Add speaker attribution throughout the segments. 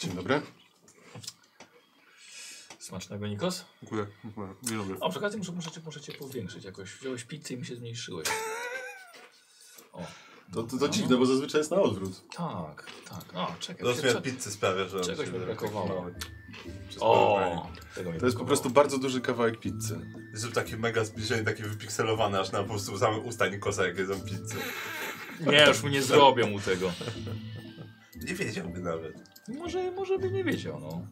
Speaker 1: Dzień dobry.
Speaker 2: Smacznego, Nikos.
Speaker 1: Dziękuję. Dzień dobry.
Speaker 2: O, przy okazji muszę, muszę, cię, muszę cię powiększyć jakoś. Wziąłeś pizzę i mi się zmniejszyłeś. O.
Speaker 1: To, to, to dziwne, bo zazwyczaj jest na odwrót.
Speaker 2: no. Tak, tak. O, czekaj.
Speaker 3: Zresztą
Speaker 2: Cze
Speaker 3: jak pizzy sprawia, że...
Speaker 2: czegoś mi
Speaker 3: że-
Speaker 2: brakowało.
Speaker 3: że-
Speaker 2: O,
Speaker 3: że-
Speaker 2: tego mi
Speaker 1: To jest po prostu bardzo duży kawałek pizzy.
Speaker 3: Zrób takie mega zbliżenie, takie wypikselowane, aż na po prostu same usta Nikosa, jak jedzą pizzę.
Speaker 2: Nie, już mu nie zrobią mu tego.
Speaker 3: Nie wiedziałby nawet.
Speaker 2: Może, może by nie wiedział, no.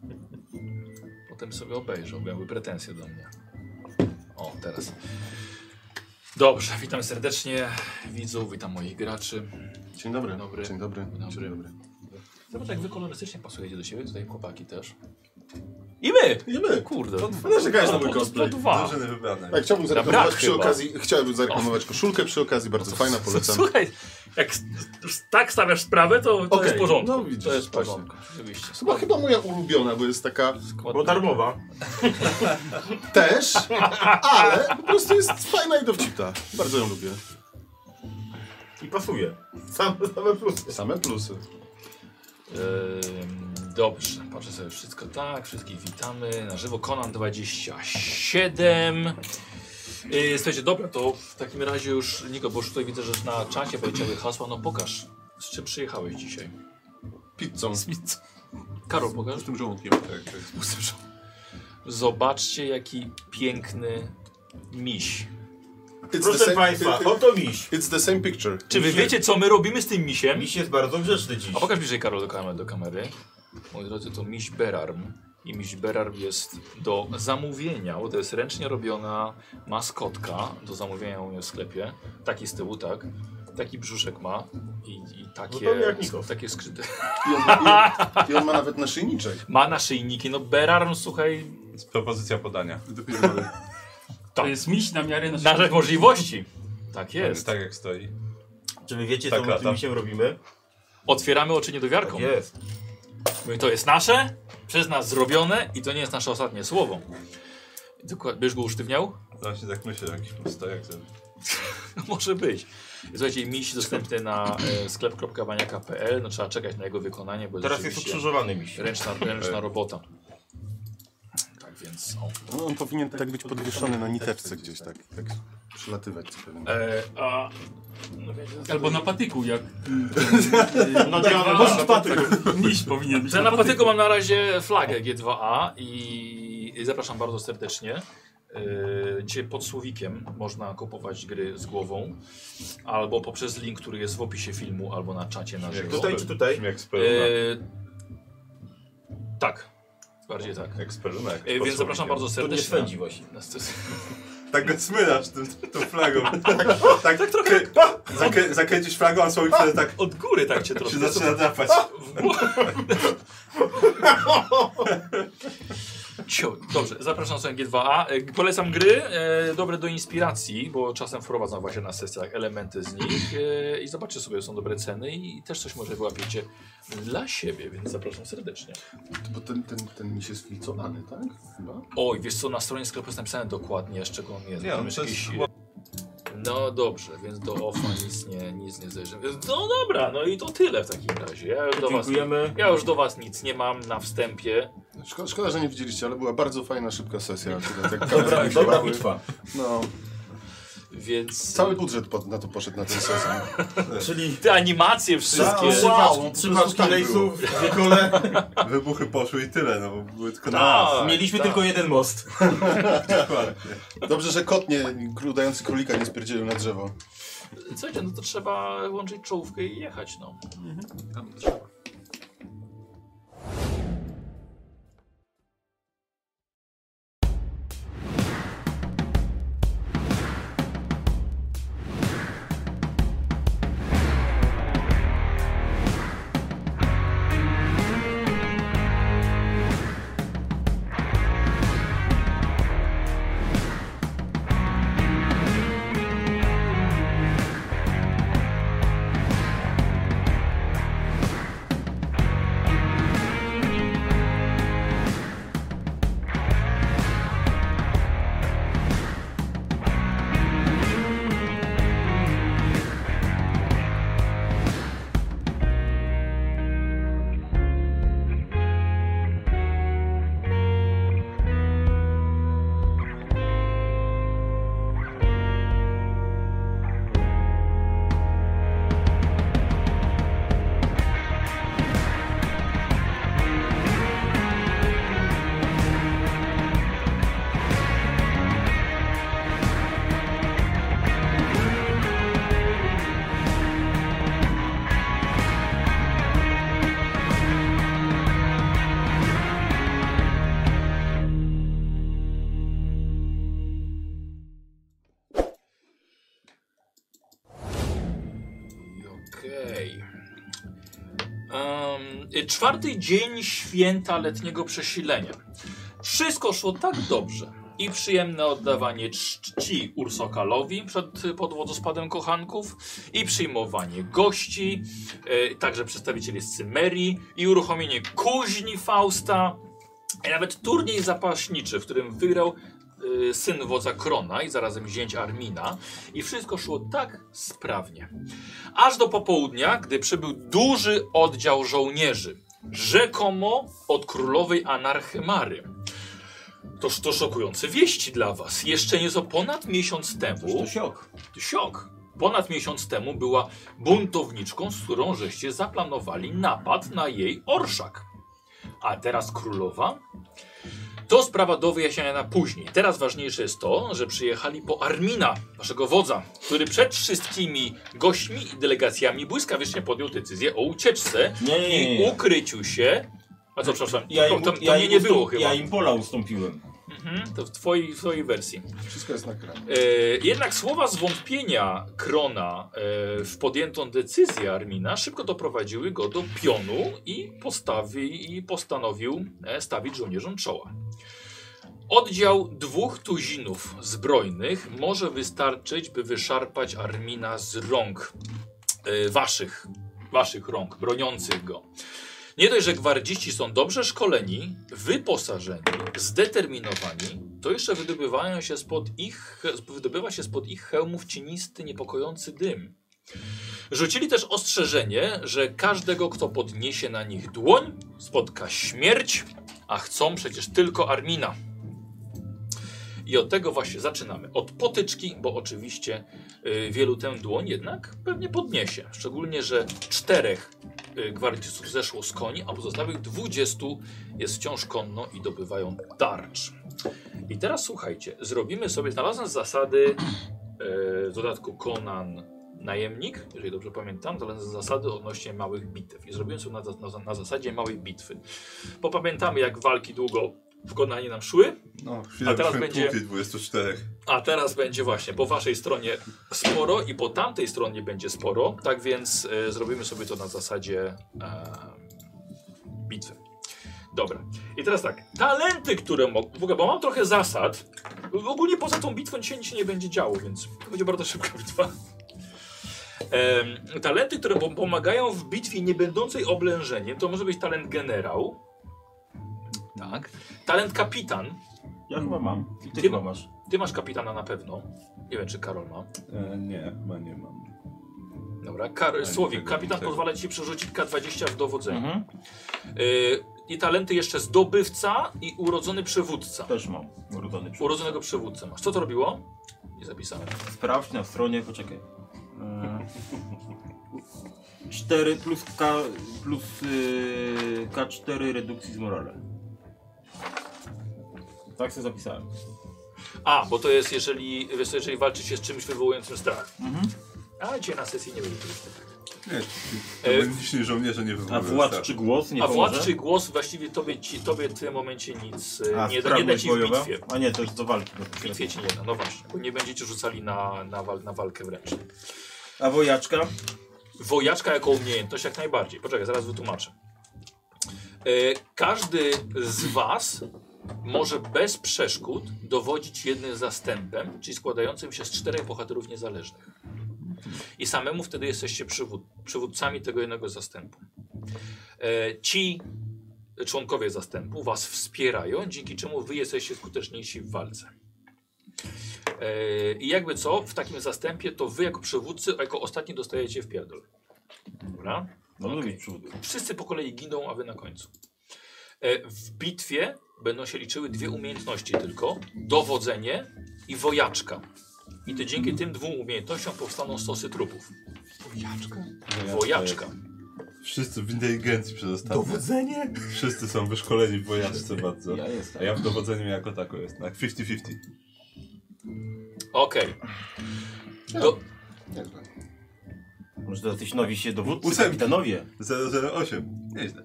Speaker 2: Potem sobie obejrzał, miałby pretensje do mnie. O, teraz. Dobrze, witam serdecznie widzów, witam moich graczy.
Speaker 1: Dzień dobry.
Speaker 2: Dzień dobry.
Speaker 1: Dzień dobry.
Speaker 2: Dzień dobry.
Speaker 1: Dzień dobry.
Speaker 2: Zobacz, jak wy kolorystycznie pasujecie do siebie, tutaj chłopaki też. I my!
Speaker 1: I my.
Speaker 2: Kurde.
Speaker 1: To dwa. Narzekałeś na mój
Speaker 2: Po- po-
Speaker 1: cosplay.
Speaker 2: Po dwa.
Speaker 3: Drużyny wybrane.
Speaker 1: Tak, chciałbym
Speaker 2: Na brat
Speaker 1: zareklamować przy
Speaker 2: chyba. No
Speaker 1: okazji, chciałbym zareklamować koszulkę przy okazji, bardzo fajna, polecam.
Speaker 4: Słuchaj, jak s- s- tak stawiasz sprawę, to, to
Speaker 1: Okej,
Speaker 4: jest w porządku.
Speaker 1: No widzisz,
Speaker 2: To jest w
Speaker 1: właśnie.
Speaker 2: porządku, oczywiście.
Speaker 1: Chyba, chyba moja ulubiona, bo jest taka
Speaker 2: Składnie.
Speaker 5: darmowa.
Speaker 1: też, ale po prostu jest fajna i dowcipna. Bardzo ją lubię.
Speaker 5: I pasuje. Sam, same plusy.
Speaker 1: Same plusy.
Speaker 2: Ym, Ehm, Dobrze, patrzę sobie wszystko tak, wszystkich witamy. Na żywo Conan 27. Yy, słuchajcie, dobra, to w takim razie już Niko, bo już tutaj widzę, że na czacie poleciały hasła. No pokaż, z czym przyjechałeś dzisiaj.
Speaker 1: Pizzą.
Speaker 2: Karol, pokaż.
Speaker 3: tym żołądkiem. Tak, tak.
Speaker 2: Zobaczcie, jaki piękny miś.
Speaker 1: It's the
Speaker 5: Proszę
Speaker 1: same-
Speaker 5: Państwa,
Speaker 1: it-
Speaker 5: oto miś.
Speaker 1: It's the same picture.
Speaker 2: Czy wy
Speaker 5: Misie.
Speaker 2: wiecie, co my robimy z tym misiem?
Speaker 5: Miś jest bardzo grzeczny dziś.
Speaker 2: A pokaż bliżej Karol do kamery, do kamery. Moi drodzy, to miś Berarm. I miś Berarm jest do zamówienia, bo to jest ręcznie robiona maskotka do zamówienia u mnie w sklepie. Taki z tyłu, tak. Taki brzuszek ma i, i takie,
Speaker 5: No to jak Nikos.
Speaker 2: takie skrzydła.
Speaker 1: I on, i, I on ma nawet naszyjniczek.
Speaker 2: Ma naszyjniki, no Berarm, słuchaj,
Speaker 3: Jest Propozycja podania.
Speaker 2: tak.
Speaker 6: To jest miś na miarę naszych...
Speaker 2: nasze możliwości. Tak
Speaker 3: Jest.
Speaker 2: jest.
Speaker 3: Tak jak stoi.
Speaker 5: Czy wy wiecie,
Speaker 3: Tak
Speaker 5: co my z
Speaker 3: lata.
Speaker 5: tym misiem robimy?
Speaker 2: Otwieramy oczy niedowiarką.
Speaker 5: Tak jest.
Speaker 2: Mówię, to jest nasze, przez nas zrobione i to nie jest nasze ostatnie słowo. Dokładnie, byś go usztywniał? No
Speaker 3: Właśnie tak myślę, że jakiś pustojak zrobi.
Speaker 2: Może być. Słuchajcie, miś dostępny na e, sklep.waniaka.pl. No trzeba czekać na jego wykonanie, bo
Speaker 5: Teraz jest
Speaker 2: rzeczywiście
Speaker 5: ukrzyżowany miś.
Speaker 2: ręczna, ręczna
Speaker 3: E.
Speaker 2: robota. Tak więc. O.
Speaker 1: No, on powinien tak być podwieszony na niteczce gdzieś tak. tak przylatywać co pewien.
Speaker 6: E, a... Albo na patyku, jak...
Speaker 5: No działa
Speaker 6: Bądź
Speaker 5: na
Speaker 6: patyk.
Speaker 2: Tak,
Speaker 6: Miś powinien być
Speaker 2: Ja na patyku mam na razie flagę G2A i zapraszam bardzo serdecznie. E, Dzisiaj pod słowikiem można kupować gry z głową albo poprzez link, który jest w opisie filmu albo na czacie na żywo.
Speaker 5: Tutaj czy tutaj?
Speaker 3: Brzmi jak z
Speaker 2: E,
Speaker 3: Peruna.
Speaker 2: tak, bardziej tak.
Speaker 3: Jak z Peruna, jak z
Speaker 2: E, Więc
Speaker 3: posłowikiem.
Speaker 2: zapraszam bardzo
Speaker 5: To nie
Speaker 2: serdecznie.
Speaker 5: swędzi właśnie.
Speaker 2: Na stos-
Speaker 3: Tak go cmylasz tym, tą flagą. Tak, tak, tak trochę. Zakrę, zakręcisz flagą, a słoik wtedy tak
Speaker 2: Od góry tak cię
Speaker 3: się
Speaker 2: troszkę.
Speaker 3: zaczyna drapać.
Speaker 2: Cio- Dobrze, zapraszam sobie G2A. E, Polecam gry, e, dobre do inspiracji, bo czasem wprowadzam właśnie na sesjach elementy z nich e, i zobaczcie sobie, są dobre ceny i też coś może wyłapiecie dla siebie, więc zapraszam serdecznie.
Speaker 1: Bo ten, ten, ten mi się sfilcowany, tak? Chyba?
Speaker 2: Oj, wiesz co, na stronie sklepu jest napisane dokładnie jeszcze, czego on jest.
Speaker 3: Nie,
Speaker 2: Tam
Speaker 3: on
Speaker 2: jest
Speaker 3: to jest
Speaker 2: jakiś-
Speaker 3: chyba-
Speaker 2: No dobrze, więc do OFA nic nie, nic nie zajrzymy. No dobra, no i to tyle w takim razie. Ja już do was,
Speaker 5: Dziękujemy.
Speaker 2: ja już do was nic nie mam na wstępie.
Speaker 1: Szko, szkoda, że nie widzieliście, ale była bardzo fajna, szybka sesja. Akurat, jak
Speaker 5: Dobra,
Speaker 1: kamery
Speaker 5: dobra
Speaker 1: działały.
Speaker 5: bitwa.
Speaker 1: No,
Speaker 2: Więc.
Speaker 1: cały budżet pod, na to poszedł na ten sezon.
Speaker 5: Czyli
Speaker 2: Te animacje wszystkie.
Speaker 5: trzy
Speaker 1: Wow,
Speaker 5: paczki- trzy
Speaker 1: po prostu
Speaker 5: paczki
Speaker 1: tak
Speaker 5: rejsów, dwie kole.
Speaker 3: Wybuchy poszły i tyle, no bo były tylko na nas.
Speaker 2: Tak,
Speaker 5: Mieliśmy
Speaker 2: tak.
Speaker 5: tylko jeden most.
Speaker 3: Dokładnie.
Speaker 1: Dobrze, że kot nie, król dający królika nie spierdzielił na drzewo.
Speaker 2: Słuchajcie, no to trzeba łączyć czołówkę i jechać, no. Y, Czwarty dzień święta letniego przesilenia. Wszystko szło tak dobrze. I przyjemne oddawanie czci Ursokalowi przed y, pod wodospadem kochanków, i przyjmowanie gości, y, także przedstawicieli z Cymerii, i uruchomienie kuźni Fausta, i nawet turniej zapaśniczy, w którym wygrał y, syn wodza Krona i zarazem zięć Armina. I wszystko szło tak sprawnie. Aż do popołudnia, gdy przybył duży oddział żołnierzy, rzekomo od królowej Anarchymary. Toż to szokujące wieści dla was. Jeszcze nieco ponad miesiąc temu...
Speaker 5: To siok.
Speaker 2: Siok. Ponad miesiąc temu była buntowniczką, z którą żeście zaplanowali napad na jej orszak. A teraz królowa? To sprawa do wyjaśnienia na później. Teraz ważniejsze jest to, że przyjechali po Armina, waszego wodza, który przed wszystkimi gośćmi i delegacjami błyskawicznie podjął decyzję o ucieczce
Speaker 5: Nie, nie, nie,
Speaker 2: i
Speaker 5: nie.
Speaker 2: ukryciu się. A co, przepraszam,
Speaker 5: Ja
Speaker 2: to,
Speaker 5: im,
Speaker 2: to, to
Speaker 5: ja
Speaker 2: mnie
Speaker 5: im
Speaker 2: nie było
Speaker 5: ustąp-
Speaker 2: chyba.
Speaker 5: Ja im pola ustąpiłem.
Speaker 2: Mhm, to w twojej, w twojej wersji.
Speaker 1: Wszystko jest nagrane.
Speaker 2: E, jednak słowa zwątpienia Krona e, w podjętą decyzję Armina szybko doprowadziły go do pionu i, postawi, i postanowił e, stawić żołnierzom czoła. Oddział dwóch tuzinów zbrojnych może wystarczyć, by wyszarpać Armina z rąk e, waszych, waszych rąk, broniących go. Nie dość, że gwardziści są dobrze szkoleni, wyposażeni, zdeterminowani, to jeszcze wydobywają się spod ich, wydobywa się spod ich hełmów cienisty, niepokojący dym. Rzucili też ostrzeżenie, że każdego, kto podniesie na nich dłoń, spotka śmierć, a chcą przecież tylko Armina. I od tego właśnie zaczynamy. Od potyczki, bo oczywiście y, wielu tę dłoń jednak pewnie podniesie. Szczególnie, że czterech y, gwardzistów zeszło z koni, a pozostałych 20 jest wciąż konno i dobywają tarcz. I teraz słuchajcie, zrobimy sobie, znalazłem zasady e, w dodatku Conan najemnik, jeżeli dobrze pamiętam, znalazłem zasady odnośnie małych bitew. I zrobiłem sobie na, na, na zasadzie małej bitwy. Bo pamiętamy jak walki długo w Konanie nam szły,
Speaker 3: No, chwilę
Speaker 2: A teraz
Speaker 3: byśmy
Speaker 2: będzie-
Speaker 3: tłukli 24.
Speaker 2: a teraz będzie właśnie po waszej stronie sporo i po tamtej stronie będzie sporo. Tak więc e, zrobimy sobie to na zasadzie e, bitwy. Dobra. I teraz tak. Talenty, które mogą. W ogóle, bo mam trochę zasad. W ogóle poza tą bitwą dzisiaj nic się nie będzie działo, więc to będzie bardzo szybka bitwa. Em, talenty, które pom- pomagają w bitwie nie będącej oblężeniem, to może być talent generał. Tak. Talent kapitan.
Speaker 5: Ja chyba mam. I ty
Speaker 2: Mhm. Ty-
Speaker 5: chyba masz.
Speaker 2: Ty masz kapitana na pewno. Nie wiem, czy Karol ma.
Speaker 5: E, nie, chyba nie mam.
Speaker 2: Dobra, Kar Słowik, kapitan pozwala ci przerzucić K20 w dowodzeniu.
Speaker 5: Mhm.
Speaker 2: Y, I talenty jeszcze zdobywca i urodzony przywódca.
Speaker 5: Też mam. Urodzony człowiek.
Speaker 2: Urodzonego przywódcę masz. Co to robiło? Nie zapisałem.
Speaker 5: Sprawdź na stronie, poczekaj. E, 4 plus K plus y, K4 redukcji z morale. Tak sobie zapisałem.
Speaker 2: A, bo to jest, jeżeli, wiesz co, jeżeli walczy się z czymś wywołującym strach.
Speaker 5: Mhm.
Speaker 2: A, dzisiaj na sesji nie będzie.
Speaker 3: Nie,
Speaker 2: E,
Speaker 3: e... żołnierze nie tak.
Speaker 5: A
Speaker 3: wywołują
Speaker 5: władczy głos nie
Speaker 2: A
Speaker 5: pomoże?
Speaker 2: władczy głos właściwie tobie, ci, tobie w tym momencie nic y,
Speaker 5: A,
Speaker 2: nie da. Nie da
Speaker 5: sprawność
Speaker 2: ci w
Speaker 5: bojowa?
Speaker 2: bitwie.
Speaker 5: A nie, to jest do walki.
Speaker 2: W bitwie ci nie da, no właśnie. Bo nie będziecie rzucali na, na, wal, na walkę wręcz.
Speaker 5: A wojaczka?
Speaker 2: Wojaczka jako umiejętność jak najbardziej. Poczekaj, zaraz wytłumaczę. E, każdy z was może bez przeszkód dowodzić jednym zastępem, czyli składającym się z czterech bohaterów niezależnych. I samemu wtedy jesteście przywód, przywódcami tego jednego zastępu. E, ci członkowie zastępu was wspierają, dzięki czemu wy jesteście skuteczniejsi w walce. E, I jakby co, w takim zastępie to wy jako przywódcy, jako ostatni dostajecie w pierdol. Dobra?
Speaker 5: No
Speaker 2: Okej.
Speaker 5: okay. lubić przód.
Speaker 2: Wszyscy po kolei giną, a wy na końcu. E, W bitwie będą się liczyły dwie umiejętności tylko: dowodzenie i wojaczka. I to dzięki tym dwóm umiejętnościom powstaną stosy trupów. Wojaczka? Wojaczka.
Speaker 3: Wszyscy w inteligencji przez ostatnie.
Speaker 5: Dowodzenie?
Speaker 3: Wszyscy są wyszkoleni w wojaczce bardzo.
Speaker 5: Ja jestem.
Speaker 3: A ja w dowodzeniu jako tako jest. Tak, 50-50.
Speaker 2: Okej. Do-
Speaker 1: Niezłe.
Speaker 5: Może to jacyś nowi się dowódcy,
Speaker 3: Ósem.
Speaker 5: kapitanowie.
Speaker 3: 008. Nieźle.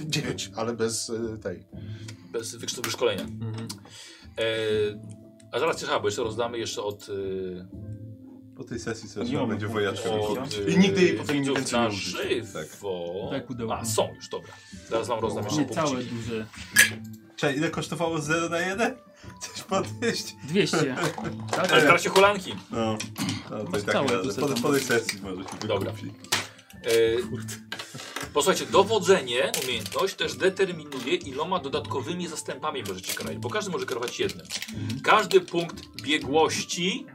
Speaker 1: Dziewięć, ale bez y, tej.
Speaker 2: Bez wykształcenia wyszkolenia.
Speaker 3: Mhm.
Speaker 2: E, a zaraz cię bo jeszcze rozdamy jeszcze od, y,
Speaker 3: Po tej sesji
Speaker 5: Nie
Speaker 3: sobie
Speaker 5: mamy
Speaker 3: będzie
Speaker 5: punktu
Speaker 3: wojaczka.
Speaker 5: szczęścia.
Speaker 2: Od,
Speaker 3: I nigdy jej
Speaker 2: y,
Speaker 3: potem nie
Speaker 2: widzów
Speaker 3: więcej
Speaker 2: na
Speaker 3: nie użyć. Tak.
Speaker 2: żywo.
Speaker 6: Tak, pudełko.
Speaker 2: A, są już, dobra. Zaraz wam rozdam jeszcze
Speaker 6: Nie całe
Speaker 2: punkciki.
Speaker 6: duże.
Speaker 3: Cześć, ile kosztowało 0 na 1? Coś podnieść?
Speaker 6: 200. Tak?
Speaker 2: Ale teraz się E, hulanki.
Speaker 3: No, no to i tak
Speaker 6: Całe
Speaker 3: radę.
Speaker 6: duże
Speaker 3: po,
Speaker 6: tam.
Speaker 3: po tej sesji może się
Speaker 2: Dobra.
Speaker 3: wykupi.
Speaker 2: Y, Posłuchajcie, dowodzenie, umiejętność też determinuje iloma dodatkowymi zastępami możecie kierować, bo każdy może kierować jednym. Każdy punkt biegłości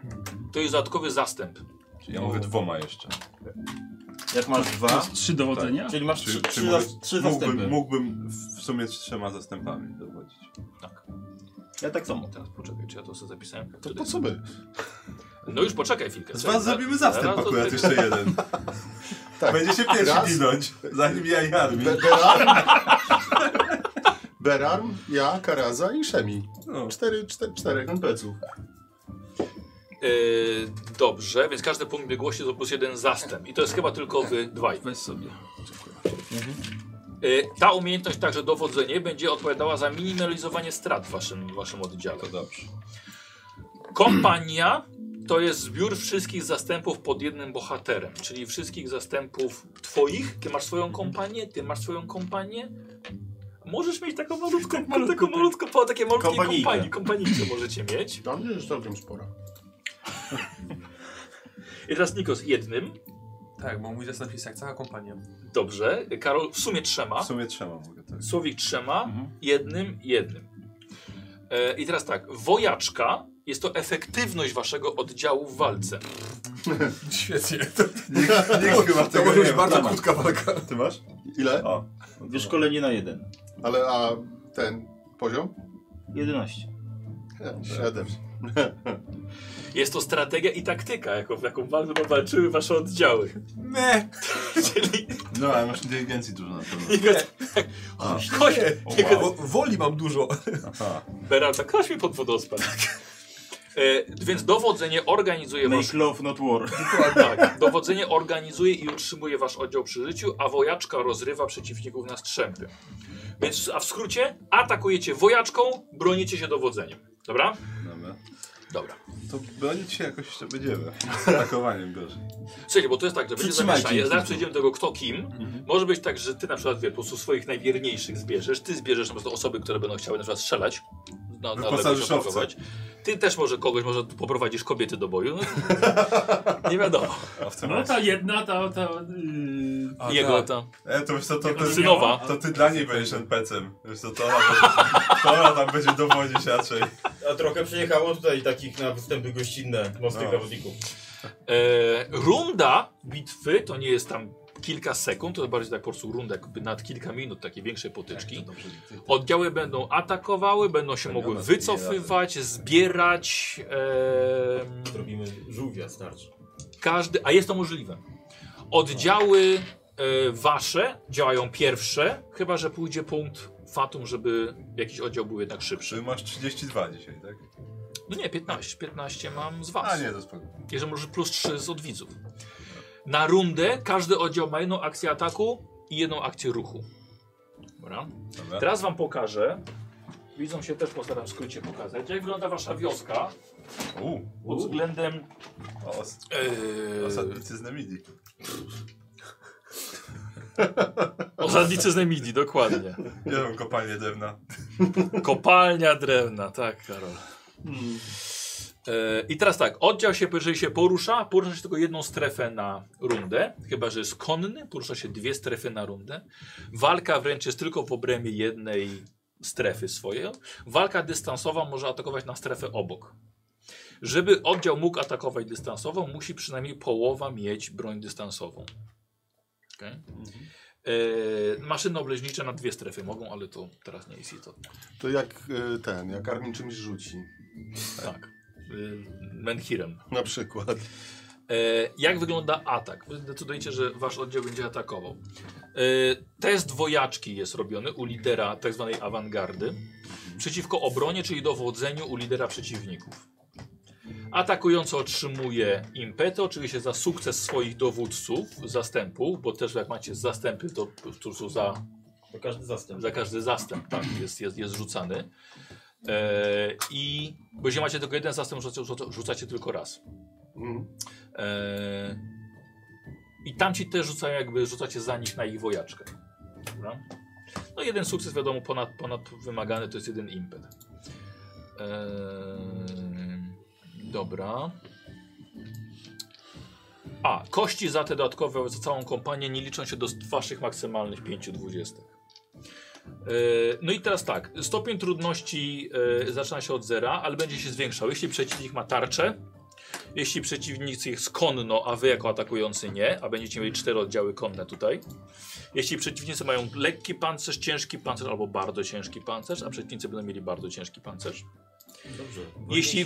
Speaker 2: to jest dodatkowy zastęp.
Speaker 3: Czyli ja mogę dwoma jeszcze.
Speaker 5: Jak masz dwa,
Speaker 6: Masz trzy dowodzenia?
Speaker 5: czyli masz
Speaker 3: Tak. Czy,
Speaker 5: trzy,
Speaker 3: czy
Speaker 5: trzy,
Speaker 3: mogę,
Speaker 5: zas- trzy
Speaker 3: mógłbym,
Speaker 5: zastępy.
Speaker 3: mógłbym w sumie trzema zastępami dowodzić.
Speaker 2: Tak.
Speaker 5: Ja tak samo.
Speaker 2: Teraz poczekaj, czy ja to sobie zapisałem?
Speaker 1: To
Speaker 2: Wtedy-
Speaker 1: po co my?
Speaker 2: No już poczekaj chwilkę.
Speaker 3: Z
Speaker 2: Czekaj,
Speaker 3: was
Speaker 2: za-
Speaker 3: zrobimy zastęp
Speaker 2: zaraz to
Speaker 3: akurat
Speaker 2: ty-
Speaker 3: jeszcze jeden.
Speaker 1: Tak.
Speaker 3: Będzie się pierwszy
Speaker 1: Raz.
Speaker 3: ginąć, zanim ja i Armin.
Speaker 1: Be- Berarm, Berarm, ja, Karaza i Szemi.
Speaker 3: No.
Speaker 1: Cztery, cztery, czterech NPC-ów.
Speaker 2: Yy, dobrze, więc każdy punkt biegłości to plus jeden zastęp. I to jest chyba tylko wy dwaj.
Speaker 6: Weź sobie.
Speaker 2: Yy, ta umiejętność, także dowodzenie, będzie odpowiadała za minimalizowanie strat w waszym, w waszym oddziale.
Speaker 3: To dobrze.
Speaker 2: Kompania to jest zbiór wszystkich zastępów pod jednym bohaterem, czyli wszystkich zastępów twoich. Ty masz swoją kompanię, ty masz swoją kompanię. Możesz mieć taką malutką, taką malutką, po takie malutkie
Speaker 3: Kompanijkę.
Speaker 2: kompanii, kompanijce możecie mieć.
Speaker 1: Dla mnie jest całkiem spora.
Speaker 2: I teraz Nikos jednym,
Speaker 7: Tak, bo mój zestaw jest jak cała kompania.
Speaker 2: dobrze. Karol w sumie trzema.
Speaker 3: W sumie trzema mogę tak.
Speaker 2: Słowik trzema, jednym, jednym. E, I teraz tak, wojaczka jest to efektywność waszego oddziału w walce.
Speaker 7: Świetnie.
Speaker 3: Nikt chyba tak.
Speaker 7: To
Speaker 3: tego
Speaker 7: może
Speaker 3: nie
Speaker 7: być
Speaker 3: ma.
Speaker 7: bardzo
Speaker 3: Dobra.
Speaker 7: krótka walka.
Speaker 3: Ty masz?
Speaker 1: Ile?
Speaker 3: O. no
Speaker 5: Wyszkolenie na jeden.
Speaker 1: Ale a ten poziom?
Speaker 5: 11.
Speaker 1: Siedem.
Speaker 2: Jest to strategia i taktyka, jaką, jaką wal- walczyły wasze oddziały.
Speaker 7: Nie.
Speaker 2: Czyli
Speaker 3: No, ale masz inteligencji dużo na pewno.
Speaker 2: Nikos,
Speaker 3: A.
Speaker 2: chodź,
Speaker 7: Nie, bo woli mam dużo.
Speaker 3: Aha.
Speaker 2: Beralta, chodź mi pod wodospad.
Speaker 3: Tak.
Speaker 2: E, więc dowodzenie organizuje wasz
Speaker 5: Make love, not war.
Speaker 2: Tak, dowodzenie organizuje i utrzymuje wasz oddział przy życiu, a wojaczka rozrywa przeciwników na strzępy. Więc, a w skrócie, atakujecie wojaczką, bronicie się dowodzeniem. Dobra?
Speaker 3: Dobra.
Speaker 2: Dobra.
Speaker 3: To bronić się jakoś jeszcze będziemy. Z atakowaniem gorzej.
Speaker 2: Słuchajcie, bo to jest tak, że będzie
Speaker 5: Przytrzymajcie
Speaker 2: zamieszanie.
Speaker 5: ich. Mhm.
Speaker 2: Zaraz przejdziemy do tego, kto kim. Może być tak, że ty na przykład wie, po prostu swoich najwierniejszych zbierzesz, ty zbierzesz po prostu osoby, które będą chciały na przykład strzelać.
Speaker 5: No,
Speaker 2: Na, na
Speaker 3: Wyposażysz
Speaker 2: lewo się
Speaker 3: owce.
Speaker 2: atakować. Ty też może kogoś, może poprowadzisz kobiety do boju. No, nie wiadomo.
Speaker 3: A w tym
Speaker 6: No ta jedna, ta... ta yy,
Speaker 7: A,
Speaker 2: Jego
Speaker 7: tak.
Speaker 2: to.
Speaker 3: E, to wiesz co, to, to,
Speaker 2: Synowa.
Speaker 3: to ty dla niej będziesz NPC-em. Wiesz co, to ona, będzie- to ona tam będzie dowodzić raczej.
Speaker 5: A trochę przyjechało tutaj takich na występy gościnne
Speaker 3: No.
Speaker 5: mocnych zawodników.
Speaker 2: E, runda bitwy to nie jest tam kilka sekund, to bardziej tak po prostu runda jakby nad kilka minut takiej większej
Speaker 5: Tak,
Speaker 2: potyczki. Oddziały będą atakowały, będą się mogły wycofywać, zbierać. em,
Speaker 5: Robimy żółwia starczy.
Speaker 2: każdy, a jest to możliwe. Oddziały e, wasze działają pierwsze, chyba że pójdzie punkt fatum, żeby jakiś oddział był jednak
Speaker 3: Czy
Speaker 2: szybszy.
Speaker 3: masz 32 dzisiaj, tak?
Speaker 2: No nie, 15. 15 mam z
Speaker 3: A
Speaker 2: was.
Speaker 3: nie, to spoko.
Speaker 2: Jeżeli może plus 3 z odwidzów. Na rundę każdy oddział ma jedną akcję ataku i jedną akcję ruchu. Dobra.
Speaker 3: Dobra.
Speaker 2: Teraz wam pokażę. Widzą się też postaram w skrócie pokazać. Jak wygląda wasza wioska
Speaker 3: U,
Speaker 2: pod względem.
Speaker 3: o, os,
Speaker 2: Yy,
Speaker 3: osadnicy z Nemidi.
Speaker 2: osadnicy z Nemidi, dokładnie.
Speaker 3: Nie wiem, kopalnie drewna.
Speaker 2: Kopalnia drewna, tak, Karol.
Speaker 7: Hmm.
Speaker 2: E, I teraz tak, oddział się, jeżeli się porusza, porusza się tylko jedną strefę na rundę, chyba że jest konny, porusza się dwie strefy na rundę. Walka wręcz jest tylko w obrębie jednej strefy swojej. Walka dystansowa może atakować na strefę obok. Żeby oddział mógł atakować dystansowo, musi przynajmniej połowa mieć broń dystansową. Okay? E, maszyny obleżnicze na dwie strefy mogą, ale to teraz nie jest istotne.
Speaker 1: To jak y, ten, jak Armin czymś rzuci.
Speaker 2: Tak. Y, Menhirem.
Speaker 1: Na przykład.
Speaker 2: E, jak wygląda atak? Wy decydujecie, że wasz oddział będzie atakował. E, test wojaczki jest robiony u lidera tak zwanej awangardy przeciwko obronie, czyli dowodzeniu u lidera przeciwników. Atakujący otrzymuje impety, oczywiście za sukces swoich dowódców, zastępów, bo też jak macie zastępy, to po prostu za
Speaker 5: To każdy zastęp.
Speaker 2: za każdy zastęp tak, jest, jest, jest rzucany. E, I bo jeśli macie tylko jeden zastęp, rzucacie, rzucacie tylko raz.
Speaker 1: Mhm.
Speaker 2: E, I tamci też rzucają jakby, rzucacie za nich na ich wojaczkę. Dobra? No jeden sukces wiadomo ponad, ponad wymagany to jest jeden impet. E, dobra. A, kości za te dodatkowe, za całą kompanię nie liczą się do waszych maksymalnych 5 dwudziestych. E, No i teraz tak, stopień trudności e, zaczyna się od zera, ale będzie się zwiększał. Jeśli przeciwnik ma tarczę, jeśli przeciwnicy ich skonno, a wy jako atakujący nie, a będziecie mieli cztery oddziały konne tutaj. Jeśli przeciwnicy mają lekki pancerz, ciężki pancerz albo bardzo ciężki pancerz, a przeciwnicy będą mieli bardzo ciężki pancerz.
Speaker 5: Dobrze.
Speaker 2: Jeśli-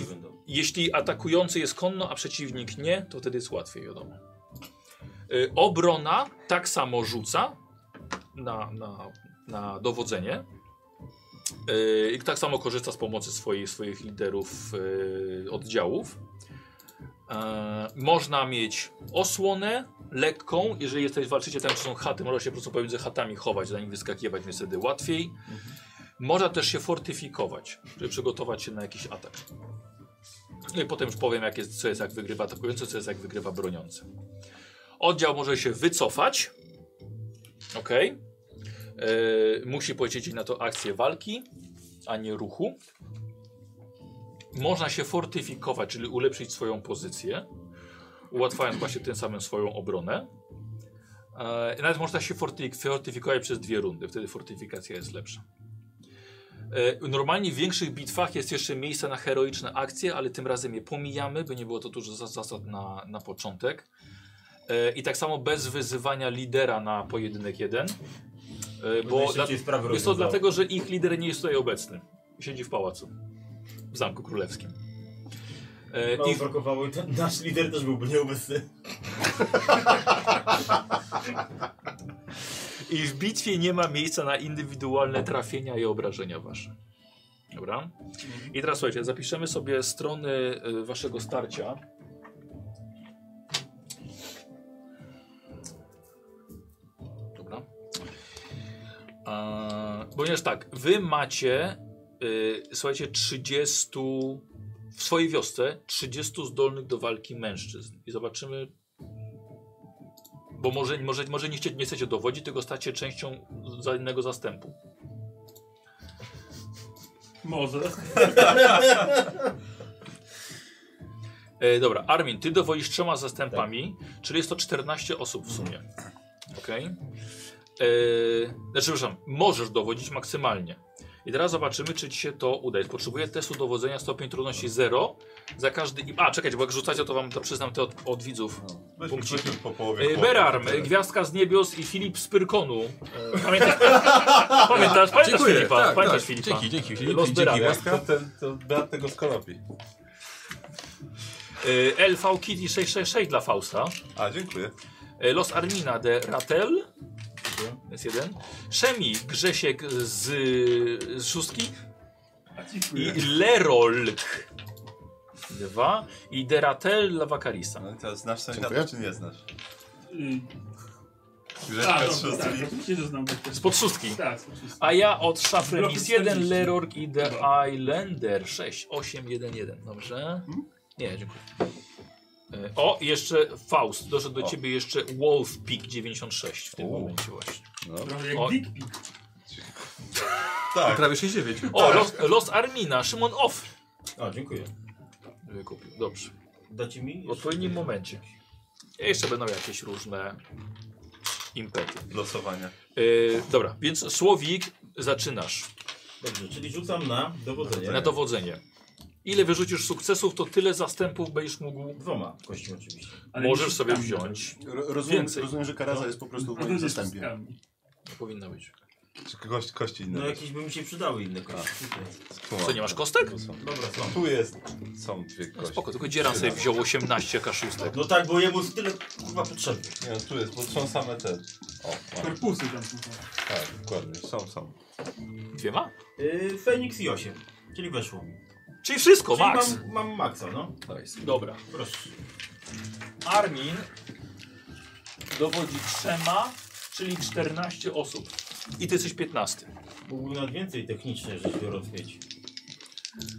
Speaker 5: wolniejsi będą.
Speaker 2: Jeśli atakujący jest konno, a przeciwnik nie, to wtedy jest łatwiej, wiadomo. Y, Obrona tak samo rzuca na, na, na dowodzenie. Y, I tak samo korzysta z pomocy swojej, swoich liderów y, oddziałów. E, można mieć osłonę lekką, jeżeli jesteś, walczycie tam, czy są chaty, można się po prostu pomiędzy chatami chować, zanim wyskakiwać, więc wtedy łatwiej. Można też się fortyfikować, żeby przygotować się na jakiś atak. No i potem już powiem, jak jest, co jest jak wygrywa atakujący, co jest jak wygrywa broniący. Oddział może się wycofać. Ok. E, musi poświęcić na to akcję walki, a nie ruchu. Można się fortyfikować, czyli ulepszyć swoją pozycję, ułatwiając właśnie tym samym swoją obronę. E, i nawet można się forty- fortyfikować przez dwie rundy, wtedy fortyfikacja jest lepsza. E, Normalnie w większych bitwach jest jeszcze miejsce na heroiczne akcje, ale tym razem je pomijamy, by nie było to dużo za- zasad na, na początek. E, I tak samo bez wyzywania lidera na pojedynek jeden. E, Bo dla,
Speaker 5: No Najszybciej sprawy
Speaker 2: jest to
Speaker 5: rozwiązał.
Speaker 2: dlatego, że ich lider nie jest tutaj obecny. Siedzi w pałacu. W Zamku Królewskim. E,
Speaker 5: Mało
Speaker 2: ich,
Speaker 5: brakowało i to nasz lider też byłby nieobecny.
Speaker 2: I w bitwie nie ma miejsca na indywidualne trafienia i obrażenia wasze. Dobra? I teraz słuchajcie, zapiszemy sobie strony y, waszego starcia. Dobra. A, ponieważ tak, wy macie, y, słuchajcie, 30 w swojej wiosce 30 zdolnych do walki mężczyzn. I zobaczymy, bo może, może, może nie, chcecie, nie chcecie dowodzić, tylko stacie częścią za innego zastępu.
Speaker 6: Może.
Speaker 2: E, dobra, Armin, ty dowodzisz trzema zastępami,
Speaker 3: Tak.
Speaker 2: czyli jest to 14 osób
Speaker 3: Mhm.
Speaker 2: w sumie. Okej. E, Znaczy, przepraszam, możesz dowodzić maksymalnie. I teraz zobaczymy, czy ci się to uda. Potrzebuję testu dowodzenia stopień
Speaker 3: No.
Speaker 2: trudności 0 za każdy. im- A, czekajcie, bo jak rzucacie, to wam to przyznam te od, od widzów.
Speaker 3: Weźmy
Speaker 2: Punkcik.
Speaker 3: No. weźmy po połowie.
Speaker 2: E,
Speaker 3: chłopu.
Speaker 2: Berarm, e, Gwiazdka z Niebios i Filip z Pyrkonu. E, Pamiętasz? Pamiętasz, pamiętasz Filipa?
Speaker 3: Tak,
Speaker 2: pamiętasz Filipa?
Speaker 7: Dzięki, dzięki. Filip,
Speaker 2: Los
Speaker 7: i
Speaker 2: Berarem.
Speaker 7: dzięki Łaska.
Speaker 3: To, ten, to brat tego z konopi.
Speaker 2: Y, LV Kitty 666 dla Fausta.
Speaker 3: A, dziękuję.
Speaker 2: Y, Los Armina de Ratel. Jest jeden. Szemi Grzesiek z, z szóstki. I Lerolk. Dwa. I Deratel dla Wakarisa.
Speaker 3: No i teraz znasz
Speaker 1: Dziękuję.
Speaker 3: sąsiada, czy nie znasz?
Speaker 6: Y, A,
Speaker 3: Grzeszka z
Speaker 6: dobra,
Speaker 3: szóstki.
Speaker 6: tak, się doznam.
Speaker 2: Spod szóstki.
Speaker 6: Tak, spod szóstki.
Speaker 2: A ja od szafy
Speaker 6: Blok
Speaker 2: jest 1
Speaker 6: 40.
Speaker 2: Lerork i The
Speaker 6: Dobra. Hmm?
Speaker 2: Islander 6, 8, 1, 1. Dobrze? Nie, dziękuję. E, O, i jeszcze Faust. Doszedł do
Speaker 3: O.
Speaker 2: ciebie jeszcze Wolfpik 96 w tym
Speaker 3: U.
Speaker 2: momencie właśnie.
Speaker 6: Trochę jak
Speaker 2: O.
Speaker 6: Dick Pic.
Speaker 3: Tak.
Speaker 7: Prawie 69.
Speaker 2: Tak. O, los, los Armina, Szymon Off
Speaker 5: O, dziękuję.
Speaker 2: wykupił. Dobrze.
Speaker 5: Dacie mi?
Speaker 2: W odpowiednim momencie. Jeszcze będą jakieś różne impety.
Speaker 3: Losowania.
Speaker 2: E, dobra, więc Słowik zaczynasz
Speaker 5: Dobrze, czyli rzucam na dowodzenie.
Speaker 2: na dowodzenie. Ile wyrzucisz sukcesów, to tyle zastępów będziesz mógł.
Speaker 5: Dwoma kośćmi oczywiście.
Speaker 6: Ale
Speaker 2: możesz
Speaker 6: nie
Speaker 2: sobie
Speaker 6: tam,
Speaker 2: wziąć.
Speaker 1: Ro- Rozumiem,
Speaker 2: Więcej.
Speaker 1: rozumiem, że
Speaker 5: No.
Speaker 8: No.
Speaker 1: karaza jest po prostu w
Speaker 6: tak.
Speaker 1: moim
Speaker 6: Nie
Speaker 1: zastępie.
Speaker 6: wszystkami.
Speaker 2: Powinno być.
Speaker 3: Czy kogoś, kości inne?
Speaker 5: No jakieś by mi się przydały inne kości.
Speaker 1: Tak.
Speaker 2: Co, nie masz kostek?
Speaker 8: No,
Speaker 5: Dobra, są.
Speaker 3: Tu jest, są dwie
Speaker 2: No
Speaker 3: kości.
Speaker 2: spoko, tylko Dzieran sobie wziął 18 kaszustek.
Speaker 5: No tak, bo jemu tyle kurwa potrzebny.
Speaker 3: Nie no, tu jest, bo są same te. O, mam.
Speaker 6: Korpusy tam są.
Speaker 3: tak, dokładnie, są, są.
Speaker 2: Dwiema?
Speaker 8: Y,
Speaker 5: Yy, Feniks i 8. Czyli weszło mi.
Speaker 2: Czyli wszystko,
Speaker 5: Czyli
Speaker 2: max.
Speaker 5: Mam, mam maksa, no.
Speaker 2: Dobra.
Speaker 5: Proszę.
Speaker 2: Armin dowodzi trzema, czyli 14 osób. I ty jesteś 15.
Speaker 5: Mógłbym nawet więcej technicznie rzecz biorąc mieć.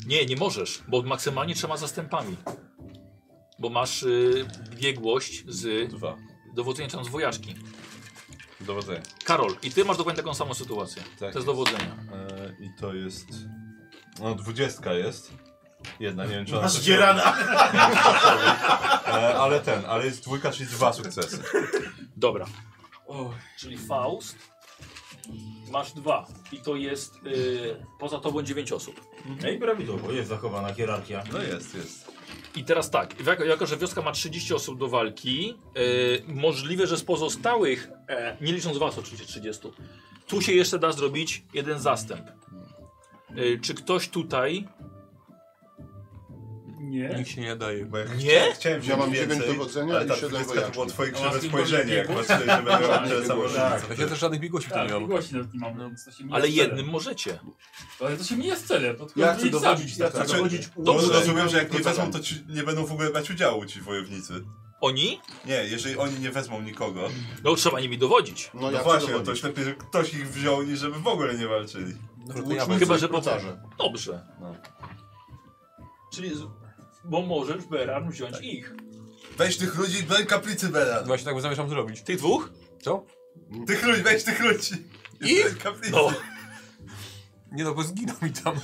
Speaker 2: Nie, nie możesz, bo maksymalnie trzema zastępami. Bo masz y, biegłość z
Speaker 9: Dwa.
Speaker 2: dowodzenia tam z wojaczki.
Speaker 9: Dowodzenie.
Speaker 2: Karol, i ty masz dokładnie taką samą sytuację.
Speaker 9: Tak.
Speaker 2: To jest dowodzenia.
Speaker 9: E, I to jest... No, dwudziestka jest. Jedna, nie wiem czy ona...
Speaker 3: Masz
Speaker 9: coś
Speaker 3: dzierana.
Speaker 9: robi. E, ale ten, ale jest dwójka, czyli dwa sukcesy.
Speaker 2: Dobra. czyli Faust. Masz dwa. I to jest y, poza tobą dziewięć osób.
Speaker 9: Mhm.
Speaker 3: No i prawidłowo, jest zachowana hierarchia.
Speaker 9: No jest, jest.
Speaker 2: I teraz tak, jako, jako że wioska ma 30 osób do walki, y, możliwe, że z pozostałych, e, nie licząc was oczywiście 30, tu się jeszcze da zrobić jeden zastęp. Y, czy ktoś tutaj...
Speaker 6: Nie.
Speaker 7: Nikt się nie daje.
Speaker 9: Bo ja
Speaker 2: Nie?
Speaker 9: Chciałem
Speaker 1: Ja mam
Speaker 9: wziąć
Speaker 1: dziewięć
Speaker 9: więcej,
Speaker 1: dowodzenia
Speaker 9: ale
Speaker 1: i
Speaker 9: ta
Speaker 1: siedem
Speaker 9: dwudziestka to
Speaker 1: wojaczki.
Speaker 9: było twoje
Speaker 6: A
Speaker 9: krzywe
Speaker 6: masz
Speaker 9: spojrzenie, jak
Speaker 6: biegłość?
Speaker 9: patrzyłeś, że będę
Speaker 6: Tak,
Speaker 9: miał samą
Speaker 3: Tak.
Speaker 7: Ja też żadnych biegłości tam
Speaker 6: Tak,
Speaker 7: nie mam.
Speaker 6: biegłości nawet nie mamy. więc to się mija
Speaker 2: Ale
Speaker 6: z celem.
Speaker 2: jednym możecie.
Speaker 6: Ale to się mija z celem.
Speaker 9: No
Speaker 6: To tylko
Speaker 1: Ja chcę
Speaker 6: ich
Speaker 1: dowodzić.
Speaker 6: zabić.
Speaker 1: tak
Speaker 3: Znaczy,
Speaker 1: naprawdę.
Speaker 9: Dobrze.
Speaker 2: Dobrze. No tak.
Speaker 9: Rozumiem, że jak nie
Speaker 1: Procedam.
Speaker 9: wezmą, to ci nie będą w ogóle brać udziału ci wojownicy.
Speaker 2: Oni?
Speaker 9: Nie, jeżeli oni nie wezmą nikogo,
Speaker 2: No trzeba nimi dowodzić.
Speaker 1: No,
Speaker 9: no,
Speaker 1: ja chcę
Speaker 9: właśnie, to
Speaker 1: dowodzić.
Speaker 9: już lepiej, żeby ktoś ich wziął, niż żeby w ogóle nie walczyli.
Speaker 7: Krótko ja
Speaker 1: Włóczmy
Speaker 2: Chyba,
Speaker 1: coś
Speaker 2: że
Speaker 1: w
Speaker 2: potem.
Speaker 1: procarze.
Speaker 2: Dobrze.
Speaker 9: No.
Speaker 2: Czyli, z- bo możesz Beran wziąć ich.
Speaker 9: Weź tych ludzi, broń kaplicy Bela.
Speaker 7: Właśnie tak zamierzam zrobić.
Speaker 2: Tych dwóch?
Speaker 7: Co?
Speaker 9: Tych ludzi, weź tych ludzi.
Speaker 7: I?
Speaker 9: Broń Kaplicy.
Speaker 2: No.
Speaker 7: Nie no, bo zginą mi tam.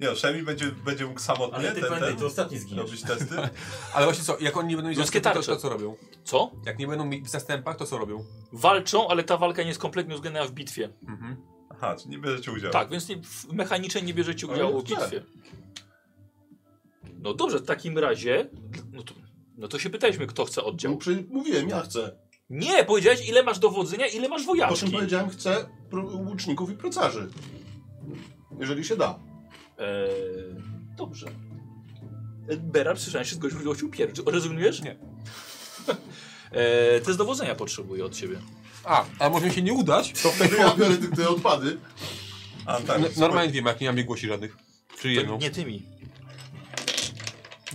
Speaker 9: Nie no, Szemi będzie, będzie mógł samotnie
Speaker 3: Ale ty
Speaker 9: ten,
Speaker 3: pamiętaj,
Speaker 9: ten,
Speaker 3: to ostatni zginiesz.
Speaker 9: robić testy.
Speaker 7: Ale właśnie co, jak oni nie będą mieć
Speaker 2: Ludzkie
Speaker 7: zastępów, to,
Speaker 2: tarcze.
Speaker 7: to co robią?
Speaker 2: Co?
Speaker 7: Jak nie będą mi w zastępach, to co robią?
Speaker 2: Walczą, ale ta walka nie jest kompletnie uwzględniona w bitwie.
Speaker 7: Mhm.
Speaker 9: Aha, czyli nie bierzecie udziału.
Speaker 2: Tak, więc nie, w- mechanicznie nie bierzecie udziału w bitwie. No dobrze, w takim razie. No to, no to się pytaliśmy, kto chce
Speaker 1: No,
Speaker 2: oddział.
Speaker 1: przy- Mówiłem, ja chcę.
Speaker 2: Nie, powiedziałeś, ile masz dowodzenia, ile masz
Speaker 1: Po czym
Speaker 2: wojaczki.
Speaker 1: powiedziałem, chcę pro- łuczników i procarzy. Jeżeli się da.
Speaker 2: Eee, dobrze. Berar słyszałem się zgodził, że się pierwszy. Rozumiesz?
Speaker 7: Nie.
Speaker 2: eee, test dowodzenia potrzebuję od ciebie.
Speaker 7: A, a może mi się nie udać?
Speaker 1: To wtedy ja biorę te, te odpady.
Speaker 9: A, tak,
Speaker 7: N- normalnie wiem, jak nie mam biegłości żadnych. Czyli
Speaker 2: To
Speaker 7: jedną.
Speaker 2: nie tymi.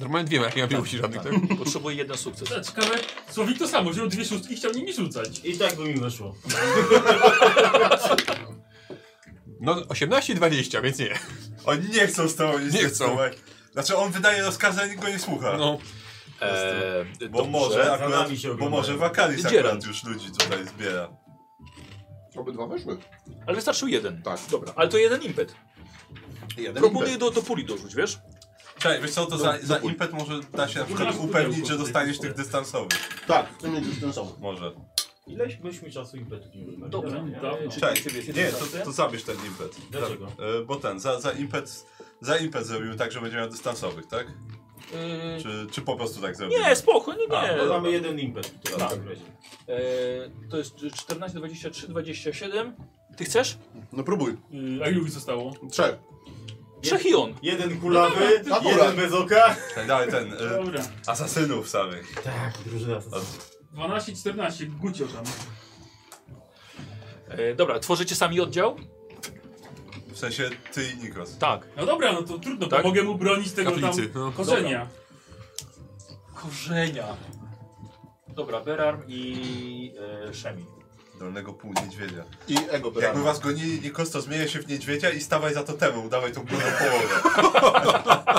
Speaker 7: Normalnie wiem, jak nie mam biegłości żadnych, tak?
Speaker 2: Potrzebuję jeden sukces.
Speaker 6: Tak, Ciekawe, Słowik to samo, wziął dwie szóstki i chciał nimi rzucać.
Speaker 3: I tak by mi weszło.
Speaker 7: No 18 20, więc nie.
Speaker 9: Oni nie chcą z tobą nic
Speaker 7: Nie chcą.
Speaker 9: testować. Znaczy on wydaje rozkazy, a nikt go nie słucha.
Speaker 7: No.
Speaker 2: Eee,
Speaker 9: Bo
Speaker 2: dobrze.
Speaker 9: może
Speaker 3: Za
Speaker 9: akurat,
Speaker 3: nami się
Speaker 9: bo
Speaker 3: oglądają.
Speaker 9: może Wakaris
Speaker 2: Dzieran.
Speaker 9: akurat już ludzi tutaj zbiera.
Speaker 1: Obydwa weszły.
Speaker 2: Ale wystarczył jeden.
Speaker 1: Tak.
Speaker 2: Dobra, ale to jeden impet.
Speaker 1: Jeden
Speaker 2: Proponuję do, do puli dorzuć, wiesz?
Speaker 9: Czekaj, wiesz co, to za, za impet może da się na przykład
Speaker 6: Używasz
Speaker 9: upewnić,
Speaker 6: pudełko
Speaker 9: że
Speaker 6: w tej
Speaker 9: dostaniesz
Speaker 6: szkole.
Speaker 9: tych dystansowych.
Speaker 1: Tak, chcę mieć ten sam.
Speaker 9: Może.
Speaker 3: Ileś byśmy czasu impetu nie wybrali.
Speaker 2: Dobra.
Speaker 3: Nie?
Speaker 6: Dawno.
Speaker 9: Czekaj,
Speaker 2: Ciebie się tak
Speaker 9: nie,
Speaker 2: dystansuje?
Speaker 9: to, to zabierz ten impet.
Speaker 3: Dlaczego?
Speaker 9: E, Bo ten, za, za impet... Za impet zrobimy tak, że będzie miał dystansowych, tak? Czy, czy po prostu tak zrobimy?
Speaker 2: Yy, Nie, spoko, nie, nie.
Speaker 9: A,
Speaker 3: No mamy jeden impet. w
Speaker 9: Tak.
Speaker 3: takim razie.
Speaker 2: Eee, to jest 14, 23, 27. Ty chcesz?
Speaker 1: No próbuj.
Speaker 6: Yy, a ilu ich zostało?
Speaker 1: Trzech.
Speaker 2: Trzech i on.
Speaker 3: Jeden kulawy,
Speaker 1: Tak, Akurat.
Speaker 3: jeden bez oka.
Speaker 9: Tak, dalej ten, e,
Speaker 6: Dobra.
Speaker 9: asasynów samych.
Speaker 3: Tak, drużyna.
Speaker 6: 12, 14, gucio tam.
Speaker 2: Eee, dobra, tworzycie sami oddział?
Speaker 9: W sensie ty i Nikos.
Speaker 2: Tak.
Speaker 6: No dobra, no to trudno,
Speaker 2: Tak?
Speaker 6: tak? mogę mu bronić tego
Speaker 7: Kaplicy,
Speaker 6: tam
Speaker 7: no.
Speaker 6: korzenia.
Speaker 2: Korzenia. Dobra, Berarm i e, Szemi.
Speaker 9: Dolnego półniedźwiedzia.
Speaker 1: I ego
Speaker 9: Jakby
Speaker 1: brałem.
Speaker 9: was gonili, Nikos, to zmienia się w niedźwiedzia i stawaj za to temu, udawaj tą górną połowę.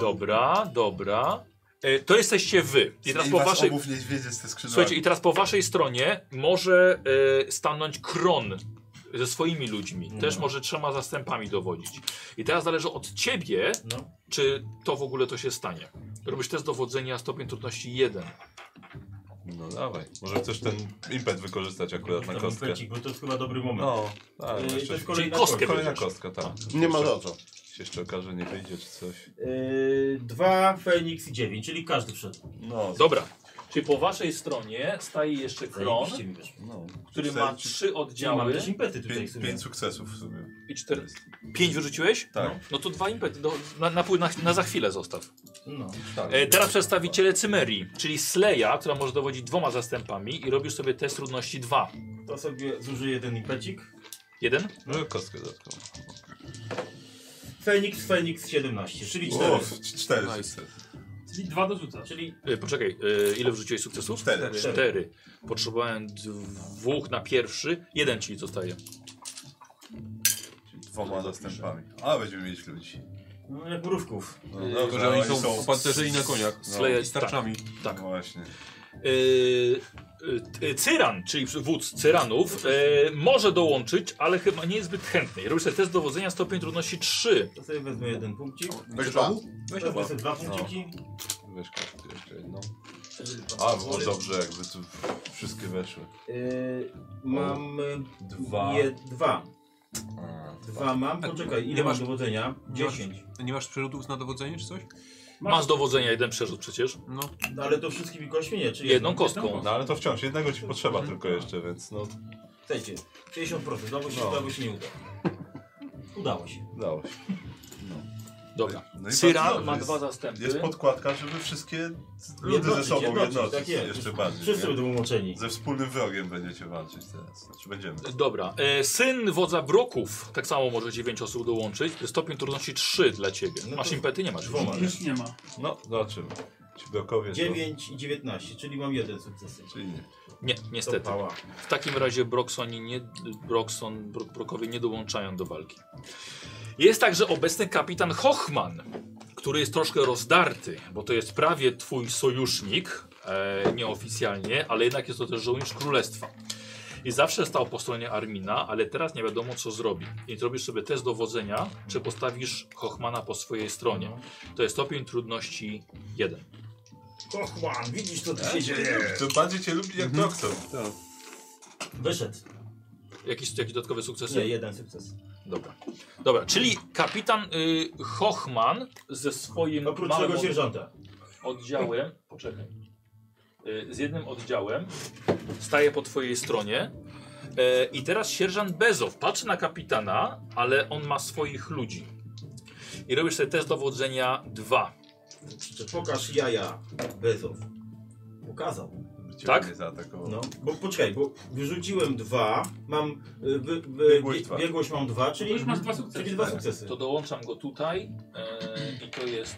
Speaker 2: Dobra, dobra. E, to jesteście wy. I teraz
Speaker 9: I
Speaker 2: po
Speaker 9: was
Speaker 2: waszej.
Speaker 9: obów niedźwiedzie z te skrzydła.
Speaker 2: Słuchajcie, i teraz po waszej stronie może e, stanąć Kron ze swoimi ludźmi.
Speaker 9: No.
Speaker 2: Też może trzema zastępami dowodzić. I teraz zależy od ciebie,
Speaker 3: No.
Speaker 2: czy to w ogóle to się stanie. Robisz test dowodzenia stopień trudności 1.
Speaker 9: No dawaj. Może chcesz ten impet wykorzystać akurat na
Speaker 3: Tam
Speaker 9: kostkę.
Speaker 3: impecik, Bo to jest chyba dobry moment.
Speaker 9: No, tak.
Speaker 8: Y,
Speaker 3: Yy,
Speaker 9: jeszcze-
Speaker 3: to jest kolejna
Speaker 2: Czyli kostkę.
Speaker 9: Kolejna
Speaker 2: bierzesz.
Speaker 9: kostka, tak.
Speaker 8: No.
Speaker 1: Nie ma za co.
Speaker 9: Się jeszcze okaże, nie wyjdzie czy coś.
Speaker 3: Yy, dwa, Feniks i dziewięć, czyli każdy wszedł.
Speaker 9: No,
Speaker 2: Dobra. Czyli po waszej stronie staje jeszcze Kron,
Speaker 3: Zajebiście mi weszło.
Speaker 9: no.
Speaker 2: który
Speaker 9: Cztery-
Speaker 2: ma trzy
Speaker 3: Ja mam
Speaker 2: oddziały
Speaker 3: też impety tutaj w
Speaker 9: Pięć,
Speaker 3: sumie.
Speaker 9: pięć sukcesów w sumie.
Speaker 2: i cztery. Pięć wyrzuciłeś?
Speaker 9: Tak.
Speaker 2: No to dwa impety. Do, na, na, pół- na, na za chwilę zostaw.
Speaker 3: No.
Speaker 2: E, teraz przedstawiciele Cymerii, czyli Sleja, która może dowodzić dwoma zastępami i robisz sobie test trudności 2.
Speaker 3: To sobie zużyję ten impecik.
Speaker 2: Jeden?
Speaker 9: No, kostkę dodatkową.
Speaker 3: Feniks, Feniks 17, czyli
Speaker 9: O,
Speaker 3: 4.
Speaker 9: w- Cztery
Speaker 7: Nice.
Speaker 9: sukcesy.
Speaker 6: Czyli dwa dorzucasz.
Speaker 3: Czyli
Speaker 2: E, poczekaj, e, ile wrzuciłeś sukcesów?
Speaker 9: Cztery.
Speaker 3: Cztery.
Speaker 2: Cztery. Potrzebowałem dwóch na pierwszy, jeden ci zostaje.
Speaker 9: Dwoma zastępami. A, będziemy mieć ludzi.
Speaker 8: No, jak mrówków.
Speaker 9: No,
Speaker 3: Yy,
Speaker 10: Tylko, że oni są opancerzeni na koniach.
Speaker 2: Slejać-
Speaker 10: Z tarczami.
Speaker 2: Tak.
Speaker 9: No Właśnie.
Speaker 2: Y, y, y, Cyran, czyli wódz Cyranów, y, może dołączyć, ale chyba nie jest zbyt chętny. Robi sobie test dowodzenia stopień trudności 3.
Speaker 8: To sobie wezmę jeden punkcik.
Speaker 9: No, tak
Speaker 1: Weź dwa.
Speaker 8: Weź wezmę sobie dwa punkciki.
Speaker 9: Wiesz, każdy jeszcze jedną. A, było dobrze, jakby tu wszystkie weszły.
Speaker 8: Yy, mam y,
Speaker 9: Dwa.
Speaker 8: Je, dwa.
Speaker 9: A.
Speaker 8: Dwa mam. Poczekaj, ile
Speaker 10: Nie
Speaker 8: masz
Speaker 10: masz-
Speaker 8: dowodzenia?
Speaker 10: nie masz-
Speaker 8: Dziesięć.
Speaker 10: Nie masz przerzutów na dowodzenie czy coś?
Speaker 2: Masz dowodzenia jeden przerzut przecież.
Speaker 10: No.
Speaker 8: Ale to wszystkimi kośćmi nie, czy
Speaker 2: Jedną
Speaker 9: No,
Speaker 2: kostką.
Speaker 9: No ale to wciąż, jednego ci potrzeba
Speaker 8: Mhm.
Speaker 9: tylko jeszcze, więc no
Speaker 8: Chcecie. 60%. Dało się,
Speaker 9: No.
Speaker 8: dało się, nie uda. Udało się.
Speaker 9: dało się.
Speaker 2: Dobra.
Speaker 9: No i bardzo
Speaker 2: Cyran
Speaker 9: dobrze,
Speaker 2: ma
Speaker 9: jest-
Speaker 2: dwa zastępy.
Speaker 9: Jest podkładka, żeby wszystkie ludy ze
Speaker 8: Jednoczyć,
Speaker 9: sobą
Speaker 8: jednoczyć,
Speaker 9: jednoczyć,
Speaker 8: tak jest.
Speaker 9: jeszcze bardziej.
Speaker 8: Wszyscy
Speaker 9: nie?
Speaker 8: będą umoczeni.
Speaker 9: Ze wspólnym wrogiem będziecie walczyć teraz. Czy będziemy?
Speaker 2: Dobra. E, syn wodza Broków, tak samo może 9 osób dołączyć. Stopień trudności 3 dla ciebie.
Speaker 8: No to-
Speaker 2: Masz impety? Nie masz.
Speaker 8: Dwoma.
Speaker 11: Nic nie ma.
Speaker 9: No, zobaczymy. Ci blokowie są-
Speaker 8: 9 i 19, czyli mam jeden sukces.
Speaker 9: Czyli nie.
Speaker 2: Nie, niestety.
Speaker 8: Pała.
Speaker 2: W takim razie Broksoni nie, Brokson, Brok, Brokowie nie dołączają do walki. Jest także obecny kapitan Hochman, który jest troszkę rozdarty, bo to jest prawie twój sojusznik, e, nieoficjalnie, ale jednak jest to też żołnierz królestwa. I zawsze stał po stronie Armina, ale teraz nie wiadomo co zrobi. I robisz sobie test dowodzenia, czy postawisz Hochmana po swojej stronie. To jest stopień trudności 1.
Speaker 8: Kochłan, widzisz co tu się dzieje.
Speaker 9: To bardziej cię lubi jak doktor.
Speaker 8: Wyszedł.
Speaker 2: Jakiś, jakiś dodatkowy sukces?
Speaker 8: Nie, jeden sukces.
Speaker 2: Dobra. Dobra, czyli kapitan y, Hochman ze swoim
Speaker 8: Oprócz
Speaker 2: małym
Speaker 8: tego sierżanta.
Speaker 2: oddziałem, poczekaj, y, z jednym oddziałem staje po twojej stronie E, i teraz sierżant Bezow patrzy na kapitana, ale on ma swoich ludzi. I robisz sobie test dowodzenia 2.
Speaker 8: Czy Pokaż jaja, Bezow. Pokazał.
Speaker 9: Cię
Speaker 2: Tak?
Speaker 9: Nie zaatakował.
Speaker 8: No, bo poczekaj, bo wyrzuciłem dwa, mam y, wy, wy,
Speaker 9: Biegłość
Speaker 8: bie-
Speaker 9: dwa.
Speaker 8: biegłość mam dwa, czyli,
Speaker 11: To już masz dwa
Speaker 8: czyli
Speaker 11: sukcesy. Tak.
Speaker 8: dwa sukcesy.
Speaker 2: To dołączam go tutaj e, i to jest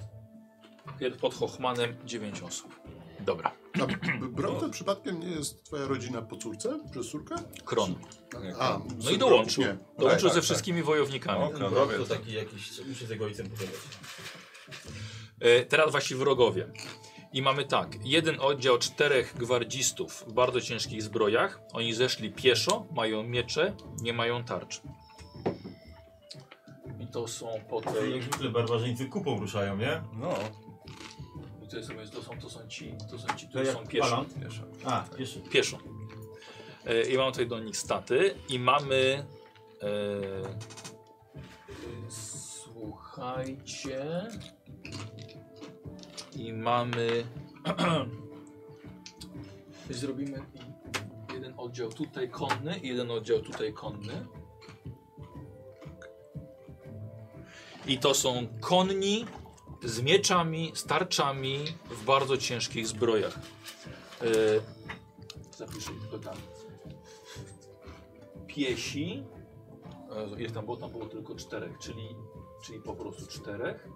Speaker 2: pier- pod Hochmanem 9 osób. Dobra,
Speaker 1: A b- Bronte przypadkiem nie jest twoja rodzina po córce? Przez córkę?
Speaker 2: Kron.
Speaker 1: A,
Speaker 2: No i
Speaker 1: z-
Speaker 2: dołączył.
Speaker 1: Nie.
Speaker 9: Tak,
Speaker 2: Dołączył
Speaker 9: tak,
Speaker 2: ze
Speaker 9: tak.
Speaker 2: wszystkimi wojownikami.
Speaker 9: O,
Speaker 8: No,
Speaker 9: kronowiec.
Speaker 8: to taki jakiś, muszę z jego ojcem pogadać.
Speaker 2: E, Teraz wasi wrogowie. I mamy tak, jeden oddział czterech gwardzistów w bardzo ciężkich zbrojach. Oni zeszli pieszo, mają miecze, nie mają tarcz. I to są po
Speaker 8: To Jak
Speaker 2: tej...
Speaker 8: zwykle barbarzyńcy kupą ruszają, nie?
Speaker 9: No,
Speaker 2: i To, jest, to, są, to są ci, to są ci,
Speaker 8: To
Speaker 2: którzy
Speaker 8: jak
Speaker 2: są pieszo.
Speaker 8: palant?
Speaker 9: wiesz.
Speaker 8: A, pieszy.
Speaker 2: Pieszo. E, I mamy tutaj do nich staty. I mamy... E, e, słuchajcie... I mamy... Zrobimy jeden oddział tutaj konny i jeden oddział tutaj konny. I to są konni z mieczami, z tarczami w bardzo ciężkich zbrojach. Yy, zapiszę tylko tam. Piesi. E, Ile tam było? Tam było tylko czterech, czyli, czyli po prostu czterech.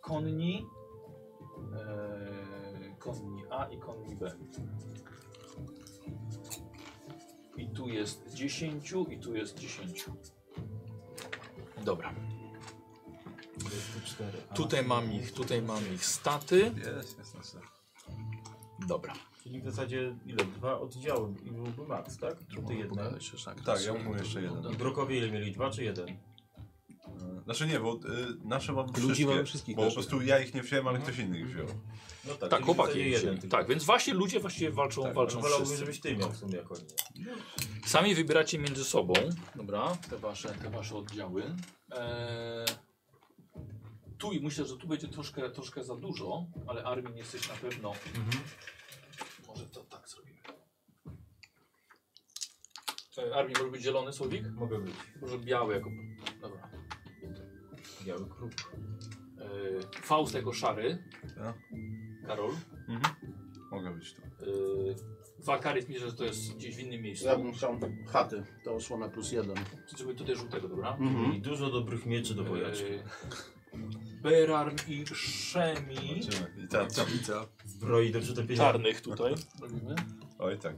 Speaker 2: Konni. Eee, konni A i konni B. I tu jest 10 i tu jest 10. Dobra. Tutaj mam ich, tutaj mam ich staty.
Speaker 9: Jest, jest na serio.
Speaker 2: Dobra.
Speaker 8: Czyli w zasadzie ile? Dwa oddziały i byłby max, tak? Ty jedna.
Speaker 9: Tak, ja mam jeszcze jeden.
Speaker 8: I brokowie ile mieli? Dwa czy jeden?
Speaker 9: Znaczy nie, bo y, nasze mam
Speaker 10: Ludzi
Speaker 9: wszystkie,
Speaker 10: mamy wszystkich
Speaker 9: Bo po
Speaker 10: naszych.
Speaker 9: prostu ja ich nie wziąłem, ale ktoś inny ich wziął.
Speaker 8: Mhm. No tak,
Speaker 2: Tak, chłopaki.
Speaker 8: Jeden,
Speaker 2: Tak, więc właśnie ludzie właściwie walczą, walczą
Speaker 8: Wolałbym,
Speaker 2: wszyscy.
Speaker 8: żebyś ty miał w sumie jako nie.
Speaker 2: Sami wybieracie między sobą. Dobra, te wasze, te wasze oddziały. Eee, tu i myślę, że tu będzie troszkę, troszkę za dużo, ale armii nie jesteś na pewno.
Speaker 8: Mhm.
Speaker 2: Może to tak zrobimy. E, armii może być zielony słowik?
Speaker 8: Mogę być.
Speaker 2: Może biały jako. Dobra.
Speaker 8: Biały kruk.
Speaker 2: E, Faust jako szary.
Speaker 8: No.
Speaker 9: Ja.
Speaker 2: Karol.
Speaker 8: Mhm.
Speaker 9: Mogę być tu.
Speaker 2: Yy, Wakaryt myślę, że to jest gdzieś w innym miejscu.
Speaker 12: Ja bym chciał chaty, to osłona plus jeden. Mhm.
Speaker 2: Żeby tutaj żółtego, dobra?
Speaker 9: Mhm.
Speaker 8: I dużo dobrych mieczy do wojaczy.
Speaker 2: Yy, Berarm i Szemi.
Speaker 9: Zobaczymy. I tak.
Speaker 10: Tablica.
Speaker 8: Zbroi do przytopienia.
Speaker 2: Czarnych tutaj. Robimy.
Speaker 9: Oj tak.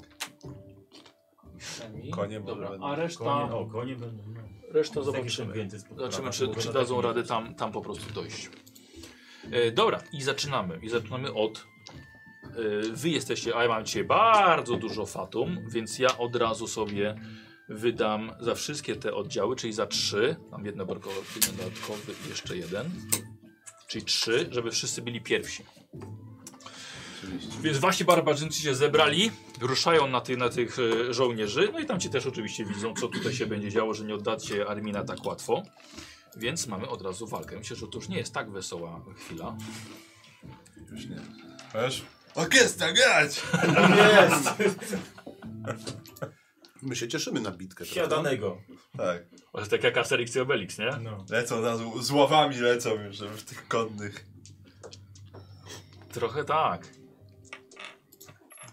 Speaker 2: Szemi.
Speaker 9: Konie może
Speaker 2: dobra.
Speaker 9: będą.
Speaker 2: A reszta
Speaker 8: Konie, o, konie będą. no.
Speaker 2: Resztę
Speaker 5: Jakiś
Speaker 2: zobaczymy.
Speaker 5: więcej spotkania.
Speaker 2: Zobaczymy, czy, czy dadzą radę tam, tam po prostu dojść. E, dobra, i zaczynamy. I zaczynamy od... E, wy jesteście, a ja mam dzisiaj bardzo dużo fatum, więc ja od razu sobie wydam za wszystkie te oddziały, czyli za trzy. Mam jedno dodatkowe, jeden dodatkowy i jeszcze jeden. Czyli trzy, żeby wszyscy byli pierwsi. Więc wasi barbarzyńcy się zebrali, ruszają na, ty, na tych e, żołnierzy, no i tam cię też oczywiście widzą, co tutaj się będzie działo, że nie oddacie Armina tak łatwo. Więc mamy od razu walkę. Myślę, że to już nie jest tak wesoła chwila.
Speaker 9: Już nie. Wiesz? Orkiestra, grać!
Speaker 1: My się cieszymy na bitkę. prawda?
Speaker 13: Siadanego.
Speaker 9: Tak.
Speaker 2: Ale tak jak Asterix i Obelix, nie?
Speaker 13: No.
Speaker 9: Lecą od razu, z ławami lecą już, żeby w tych konnych.
Speaker 2: Trochę tak.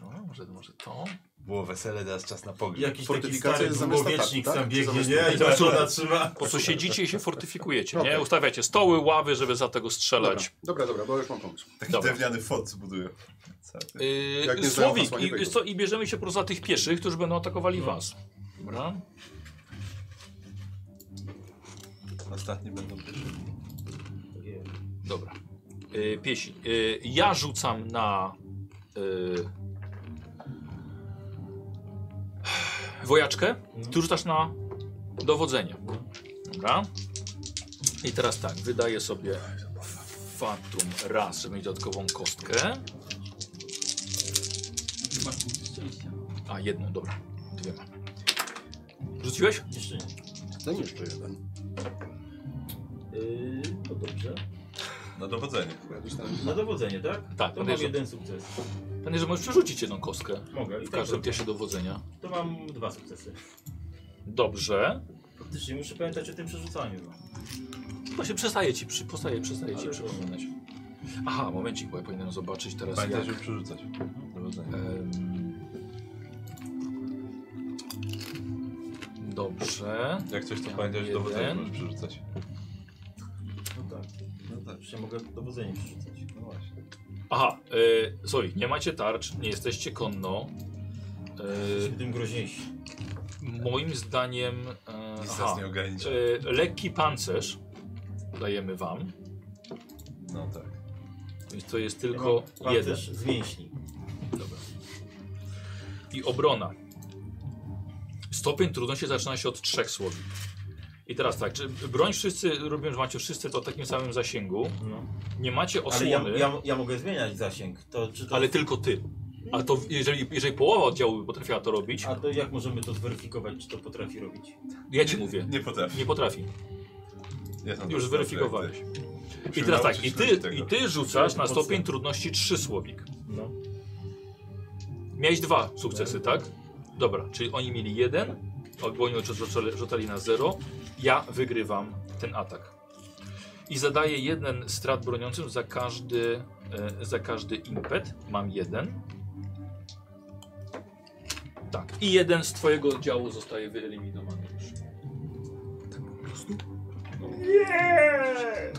Speaker 2: No, może, może to?
Speaker 14: Było wesele, teraz czas na pogrzeb.
Speaker 13: Jakiś taki
Speaker 1: Fortyfikacja
Speaker 13: stary
Speaker 1: jest zamiast
Speaker 13: długowiecznik
Speaker 1: ataku, tak?
Speaker 13: tam
Speaker 1: Czy
Speaker 13: biegnie,
Speaker 1: zamiast
Speaker 13: nie? I tam żona trzyma.
Speaker 2: Po prostu siedzicie i się fortyfikujecie,
Speaker 1: Okej.
Speaker 2: nie? Ustawiacie stoły, ławy, żeby za tego
Speaker 1: Dobra,
Speaker 2: strzelać.
Speaker 1: dobra, dobra, bo już mam pomysł. Y,
Speaker 9: Taki
Speaker 2: Dobra.
Speaker 9: drewniany fort zbudują. Cały.
Speaker 1: Jak
Speaker 2: Yy,
Speaker 1: nie znają
Speaker 2: Słowik,
Speaker 1: hasła, nie
Speaker 2: i,
Speaker 1: wejdą.
Speaker 2: co, i bierzemy się po prostu za tych pieszych, którzy będą atakowali was. Dobra?
Speaker 9: Ostatni będą pierwszy.
Speaker 2: Dobra. Yy, piesi. Y, ja rzucam na. y, wojaczkę. Ty rzucasz na dowodzenie. Dobra. I teraz tak, wydaję sobie fatum raz, żeby mieć dodatkową kostkę. A, jedną, dobra. Dwiema. Rzuciłeś?
Speaker 13: Jeszcze nie.
Speaker 1: Ten No jeszcze jeden.
Speaker 13: Yy, no dobrze.
Speaker 9: Na dowodzenie.
Speaker 13: Na dowodzenie, tak?
Speaker 2: Tak,
Speaker 13: To mam
Speaker 2: podejrzewam.
Speaker 13: jeden sukces.
Speaker 2: Panie, że możesz przerzucić jedną kostkę
Speaker 13: Mogę. I
Speaker 2: w
Speaker 13: tak
Speaker 2: każdym
Speaker 13: zrobię.
Speaker 2: czasie dowodzenia.
Speaker 13: To mam dwa sukcesy.
Speaker 2: Dobrze.
Speaker 13: Faktycznie muszę pamiętać o tym przerzucaniu. no.
Speaker 2: To się przestaje ci, przy, postaje, przestaje ci
Speaker 13: Ale-
Speaker 2: przypominać. Aha, momencik, bo ja powinienem zobaczyć teraz
Speaker 9: Pamiętaj,
Speaker 2: jak...
Speaker 9: żeby przerzucać. Dowodzenie.
Speaker 2: em, Dobrze.
Speaker 9: Jak coś to
Speaker 2: Ja
Speaker 9: pamiętaj, że
Speaker 2: jeden.
Speaker 9: dowodzenie możesz przerzucać.
Speaker 13: No tak.
Speaker 9: No tak.
Speaker 13: Przecież ja mogę dowodzenie przerzucać.
Speaker 9: No właśnie.
Speaker 2: Aha, e, sorry, nie macie tarcz, nie jesteście konno.
Speaker 13: Jesteśmy tym groźniejsi.
Speaker 2: E, moim zdaniem... E,
Speaker 9: Nic
Speaker 2: aha,
Speaker 9: nas nie ogranicza.
Speaker 2: e, lekki pancerz dajemy wam,
Speaker 9: No tak.
Speaker 2: więc to jest tylko
Speaker 13: Ja mam
Speaker 2: jeden.
Speaker 13: pancerz z mięśni.
Speaker 2: Dobra. I obrona. Stopień trudności zaczyna się od trzech słów. I teraz tak, czy broń wszyscy, robią, że macie wszyscy to w takim samym zasięgu.
Speaker 13: No.
Speaker 2: Nie macie
Speaker 13: Ale
Speaker 2: osłony,
Speaker 13: ja,
Speaker 2: ale,
Speaker 13: ja, ja mogę zmieniać zasięg. To, czy to...
Speaker 2: tylko ty. A to jeżeli, jeżeli połowa oddziału by potrafiła to robić,
Speaker 13: A to jak możemy to zweryfikować, czy to potrafi robić?
Speaker 2: ja ci mówię,
Speaker 9: Nie potrafię.
Speaker 2: nie potrafi.
Speaker 9: Nie są
Speaker 2: Już
Speaker 9: tak
Speaker 2: zweryfikowałeś.
Speaker 9: jak ty.
Speaker 2: I teraz tak, i
Speaker 9: Musimy
Speaker 2: ty,
Speaker 9: nauczyć się
Speaker 2: i
Speaker 9: tego.
Speaker 2: ty rzucasz na
Speaker 13: Podstaw.
Speaker 2: stopień trudności trzy słowik.
Speaker 13: No.
Speaker 2: Miałeś dwa sukcesy, tak? Dobra, czyli oni mieli jeden, albo oni rzucali- rzucali na zero. Ja wygrywam ten atak. I zadaję jeden strat broniącym za każdy, e, za każdy impet. Mam jeden. Tak. I jeden z twojego oddziału zostaje wyeliminowany już. Nie!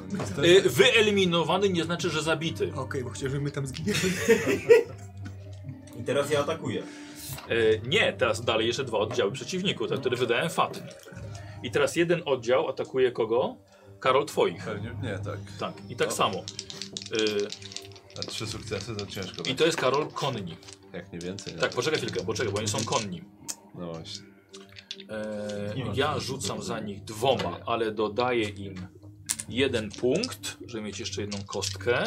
Speaker 2: Y, Wyeliminowany nie znaczy, że zabity.
Speaker 14: Okej, bo chciałem, żeby my tam zginęli.
Speaker 13: I teraz ja atakuję.
Speaker 2: E, nie, teraz dalej jeszcze dwa oddziały przeciwniku, te, które wydałem faty. I teraz jeden oddział atakuje kogo? Karol twoich.
Speaker 9: Pewnie, nie, tak.
Speaker 2: Tak, i tak
Speaker 9: O.
Speaker 2: samo.
Speaker 9: A trzy sukcesy to ciężko.
Speaker 2: E, I
Speaker 9: będzie.
Speaker 2: to jest Karol konni.
Speaker 9: Jak nie więcej.
Speaker 2: Tak, poczekaj chwilkę, bo czekaj, bo oni są konni.
Speaker 9: No właśnie.
Speaker 2: E,
Speaker 13: Nie ma
Speaker 2: ja rzucam za nich dwoma, ale dodaję im jeden punkt, żeby mieć jeszcze jedną kostkę.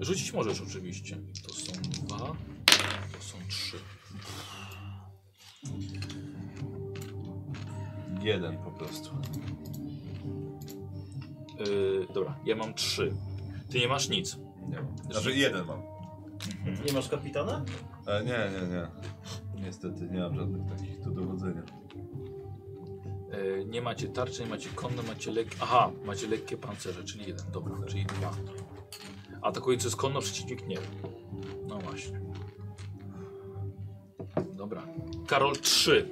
Speaker 2: Rzucić możesz oczywiście. To są dwa, to są trzy.
Speaker 9: Jeden po prostu.
Speaker 2: E, dobra, ja mam trzy. Ty nie masz nic.
Speaker 9: Nie mam. Znaczy jeden mam.
Speaker 13: Mhm. Nie masz kapitana?
Speaker 9: E, nie, nie, nie. Niestety nie mam żadnych takich do dowodzenia.
Speaker 2: E, nie macie tarczy, nie macie konno, macie lek... Aha, macie lekkie pancerze, czyli jeden, dobra, czyli dwa. Atakujący z konno, przeciwnik nie. No właśnie. Dobra. Karol 3.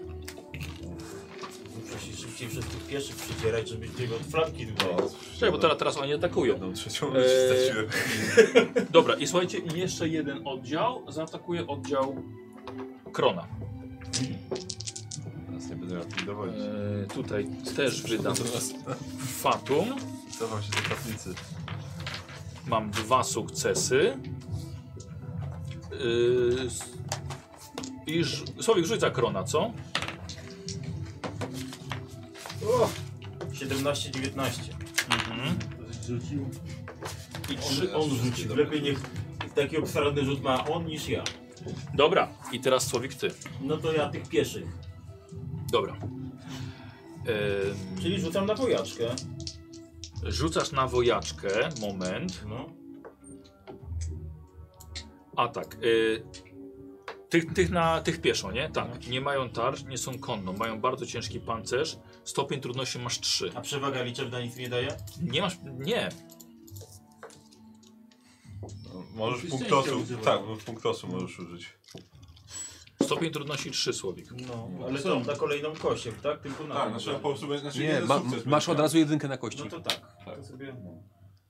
Speaker 13: Muszę się szybciej wszystkich pieszych przycierać, żeby jego od flanki długo.
Speaker 9: No,
Speaker 2: Czekaj, bo teraz, teraz oni atakują.
Speaker 9: jedną trzecią
Speaker 2: Eee.
Speaker 9: eee... straciłem.
Speaker 2: Dobra, i słuchajcie, i jeszcze jeden oddział. Zaatakuje oddział Krona.
Speaker 15: nic nie będę miał dowodzić.
Speaker 2: E, tutaj też wydam fatum.
Speaker 9: Co wam się do kaplicy?
Speaker 2: Mam dwa sukcesy. Yy, s- I ż- Słowik rzuca krona, co?
Speaker 8: 17, 19.
Speaker 2: Mhm.
Speaker 16: Rzucił.
Speaker 2: I trzy on rzuci.
Speaker 8: Lepiej niech taki obsaradny rzut ma on niż ja.
Speaker 2: Dobra, i teraz Słowik ty.
Speaker 8: No to ja tych pieszych.
Speaker 2: Dobra.
Speaker 8: Czyli rzucam na wojaczkę.
Speaker 2: Yy, rzucasz na wojaczkę, moment.
Speaker 8: No.
Speaker 2: A tak. Y, tych, tych, na, tych pieszo, nie?
Speaker 8: No.
Speaker 2: Tak. Nie mają tarcz, nie są konno. Mają bardzo ciężki pancerz. Stopień trudności masz 3.
Speaker 8: A przewaga liczebna nic nie daje?
Speaker 2: Nie masz. Nie.
Speaker 9: Możesz punktosu. Tak, bo punktosu możesz użyć.
Speaker 2: Stopień trudności 3 słowik.
Speaker 8: No, ale to na kolejną kością, tak? Tylko na
Speaker 9: Tak,
Speaker 8: tą,
Speaker 9: znaczy po prostu będzie- znaczy
Speaker 10: Nie,
Speaker 9: jeden
Speaker 10: ma,
Speaker 9: sukces
Speaker 10: masz
Speaker 9: będzie
Speaker 10: od
Speaker 9: miał.
Speaker 10: razu jedynkę na kości.
Speaker 8: No to tak. To sobie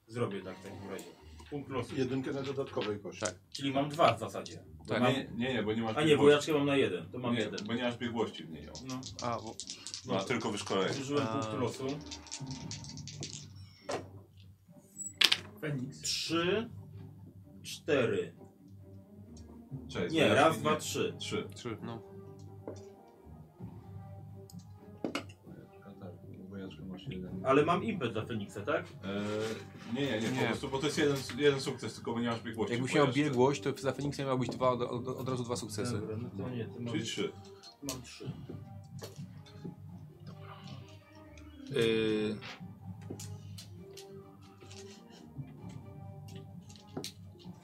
Speaker 8: zrobię tak w takim razie. Punkt losu.
Speaker 1: Jedynkę na dodatkowej kości.
Speaker 10: Tak.
Speaker 8: Czyli mam dwa w zasadzie.
Speaker 10: Tak.
Speaker 9: Nie, nie, nie, bo nie masz
Speaker 8: A nie,
Speaker 9: biegłości.
Speaker 8: bo jaczkę mam na jeden. To mam
Speaker 9: nie,
Speaker 8: jeden.
Speaker 9: bo nie masz biegłości w niej.
Speaker 8: No,
Speaker 10: A, bo...
Speaker 9: Masz tylko wyszkolenie.
Speaker 8: użyłem punktu losu.
Speaker 6: Feniks.
Speaker 8: Trzy, cztery.
Speaker 9: Cześć,
Speaker 8: Nie,
Speaker 9: teraz
Speaker 8: raz,
Speaker 9: nie.
Speaker 8: dwa, trzy.
Speaker 9: Trzy.
Speaker 10: Trzy, no.
Speaker 8: Ale mam impet dla Feniksa, tak?
Speaker 9: Eee, nie, nie, nie,
Speaker 10: Nie.
Speaker 9: po prostu, bo to jest jeden, jeden sukces, tylko bo nie masz biegłości.
Speaker 10: Jakbyś
Speaker 9: bo
Speaker 10: miał
Speaker 9: jeszcze-
Speaker 10: biegłość, to za Feniksem miałbyś dwa, od, od, od razu dwa sukcesy.
Speaker 8: Dobra, no to nie, to mam,
Speaker 9: Czyli trzy.
Speaker 8: mam trzy.
Speaker 2: Y,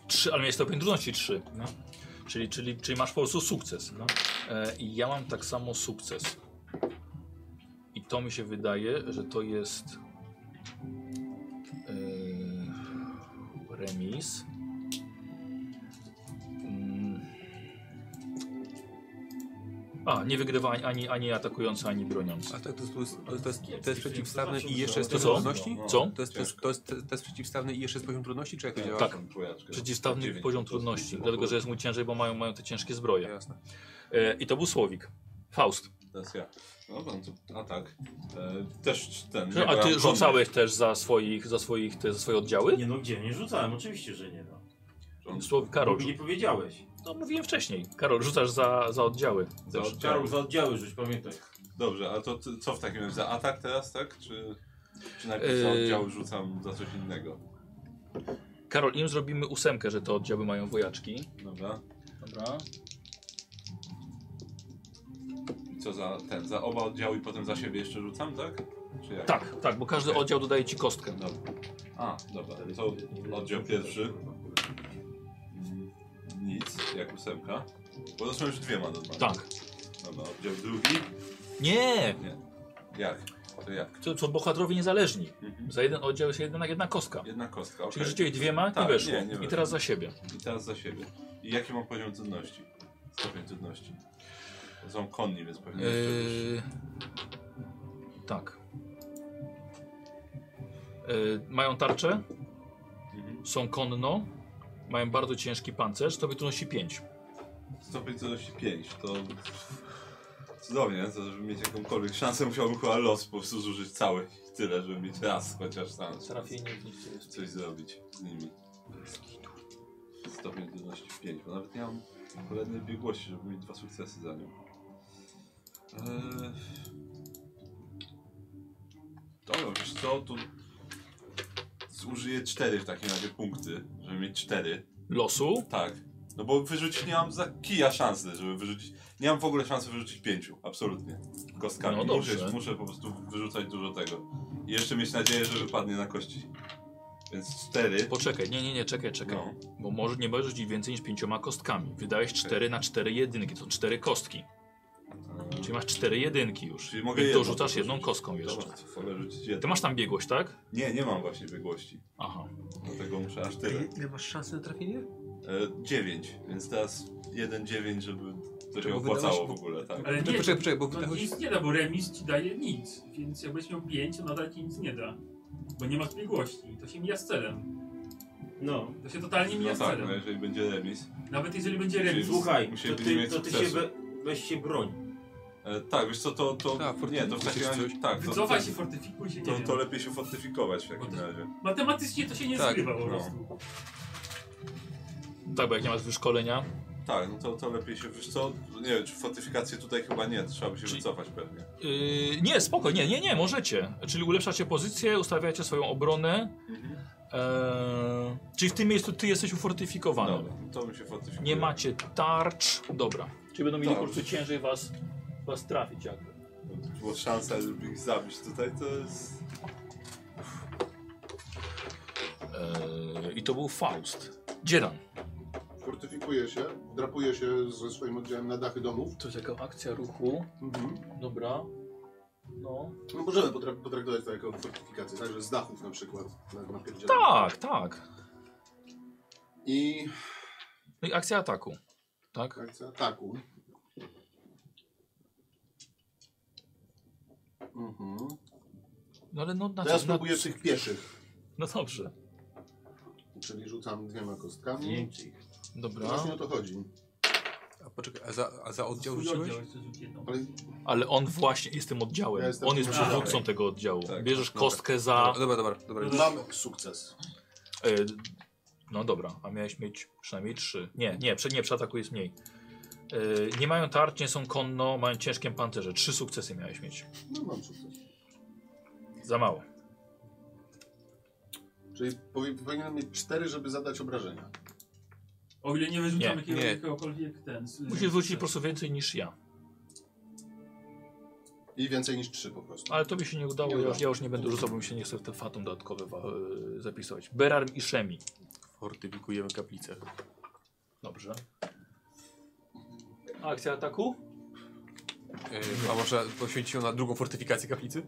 Speaker 2: Trzy, ale miałeś stopień trudności 3.
Speaker 8: No.
Speaker 2: Czyli, czyli, czyli masz po prostu sukces.
Speaker 8: No.
Speaker 2: E, I ja mam tak samo sukces. I to mi się wydaje, że to jest e, remis. Mm. A, nie wygrywa ani, ani, ani atakujący, ani broniący.
Speaker 10: A tak, to, to, jest, to, jest, to, jest, to jest przeciwstawne i jeszcze jest
Speaker 2: To
Speaker 10: poziom
Speaker 2: co?
Speaker 10: trudności?
Speaker 2: Co?
Speaker 10: To jest, to, jest, to, jest, to jest przeciwstawne i jeszcze jest poziom trudności, czy jak to działa?
Speaker 2: Tak.
Speaker 9: Trójaczkę.
Speaker 2: Przeciwstawny
Speaker 9: Dziewięć.
Speaker 2: poziom trudności, dlatego że jest mu ciężej, bo mają, mają te ciężkie zbroje.
Speaker 10: Jasne.
Speaker 2: E, I to był Słowik. Faust.
Speaker 9: Teraz ja. No, pan to, a tak. Eee, też ten. nie
Speaker 2: A
Speaker 9: brałem
Speaker 2: ty rzucałeś też za swoich, za swoich, te, za swoje oddziały?
Speaker 8: Nie no, gdzie? Nie rzucałem, oczywiście, że nie. No.
Speaker 2: Słowik, Karol.
Speaker 8: Bo mi nie powiedziałeś.
Speaker 2: No mówiłem wcześniej. Karol, rzucasz za, za oddziały.
Speaker 9: konny.
Speaker 8: Za
Speaker 9: Też.
Speaker 8: Karol, za oddziały rzuć, pamiętaj.
Speaker 9: Dobrze, a to ty, co w takim razie? Za atak teraz, tak? Czy, czy najpierw za
Speaker 2: Eee.
Speaker 9: oddział rzucam za coś innego?
Speaker 2: Karol, im zrobimy ósemkę, że te oddziały mają wojaczki.
Speaker 9: Dobra.
Speaker 2: Dobra.
Speaker 9: I co za ten? Za oba oddziały i potem za siebie jeszcze rzucam, tak? Czy jak?
Speaker 2: Tak, tak, bo każdy oddział dodaje ci kostkę.
Speaker 9: Dobra. A, dobra, to oddział pierwszy. Nic, jak ósemka. Bo to są już dwie ma normalnie.
Speaker 2: Tak.
Speaker 9: Dobra, oddział drugi.
Speaker 2: Nie!
Speaker 9: Jak? To jak?
Speaker 2: To są bohaterowie niezależni.
Speaker 9: Mhm.
Speaker 2: Za jeden oddział jest jedna, jedna kostka.
Speaker 9: Jedna kostka, okej.
Speaker 2: Czyli rzuciłeś dwiema, nie
Speaker 9: Tak,
Speaker 2: weszło.
Speaker 9: nie, nie
Speaker 2: I
Speaker 9: weszło.
Speaker 2: teraz za siebie.
Speaker 9: I teraz za siebie. I jaki mam poziom trudności? Stopień trudności. To są konni, więc pewnie jeszcze wyższy.
Speaker 2: Yy... Tak. Yy, mają tarczę,
Speaker 9: Mhm.
Speaker 2: są konno, mają bardzo ciężki pancerz, to by tu nosi 5.
Speaker 9: Stopień trudności 5, to... Cudownie, to żeby mieć jakąkolwiek szansę musiałbym chyba los po prostu zużyć cały. Tyle, żeby mieć raz chociaż sens. coś zrobić z nimi. Stopień trudności 5, bo nawet nie mam kolejnej biegłości, żeby mieć dwa sukcesy za nią. Eee... Dobra, wiesz co, to zużyję 4 w takim razie punkty, żeby mieć 4.
Speaker 2: Losu,
Speaker 9: Tak. No bo wyrzucić nie mam za kija szansy, żeby wyrzucić. Nie mam w ogóle szansy wyrzucić pięciu, absolutnie. Kostkami.
Speaker 2: No dobrze.
Speaker 9: muszę, muszę po prostu wyrzucać dużo tego. I jeszcze mieć nadzieję, że wypadnie na kości. Więc cztery.
Speaker 2: poczekaj, nie, nie, nie, czekaj, czekaj.
Speaker 9: No,
Speaker 2: Bo może, nie możesz rzucić więcej niż pięcioma kostkami. Wydałeś 4 na 4 jedynki, to są 4 kostki. Czyli masz 4 jedynki już.
Speaker 9: Czyli mogę
Speaker 2: I
Speaker 9: jedną
Speaker 2: dorzucasz
Speaker 9: tylko
Speaker 2: jedną
Speaker 9: rzucić.
Speaker 2: kostką jeszcze.
Speaker 9: dobra, to wolę rzucić
Speaker 2: Ty
Speaker 9: jedną.
Speaker 2: masz tam biegłość, tak?
Speaker 9: Nie, nie mam właśnie biegłości.
Speaker 2: Aha.
Speaker 9: Dlatego muszę aż
Speaker 15: A
Speaker 9: tyle.
Speaker 15: ile- Ile masz szansy na trafienie?
Speaker 9: E, dziewięć, więc teraz jeden dziewięć, żeby to się
Speaker 10: Czego
Speaker 9: opłacało
Speaker 10: wydałeś?
Speaker 9: w ogóle, tak.
Speaker 6: Ale
Speaker 10: No
Speaker 6: nie,
Speaker 10: poczekaj, poczekaj, bo
Speaker 6: to
Speaker 10: wydałeś...
Speaker 6: nic nie da, bo remis ci daje nic. Więc jakbyś miał 5, to nadal ci nic nie da. Bo nie masz biegłości. To się mija z celem.
Speaker 8: No.
Speaker 6: To się totalnie mija
Speaker 9: No
Speaker 6: z
Speaker 9: tak, no
Speaker 6: celem.
Speaker 9: jeżeli będzie remis.
Speaker 6: Nawet jeżeli będzie remis.
Speaker 9: Czyli-
Speaker 8: Słuchaj,
Speaker 9: Musieli
Speaker 8: to
Speaker 9: będziemy
Speaker 8: ty,
Speaker 9: mieć
Speaker 8: to ty się
Speaker 9: sukcesy.
Speaker 8: we, weź się broń.
Speaker 9: E, tak, wiesz co, to... to nie, to w takim razie... Tak, to,
Speaker 6: Wycofaj
Speaker 9: to-
Speaker 6: się, fortyfikuj się, nie
Speaker 9: To,
Speaker 6: wiem.
Speaker 9: to lepiej się fortyfikować w takim razie.
Speaker 6: Matematycznie to się nie
Speaker 9: Tak,
Speaker 6: zgrywa po
Speaker 9: no.
Speaker 6: prostu.
Speaker 2: Tak, bo jak nie masz wyszkolenia.
Speaker 9: Tak, no to, to lepiej się... Wiesz co, nie wiem, czy fortyfikację tutaj chyba nie, trzeba by się wycofać pewnie.
Speaker 2: Yy, nie, spoko, nie, nie, nie, możecie. Czyli ulepszacie pozycję, ustawiacie swoją obronę.
Speaker 9: no.
Speaker 2: Eee, czyli w tym miejscu ty jesteś ufortyfikowany.
Speaker 9: Dobra, No, to mi się fortyfikuje.
Speaker 2: Nie macie tarcz. Dobra. Czyli będą mieli po prostu ciężej was, was trafić jakby.
Speaker 9: Bo szansa, żeby ich zabić tutaj, to jest...
Speaker 2: Eee, I to był Faust. Dzieran.
Speaker 1: Fortyfikuje się, drapuje się ze swoim oddziałem na dachy domów.
Speaker 2: To jest jaka akcja ruchu.
Speaker 9: Mhm.
Speaker 2: Dobra. No.
Speaker 1: No możemy potra- potraktować to jako fortyfikację, także z dachów na przykład. Na, na
Speaker 2: Tak, tak. No
Speaker 1: I...
Speaker 2: I akcja ataku. Tak?
Speaker 1: Akcja ataku. Mhm.
Speaker 2: No ale no na
Speaker 1: To ja
Speaker 2: co- na-
Speaker 1: spróbuję tych pieszych.
Speaker 2: No dobrze.
Speaker 1: Czyli rzucam dwiema kostkami. No
Speaker 10: Zdjęcie
Speaker 2: Dobra.
Speaker 1: Właśnie o to chodzi.
Speaker 10: A poczekaj, a za, a za oddział
Speaker 1: Swój
Speaker 10: rzuciłeś?
Speaker 1: oddział
Speaker 2: Ale... on właśnie jest tym oddziałem. on jest przywódcą tego oddziału. Bierzesz kostkę za.
Speaker 10: Tak, Dobra, dobra, dobra.
Speaker 1: Mam sukces.
Speaker 2: E, No dobra, a miałeś mieć przynajmniej trzy. Nie, nie, prze, nie przeataku jest mniej. E, Nie mają tarcz, nie są konno, mają ciężkie pancerze. Trzy sukcesy miałeś mieć.
Speaker 1: No mam sukces.
Speaker 2: Za mało.
Speaker 1: Czyli powi- powinienem mieć cztery, żeby zadać obrażenia.
Speaker 6: O ile nie wyrzucamy
Speaker 2: Nie,
Speaker 6: jakiego-
Speaker 2: nie.
Speaker 6: jakiegokolwiek ten... z-
Speaker 2: Musisz wrócić po prostu więcej niż ja.
Speaker 1: I więcej niż trzy po prostu.
Speaker 2: Ale to mi się nie udało, ja już, ja już nie będę rzucał, bo mi się nie chce w te fatum dodatkowe wa- e, zapisywać. Berarm i Szemi.
Speaker 10: Fortyfikujemy kaplicę.
Speaker 2: Dobrze. Akcja ataku?
Speaker 10: Yy, a może poświęcić ją na drugą fortyfikację kaplicy?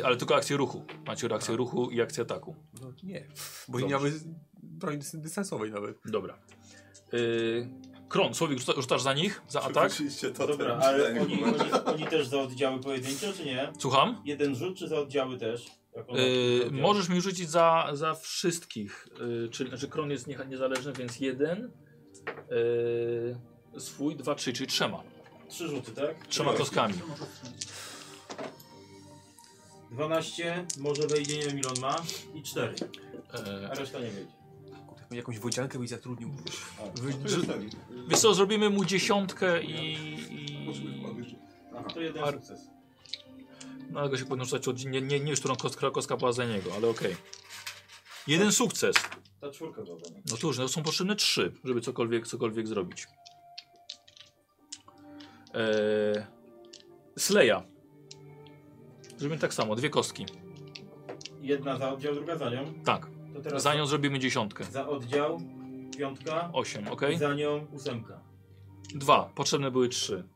Speaker 2: E, ale tylko akcję ruchu. Macie akcję ruchu i akcję ataku.
Speaker 10: No nie, bo nie miały broni dys- dystansowej nawet.
Speaker 2: Dobra. Yy, Kron, Słowik, rzuca, rzucasz za nich? Za atak?
Speaker 9: Oczywiście, to
Speaker 8: Dobra, ale oni, oni, oni też za oddziały pojedyncze, czy nie?
Speaker 2: Słucham?
Speaker 8: Jeden rzut, czy za oddziały też? Jak on-
Speaker 2: Yy, możesz mi rzucić za, za wszystkich. Yy, czyli znaczy Kron jest niecha- niezależny, więc jeden. Yy, swój, dwa, trzy, czyli trzema.
Speaker 8: Trzy rzuty, tak?
Speaker 2: Trzema kostkami.
Speaker 8: 12, może wejdzie, nie wiem ile on ma, i 4.
Speaker 2: E,
Speaker 8: A reszta nie wejdzie.
Speaker 10: Jakąś wodziankę byś zatrudnił.
Speaker 2: Tak.
Speaker 10: Wy,
Speaker 2: Wiesz co, zrobimy mu dziesiątkę i... i...
Speaker 8: To jeden
Speaker 2: Ar-
Speaker 8: sukces.
Speaker 2: No ale go się powinno rzucać od... Nie, nie, nie już którą kostkę, kostka była za niego, ale okej. Jeden sukces.
Speaker 8: Ta czwórka była dla mnie.
Speaker 2: No cóż, no są potrzebne trzy, żeby cokolwiek, cokolwiek zrobić. Eee, Sleja. Zrobimy tak samo, dwie kostki.
Speaker 8: Jedna za oddział, druga za nią.
Speaker 2: Tak.
Speaker 8: To teraz
Speaker 2: Za nią zrobimy dziesiątkę.
Speaker 8: Za oddział, piątka.
Speaker 2: Osiem, okej.
Speaker 8: i Za nią ósemka.
Speaker 2: Dwa, potrzebne były trzy.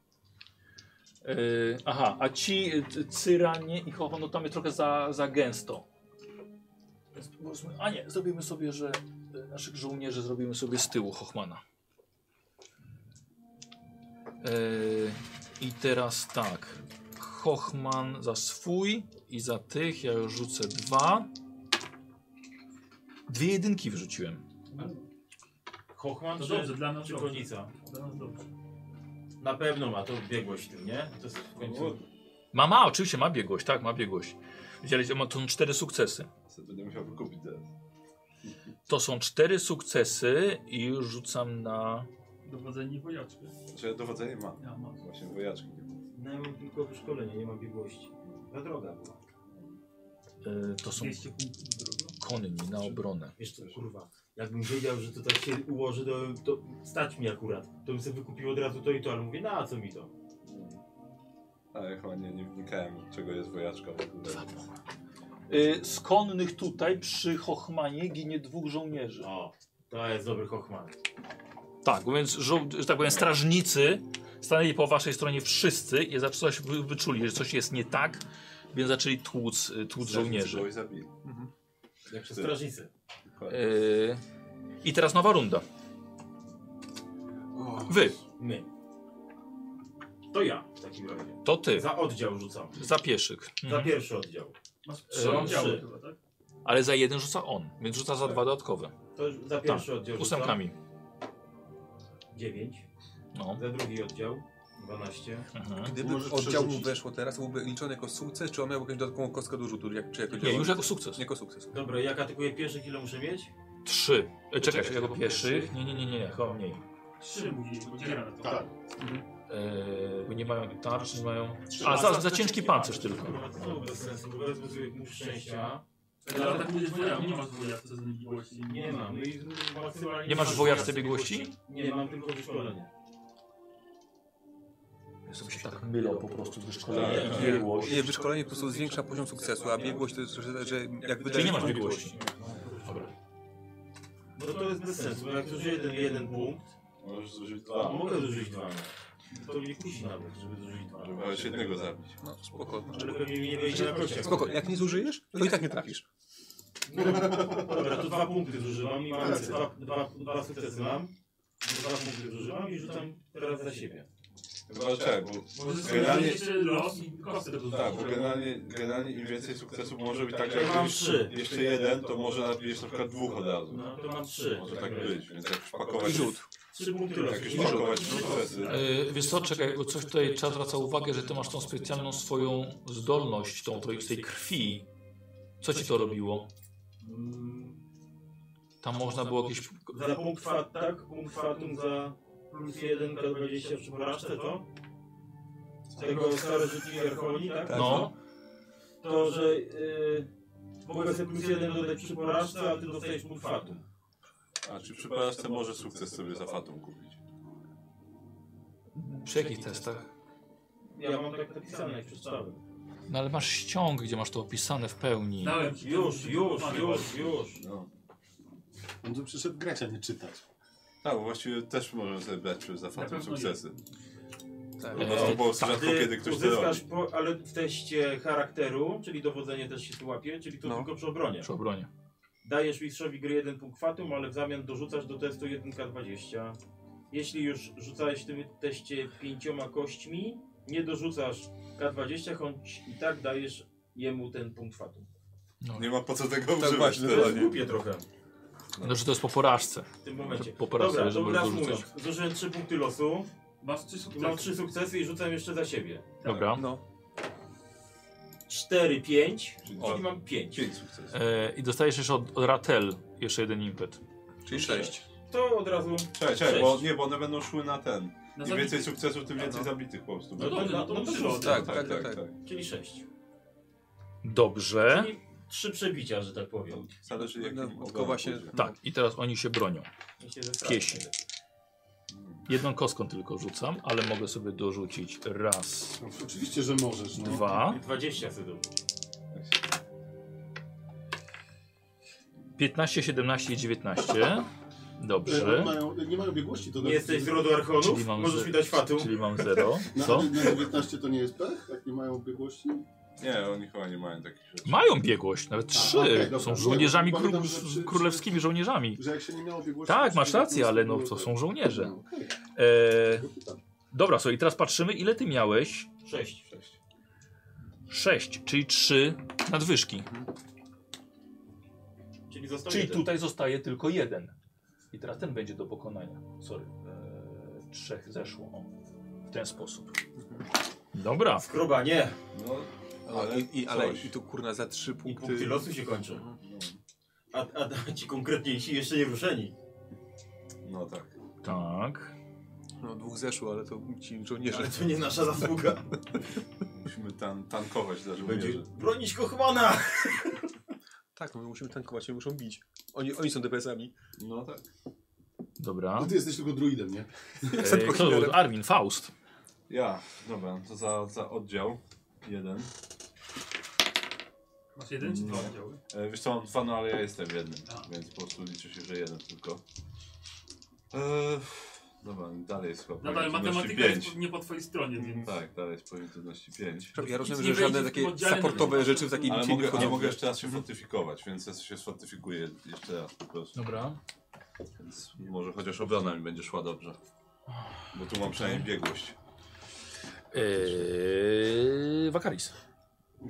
Speaker 2: Eee, aha, a ci y, c- cyranie i chowa, no tam jest trochę za, za gęsto. Więc powiedzmy- A nie, zrobimy sobie, że y, naszych żołnierzy zrobimy sobie z tyłu Hochmana. Eee, I teraz tak. Hochman za swój i za tych. Ja już rzucę dwa. Dwie jedynki wrzuciłem.
Speaker 8: Hochman
Speaker 6: To
Speaker 8: czy,
Speaker 6: dobrze, dla nas
Speaker 8: czy
Speaker 6: dobrze.
Speaker 8: konica?
Speaker 6: Dla nas dobrze.
Speaker 8: Na pewno ma, to biegłość w tym, nie? To jest w
Speaker 9: No,
Speaker 8: końcu...
Speaker 2: Ma, ma, oczywiście ma biegłość, tak, ma biegłość. Widzieliście, ma to są cztery sukcesy.
Speaker 9: Będę musiał wykupić teraz.
Speaker 2: To są cztery sukcesy i już rzucam na...
Speaker 6: Dowodzenie wojaczki.
Speaker 9: Znaczy dowodzenie ma.
Speaker 6: Ja mam.
Speaker 9: Właśnie wojaczki nie ma.
Speaker 8: No, ja mam tylko wyszkolenie, nie mam biegłości. Za droga była.
Speaker 2: y, to są
Speaker 6: 200 punktów drogo.
Speaker 2: konni na obronę.
Speaker 8: Wiesz co, kurwa, jakbym wiedział, że to tak się ułoży, to, to stać mi akurat. To bym sobie wykupił od razu to i to, ale mówię, na co mi to?
Speaker 9: Ale chyba nie, nie wnikałem, czego jest wojaczka w ogóle.
Speaker 2: Y, z konnych tutaj przy Hochmanie ginie dwóch żołnierzy.
Speaker 8: O, to jest dobry Hochman.
Speaker 2: Tak, więc, żo- że tak powiem, strażnicy stanęli po waszej stronie wszyscy i za coś wy- wyczuli, że coś jest nie tak, więc zaczęli tłuc, y, tłuc żołnierzy.
Speaker 9: Kogoś zabili.
Speaker 8: Jak przez
Speaker 9: Ty.
Speaker 8: strażnicę.
Speaker 2: Y, I teraz nowa runda. Wy,
Speaker 8: My. To ja w takim razie.
Speaker 2: to ty,
Speaker 8: Za oddział rzucam.
Speaker 2: za pieszyk.
Speaker 8: Za pierwszy oddział. E,
Speaker 6: Masz
Speaker 2: Eee,
Speaker 6: trzy oddziały
Speaker 8: trzy.
Speaker 6: chyba, tak?
Speaker 2: Ale za jeden rzuca on, więc rzuca za dwa dodatkowe. Tak.
Speaker 8: To już za pierwszy oddział rzucam.
Speaker 2: Ósemkami.
Speaker 8: Dziewięć.
Speaker 2: No. Mhm.
Speaker 8: Za drugi oddział. 12.
Speaker 10: Gdyby
Speaker 8: Możesz
Speaker 10: oddział mu
Speaker 8: przerzucić.
Speaker 10: weszło teraz, to byłby liczony jako sukces, czy on miał jakąś dodatkową kostkę do rzutu? Jak, czy jako
Speaker 2: Nie,
Speaker 10: działał?
Speaker 2: już jako sukces.
Speaker 10: Jako sukces.
Speaker 8: Dobra, jak atakuję pieszych, ile muszę mieć?
Speaker 2: Trzy. E, czekaj,
Speaker 10: Czekaj,
Speaker 2: jako
Speaker 10: jako
Speaker 2: pieszych?
Speaker 10: pieszych?
Speaker 2: Nie, nie, nie, nie, nie, chyba mniej.
Speaker 6: Trzy mówili, bo dziewięć.
Speaker 17: Tak.
Speaker 2: Yy, bo nie mają tarcz, nie mają...
Speaker 6: Trzy.
Speaker 2: A, za, za ciężki pancerz tylko.
Speaker 8: Kurwa, No, to znowu bez sensu, bo teraz buduję punkt szczęścia.
Speaker 6: Ale
Speaker 8: tak
Speaker 6: tak atakuje dwojaka, nie masz dwojaka z biegłości.
Speaker 8: Nie mam. No i maksymalnie-
Speaker 2: Nie masz wojawce biegłości?
Speaker 8: Nie, mam tylko wyszkolenie.
Speaker 2: Ja sobie się tak mylą po prostu z
Speaker 10: Nie,
Speaker 2: wyszkolenia.
Speaker 10: nie. Nie, wyszkolenie po prostu zwiększa poziom sukcesu, a biegłość to jest, że, że jak
Speaker 2: Czyli
Speaker 10: wydajesz...
Speaker 2: nie masz biegłości. Dobra.
Speaker 8: No Tak, to jest bez sensu, bo jak zużyję jeden, jeden punkt,
Speaker 9: Możesz zużyć
Speaker 8: to
Speaker 9: dwa.
Speaker 8: mogę zużyć dwa. no. To mnie kusi nawet, żeby zużyć dwa.
Speaker 9: Możesz jednego zabić.
Speaker 10: No, spoko.
Speaker 8: Ale pewnie mi nie wejdzie na kościach.
Speaker 10: Spoko, jak nie zużyjesz, to i tak nie trafisz.
Speaker 8: No, Dobra, to dwa punkty zużywam i mam dwa, dwa, dwa sukcesy mam. Dwa punkty zużywam i rzucam teraz za siebie.
Speaker 9: Chyba, że tak, bo,
Speaker 6: Możesz sobie
Speaker 9: Generalnie-
Speaker 6: jeszcze los i kostkę do
Speaker 9: tak, bo generalnie, generalnie im więcej sukcesów może być tak, że
Speaker 8: Ja
Speaker 9: jak
Speaker 8: mam
Speaker 9: już-
Speaker 8: trzy.
Speaker 9: jeszcze jeden, to może nabijesz na przykład dwóch od razu.
Speaker 8: No to mam trzy.
Speaker 9: Może
Speaker 8: w
Speaker 9: tak
Speaker 8: takim razie.
Speaker 9: być, więc jak wpakować,
Speaker 10: Rzut.
Speaker 8: Trzy punkty
Speaker 10: Tak,
Speaker 9: jak
Speaker 8: losu.
Speaker 9: już wpakować sukcesy,
Speaker 2: Yy, wiesz co, czekaj, bo coś tutaj trzeba zwracać uwagę, że ty masz tą specjalną swoją zdolność, tą twoją- z tej krwi. Co ci to robiło?
Speaker 8: Mm,
Speaker 2: Tam można było jakieś...
Speaker 8: Za punkt fat, tak? Punkt fatum za plus 1 K20 przy porażce, to? Z tego starożytni Archoni, tak?
Speaker 2: No,
Speaker 8: To, że y, mogę sobie plus 1 dodać przy porażce, a ty dostajesz punkt fatum.
Speaker 9: a czy przy porażce może sukces sobie za fatum kupić.
Speaker 2: przy jakich testach?
Speaker 8: Ja mam tak napisane, jak przeczytałem.
Speaker 2: No ale masz ściąg, gdzie masz to opisane w pełni.
Speaker 6: Dałem ci.
Speaker 8: Już, już, już, już.
Speaker 9: No.
Speaker 1: On tu przyszedł grać, a nie czytać.
Speaker 9: Tak, bo właściwie też możemy sobie brać przy za fatum
Speaker 6: pewno nie.
Speaker 9: sukcesy.
Speaker 10: Tak.
Speaker 9: No to było rzadko
Speaker 8: Ty
Speaker 9: kiedy ktoś to robi.
Speaker 8: uzyskasz po, ale w teście charakteru, czyli dowodzenie też się tu łapie, czyli to
Speaker 10: No.
Speaker 8: tylko przy obronie.
Speaker 2: Przy obronie.
Speaker 8: Dajesz mistrzowi gry jeden punkt fatum, ale w zamian dorzucasz do testu 1k20. Jeśli już rzucałeś w tym teście pięcioma kośćmi, nie dorzucasz k20, choć i tak dajesz jemu ten punkt fatum.
Speaker 9: Nie ma po co tego
Speaker 10: Tak
Speaker 9: używać.
Speaker 10: właśnie,
Speaker 8: To jest
Speaker 9: Właśnie,
Speaker 8: głupie trochę
Speaker 2: No, że to jest po porażce.
Speaker 8: w tym momencie.
Speaker 2: Po porażce,
Speaker 8: Dobra,
Speaker 2: że
Speaker 8: to raz
Speaker 2: dorzucasz.
Speaker 8: mówiąc, zużyłem 3 punkty losu,
Speaker 6: Masz trzy
Speaker 8: i mam
Speaker 6: sukcesy.
Speaker 8: 3 sukcesy i rzucam jeszcze za siebie.
Speaker 2: Dobra.
Speaker 10: No,
Speaker 8: 4, 5,
Speaker 9: O.
Speaker 8: czyli mam 5.
Speaker 9: Pięć sukcesów.
Speaker 2: E, I dostajesz jeszcze od, od Ratel jeszcze jeden impet.
Speaker 10: czyli sześć.
Speaker 8: To od razu
Speaker 9: Czekaj, czekaj,
Speaker 8: Sześć.
Speaker 9: bo nie, bo one będą szły na ten.
Speaker 6: Na
Speaker 9: Im więcej
Speaker 6: zabitych.
Speaker 9: sukcesów, tym więcej zabitych po prostu.
Speaker 6: No dobrze, no to
Speaker 8: No to
Speaker 6: trzy
Speaker 8: szósty.
Speaker 6: losy.
Speaker 10: Tak, tak, tak. tak.
Speaker 8: Czyli 6.
Speaker 2: Dobrze.
Speaker 8: Czyli trzy przebicia, że tak powiem.
Speaker 9: Zależy jak
Speaker 10: No,
Speaker 9: im
Speaker 10: tylko właśnie...
Speaker 9: pójdzie.
Speaker 2: Tak, i teraz oni się bronią.
Speaker 8: I się zestawiam.
Speaker 2: Piesi. Jedną kostką tylko rzucam, ale mogę sobie dorzucić raz,
Speaker 1: No, oczywiście, że możesz. No.
Speaker 2: dwa,
Speaker 8: 20 sedów.
Speaker 2: 15, 17 i 19.
Speaker 1: E,
Speaker 2: Dobrze.
Speaker 1: oni mają, nie mają biegłości, to
Speaker 8: Nie jesteś z
Speaker 1: na,
Speaker 8: rodu
Speaker 2: Czyli
Speaker 8: Archonów?
Speaker 2: mam
Speaker 8: Możesz
Speaker 2: ze-
Speaker 8: mi dać fatu.
Speaker 2: Czyli mam 0. Co?
Speaker 1: na 19 to nie jest pech? Jak nie mają biegłości?
Speaker 9: Nie, oni chyba nie mają takich rzeczy.
Speaker 2: Mają biegłość, nawet trzy.
Speaker 1: Tak, okej, dobra.
Speaker 2: są żołnierzami, kró
Speaker 1: Pamiętam, że przy-
Speaker 2: królewskimi żołnierzami.
Speaker 1: Że jak się nie miało biegłości...
Speaker 2: Tak,
Speaker 1: to
Speaker 2: masz
Speaker 1: się po
Speaker 2: rację,
Speaker 1: prostu
Speaker 2: ale no
Speaker 1: było
Speaker 2: to
Speaker 1: tak.
Speaker 2: są żołnierze.
Speaker 1: No, okej,
Speaker 2: E,
Speaker 1: tylko pytam.
Speaker 2: dobra, słuchaj, i teraz patrzymy, ile ty miałeś?
Speaker 8: 6.
Speaker 2: 6, czyli 3 nadwyżki.
Speaker 8: Czyli został
Speaker 2: Czyli
Speaker 8: jeden.
Speaker 2: tutaj zostaje tylko jeden. I teraz ten będzie do pokonania. Sorry. Eee, trzech zeszło. O, w ten sposób. Mhm. Dobra.
Speaker 8: Skroba, nie.
Speaker 9: No,
Speaker 10: Ale, i, i, ale
Speaker 9: coś.
Speaker 10: i tu kurna za trzy
Speaker 8: I
Speaker 10: punkty... No,
Speaker 8: punkty losu się kończą. A, a, a ci konkretniejsi jeszcze nie ruszeni.
Speaker 9: no tak.
Speaker 2: Tak.
Speaker 10: No dwóch zeszło, ale to ci żołnierze...
Speaker 8: Ale to nie nasza
Speaker 6: tak,
Speaker 8: zasługa.
Speaker 9: tak. Musimy tan tankować dla
Speaker 8: Będzie
Speaker 9: żołnierzy.
Speaker 8: bronić Kochmana!
Speaker 10: Tak, no my musimy tankować, oni muszą bić. Oni, oni są DPS-ami.
Speaker 9: No tak.
Speaker 2: Dobra.
Speaker 1: No ty jesteś tylko druidem, nie?
Speaker 2: Eee, kto to był? Armin, Faust.
Speaker 9: Ja, dobra, to za, za oddział. Jeden.
Speaker 6: Masz jeden czy dwa
Speaker 9: Nie.
Speaker 6: oddziały?
Speaker 9: E, wiesz co, mam dwa, no ale ja jestem jednym,
Speaker 6: A.
Speaker 9: więc po prostu liczy się, że jeden tylko. E, dobra, dalej jest chyba
Speaker 6: Nadal
Speaker 9: poziom
Speaker 6: No
Speaker 9: trudności
Speaker 6: matematyka jest
Speaker 9: pięć.
Speaker 6: nie po twojej stronie, więc...
Speaker 9: Tak, dalej jest poziom trudności 5.
Speaker 10: Ja rozumiem,
Speaker 6: nie
Speaker 10: że żadne
Speaker 6: wejdzie w tym
Speaker 10: takie
Speaker 6: oddziale, no
Speaker 10: supportowe
Speaker 6: to-
Speaker 10: rzeczy w takiej
Speaker 9: Ale
Speaker 10: bitwie nie
Speaker 9: mogę, ale
Speaker 10: wchodzą.
Speaker 9: mogę jeszcze raz się fortyfikować, więc ja się sfortyfikuję jeszcze raz po prostu.
Speaker 2: Dobra.
Speaker 9: Więc może chociaż obrona mi będzie szła dobrze. Bo tu mam przynajmniej biegłość.
Speaker 10: Yy,
Speaker 2: Eee, Wakaris.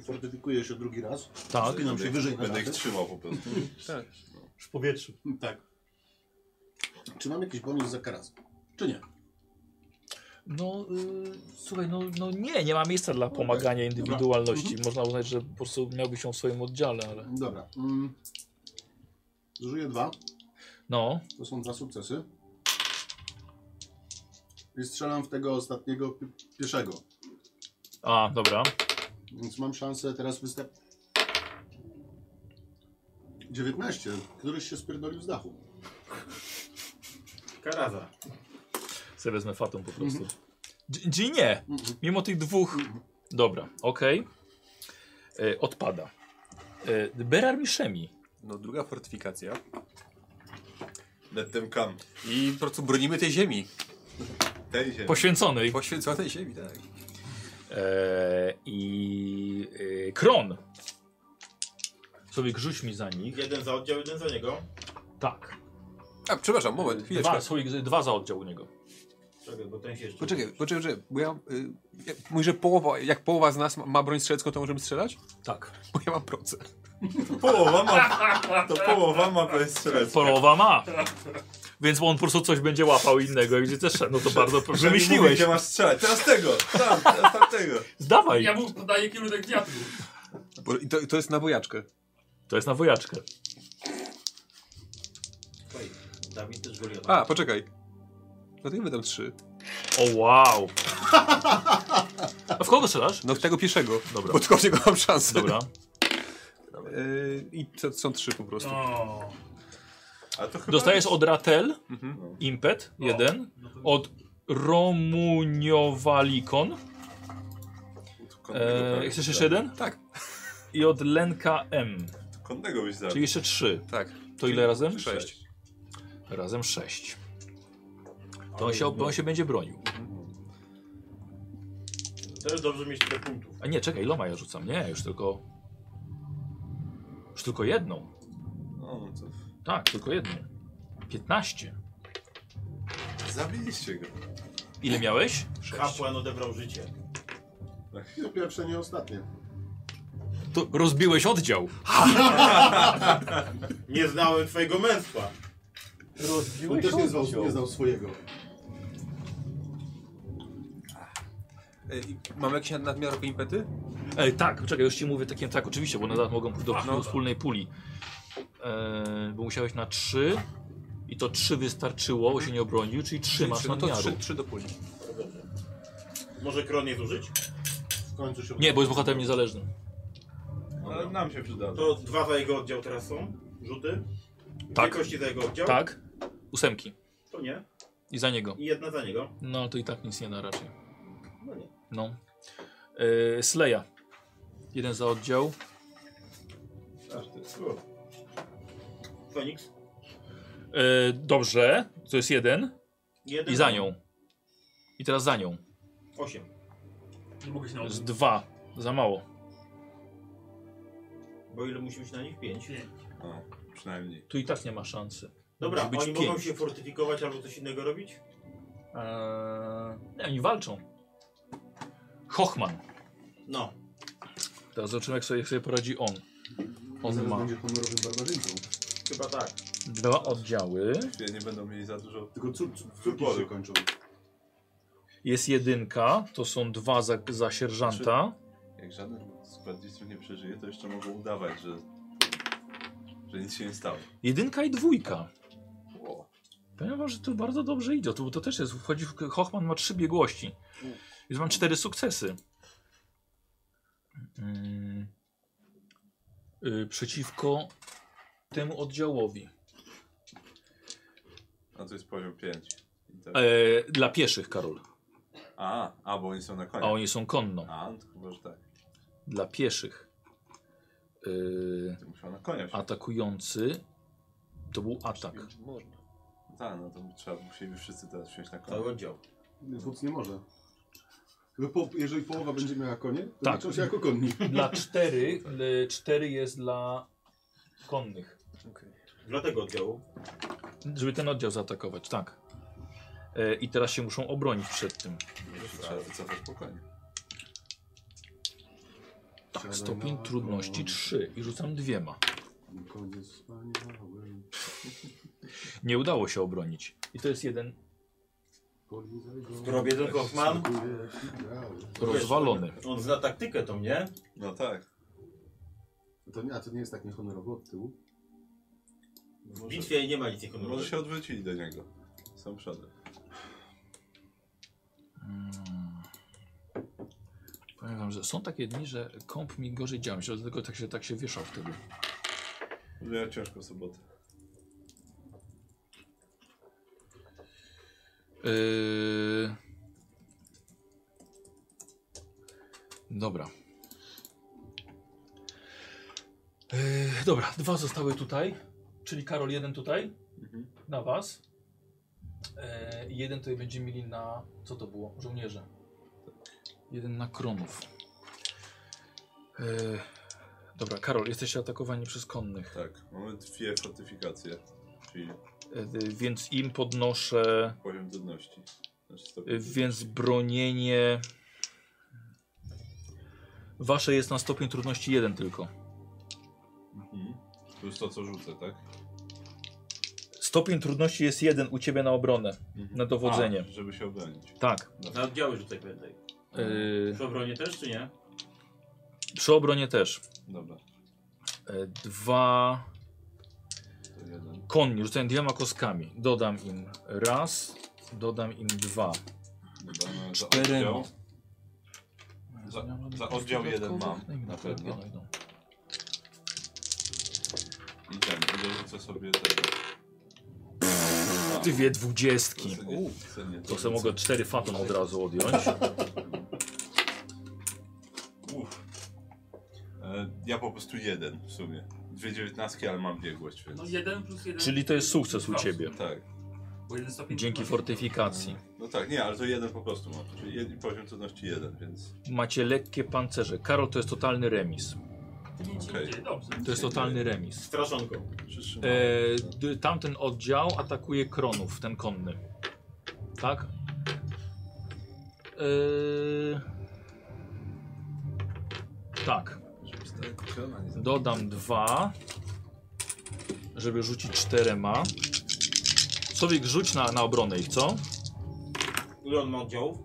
Speaker 1: Fortyfikuję się drugi raz.
Speaker 2: Tak.
Speaker 1: Wspinam się wyżej na
Speaker 9: Będę ich
Speaker 1: raty.
Speaker 9: trzymał po prostu.
Speaker 10: Tak.
Speaker 8: W powietrzu.
Speaker 1: Tak. Czy mam jakiś bonus za karas? Czy nie?
Speaker 2: No, y, słuchaj, no, no nie, nie ma miejsca dla pomagania indywidualności. Można uznać, że po prostu miałby się w swoim oddziale, ale...
Speaker 1: Mhm. Dobra. Mm. Zużyję dwa.
Speaker 2: No,
Speaker 1: To są dwa sukcesy. I strzelam w tego ostatniego pi pieszego.
Speaker 2: a, dobra.
Speaker 1: Więc mam szansę teraz występ. 19. Któryś się spierdolił z dachu.
Speaker 8: Karaza.
Speaker 2: Sobie wezmę fatą po prostu.
Speaker 1: Mhm.
Speaker 2: Dzi- Dzi nie, mimo tych dwóch... Dobra, okej. Y, Odpada. Y, Berar Miszemi.
Speaker 10: No druga fortyfikacja.
Speaker 9: Let them come.
Speaker 10: I po prostu bronimy tej ziemi.
Speaker 9: Tej ziemi.
Speaker 2: Poświęconej.
Speaker 10: Poświęconej ziemi, tak.
Speaker 2: E, I e, Kron. Sobie grzuć mi za nich.
Speaker 8: Jeden za oddział, jeden za niego.
Speaker 2: Tak.
Speaker 10: A, przepraszam, moment, chwileczkę.
Speaker 2: Dwa, słoik, dwa za oddział u niego.
Speaker 8: Czekaj, bo ten się jeszcze...
Speaker 10: Poczekaj, poczekaj, poczekaj, bo ja... Y, ja- mówisz, że połowa, jak połowa z nas ma, ma broń strzelecką, to możemy strzelać?
Speaker 2: Tak.
Speaker 10: Bo ja mam procent.
Speaker 9: Połowa ma. To połowa ma bez strzelec.
Speaker 2: Polowa ma.
Speaker 6: Tak.
Speaker 2: Więc on po prostu coś będzie łapał innego i gdzie też szedł. No to bardzo proszę.
Speaker 9: Mówię,
Speaker 2: Wymyśliłeś.
Speaker 9: gdzie masz strzelać. Teraz tego! Tam, teraz tamtego.
Speaker 2: Zdawaj.
Speaker 6: Ja mu podaję kierunek wiatru.
Speaker 10: Bo, i to, to jest na bojaczkę.
Speaker 2: To jest na wojaczkę.
Speaker 8: Słuchaj, Dawid też Goliata.
Speaker 10: A, poczekaj. Dlatego tam trzy.
Speaker 2: O wow. A w kogo strzelasz?
Speaker 10: No w tego pieszego.
Speaker 2: Dobra.
Speaker 10: Bo tylko w niego mam szansę.
Speaker 2: Dobra.
Speaker 10: Y, I to są trzy po prostu.
Speaker 6: O,
Speaker 9: A to chyba
Speaker 2: Dostajesz od Ratel
Speaker 10: Mhm.
Speaker 2: impet,
Speaker 6: No.
Speaker 2: jeden.
Speaker 6: no to...
Speaker 2: Od Romuniowalikon. Eee, chcesz jeszcze jeden?
Speaker 10: Tak.
Speaker 2: I od Lenka M.
Speaker 9: Konnego byś zabił.
Speaker 2: Czyli jeszcze trzy.
Speaker 10: Tak.
Speaker 2: To ile razem?
Speaker 10: Sześć.
Speaker 2: Razem sześć. To on się, on się będzie bronił.
Speaker 8: Też dobrze mieć tyle punktów.
Speaker 2: A nie, czekaj, loma ja rzucam. Nie, już tylko... Już tylko jedną.
Speaker 9: O, no to...
Speaker 2: Tak, tylko jedną. 15.
Speaker 9: Zabiliście go.
Speaker 2: Ile miałeś?
Speaker 8: Kapłan odebrał życie.
Speaker 1: I to pierwsze, nie ostatnie.
Speaker 2: To rozbiłeś oddział.
Speaker 8: Nie znałem twojego męstwa.
Speaker 1: On też nie znał, nie znał swojego.
Speaker 10: Y, i Mam jakieś nad- nadmiarowe impety?
Speaker 2: Ej, tak, czekaj, już ci mówię takim tak, oczywiście, bo nadal mogą pójść do
Speaker 10: no.
Speaker 2: wspólnej puli. Eee, bo musiałeś na 3 i to 3 wystarczyło, bo się nie obronił, czyli 3 masz
Speaker 10: no to
Speaker 2: nadmiaru.
Speaker 10: trzy, trzy do puli.
Speaker 8: To dobrze. Może kron je zużyć?
Speaker 1: W końcu się
Speaker 2: Nie, bo jest bohaterem niezależnym.
Speaker 9: Ale nam się przyda.
Speaker 8: To dwa za jego oddział teraz są. Rzuty.
Speaker 2: Tak.
Speaker 8: Dwie kości za jego oddział.
Speaker 2: Tak? Ósemki.
Speaker 8: To nie.
Speaker 2: I za niego.
Speaker 8: I jedna za niego.
Speaker 2: No to i tak nic nie da raczej.
Speaker 8: No nie.
Speaker 2: No. Eee, Sleja. Jeden za oddział.
Speaker 8: Feniks.
Speaker 2: Eee, dobrze, to jest jeden.
Speaker 8: Jeden
Speaker 2: I za nią. I teraz za nią.
Speaker 8: Osiem.
Speaker 6: Nie mogę się
Speaker 8: No.
Speaker 2: To jest
Speaker 6: nauczyć.
Speaker 2: dwa. Za mało.
Speaker 8: Bo ile musi być na nich? Pięć.
Speaker 6: Pięć.
Speaker 9: O, przynajmniej.
Speaker 2: Tu i tak nie ma szansy.
Speaker 8: Dobra,
Speaker 2: Musi być
Speaker 8: oni mogą
Speaker 2: pięć.
Speaker 8: się fortyfikować albo coś innego robić?
Speaker 2: Eee, nie, oni walczą. Hochman.
Speaker 8: No.
Speaker 2: Teraz zobaczymy, jak sobie, jak sobie poradzi on.
Speaker 1: Zaraz
Speaker 2: On ma
Speaker 1: będzie honorowym barbarzyńcą.
Speaker 8: Chyba tak.
Speaker 2: dwa oddziały.
Speaker 10: Yy?
Speaker 9: Czyli nie będą mieli za dużo.
Speaker 1: Tylko cór, cór, córki
Speaker 9: Wybory.
Speaker 1: się kończą.
Speaker 2: Jest jedynka, to są dwa za, za sierżanta.
Speaker 9: Jak żaden skład dzieciów nie przeżyje, to jeszcze mogą udawać, że, że nic się nie stało.
Speaker 2: Jedynka i dwójka. Powiem wam, że to bardzo dobrze idzie. To, to też jest, wchodzi w, Hochman ma trzy biegłości. Więc mam cztery sukcesy. Mm. Y, przeciwko temu oddziałowi.
Speaker 9: A to jest poziom 5. Tak.
Speaker 10: Yy,
Speaker 2: E, dla pieszych, Karol.
Speaker 9: A, a, bo oni są na koniec.
Speaker 2: A oni są konno.
Speaker 9: Tak. A, no to chyba, że tak.
Speaker 2: Dla pieszych. Y,
Speaker 9: Ty musiał na konia wsiąść.
Speaker 2: atakujący. To był atak.
Speaker 10: Można.
Speaker 9: Tak, no to trzeba, musieli wszyscy teraz wsiąść na
Speaker 8: Cały
Speaker 9: konia.
Speaker 8: oddział.
Speaker 1: Wódz nie może. Chyba po, jeżeli połowa będzie miała konie, to
Speaker 2: Tak.
Speaker 1: tak. liczą się jako konni.
Speaker 2: Dla cztery. y, Cztery jest dla konnych.
Speaker 8: Dla tego oddziału.
Speaker 2: Żeby ten oddział zaatakować, tak. E, I teraz się muszą obronić przed tym.
Speaker 9: Jeszcze Trzeba wycofać po koniu.
Speaker 2: Tak, stopień
Speaker 1: na
Speaker 2: trudności
Speaker 1: koń.
Speaker 2: 3 i rzucam dwiema.
Speaker 1: Koniec wspaniały.
Speaker 2: Nie udało się obronić. I to jest jeden
Speaker 8: Rob jeden Hoffman.
Speaker 2: Rozwalony.
Speaker 8: On zna taktykę tą, nie?
Speaker 9: No tak.
Speaker 1: To nie, a to nie jest tak niehonorowo od tyłu?
Speaker 8: W bitwie nie ma nic niehonorowego.
Speaker 9: Może się odwrócili do niego. Są przodem.
Speaker 2: Mm. Powiem wam, że są takie dni, że komp mi gorzej działa. Myślę, że dlatego tak się, tak się wieszał wtedy.
Speaker 9: Ja ciężko w sobotę.
Speaker 2: Yy... Dobra. Yy, dobra, dwa zostały tutaj, czyli Karol jeden tutaj,
Speaker 9: Mhm.
Speaker 2: na was. Yy, jeden tutaj będziemy mieli na, co to było, żołnierze. Jeden na kronów. Yy, dobra, Karol, jesteście atakowani przez konnych.
Speaker 9: Tak, mamy dwie fortyfikacje, czyli
Speaker 2: Yy, więc im podnoszę...
Speaker 9: poziom trudności. Znaczy stopień
Speaker 2: Y, Więc bronienie. Wasze jest na stopień trudności jeden tylko.
Speaker 9: Mhm. Plus to, co rzucę, tak?
Speaker 2: Stopień trudności jest jeden u ciebie na obronę,
Speaker 9: Mhm.
Speaker 2: na dowodzenie.
Speaker 9: A, żeby się obronić.
Speaker 2: Tak.
Speaker 8: Na oddziały rzucaj pamiętaj.
Speaker 2: Y,
Speaker 8: Przy obronie też, czy nie?
Speaker 2: przy obronie też.
Speaker 9: Dobra,
Speaker 2: Y, dwa
Speaker 9: to jeden.
Speaker 2: konni rzucają dwiema kostkami. Dodam im raz, dodam im dwa.
Speaker 9: Dobra, no, za
Speaker 2: Czterema.
Speaker 9: oddział. Za, za oddział jeden
Speaker 2: No
Speaker 9: mam, na pewno. I ten, i dorzucę sobie tego.
Speaker 2: no. Dwie
Speaker 9: To
Speaker 2: dwudziestki.
Speaker 9: se nie- se nie-
Speaker 2: To sobie mogę cztery fatum od razu odjąć.
Speaker 9: Uff. E, Ja po prostu jeden w sumie. Dwie dziewiętnastki, ale mam biegłość, więc...
Speaker 6: No jeden plus jeden.
Speaker 2: Czyli to jest sukces u
Speaker 6: Dwa.
Speaker 2: ciebie.
Speaker 9: Tak.
Speaker 6: Bo jeden stopień
Speaker 2: Dzięki
Speaker 6: trudności.
Speaker 2: fortyfikacji.
Speaker 9: No tak, nie, ale to jeden po prostu mam. Czyli jed, poziom trudności jeden, więc...
Speaker 2: Macie lekkie pancerze. Karol to jest totalny remis.
Speaker 6: Pięć
Speaker 9: Okej.
Speaker 6: idzie, Dobrze.
Speaker 2: To jest totalny remis.
Speaker 8: Straszonką.
Speaker 2: E, d- tamten oddział atakuje Kronów, ten konny. Tak? E, tak. Dodam dwa, żeby rzucić czterema. Słowik, rzuć na, na obronę ich, co?
Speaker 8: Ile on ma oddziałów?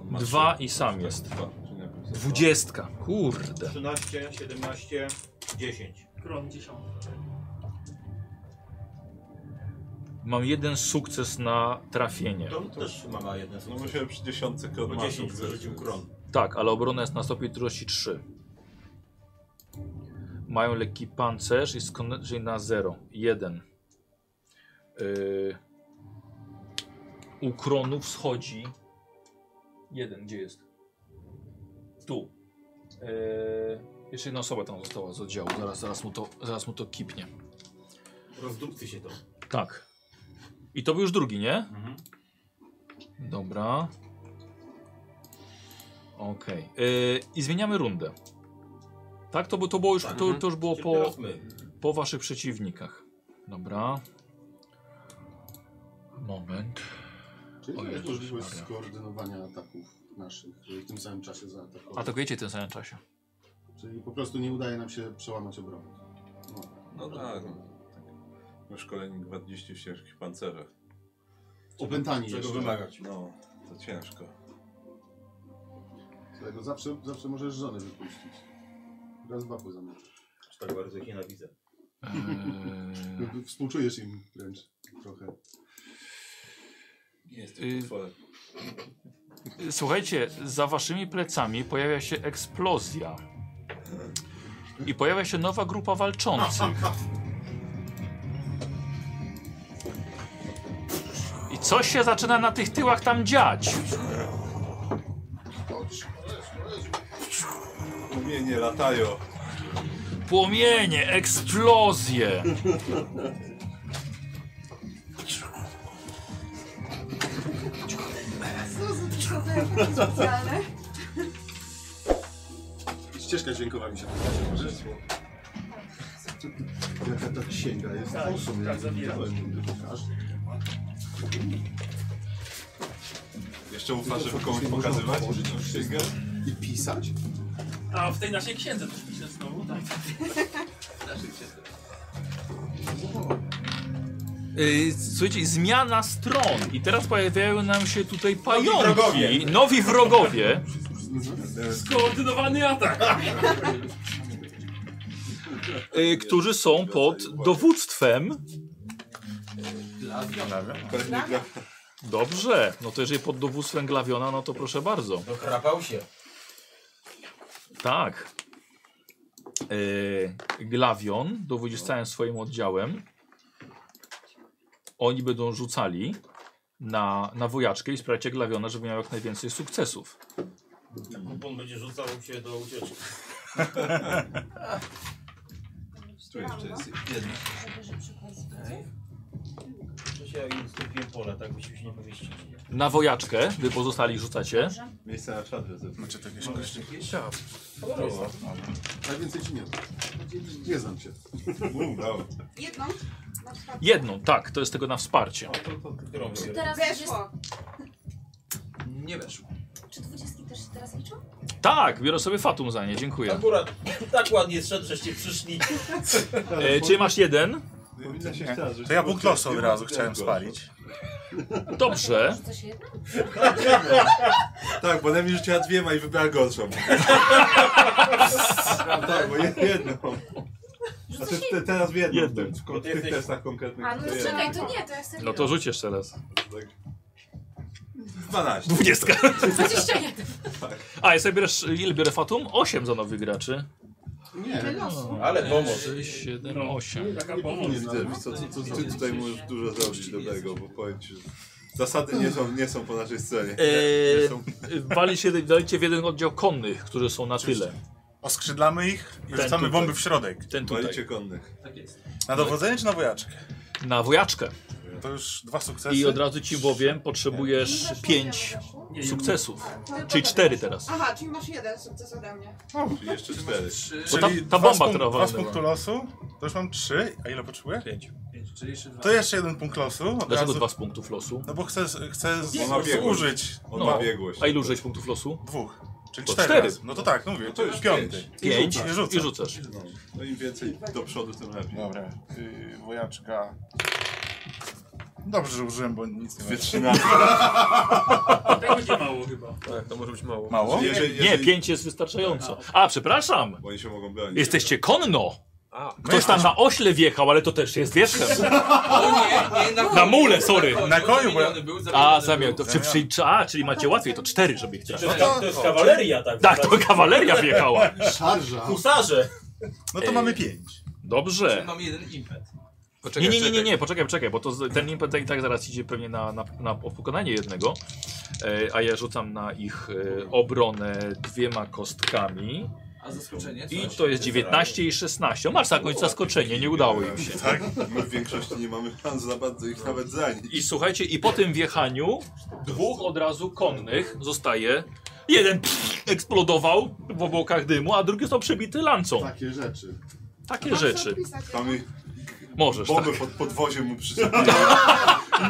Speaker 9: On ma
Speaker 2: Dwa
Speaker 9: trzy.
Speaker 2: i sam
Speaker 9: Tak,
Speaker 2: jest.
Speaker 9: Dwa. czyli najpierw za dwa.
Speaker 2: Dwudziestka. Kurde.
Speaker 8: 13, 17, 10.
Speaker 6: Kron dziesiąty.
Speaker 2: Mam jeden sukces na trafienie.
Speaker 8: To też ma na jeden
Speaker 9: No
Speaker 8: sukces.
Speaker 9: musiałem przy dziesiątce kron
Speaker 8: Bo
Speaker 9: ma
Speaker 8: 10
Speaker 9: sukces,
Speaker 8: wyrzucił
Speaker 9: więc-
Speaker 8: kron.
Speaker 2: Tak, ale obrona jest na stopień trudności 3. Mają lekki pancerz i skończy na 0. 1. Yy, u kronów schodzi. 1, gdzie jest? Tu. Yy, jeszcze jedna osoba tam została z oddziału. Zaraz, zaraz, mu, to, zaraz mu to kipnie.
Speaker 8: Rozdupcy się to.
Speaker 2: Tak. I to był już drugi, nie? Dobra. Okej. Yy, I zmieniamy rundę. Tak, to, bu- to było już,
Speaker 8: Tak.
Speaker 2: to, to już było po,
Speaker 8: Teraz my.
Speaker 2: po waszych przeciwnikach. Dobra. Moment.
Speaker 1: Czyli
Speaker 2: O
Speaker 1: to jest
Speaker 2: Jezus
Speaker 1: możliwość
Speaker 2: Maria.
Speaker 1: skoordynowania ataków naszych w tym samym czasie zaatakować.
Speaker 2: Atakujecie w tym samym czasie.
Speaker 1: Czyli po prostu nie udaje nam się przełamać obrony. No,
Speaker 9: No tak. no. My szkoleni gwardziści w ciężkich pancerzach.
Speaker 1: Opętani
Speaker 8: Czego
Speaker 1: jeszcze.
Speaker 8: wymagać?
Speaker 9: No, to ciężko.
Speaker 1: Tego zawsze, zawsze możesz żonę wypuścić. Raz baku zamierzasz.
Speaker 8: Aż tak bardzo ich nienawidzę.
Speaker 2: Yy,
Speaker 1: Współczujesz im wręcz trochę.
Speaker 9: Nie jest
Speaker 2: Y-
Speaker 9: to potworem.
Speaker 2: Słuchajcie, za waszymi plecami pojawia się eksplozja. I pojawia się nowa grupa walczących. I coś się zaczyna na tych tyłach tam dziać.
Speaker 9: Płomienie latają.
Speaker 2: Płomienie, eksplozje.
Speaker 18: Specjalne.
Speaker 1: Ścieżka dźwiękowa mi się podoba. Możesz? Jaka ta księga jest?
Speaker 6: Tak,
Speaker 1: Tak, awesome. Ja
Speaker 6: tak,
Speaker 1: nie
Speaker 6: zabieram.
Speaker 1: widziałem. Aż
Speaker 9: Jeszcze ufa, żeby komuś pokazywać?
Speaker 1: Można
Speaker 9: Księgę?
Speaker 1: I pisać?
Speaker 6: A w tej naszej księdze też pisze znowu, tak?
Speaker 2: Yy, Słuchajcie, zmiana stron i teraz pojawiają nam się tutaj pająki,
Speaker 9: wrogowie.
Speaker 2: nowi wrogowie. E,
Speaker 6: Skoordynowany atak!
Speaker 2: y, którzy są pod dowództwem. Dobrze, no to jeżeli pod dowództwem Glawiona, no to proszę bardzo.
Speaker 19: No chrapał się.
Speaker 2: Tak. Y, Glawion dowodzi z całym swoim oddziałem. Oni będą rzucali na, na wojaczkę i sprawiacie Glawiona, żeby miał jak najwięcej sukcesów.
Speaker 8: Kupon będzie rzucał się do ucieczki.
Speaker 9: Tu jeszcze jest jedna.
Speaker 8: Przecież ja im ustąpiłem pole, tak byśmy się nie pomieścili.
Speaker 2: Na wojaczkę, wy pozostali rzucacie.
Speaker 9: Miejsce na Znaczy, czadrę. Macie takie
Speaker 1: Kolorowo. Najwięcej Tak ci nie dam. Nie znam cię.
Speaker 20: Jedną? Na przykład.
Speaker 2: Jedną, tak, to jest tego na wsparcie.
Speaker 20: Czy teraz weszło?
Speaker 19: Nie weszło.
Speaker 20: Czy dwudziestki też się teraz liczą?
Speaker 2: Tak, biorę sobie Fatum za nie, dziękuję.
Speaker 19: Akurat tak ładnie szedł, żeście przyszli.
Speaker 2: E, czy masz jeden?
Speaker 21: To ja buklosy od razu chciałem spalić.
Speaker 2: Dobrze.
Speaker 20: Rzuca się jedną?
Speaker 9: Tak, bo najmniej rzuciła dwiema i wybrała gorszą. tak, bo jed- jedną. A ty, ty, teraz w jednym.
Speaker 2: Jednym.
Speaker 9: W kon- tych testach konkretnych.
Speaker 20: A no
Speaker 9: to
Speaker 20: to
Speaker 9: jedno.
Speaker 20: czekaj, to nie, to ja sobie
Speaker 2: No to rzuć jeszcze raz.
Speaker 9: 12.
Speaker 2: 20.
Speaker 20: 21.
Speaker 2: A, ja sobie bierzesz, ile biorę Fatum? 8 za nowych graczy.
Speaker 20: Nie.
Speaker 19: Ale pomoc.
Speaker 2: 6, 7,
Speaker 21: No.
Speaker 2: 8.
Speaker 9: Nie widzę, wiesz co, co, co, co ty tutaj możesz dużo zrobić dobrego, bo powiem ci, że zasady nie są, nie są po naszej stronie.
Speaker 2: Eee,
Speaker 21: E,
Speaker 9: Nie są-
Speaker 2: walicie, dajcie w jeden oddział konnych, którzy są na tyle.
Speaker 21: Oskrzydlamy ich i rzucamy bomby w środek.
Speaker 2: Ten tutaj.
Speaker 9: Walicie konnych.
Speaker 21: Na dowodzenie czy na wojaczkę?
Speaker 2: Na wojaczkę.
Speaker 21: To już dwa sukcesy.
Speaker 2: I od razu ci powiem, potrzebujesz 5 sukcesów. Czyli 4 teraz.
Speaker 20: Aha, czyli masz jeden sukces ode mnie.
Speaker 9: Czyli jeszcze cztery.
Speaker 2: Bo ta,
Speaker 21: Czyli
Speaker 2: ta
Speaker 21: dwa z
Speaker 2: bomba
Speaker 21: punk-
Speaker 2: która
Speaker 21: Dwa z
Speaker 2: walnęła.
Speaker 21: punktu losu, to już mam trzy, a ile potrzebuję? Pięć.
Speaker 22: Czyli jeszcze dwa.
Speaker 21: To jeszcze jeden punkt losu. Od
Speaker 2: Dlaczego
Speaker 21: razu-
Speaker 2: dwa z punktów losu?
Speaker 21: No bo chcę, chcę
Speaker 2: On ma
Speaker 21: z... No.
Speaker 2: biegłość.
Speaker 21: użyć.
Speaker 2: On ma biegłość. No. A ilu użyłeś punktów losu?
Speaker 21: Dwóch. Czyli
Speaker 2: To
Speaker 21: cztery.
Speaker 2: cztery.
Speaker 21: razy. No to tak, no mówię,
Speaker 9: No
Speaker 21: to już piąty.
Speaker 2: Pięć
Speaker 21: I
Speaker 2: i
Speaker 21: rzucę.
Speaker 2: rzucasz.
Speaker 9: No im więcej do przodu, tym lepiej.
Speaker 21: Dobra, yy, wojaczka. Dobrze, że użyłem, bo nic nie ma.
Speaker 9: Wytrzymałem.
Speaker 6: Tego będzie mało chyba.
Speaker 10: Tak, to może być mało.
Speaker 21: Mało?
Speaker 9: Jeżeli-
Speaker 2: Nie, 5 jest wystarczająco. A, przepraszam.
Speaker 9: Bo oni się mogą bronić. No
Speaker 2: Jesteście konno.
Speaker 10: A,
Speaker 2: Ktoś tam na ośle wjechał, ale to też jest wierzchem. Na mule, sorry.
Speaker 21: Na koniu, bo ja...
Speaker 2: A, zamiast to czy, przy, czy, a, czyli macie łatwiej, to cztery, żeby ich
Speaker 21: No
Speaker 8: No
Speaker 2: trafić.
Speaker 19: To, to, to jest kawaleria, tak?
Speaker 2: Tak, to kawaleria wjechała.
Speaker 1: Szarża.
Speaker 19: Husarze!
Speaker 21: No to mamy pięć.
Speaker 2: Dobrze.
Speaker 19: Mam jeden impet.
Speaker 2: Nie, nie, nie, nie, nie, poczekaj, poczekaj, bo to z- ten impet i tak zaraz idzie pewnie na, na, na pokonanie jednego. E, a ja rzucam na ich e, obronę dwiema kostkami.
Speaker 19: A zaskoczenie?
Speaker 2: I to jest 19 i 16. O, masz na końcu zaskoczenie, nie udało im się.
Speaker 9: Tak? My w większości nie mamy szans za bardzo ich nawet zanić.
Speaker 2: I słuchajcie, i po tym wjechaniu dwóch od razu konnych zostaje. Jeden pff, eksplodował w obłokach dymu, a drugi został przebity lancą.
Speaker 1: Takie rzeczy.
Speaker 2: Takie rzeczy.
Speaker 9: Mamy
Speaker 2: Możesz, tak.
Speaker 9: bombę pod podwoziem mu przyczepili.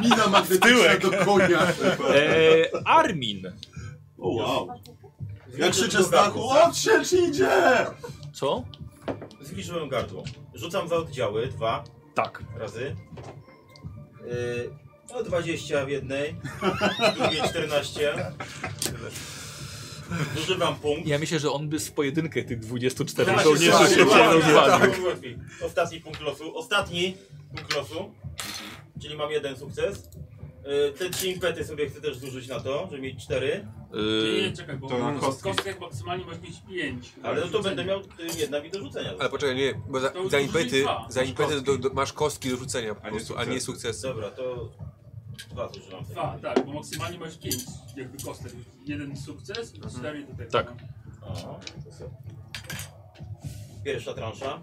Speaker 1: Mina magnetyczna do konia.
Speaker 2: Eee, Armin.
Speaker 9: O wow. Ja krzyczę z dachu, odsiecz idzie!
Speaker 2: Co?
Speaker 8: Zbliżyłem gardło. Rzucam za oddziały, dwa
Speaker 2: Tak.
Speaker 8: razy. Yy, no 20 w jednej, w drugiej 14. Używam punkt.
Speaker 2: Ja myślę, że on by z pojedynkę tych 24
Speaker 8: Ja
Speaker 2: żołnierzy
Speaker 8: się
Speaker 2: się
Speaker 8: zgadzam,
Speaker 2: nie
Speaker 8: tak,
Speaker 2: rozwalił.
Speaker 8: tak, łatwiej. Ostatni punkt losu. Ostatni punkt losu. Czyli mam jeden sukces. Yy, Te trzy impety sobie chcę też zużyć na to, żeby mieć cztery.
Speaker 6: Nie,
Speaker 2: Eee,
Speaker 6: nie, Y, czekaj, bo
Speaker 9: To na
Speaker 6: to
Speaker 9: kostki.
Speaker 6: kostek maksymalnie możesz mieć 5.
Speaker 8: Ale no to będę miał y, jedna mi do rzucenia.
Speaker 10: Ale poczekaj, nie, bo za,
Speaker 6: To
Speaker 10: za
Speaker 6: już
Speaker 10: impety,
Speaker 6: dwa.
Speaker 10: za impety do, do, masz kostki do rzucenia po
Speaker 9: nie
Speaker 10: prostu, a nie
Speaker 9: sukcesy.
Speaker 10: sukcesy.
Speaker 8: Dobra, to dwa zużywam. wtedy.
Speaker 6: Dwa, tak, bo maksymalnie masz 5 jakby kostek. Jeden sukces,
Speaker 13: Mhm.
Speaker 6: cztery do tego.
Speaker 2: Tak.
Speaker 8: O, to są. Pierwsza transza.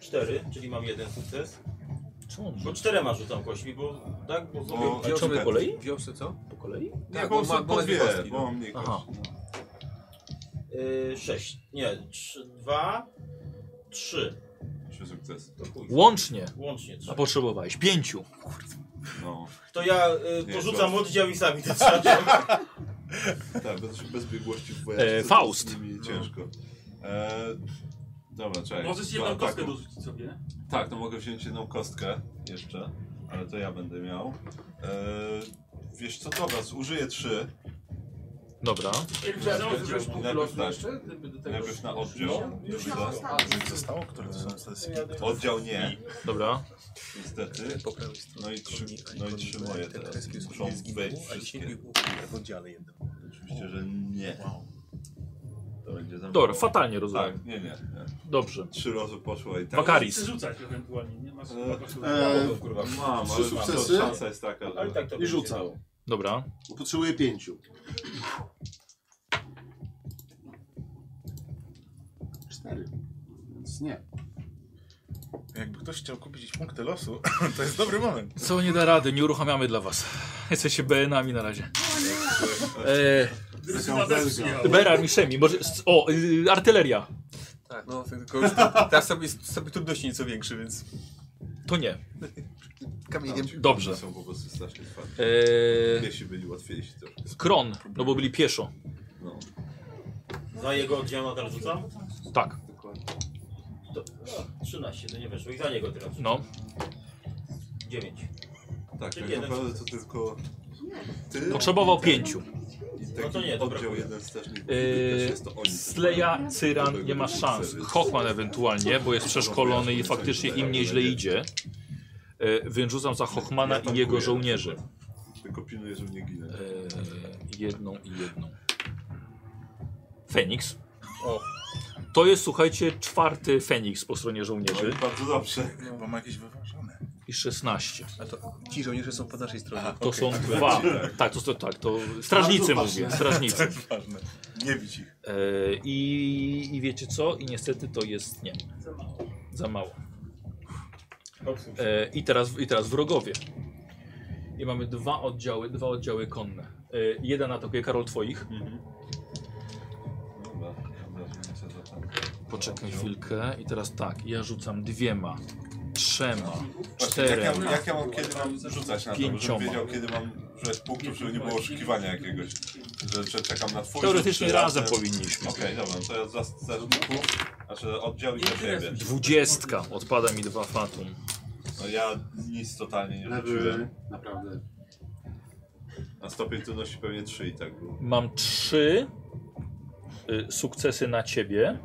Speaker 8: Cztery, czyli mam jeden sukces.
Speaker 2: czemu on
Speaker 8: Bo
Speaker 2: rzucił?
Speaker 8: czterema rzucam kośćmi, bo tak, bo sobie...
Speaker 9: Bo-
Speaker 2: A czy on po kolei?
Speaker 10: Wiosy co?
Speaker 2: Po kolei?
Speaker 8: Tak,
Speaker 9: Nie,
Speaker 10: bo
Speaker 9: bo
Speaker 10: on ma-
Speaker 9: są
Speaker 10: bo
Speaker 9: po
Speaker 10: ma dwie
Speaker 9: dwie,
Speaker 10: kostki,
Speaker 9: bo
Speaker 10: no.
Speaker 9: mam mniej
Speaker 2: Aha.
Speaker 9: kości.
Speaker 8: Yy, sześć, nie, trzy, dwa, trzy.
Speaker 9: Trzy sukcesy.
Speaker 8: To chuj.
Speaker 2: Łącznie.
Speaker 8: Łącznie trzy.
Speaker 2: A potrzebowałeś pięciu.
Speaker 9: No,
Speaker 8: To ja y,
Speaker 9: Nie,
Speaker 8: porzucam
Speaker 9: słabo.
Speaker 8: oddział i sami te trzeba.
Speaker 9: tak, bez, bez biegłości w
Speaker 2: E,
Speaker 9: wojaczce.
Speaker 2: Faust.
Speaker 9: Z nimi ciężko. E, Dobra, czekaj.
Speaker 4: Możesz
Speaker 9: Dwa
Speaker 4: jedną
Speaker 9: ataki.
Speaker 4: kostkę dorzucić sobie.
Speaker 9: Tak, to mogę wziąć jedną kostkę jeszcze, ale to ja będę miał. Eee, wiesz co, dobra, zużyję trzy.
Speaker 2: Dobra.
Speaker 9: Najpierw-
Speaker 19: Zrobiłeś punkt
Speaker 9: najpierw
Speaker 19: losu
Speaker 9: tak.
Speaker 19: jeszcze? Gdyby do tego
Speaker 9: Najpierw na
Speaker 19: szliśmy.
Speaker 9: oddział.
Speaker 19: Już
Speaker 9: Czyli
Speaker 19: na
Speaker 9: to-
Speaker 19: oddział.
Speaker 21: Nic zostało? Które to są sesje?
Speaker 9: Oddział nie.
Speaker 2: Dobra.
Speaker 9: Niestety. No i trzy, no i trzy moje teraz. Muszą być wszystkie.
Speaker 21: W oddziale jednym.
Speaker 9: Oczywiście, że nie. To będzie za
Speaker 2: Dobra,
Speaker 9: mało.
Speaker 2: fatalnie rozumiem.
Speaker 9: Tak, nie, nie, nie.
Speaker 2: Dobrze.
Speaker 9: Trzy razy poszło i tak.
Speaker 2: Wakaris.
Speaker 4: Przerzucać ewentualnie, nie
Speaker 19: E,
Speaker 4: masz
Speaker 9: Eee,
Speaker 18: E,
Speaker 4: eee,
Speaker 9: kurwa, mam, ale mam, to
Speaker 14: sukcesy?
Speaker 9: szansa jest taka, że...
Speaker 14: Ale tak to I będzie. rzucał.
Speaker 2: Dobra.
Speaker 14: Bo potrzebuję pięciu. Cztery. Więc nie.
Speaker 21: Jakby ktoś chciał kupić punkty losu, to jest dobry moment.
Speaker 2: Co nie da rady, nie uruchamiamy dla was. Jesteście BN-ami na razie. Eee,
Speaker 21: Taka belga.
Speaker 2: Berar, Miszemi, może... O, y, artyleria.
Speaker 7: Tak, no, tylko już teraz sobie, sobie trudności nieco większe, więc...
Speaker 2: To nie.
Speaker 7: Kamieniem.
Speaker 2: Dobrze.
Speaker 9: Są po prostu strasznie twarde.
Speaker 2: Eee,
Speaker 9: Piesi byli łatwiejsi trochę.
Speaker 2: Kron, no bo byli pieszo.
Speaker 9: No.
Speaker 13: Za jego oddział nadal rzucam?
Speaker 2: Tak.
Speaker 13: To, no, 13, to nie weszło. I za niego teraz.
Speaker 2: No.
Speaker 13: 9.
Speaker 9: Tak,
Speaker 13: Czyli
Speaker 9: tak
Speaker 13: jeden
Speaker 9: naprawdę to tylko... Ty
Speaker 2: Potrzebował
Speaker 9: i ten-
Speaker 2: pięciu.
Speaker 9: I
Speaker 13: No to
Speaker 9: taki
Speaker 13: nie, to
Speaker 9: oddział
Speaker 13: brakuje.
Speaker 9: jeden straszny.
Speaker 2: Eee, Sleja, Cyran nie ma szans. Hochman ewentualnie, bo jest przeszkolony i faktycznie im nieźle idzie. Eee, Więc rzucam za Hochmana i jego żołnierzy.
Speaker 9: Tylko pilnuję, żeby nie ginę.
Speaker 2: Eee, jedną i jedną. Feniks. To jest, słuchajcie, czwarty Feniks po stronie
Speaker 21: No
Speaker 2: żołnierzy.
Speaker 9: Bardzo dobrze.
Speaker 21: Bo ma jakieś wyważone.
Speaker 2: I 16.
Speaker 7: A to ci żołnierze są po naszej stronie.
Speaker 2: To są dwa. Tak, to, to, tak, to strażnicy mówię, strażnicy.
Speaker 21: Nie bić ich.
Speaker 2: Eee, i, I wiecie co? I niestety to jest nie. Za mało. Za mało. E, i, teraz, I teraz wrogowie. I mamy dwa oddziały, dwa oddziały konne. E, jeden atakuje Karol twoich.
Speaker 9: Dobra, dobra, wrócę do tam.
Speaker 2: Poczekaj chwilkę. I teraz tak, ja rzucam dwiema, trzema,
Speaker 9: Właśnie, jak
Speaker 2: czterema.
Speaker 9: ja, jak ja mam, kiedy mam rzucać na to,
Speaker 2: Pięcioma.
Speaker 9: żebym wiedział, kiedy mam rzucać punktów, żeby nie było oszukiwania jakiegoś, że, że czekam na twój
Speaker 2: Teoretycznie
Speaker 9: rzut, czy
Speaker 2: razem
Speaker 9: razem.
Speaker 2: powinniśmy.
Speaker 9: Okej, dobra, no to ja za, za punkt, znaczy oddział i za siebie.
Speaker 2: Dwudziestka. Odpada mi dwa fatum.
Speaker 9: No ja nic totalnie nie
Speaker 14: Lewy,
Speaker 9: rzuciłem.
Speaker 14: Naprawdę.
Speaker 9: Na stopień trudności pewnie trzy i tak było.
Speaker 2: Mam trzy y, sukcesy na ciebie,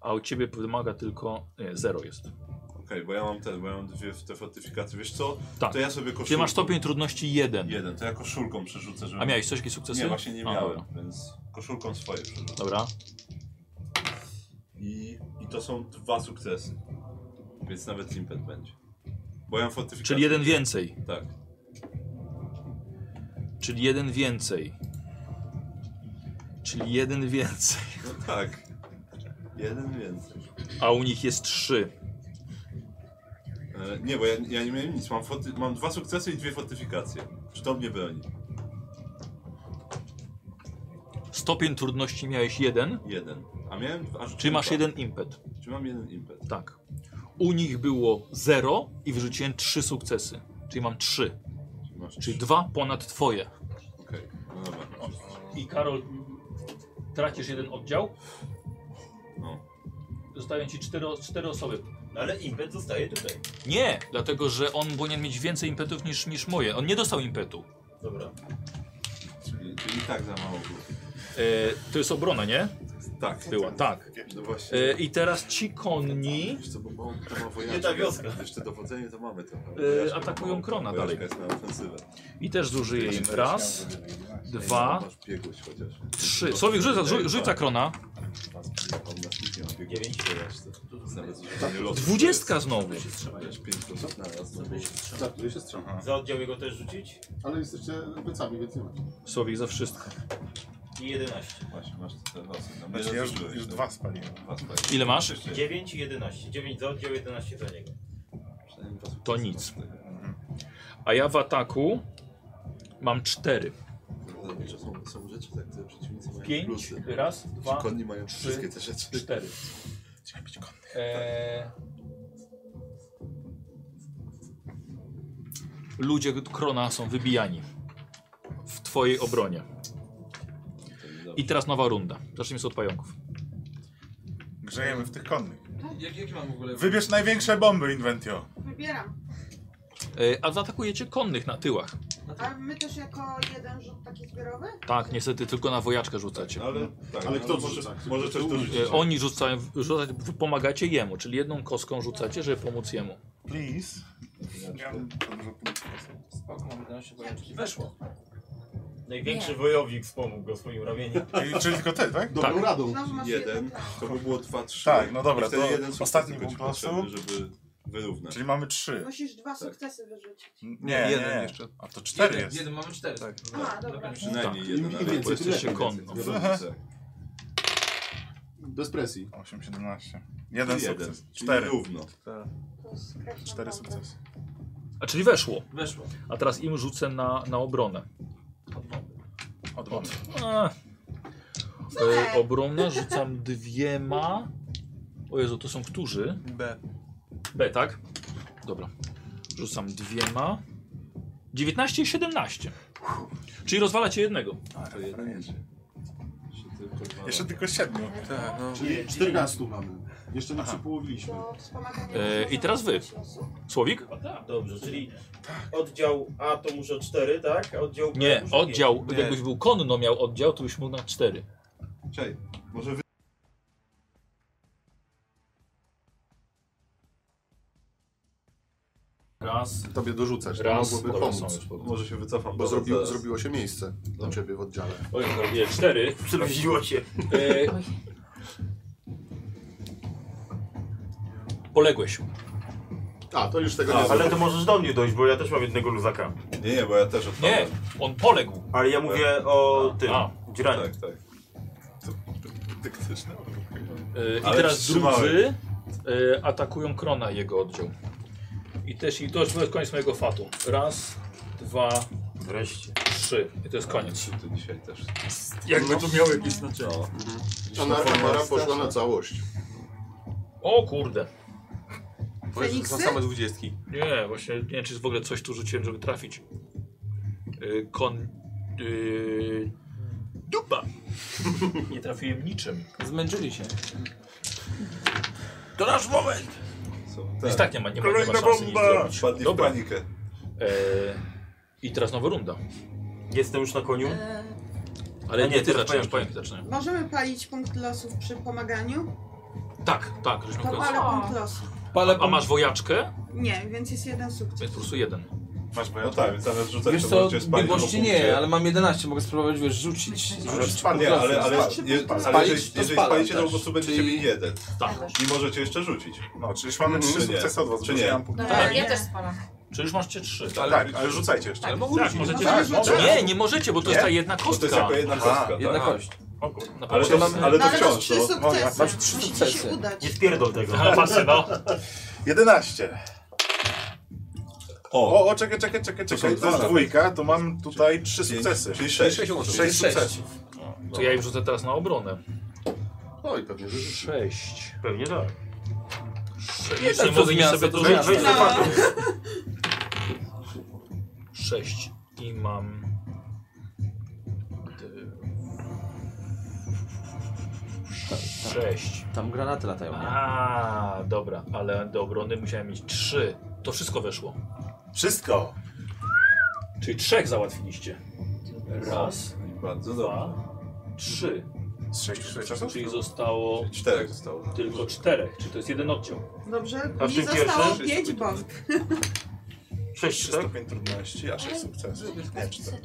Speaker 2: a u ciebie wymaga tylko nie, zero jest.
Speaker 9: Okej, bo ja mam ten, bo ja mam dwie te fortyfikacje. Wiesz co?
Speaker 2: Tak.
Speaker 9: To ja sobie koszulką.
Speaker 2: Ty masz stopień trudności jeden.
Speaker 9: Jeden, to ja koszulką przerzucę, żeby...
Speaker 2: A miałeś coś, jakieś sukcesy?
Speaker 9: Nie, właśnie nie
Speaker 2: A,
Speaker 9: miałem,
Speaker 2: dobra.
Speaker 9: więc koszulką swoje przerzucę.
Speaker 2: Dobra.
Speaker 9: I, I to są dwa sukcesy. Więc nawet limpet będzie. Bo ja mam fortyfikację.
Speaker 2: Czyli jeden więcej.
Speaker 9: Tak.
Speaker 2: Czyli jeden więcej. Czyli jeden więcej.
Speaker 9: No tak. Jeden więcej.
Speaker 2: A u nich jest trzy.
Speaker 9: E, nie, bo ja, ja nie miałem nic. Mam, forty, mam dwa sukcesy i dwie fortyfikacje. Czy to mnie broni?
Speaker 2: Stopień trudności miałeś jeden.
Speaker 9: Jeden. A miałem... A
Speaker 2: Czy
Speaker 9: rzuciłem
Speaker 2: masz
Speaker 9: dwa.
Speaker 2: jeden impet?
Speaker 9: Czy mam jeden impet?
Speaker 2: Tak. U nich było 0 i wyrzuciłem 3 sukcesy. Czyli mam 3.
Speaker 9: masz
Speaker 2: Czyli dwa ponad twoje.
Speaker 9: Okej, no dobra.
Speaker 6: E,
Speaker 2: I Karol, tracisz jeden oddział.
Speaker 9: No.
Speaker 2: Zostają ci 4, osoby.
Speaker 13: No, Ale impet zostaje tutaj.
Speaker 2: Nie, dlatego że on powinien mieć więcej impetów niż, niż moje. On nie dostał impetu.
Speaker 13: Dobra.
Speaker 9: Czyli, czyli tak za mało było.
Speaker 2: E, to jest obrona, nie?
Speaker 9: Tak.
Speaker 2: Była, tak.
Speaker 9: No właśnie.
Speaker 2: E, I teraz ci konni
Speaker 9: Wiesz co, bo mam, to ma wojaczkę.
Speaker 13: Nie ta wioska.
Speaker 9: Jeszcze dowodzenie to mamy trochę.
Speaker 2: e,
Speaker 9: Wojaczka
Speaker 2: atakują
Speaker 9: ma-
Speaker 2: Krona
Speaker 9: wojaczka
Speaker 2: dalej.
Speaker 9: jest na ofensywę.
Speaker 2: I też zużyję im raz, dwa,
Speaker 9: Masz biegłość chociaż.
Speaker 2: trzy. Słowik, rzuca, rzu-
Speaker 9: Tak.
Speaker 2: rzuca Krona.
Speaker 9: On na sztuki ma biegłość w wojaczce. Nawet zużywanie losu.
Speaker 2: Dwudziestka znowu.
Speaker 9: Wiesz, pięć losów na raz. no.
Speaker 14: Za który się strzela.
Speaker 13: Za oddział jego też rzucić?
Speaker 14: Ale jesteście plecami, więc nie macie.
Speaker 2: Słowik za wszystko.
Speaker 13: I 11.
Speaker 9: Właśnie, masz te losy. No,
Speaker 21: Znaczy,
Speaker 9: jeden
Speaker 21: ja już,
Speaker 9: zużyłeś,
Speaker 21: już
Speaker 9: no.
Speaker 21: dwa spaliłem.
Speaker 9: Dwa spaliłeś.
Speaker 2: Ile masz?
Speaker 13: 9 i 11. 9 za oddział, 11 za niego.
Speaker 9: Przynajmniej dwa sukcesy
Speaker 2: To
Speaker 9: masz
Speaker 2: nic.
Speaker 9: wtedy.
Speaker 2: A ja w ataku mam cztery.
Speaker 9: Zobacz, że Są, są rzeczy, tak, które przeciwnicy mają
Speaker 2: Pięć,
Speaker 9: plusy.
Speaker 2: raz, dwa,
Speaker 9: Ci Konni mają
Speaker 2: trzy,
Speaker 9: wszystkie te rzeczy.
Speaker 2: cztery.
Speaker 21: Chciałem być konny.
Speaker 13: E,
Speaker 2: Eee... Ludzie Krona są wybijani w twojej obronie. I teraz nowa runda. Zacznijmy sobie od pająków.
Speaker 21: Grzejemy w tych konnych.
Speaker 19: Jak, jakie mam w ogóle...
Speaker 21: Wybierz największe bomby, Inventio.
Speaker 18: Wybieram.
Speaker 2: E, A zaatakujecie konnych na tyłach.
Speaker 18: A my też jako jeden rzut taki zbiorowy?
Speaker 2: Tak, niestety tylko na wojaczkę rzucacie.
Speaker 3: Ale,
Speaker 21: No,
Speaker 3: tak, ale kto może- rzuca? może też to rzucić.
Speaker 2: E, Oni rzucają, rzucać, wy pomagacie jemu, czyli jedną kostką rzucacie, żeby pomóc jemu.
Speaker 21: Please.
Speaker 19: Spoko, mam 11 wojaczki. Weszło.
Speaker 13: Największy
Speaker 19: Nie.
Speaker 13: wojownik wspomógł go swoim ramieniem.
Speaker 21: Czyli- czyli tylko ty, tak?
Speaker 13: Dobrą
Speaker 21: Tak.
Speaker 13: radą.
Speaker 18: Znowu masz
Speaker 9: Jeden.
Speaker 18: jedno.
Speaker 9: To by było 2, 3.
Speaker 21: Tak, no dobra, to
Speaker 9: jeden sukces
Speaker 21: ostatni
Speaker 9: będzie
Speaker 21: punkt losu.
Speaker 9: potrzebny, żeby wyrównać.
Speaker 21: Czyli mamy trzy.
Speaker 18: Musisz dwa sukcesy wyrzucić.
Speaker 21: Nie, jeden nie. jeszcze. A to cztery
Speaker 19: jeden,
Speaker 21: jest.
Speaker 19: Jeden, mamy cztery. Tak.
Speaker 18: A, dobra.
Speaker 9: Przynajmniej
Speaker 21: Tak.
Speaker 9: jeden,
Speaker 21: Im
Speaker 9: ale
Speaker 21: więcej,
Speaker 9: bo
Speaker 21: tym
Speaker 9: jesteście
Speaker 21: lepiej.
Speaker 9: konno.
Speaker 21: Aha.
Speaker 14: Bez presji.
Speaker 21: 8, 17. Jeden
Speaker 9: Czyli
Speaker 21: sukces.
Speaker 9: jeden, czyli
Speaker 21: Cztery.
Speaker 9: równo.
Speaker 21: Cztery sukcesy.
Speaker 2: A czyli weszło.
Speaker 19: Weszło.
Speaker 2: A teraz im rzucę na, na obronę.
Speaker 21: Od bomby.
Speaker 2: A. E, obronna rzucam dwiema. O Jezu, to są którzy? B. B, tak? Dobra. Rzucam dwiema. 19 i 17. Czyli rozwalacie jednego.
Speaker 9: To jedynczy. Jeszcze tylko dwa.
Speaker 21: Jeszcze tylko siedmiu.
Speaker 7: Tak, no.
Speaker 14: Czyli 14 mamy. Jeszcze nie przypołowiliśmy.
Speaker 2: E, I teraz wy. Słowik?
Speaker 13: tak. Dobrze, czyli oddział A to muszę 4, tak? A oddział B
Speaker 2: Nie,
Speaker 13: muszę
Speaker 2: oddział.
Speaker 13: pięć.
Speaker 2: Jakbyś był konno miał oddział, to byś mógł na 4.
Speaker 9: Czekaj, może wy...
Speaker 2: Raz.
Speaker 1: Tobie dorzucać, to
Speaker 2: Raz.
Speaker 1: mogłoby
Speaker 2: Dobra,
Speaker 1: pomóc.
Speaker 2: są już podobne.
Speaker 9: Może się wycofam.
Speaker 1: Bo
Speaker 9: Dobra,
Speaker 1: zrobiło,
Speaker 9: zaraz.
Speaker 1: zrobiło się miejsce dla ciebie w oddziale.
Speaker 2: Tak. Oj, no, nie, cztery.
Speaker 13: Przewidziło się.
Speaker 2: E, poległeś.
Speaker 1: A, to już tego
Speaker 13: A,
Speaker 1: nie
Speaker 13: ale
Speaker 1: zrobię.
Speaker 13: to możesz do mnie dojść, bo ja też mam jednego luzaka.
Speaker 9: Nie, nie, bo ja też odpadam.
Speaker 2: Nie, on poległ.
Speaker 13: Ale ja mówię o tym,
Speaker 2: A.
Speaker 13: dziraniu.
Speaker 9: Tak, tak. Dyktyczny odruch chyba.
Speaker 2: E, I
Speaker 9: Ale
Speaker 2: teraz
Speaker 9: wstrzymałem.
Speaker 2: drudzy e, atakują Krona i jego oddział. I też i to już jest koniec mojego fatu. Raz, dwa,
Speaker 13: Wreszcie.
Speaker 2: trzy. I to jest koniec.
Speaker 9: Ty dzisiaj też.
Speaker 6: Jakby to miało jakieś znaczenie.
Speaker 2: mhm.
Speaker 1: A na Amara poszła na całość.
Speaker 2: O kurde.
Speaker 7: Feniksy? Są same dwudziestki.
Speaker 2: Nie, właśnie nie wiem, czy jest w ogóle coś tu rzuciłem, żeby trafić. E, kon... E, dupa. Nie trafiłem niczym.
Speaker 7: Zmęczyli się.
Speaker 2: To nasz moment! I tak nie ma, nie ma, nie ma
Speaker 21: Kolejna
Speaker 2: szansy nic
Speaker 21: bomba!
Speaker 2: zrobić.
Speaker 9: Wpadli w panikę.
Speaker 2: E, I teraz nowa runda.
Speaker 13: Jestem już na koniu.
Speaker 18: E,
Speaker 2: Ale
Speaker 13: A
Speaker 2: nie,
Speaker 13: nie,
Speaker 2: ty,
Speaker 13: to jest
Speaker 2: zaczynasz, pająki
Speaker 13: pająki.
Speaker 2: zaczynają.
Speaker 18: Możemy palić punkt losów przy pomaganiu?
Speaker 2: Tak, tak, żeśmy
Speaker 18: To palę punkt losu.
Speaker 2: A, a masz wojaczkę?
Speaker 18: Nie, więc jest jeden sukces.
Speaker 2: Więc po prostu jeden.
Speaker 21: Masz
Speaker 9: No tak, więc zamiast rzucać
Speaker 19: Wiesz
Speaker 9: to
Speaker 19: co,
Speaker 9: możecie spalić
Speaker 19: biegłości
Speaker 9: po
Speaker 19: nie,
Speaker 9: punkcie.
Speaker 19: ale mam 11, mogę spróbować wiesz, rzucić. rzucić
Speaker 9: Rzucić nie, ale, ale,
Speaker 19: punkt
Speaker 9: je,
Speaker 19: losu.
Speaker 9: ale jeżeli,
Speaker 19: to
Speaker 9: jeżeli
Speaker 19: spalam
Speaker 9: spalicie, to po
Speaker 19: też.
Speaker 9: prostu będziecie
Speaker 19: Czyli-
Speaker 9: mieli jeden.
Speaker 2: Tak.
Speaker 9: I możecie jeszcze rzucić.
Speaker 21: No, czyli już mamy
Speaker 9: Mhm.
Speaker 21: trzy
Speaker 9: Czy nie?
Speaker 21: sukcesy od was,
Speaker 9: Czy
Speaker 21: bo
Speaker 9: nie?
Speaker 21: ja mam punkt.
Speaker 19: Tak.
Speaker 10: Dobra, ja też spalam.
Speaker 2: Czy już masz cię Tak. trzy?
Speaker 21: Tak, tak, ale rzucajcie jeszcze.
Speaker 2: Ale
Speaker 21: mogą rzucić.
Speaker 2: możecie
Speaker 21: Tak,
Speaker 2: rzucić.
Speaker 21: mogą.
Speaker 2: Nie, nie możecie, bo to
Speaker 21: Nie?
Speaker 2: jest ta jedna
Speaker 21: Bo to
Speaker 2: kostka.
Speaker 21: jest jako jedna kostka, tak.
Speaker 19: Jedna kość.
Speaker 21: O kurwa.
Speaker 2: Na
Speaker 9: Ale to,
Speaker 2: pewno.
Speaker 9: mam, ale to
Speaker 18: Ale masz
Speaker 9: wciąż,
Speaker 18: trzy
Speaker 9: no.
Speaker 18: sukcesy.
Speaker 19: Masz trzy
Speaker 18: Musi ci się
Speaker 19: sukcesy.
Speaker 18: udać.
Speaker 13: Nie wpierdol tego.
Speaker 2: Patrzę, no.
Speaker 21: 11.
Speaker 9: O,
Speaker 21: O, o, czekaj, czekaj, czekaj,
Speaker 9: To są
Speaker 21: czekaj. To jest
Speaker 9: dwa.
Speaker 21: dwójka, to mam tutaj trzy sukcesy.
Speaker 9: czyli sześć.
Speaker 21: Sześć sukcesów.
Speaker 2: To ja im rzucę teraz na obronę.
Speaker 1: No i pewnie, że
Speaker 2: Sześć.
Speaker 13: Pewnie tak.
Speaker 2: Sze- Jeszcze nie mogę nic sobie dorzucić. Sześć. I mam... Sześć.
Speaker 5: Tam granaty latają, nie?
Speaker 2: A, dobra, ale do obrony musiałem mieć trzy. To wszystko weszło.
Speaker 21: Wszystko.
Speaker 2: Czyli trzech załatwiliście. Raz,
Speaker 9: Bardzo
Speaker 2: dwa, trzy.
Speaker 21: Z sześciu sukcesów?
Speaker 2: Czyli zostało
Speaker 9: Czterech zostało.
Speaker 2: tylko czterech, czyli to jest jeden odciąg.
Speaker 18: Dobrze,
Speaker 13: A w
Speaker 18: mi
Speaker 13: tym
Speaker 18: zostało
Speaker 13: pierwszym?
Speaker 18: pięć bomb.
Speaker 13: 6, tak?
Speaker 21: Stopień trudności, a sześć sukcesów. Nie, cztery.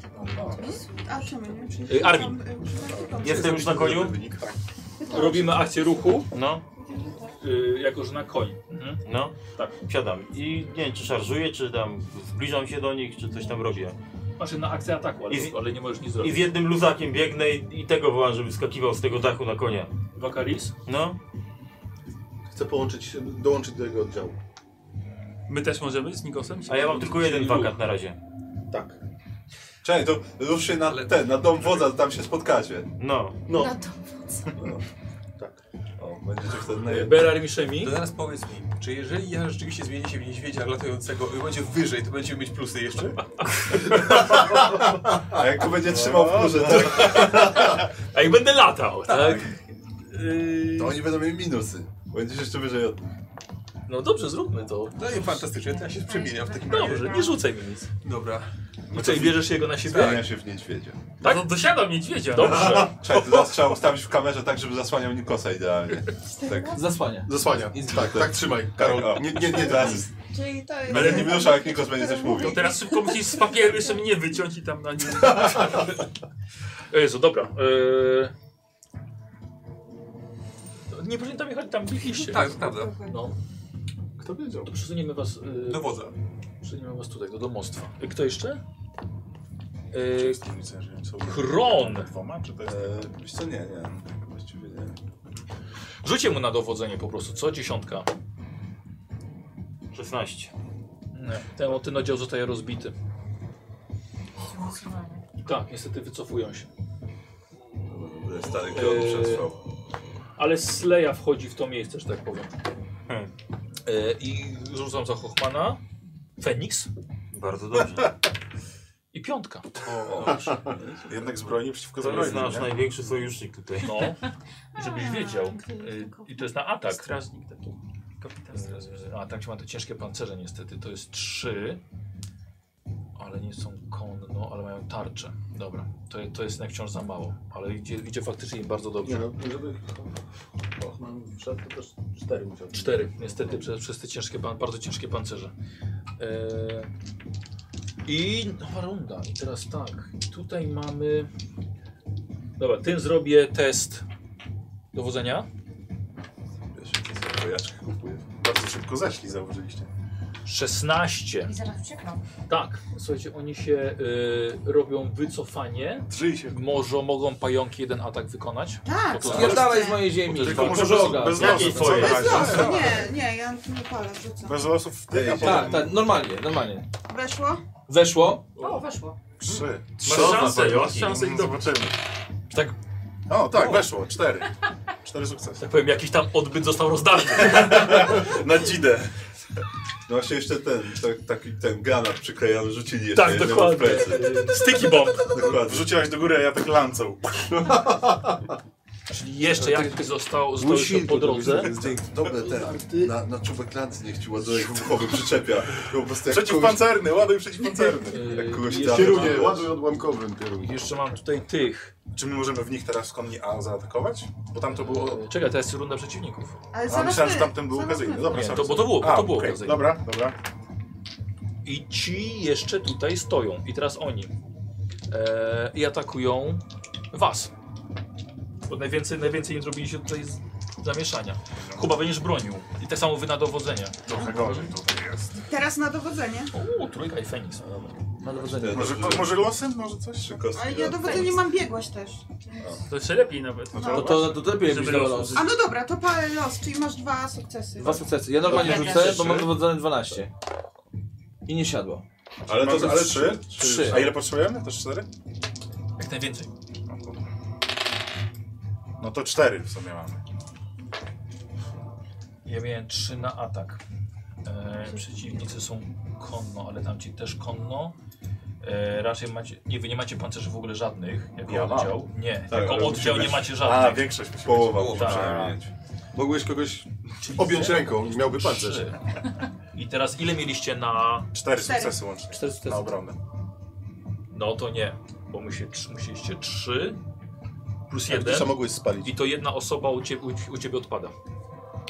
Speaker 18: A czemu nie?
Speaker 2: Y, Armin.
Speaker 13: Jestem już na koniu?
Speaker 9: tak.
Speaker 2: Robimy akcję ruchu,
Speaker 13: No,
Speaker 2: y, jako że na koni. Mhm.
Speaker 13: no.
Speaker 2: Tak.
Speaker 13: Siadam i nie wiem, czy szarżuję, czy tam zbliżam się do nich, czy coś tam robię.
Speaker 2: Masz Znaczy, na akcję ataku, ale,
Speaker 13: I z-
Speaker 2: ale nie możesz nic
Speaker 13: I
Speaker 2: zrobić.
Speaker 13: z jednym luzakiem biegnę i, i tego wołam, żeby skakiwał z tego dachu na konia.
Speaker 2: Wakaris?
Speaker 13: No,
Speaker 1: Chcę połączyć, się- dołączyć do jego oddziału.
Speaker 6: My też możemy z Nikosem?
Speaker 13: a ja mam tylko jeden wakat na razie.
Speaker 1: Tak.
Speaker 9: Czekaj, to rusz się na ten, na dom wodza, tam się spotkacie.
Speaker 13: No.
Speaker 1: No.
Speaker 9: O, będziecie wtedy na jednym.
Speaker 2: Berar Miszemi?
Speaker 7: To teraz powiedz mi, czy jeżeli ja rzeczywiście zmienię się w niedźwiedzia latającego i będzie wyżej, to będziemy mieć plusy jeszcze?
Speaker 10: No,
Speaker 9: A jak go będzie trzymał w górze, tak?
Speaker 2: A jak będę latał, tak?
Speaker 9: To oni będą mieli minusy. Będziesz jeszcze wyżej od nich.
Speaker 10: No dobrze, zróbmy to.
Speaker 19: No i fantastycznie, to ja się przemieniam w takim razie.
Speaker 10: Dobrze, nie rzucaj mi nic.
Speaker 19: Dobra.
Speaker 10: I co, i bierzesz jego na siebie?
Speaker 9: No Zmienia się w niedźwiedzia.
Speaker 10: Tak?
Speaker 6: No to dosiadam niedźwiedzia.
Speaker 10: Dobrze.
Speaker 9: Czekaj, to teraz trzeba ustawić w kamerze tak, żeby zasłaniał Nikosa idealnie. Tak.
Speaker 19: Zasłania.
Speaker 1: Zasłania. Tak, tak, trzymaj. Karol,
Speaker 9: o.
Speaker 1: nie, nie, nie
Speaker 9: Teraz
Speaker 1: drgnij.
Speaker 9: jest-
Speaker 18: Czyli to jest...
Speaker 9: Będę nie wyruszał, jak Nikos będzie coś mówił.
Speaker 6: To teraz szybko musisz z papierysem nie wyciąć i tam na nim.
Speaker 2: O Jezu, dobra. y, Nie pamiętam jechać tam biliście.
Speaker 23: Tak, to prawda.
Speaker 2: No.
Speaker 1: Kto wiedział?
Speaker 2: To przesuniemy was. y,
Speaker 19: Do wodza.
Speaker 2: Przesuniemy was tutaj, do domostwa. Y, Kto jeszcze? Y, Kron!
Speaker 21: Dwoma, czy to jest...
Speaker 9: E, Wiesz co, nie, nie. Właściwie nie.
Speaker 2: Rzucie mu na dowodzenie po prostu, co? Dziesiątka.
Speaker 8: 16.
Speaker 2: Nie. Ten, ten oddział zostaje rozbity. Tak, niestety wycofują się.
Speaker 9: Dobra, Stary klon przetrwał.
Speaker 2: Eee, Ale Sleja wchodzi w to miejsce, że tak powiem.
Speaker 7: Hmm.
Speaker 2: E, I rzucam za Hochmana. Feniks.
Speaker 24: Bardzo dobrze.
Speaker 2: I piątka.
Speaker 21: O, Jednak z broni przeciwko
Speaker 24: To
Speaker 21: zabroni.
Speaker 24: jest nasz największy sojusznik tutaj.
Speaker 2: No, żebyś wiedział. Y, I to jest na atak. Strażnik taki. Kapitan strażnik. A tak ma te ciężkie pancerze niestety. To jest trzy. Ale nie są konno, ale mają tarczę. Dobra, to, to jest jednak wciąż za mało. Ale idzie, idzie faktycznie im bardzo dobrze.
Speaker 21: Nie no, żeby... Och,
Speaker 2: no,
Speaker 21: mam wszedł, to też cztery musiał.
Speaker 2: Cztery, niestety, przez, przez te ciężkie, pan- bardzo ciężkie pancerze. Eee, I nowa runda. I teraz tak, tutaj mamy... Dobra, tym zrobię test dowodzenia.
Speaker 21: Wiesz, jakie zawojaczki kupuję. Bardzo szybko zeszli, zauważyliście.
Speaker 2: 16.
Speaker 20: I zaraz uciekną.
Speaker 2: Tak, słuchajcie, oni się y, robią wycofanie. Może mogą pająki jeden atak wykonać.
Speaker 18: Tak,
Speaker 2: Bo to
Speaker 19: spierdalaj
Speaker 2: zależy-
Speaker 19: z mojej ziemi.
Speaker 2: bo to jest
Speaker 21: Tylko
Speaker 2: walka
Speaker 21: może bez-
Speaker 2: wroga.
Speaker 21: bez
Speaker 2: Jakiej
Speaker 21: losu,
Speaker 2: twojej?
Speaker 21: co?
Speaker 18: Bez losu, nie, nie, ja nie palę, rzucam.
Speaker 21: Bez losów w
Speaker 19: Ej,
Speaker 21: tych, a
Speaker 19: tak,
Speaker 21: potem...
Speaker 19: tak, normalnie, normalnie.
Speaker 18: Weszło?
Speaker 19: Weszło.
Speaker 20: O, weszło.
Speaker 21: Trzy.
Speaker 2: Masz szansę,
Speaker 21: Zobaczymy.
Speaker 2: masz szansę i
Speaker 21: Mhm. Zobaczymy.
Speaker 2: Tak.
Speaker 21: O, tak, weszło. Cztery. Cztery sukcesy.
Speaker 2: Tak powiem, jakiś tam odbyt został rozdarty.
Speaker 21: Na dzidę.
Speaker 9: No właśnie jeszcze ten, tak- taki ten granat przyklejony rzucili jeszcze
Speaker 2: Tak,
Speaker 9: jednemu
Speaker 2: dokładnie.
Speaker 9: w plecy.
Speaker 2: Sticky bomb.
Speaker 9: Dokładnie.
Speaker 21: Wrzuciłaś do góry, a ja tak lancą.
Speaker 2: Czyli jeszcze jakiś został, został jeszcze po drodze.
Speaker 9: Dobre ten, na, na czubek lancy niech ci ładuje wybuchowy przyczepia. Po prostu jak kogoś,
Speaker 21: Przeciwpancerny, ładuj przeciwpancerny.
Speaker 9: jak kogoś
Speaker 2: Jeszcze
Speaker 9: trafi,
Speaker 2: kierunek,
Speaker 9: wiesz.
Speaker 1: Ładuj odłamkowym kierunku.
Speaker 2: Jeszcze mam tutaj tych.
Speaker 21: Czy my możemy w nich teraz konni A zaatakować? Bo tam to było...
Speaker 2: Czekaj, to jest runda przeciwników.
Speaker 18: Ale
Speaker 21: A
Speaker 18: zaraz
Speaker 21: myślałem,
Speaker 18: my,
Speaker 21: że tamten był
Speaker 18: zaraz
Speaker 21: okazyjny.
Speaker 18: my.
Speaker 21: Dobra,
Speaker 2: Nie,
Speaker 21: sorry,
Speaker 2: to- bo
Speaker 21: sorry.
Speaker 2: to było- bo
Speaker 21: A,
Speaker 2: to było
Speaker 21: okej.
Speaker 2: okazyjne.
Speaker 21: Dobra, dobra.
Speaker 2: I ci jeszcze tutaj stoją. I teraz oni. E, I atakują was. Bo najwięcej, najwięcej im zrobiliście tutaj z, zamieszania. Chyba będziesz bronił. I tak samo wy na dowodzenie.
Speaker 21: Trochę gorzej tutaj jest.
Speaker 18: Teraz na dowodzenie.
Speaker 2: O, trójka i Feniks. No dobra.
Speaker 19: Na dowodzenie.
Speaker 21: Może, może losy? Może coś?
Speaker 18: Ale ja dowodzenie mam biegłość też.
Speaker 6: To jeszcze lepiej nawet.
Speaker 19: No to, to, to lepiej
Speaker 6: Żeby
Speaker 19: byś
Speaker 6: los-
Speaker 19: dał
Speaker 18: A no dobra, to palę los, czyli masz dwa sukcesy.
Speaker 19: Dwa sukcesy. Ja normalnie
Speaker 18: Dobra.
Speaker 19: rzucę, bo mam dowodzone 12. I nie siadło.
Speaker 21: Ale
Speaker 19: Mam
Speaker 21: to ale trzy?
Speaker 19: Trzy.
Speaker 21: A ile potrzebujemy? Też cztery?
Speaker 2: Jak najwięcej.
Speaker 21: No to cztery w sumie mamy.
Speaker 2: Ja miałem 3 na atak. E, przeciwnicy są konno, ale tam ci też konno. E, raczej macie. Nie, wy nie macie pancerzy w ogóle żadnych. Jako
Speaker 21: Ja mam.
Speaker 2: oddział. Nie,
Speaker 9: Tak, ale
Speaker 2: jako oddział
Speaker 9: musimy-
Speaker 2: nie macie
Speaker 21: A,
Speaker 2: żadnych.
Speaker 21: większość musi
Speaker 9: Połowa
Speaker 21: być.
Speaker 9: musi
Speaker 2: Tak.
Speaker 9: przynajmniej mieć.
Speaker 1: Mogłeś kogoś objąć ręką i miałby pancerz.
Speaker 2: Trzy. I teraz ile mieliście na.
Speaker 21: Cztery
Speaker 18: Cztery.
Speaker 21: sukcesy łącznie.
Speaker 19: Cztery sukcesy.
Speaker 21: Na obronę.
Speaker 2: No to nie, bo musie- trz- musieliście 3 plus
Speaker 1: A gdzie
Speaker 2: 1.
Speaker 1: co mogłeś spalić?
Speaker 2: I to jedna osoba u ciebie, u ciebie odpada.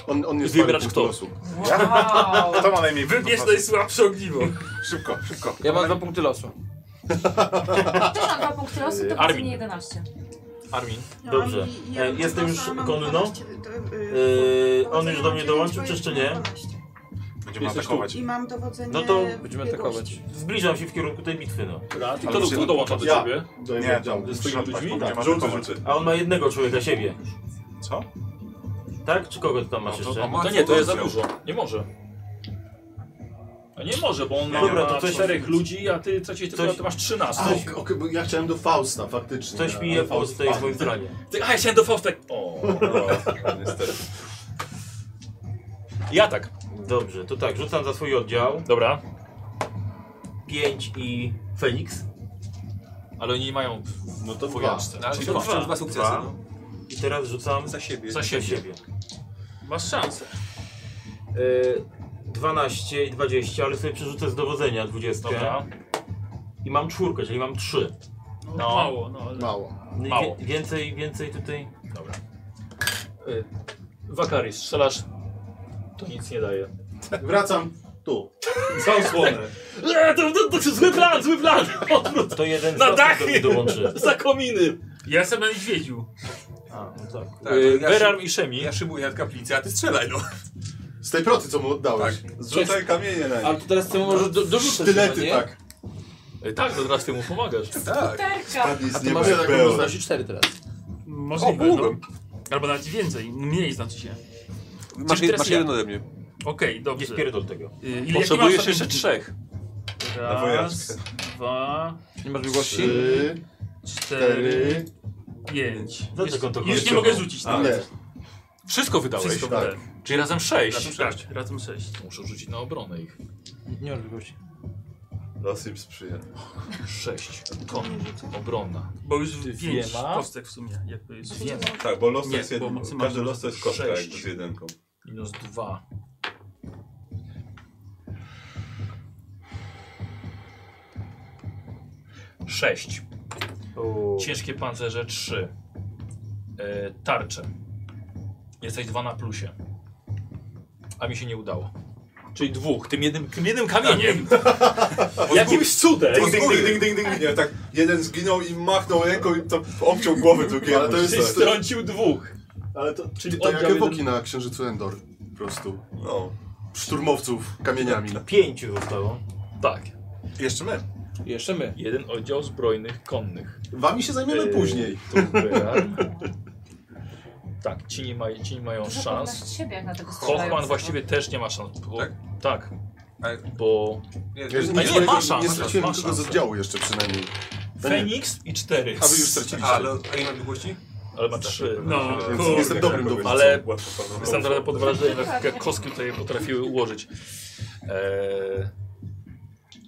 Speaker 1: On, on nie
Speaker 2: Wybrać
Speaker 1: spalił
Speaker 2: kto.
Speaker 1: losu.
Speaker 6: Wow.
Speaker 21: To ma najmniej
Speaker 6: Wybierz
Speaker 21: punktów.
Speaker 6: najsłabsze ogniwo.
Speaker 21: Szybko, szybko.
Speaker 19: Ja mam dwa punkty losu.
Speaker 20: Też mam dwa punkty losu, to będzie
Speaker 2: Armin.
Speaker 20: nie 11.
Speaker 2: Armin.
Speaker 18: Ja
Speaker 8: Dobrze.
Speaker 18: mam- No, ja
Speaker 8: E,
Speaker 18: mam
Speaker 8: Jestem już
Speaker 18: dwa, mam
Speaker 8: konno.
Speaker 18: 12, to, y,
Speaker 8: E, On już do mnie dołączył, czy jeszcze nie?
Speaker 21: Będziemy
Speaker 19: Jesteś
Speaker 21: atakować.
Speaker 18: I mam dowodzenie
Speaker 8: No to
Speaker 19: Będziemy
Speaker 18: biegłości.
Speaker 19: atakować.
Speaker 8: Zbliżam się w kierunku tej bitwy, no.
Speaker 2: Dobra,
Speaker 21: Ale
Speaker 2: kto,
Speaker 21: się-
Speaker 2: kto dołącza do
Speaker 21: ja.
Speaker 2: ciebie?
Speaker 21: Nie,
Speaker 2: Ze
Speaker 21: tam
Speaker 2: swoimi
Speaker 21: przyszedł,
Speaker 2: ludźmi?
Speaker 21: bo będziemy
Speaker 9: Żółty,
Speaker 21: atakować.
Speaker 9: żółty.
Speaker 8: A on ma jednego człowieka siebie,
Speaker 21: Co?
Speaker 8: tak? Czy kogo ty tam masz
Speaker 2: No
Speaker 8: jeszcze?
Speaker 2: To nie, to jest za dużo. Nie może. A nie może, bo on
Speaker 8: No
Speaker 2: ma
Speaker 8: dobra, to coś-
Speaker 2: czterech ludzi, a ty, co ci, ty,
Speaker 8: Coś-
Speaker 2: ty masz 13.
Speaker 1: A, ok, ok, bo ja chciałem do Fausta, faktycznie.
Speaker 8: Coś mi
Speaker 1: ale
Speaker 8: jebał
Speaker 1: Faust
Speaker 8: z tej
Speaker 1: padł.
Speaker 8: mojej branie.
Speaker 2: Ty, a ja się do Faustek. O.
Speaker 9: Niestety.
Speaker 2: Ja tak.
Speaker 8: Dobrze, to tak, rzucam za swój oddział.
Speaker 2: Dobra.
Speaker 8: 5 i Feniks.
Speaker 2: Ale oni nie mają
Speaker 1: No to
Speaker 2: wojaczce.
Speaker 23: Ale
Speaker 2: Czyli
Speaker 23: to
Speaker 2: dwa.
Speaker 23: wciąż dwa sukcesy.
Speaker 8: Dwa.
Speaker 23: No.
Speaker 8: I teraz rzucam
Speaker 10: Za siebie.
Speaker 8: Za siebie.
Speaker 10: Masz szansę.
Speaker 8: Y, 12 i 20, ale sobie przerzucę z dowodzenia 20.
Speaker 2: Dobra.
Speaker 8: I mam czwórkę, czyli mam 3.
Speaker 2: No, mało, no, ale- Mało. Mało.
Speaker 8: Więcej, więcej tutaj.
Speaker 2: Dobra. Y, Wakari, strzelasz. To nic nie daje.
Speaker 21: Wracam tu.
Speaker 2: Za osłonę. Eee, to, to, to zły plan, zły plan! Odwrót.
Speaker 8: To jeden
Speaker 2: Na
Speaker 8: z was
Speaker 2: dachy!
Speaker 8: do- dołączy.
Speaker 2: Za kominy!
Speaker 6: Ja sobie będę świedził.
Speaker 8: A, no tak.
Speaker 2: Tak, Y, ja Beram
Speaker 25: i Szemi. Ja szybuję od kaplicy, a ty strzelaj no.
Speaker 1: Z tej procy, co mu oddałeś.
Speaker 21: Tak.
Speaker 9: Zrzucaj kamienie na nie.
Speaker 19: Ale to teraz ty możesz do, dorzucać
Speaker 1: Sztylety,
Speaker 19: chyba, nie?
Speaker 1: tak.
Speaker 2: Y, Tak, to teraz ty mu pomagasz.
Speaker 19: Tak.
Speaker 6: Spadnij z
Speaker 19: A ty
Speaker 6: nieba
Speaker 19: masz
Speaker 6: jak
Speaker 19: taką
Speaker 6: było.
Speaker 19: razy cztery teraz.
Speaker 6: Możliwe,
Speaker 19: O,
Speaker 6: no.
Speaker 19: byłbym.
Speaker 6: Albo nawet więcej, mniej znaczy się.
Speaker 25: Masz,
Speaker 6: Czyli teraz
Speaker 25: masz
Speaker 6: ja.
Speaker 25: jeden ode mnie.
Speaker 6: Okej, dobrze.
Speaker 8: Nie spierdol tego.
Speaker 6: Y, ile-
Speaker 25: Potrzebujesz
Speaker 6: jakie masz
Speaker 25: jeszcze
Speaker 6: stopień?
Speaker 25: trzech. Na wojaczkę.
Speaker 6: Raz, dwa...
Speaker 19: Nie masz biegłości?
Speaker 6: trzy,
Speaker 19: cztery,
Speaker 6: Cztery... Pięć.
Speaker 8: Dlaczego on to
Speaker 6: Już nie
Speaker 8: kończy?
Speaker 6: mogę rzucić
Speaker 8: A,
Speaker 6: nawet.
Speaker 2: tak. Wszystko wydałeś?
Speaker 6: Wszystko
Speaker 2: Tak.
Speaker 6: wydałem.
Speaker 2: Czyli razem sześć?
Speaker 6: Razem sześć. Tak, razem sześć.
Speaker 2: Muszę rzucić na obronę ich.
Speaker 19: Nie masz biegłości.
Speaker 9: Los im sprzyja.
Speaker 2: Sześć. Kon. Obronna.
Speaker 6: Bo już
Speaker 2: Ty
Speaker 6: pięć
Speaker 2: wiema?
Speaker 6: kostek w sumie, jakby jest.
Speaker 2: Wiema.
Speaker 9: Tak, bo los to
Speaker 6: Nie,
Speaker 9: jest
Speaker 6: bo
Speaker 9: jeden.
Speaker 6: maksymalnie.
Speaker 9: Każdy los to jest kostka
Speaker 2: Sześć.
Speaker 9: jakby z jedynką.
Speaker 2: Minus dwa. Sześć. Ciężkie pancerze trzy. E, tarcze. Jesteś dwa na plusie. A mi się nie udało. Czyli dwóch, tym jednym, Tak, tym jednym kamieniem. Jakimś cudem.
Speaker 9: Ding, ding, ding, ding, ding, ding. Nie, tak jeden zginął i machnął ręką i to obciął głowę drugiemu.
Speaker 1: Ale to jest-
Speaker 9: Czyli
Speaker 1: to-
Speaker 2: Strącił dwóch.
Speaker 1: Ale to, czyli to
Speaker 2: oddał
Speaker 1: jak
Speaker 2: jeden-
Speaker 1: epoki na księżycu Endor. Po prostu.
Speaker 9: No.
Speaker 1: Szturmowców kamieniami.
Speaker 8: Pięciu zostało.
Speaker 2: Tak.
Speaker 1: Jeszcze my.
Speaker 19: Jeszcze my.
Speaker 2: Jeden oddział zbrojnych konnych.
Speaker 1: Wami się zajmiemy
Speaker 2: Eee,
Speaker 1: później.
Speaker 2: tu Beran. tak, ci nie, maj, ci nie mają
Speaker 20: Dużo
Speaker 2: szans.
Speaker 20: pewności siebie, jak na tego strzelają.
Speaker 2: Hochman właściwie też nie ma szans. Bo, tak? Bo...
Speaker 1: Nie,
Speaker 2: A
Speaker 1: nie,
Speaker 2: nie, ma szans.
Speaker 1: nie straciłem
Speaker 2: ma
Speaker 1: nikogo z
Speaker 2: szansę.
Speaker 1: oddziału jeszcze przynajmniej. To nie.
Speaker 2: Feniks i cztery.
Speaker 1: A wy już straciliście.
Speaker 2: Ale,
Speaker 1: Ale-
Speaker 19: a ile ma biegłości?
Speaker 2: ale ma trzy.
Speaker 1: No, Więc kurde. jestem dobrym dowódcą.
Speaker 2: Ale
Speaker 1: Łatwo panu.
Speaker 2: jestem trochę pod wrażeniem, jak- jak kostki tutaj potrafiły ułożyć. Eee...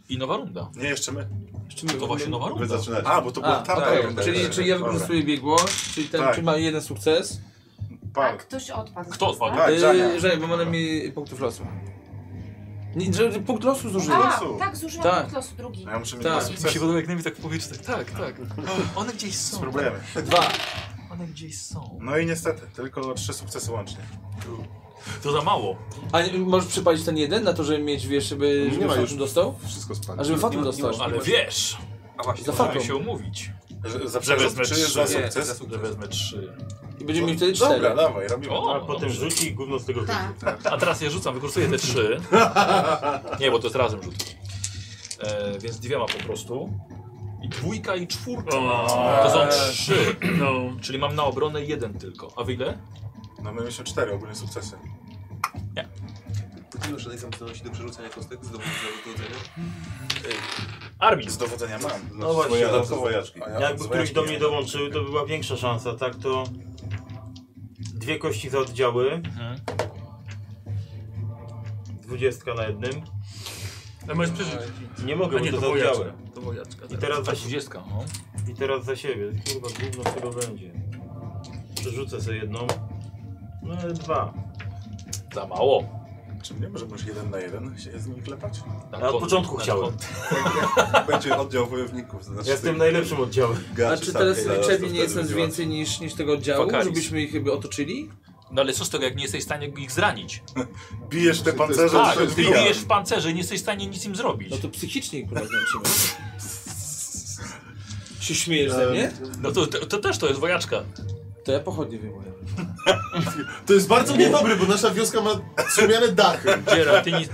Speaker 2: I nowa runda.
Speaker 1: Nie, jeszcze my.
Speaker 19: Jeszcze my.
Speaker 2: To właśnie nowa runda.
Speaker 21: A, bo to była tamta runda.
Speaker 19: Czyli
Speaker 21: Tak,
Speaker 19: czy ja
Speaker 21: dobra.
Speaker 19: wykorzystuję biegłość, czyli ten,
Speaker 21: Tak.
Speaker 19: czy ma jeden sukces?
Speaker 20: A Tak, ktoś odpadł. Tak,
Speaker 19: Kto
Speaker 20: odpadł?
Speaker 21: Tak,
Speaker 19: Yy, Żenia, bo ma mi punktów losu. Nie, że że punkt losu zużyłem.
Speaker 20: A, tak, zużyłam punkt losu drugi.
Speaker 21: No
Speaker 19: Ja muszę mieć
Speaker 2: Tak.
Speaker 19: dwa
Speaker 2: Mi
Speaker 19: sukcesy.
Speaker 2: się podoba jak Nemi tak w powietrzu, tak, tak, tak. One gdzieś są.
Speaker 21: Spróbujemy.
Speaker 19: Dwa.
Speaker 2: One gdzieś są.
Speaker 21: No i niestety, tylko trzy sukcesy łącznie.
Speaker 2: To za mało.
Speaker 19: A nie, możesz przypalić ten jeden na to, żeby mieć, wiesz, żeby,
Speaker 21: No
Speaker 19: żeby
Speaker 21: ma
Speaker 19: Fatum
Speaker 21: już.
Speaker 19: Yy, dostał?
Speaker 21: Wszystko spadło.
Speaker 19: A żeby Fatum
Speaker 21: Nie ma- nie
Speaker 19: dostał.
Speaker 21: ma- ale
Speaker 2: wiesz.
Speaker 19: A właśnie, za
Speaker 2: Możemy
Speaker 19: Fatum.
Speaker 2: się umówić.
Speaker 21: Że-
Speaker 2: Że,
Speaker 21: za
Speaker 2: że wezmę
Speaker 21: czy
Speaker 2: trzy.
Speaker 21: za
Speaker 2: Nie,
Speaker 21: sukces?
Speaker 2: za Że wezmę trzy.
Speaker 19: I będziemy mieli wtedy
Speaker 21: Dobra,
Speaker 19: cztery.
Speaker 21: dawaj, robimy.
Speaker 2: O,
Speaker 8: A potem
Speaker 2: dobrze.
Speaker 8: rzuci i gówno z tego
Speaker 26: Tak.
Speaker 8: wyjdzie.
Speaker 2: A teraz ja rzucam, wykorzystuję te trzy. Nie, bo to jest razem rzut. E, więc dwiema po prostu. I dwójka i czwórka.
Speaker 21: O.
Speaker 2: To są trzy.
Speaker 6: No.
Speaker 2: Czyli mam na obronę jeden tylko. A wy ile?
Speaker 21: No my mieliśmy cztery ogólnie sukcesy.
Speaker 10: Wrócimy żadnej zamknęłości do przerzucania kostek z dowodu do dowodzenia.
Speaker 2: Armii.
Speaker 21: Z dowodzenia mam.
Speaker 10: No
Speaker 8: Znaczy,
Speaker 10: właśnie,
Speaker 21: Woja-
Speaker 10: no
Speaker 21: z
Speaker 10: to-
Speaker 21: wojaczki.
Speaker 10: a ja
Speaker 21: Z
Speaker 8: Jakby któryś
Speaker 21: wojaczki
Speaker 8: do
Speaker 21: nie
Speaker 8: mnie
Speaker 21: mam.
Speaker 8: dołączył, to by była większa szansa, tak to... Dwie kości za oddziały. Dwudziestka na jednym.
Speaker 6: Ale możesz
Speaker 19: No
Speaker 6: przeżyć.
Speaker 8: Nie mogę,
Speaker 6: A nie,
Speaker 8: bo to,
Speaker 6: to
Speaker 8: za
Speaker 6: wojaczka,
Speaker 8: oddziały.
Speaker 6: to wojaczka
Speaker 8: I
Speaker 6: teraz.
Speaker 8: teraz za
Speaker 2: A dwudziestka, no.
Speaker 8: I teraz za siebie. Kurwa, gówno z tego będzie. Przerzucę sobie jedną. No ale dwa.
Speaker 2: Za mało.
Speaker 21: Czy nie możemy już jeden na jeden się z nimi klepać?
Speaker 8: Na Ja od kon- początku na chciałem. kon-
Speaker 21: Jak- jak Będzie oddział wojowników. To znaczy
Speaker 8: Jestem
Speaker 21: tych-
Speaker 8: najlepszym oddziałem.
Speaker 21: Gaczy
Speaker 19: Znaczy
Speaker 21: samych,
Speaker 19: teraz
Speaker 21: zaraz to
Speaker 19: liczebnie
Speaker 21: wtedy
Speaker 19: nie jest nas
Speaker 21: będzie
Speaker 19: więcej niż, niż tego oddziału,
Speaker 2: Wakaris.
Speaker 19: żebyśmy ich jakby otoczyli?
Speaker 2: No ale co z tego, jak nie jesteś w stanie ich zranić?
Speaker 21: Bijesz te pancerze,
Speaker 2: Tak,
Speaker 21: to
Speaker 2: ty
Speaker 21: jest bijam.
Speaker 2: bijesz w pancerze, nie jesteś w stanie nic im zrobić.
Speaker 19: No to psychicznie ich rozłączymy. Się śmiejesz ze
Speaker 2: Ehm,
Speaker 19: mnie?
Speaker 2: No to, to, to też to jest wojaczka.
Speaker 19: To ja pochodnie wyjmuję.
Speaker 1: To jest bardzo niedobre, bo nasza wioska ma słomiane dachy.
Speaker 2: Dziera, ty nic...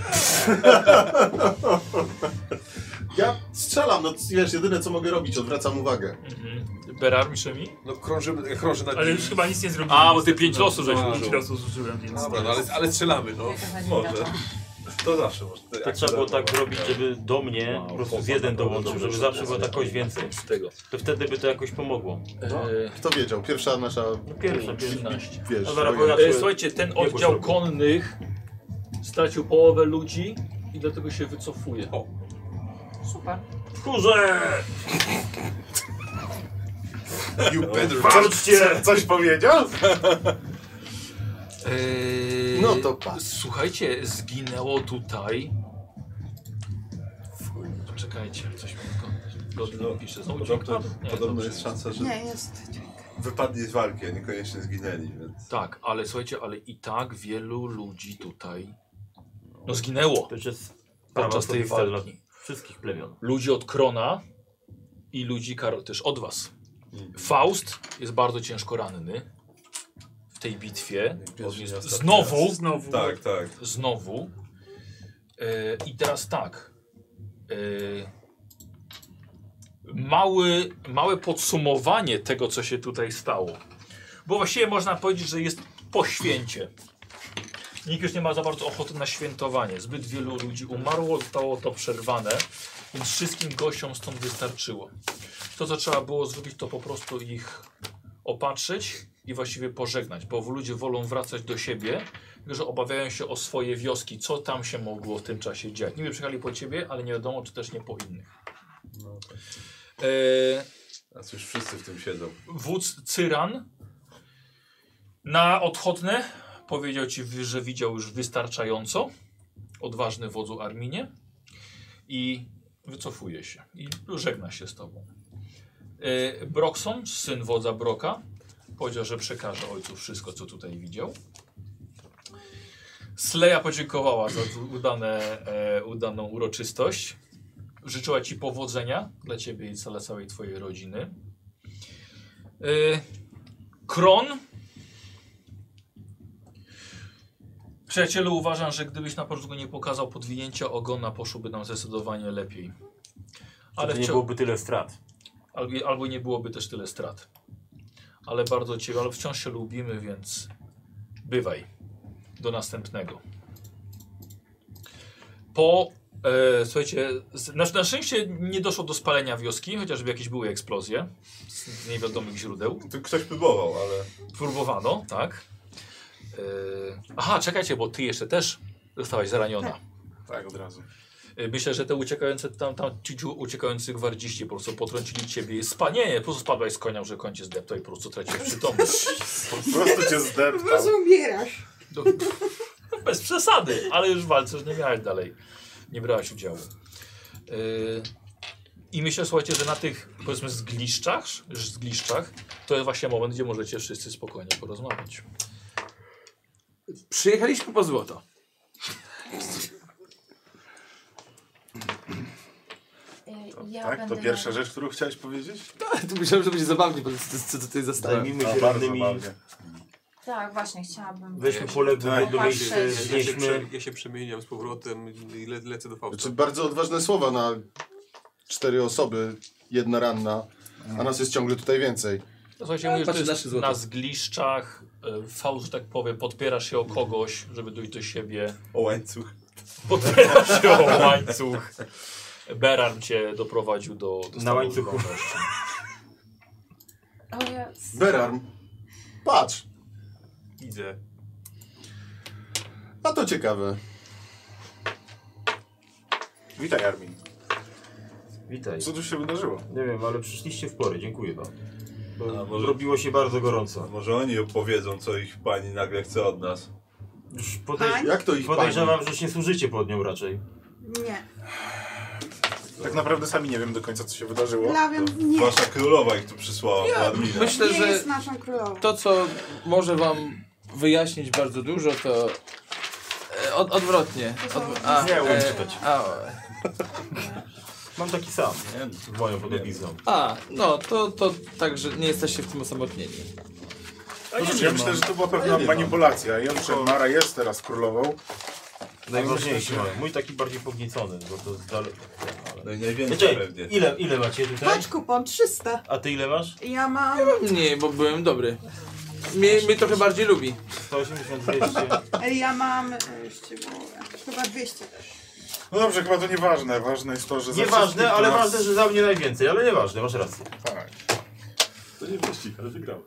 Speaker 1: Ja strzelam, no wiesz, jedyne co mogę robić, odwracam uwagę.
Speaker 2: Mhm. Berar, Miszemi?
Speaker 1: No krążymy, krąży nad
Speaker 6: Ale już chyba nic nie zrobiłem.
Speaker 2: A, bo ty pięć losów żeś
Speaker 6: No, Pięć
Speaker 2: użył.
Speaker 6: losów zużyłem, więc...
Speaker 2: Dobra,
Speaker 6: to
Speaker 2: no ale-
Speaker 6: jest-
Speaker 2: ale strzelamy, no.
Speaker 9: Może. To zawsze może.
Speaker 8: To trzeba było tak zrobić, żeby do mnie
Speaker 21: No,
Speaker 8: po prostu z jeden dołączył, żeby zawsze była
Speaker 5: tak
Speaker 8: ta kość więcej. To wtedy by to jakoś pomogło.
Speaker 1: No, kto wiedział? Pierwsza nasza...
Speaker 6: No,
Speaker 8: pierwsza, pierwsza.
Speaker 1: Wiesz,
Speaker 8: No dobra,
Speaker 1: wojna.
Speaker 8: bo ja-
Speaker 2: E, Słuchajcie, ten
Speaker 8: Biegłość
Speaker 2: oddział
Speaker 8: robię.
Speaker 2: konnych stracił połowę ludzi i dlatego się wycofuje. O.
Speaker 20: Super.
Speaker 8: Kurze!
Speaker 21: You better
Speaker 2: Walczcie!
Speaker 21: Co- Coś powiedział?
Speaker 2: Eee,
Speaker 21: No to patrz.
Speaker 2: Słuchajcie, zginęło tutaj. Fuj, Czekajcie, coś mi
Speaker 21: No.
Speaker 2: godnie pisze. Znowu
Speaker 9: Podobno,
Speaker 2: dźwięk padł? Nie,
Speaker 9: podobno
Speaker 2: dobrze
Speaker 9: jest szansa, że
Speaker 18: Nie, jest.
Speaker 9: wypadnie z walki, a niekoniecznie zginęli, więc...
Speaker 2: Tak, ale słuchajcie, ale i tak wielu ludzi tutaj no zginęło.
Speaker 5: To już jest
Speaker 2: podczas
Speaker 5: sprawa
Speaker 2: tej
Speaker 5: osobista dla
Speaker 2: walki.
Speaker 5: wszystkich plemion.
Speaker 2: Ludzi od Krona i ludzi Karol też od was.
Speaker 5: Mhm.
Speaker 2: Faust jest bardzo ciężko ranny w tej bitwie. On jest
Speaker 9: ostatni
Speaker 2: znowu,
Speaker 9: raz. Znowu. Tak, tak.
Speaker 2: Znowu. E, I teraz tak. E, mały, małe podsumowanie tego, co się tutaj stało. Bo właściwie można powiedzieć, że jest po święcie. Nikt już nie ma za bardzo ochoty na świętowanie. Zbyt wielu ludzi umarło, zostało to przerwane, więc wszystkim gościom stąd wystarczyło. To, co trzeba było zrobić, to po prostu ich opatrzyć i właściwie pożegnać, bo ludzie wolą wracać do siebie, tylko że obawiają się o swoje wioski, co tam się mogło w tym czasie dziać. Niby przyjechali po ciebie, ale nie wiadomo, czy też nie po innych.
Speaker 13: E,
Speaker 9: A cóż, wszyscy w tym siedzą.
Speaker 2: Wódz Cyran na odchodne powiedział ci, że widział już wystarczająco. Odważny wodzu Arminie. I wycofuje się. I żegna się z tobą. E, Brokson, syn wodza Broka, powiedział, że przekaże ojcu wszystko, co tutaj widział. Sleja podziękowała za udane, e, udaną uroczystość. Życzyła ci powodzenia dla ciebie i dla całej twojej rodziny. E, Kron. Przyjacielu, uważam, że gdybyś na początku nie pokazał podwinięcia ogona, poszłoby nam zdecydowanie lepiej.
Speaker 5: Żeby nie
Speaker 2: wciąż-
Speaker 5: byłoby tyle strat.
Speaker 2: Albo, albo nie byłoby też tyle strat. Ale bardzo cię, ale wciąż się lubimy, więc bywaj. Do następnego. Po, e, słuchajcie, z, na, na szczęście nie doszło do spalenia wioski, chociażby jakieś były eksplozje z niewiadomych źródeł.
Speaker 9: Ktoś próbował, ale...
Speaker 2: Próbowano, tak. E, aha, czekajcie, bo ty jeszcze też zostałaś zraniona.
Speaker 21: Tak, od razu.
Speaker 2: E, Myślę, że te uciekające tam, tam ci dziu- uciekający gwardziści po prostu potrącili ciebie i spanieje. Po prostu spadłaś z konia, że koń cię zdeptał i po prostu traciłeś przytomność.
Speaker 21: Po prostu cię
Speaker 18: Po
Speaker 21: zdeptał.
Speaker 18: prostu umierasz.
Speaker 2: No, bez przesady, ale już w walce już nie miałeś dalej. Nie brałaś udziału. Yy, I myślę, słuchajcie, że na tych powiedzmy zgliszczach, zgliszczach to jest właśnie moment, gdzie możecie wszyscy spokojnie porozmawiać.
Speaker 19: Przyjechaliśmy po złoto.
Speaker 20: Y, Ja
Speaker 21: Tak?
Speaker 20: będę
Speaker 21: To pierwsza rzecz, którą chciałeś powiedzieć?
Speaker 19: Tu Tak, myślałem, że będzie zabawnie, bo co tutaj zastałem.
Speaker 21: Zajmijmy się rannymi-
Speaker 20: Tak, właśnie, chciałabym.
Speaker 7: Ja się, prze, ja się przemieniam z powrotem i le, lecę do Fausta.
Speaker 1: Znaczy, bardzo odważne słowa na cztery osoby, jedna ranna, a nas jest ciągle tutaj więcej.
Speaker 2: No Słuchajcie, mówię, że to jest na zgliszczach, y, fałsz, że tak powiem, podpierasz się o kogoś, żeby dojść do siebie.
Speaker 9: O łańcuch.
Speaker 2: Podpierasz się o łańcuch. Beran cię doprowadził do, do stanu
Speaker 5: łańcuchu.
Speaker 2: żywotności.
Speaker 20: O, jest.
Speaker 1: Berarm, patrz,
Speaker 2: Idę.
Speaker 1: a to ciekawe.
Speaker 21: Witaj, Armin.
Speaker 5: Witaj.
Speaker 21: Co tu się wydarzyło?
Speaker 5: Nie wiem, ale przyszliście w porę, dziękuję wam. Bo
Speaker 8: No.
Speaker 9: A może-
Speaker 5: Robiło się bardzo gorąco.
Speaker 9: Może oni opowiedzą, co ich pani nagle chce od nas.
Speaker 5: Już podej...
Speaker 1: Jak to ich
Speaker 5: Podejrzewam,
Speaker 9: pani?
Speaker 5: że się służycie pod nią raczej.
Speaker 18: Nie.
Speaker 21: Tak naprawdę sami nie wiem do końca, co się wydarzyło.
Speaker 18: Ja wiem, nie.
Speaker 9: Wasza królowa ich tu przysłała,
Speaker 19: Ja
Speaker 9: ja, Admina.
Speaker 19: myślę,
Speaker 18: nie
Speaker 19: że
Speaker 18: jest naszą królową.
Speaker 19: to, co może wam wyjaśnić bardzo dużo, to e, od, odwrotnie. e,
Speaker 18: To są-
Speaker 5: Nie, umiem czytać.
Speaker 19: a, o.
Speaker 5: Mam taki sam,
Speaker 9: no,
Speaker 5: nie? Z moją podobizną.
Speaker 19: a, no, to, to tak, że nie jesteście w tym osamotnieni.
Speaker 21: No cóż, ja myślę, że to była pewna manipulacja. Ja muszę, Mara jest teraz królową.
Speaker 5: Najważniejszy
Speaker 21: A myślę,
Speaker 5: mam. Mój taki bardziej pogniecony, bo to jest dalej. Ale...
Speaker 9: Najwięcej
Speaker 5: Znaczy,
Speaker 9: pewnie.
Speaker 5: Ile, ile macie
Speaker 19: Tak?
Speaker 5: tutaj?
Speaker 18: Patrz kupon, 300.
Speaker 5: A ty ile masz?
Speaker 18: Ja mam...
Speaker 19: Nie, bo byłem dobry. Mnie, mnie trochę bardziej lubi.
Speaker 5: 180, 200.
Speaker 18: Ja mam... e, ściegowe. Chyba 200 też.
Speaker 21: No dobrze, chyba to nieważne. Ważne jest to, że...
Speaker 13: znaczy,
Speaker 21: za
Speaker 5: Nieważne,
Speaker 21: wszystkich
Speaker 5: ale
Speaker 21: nas-
Speaker 5: ważne, że za mnie najwięcej, ale nieważne, masz rację.
Speaker 21: Tak.
Speaker 9: To nie wyścig, ale wygrałem.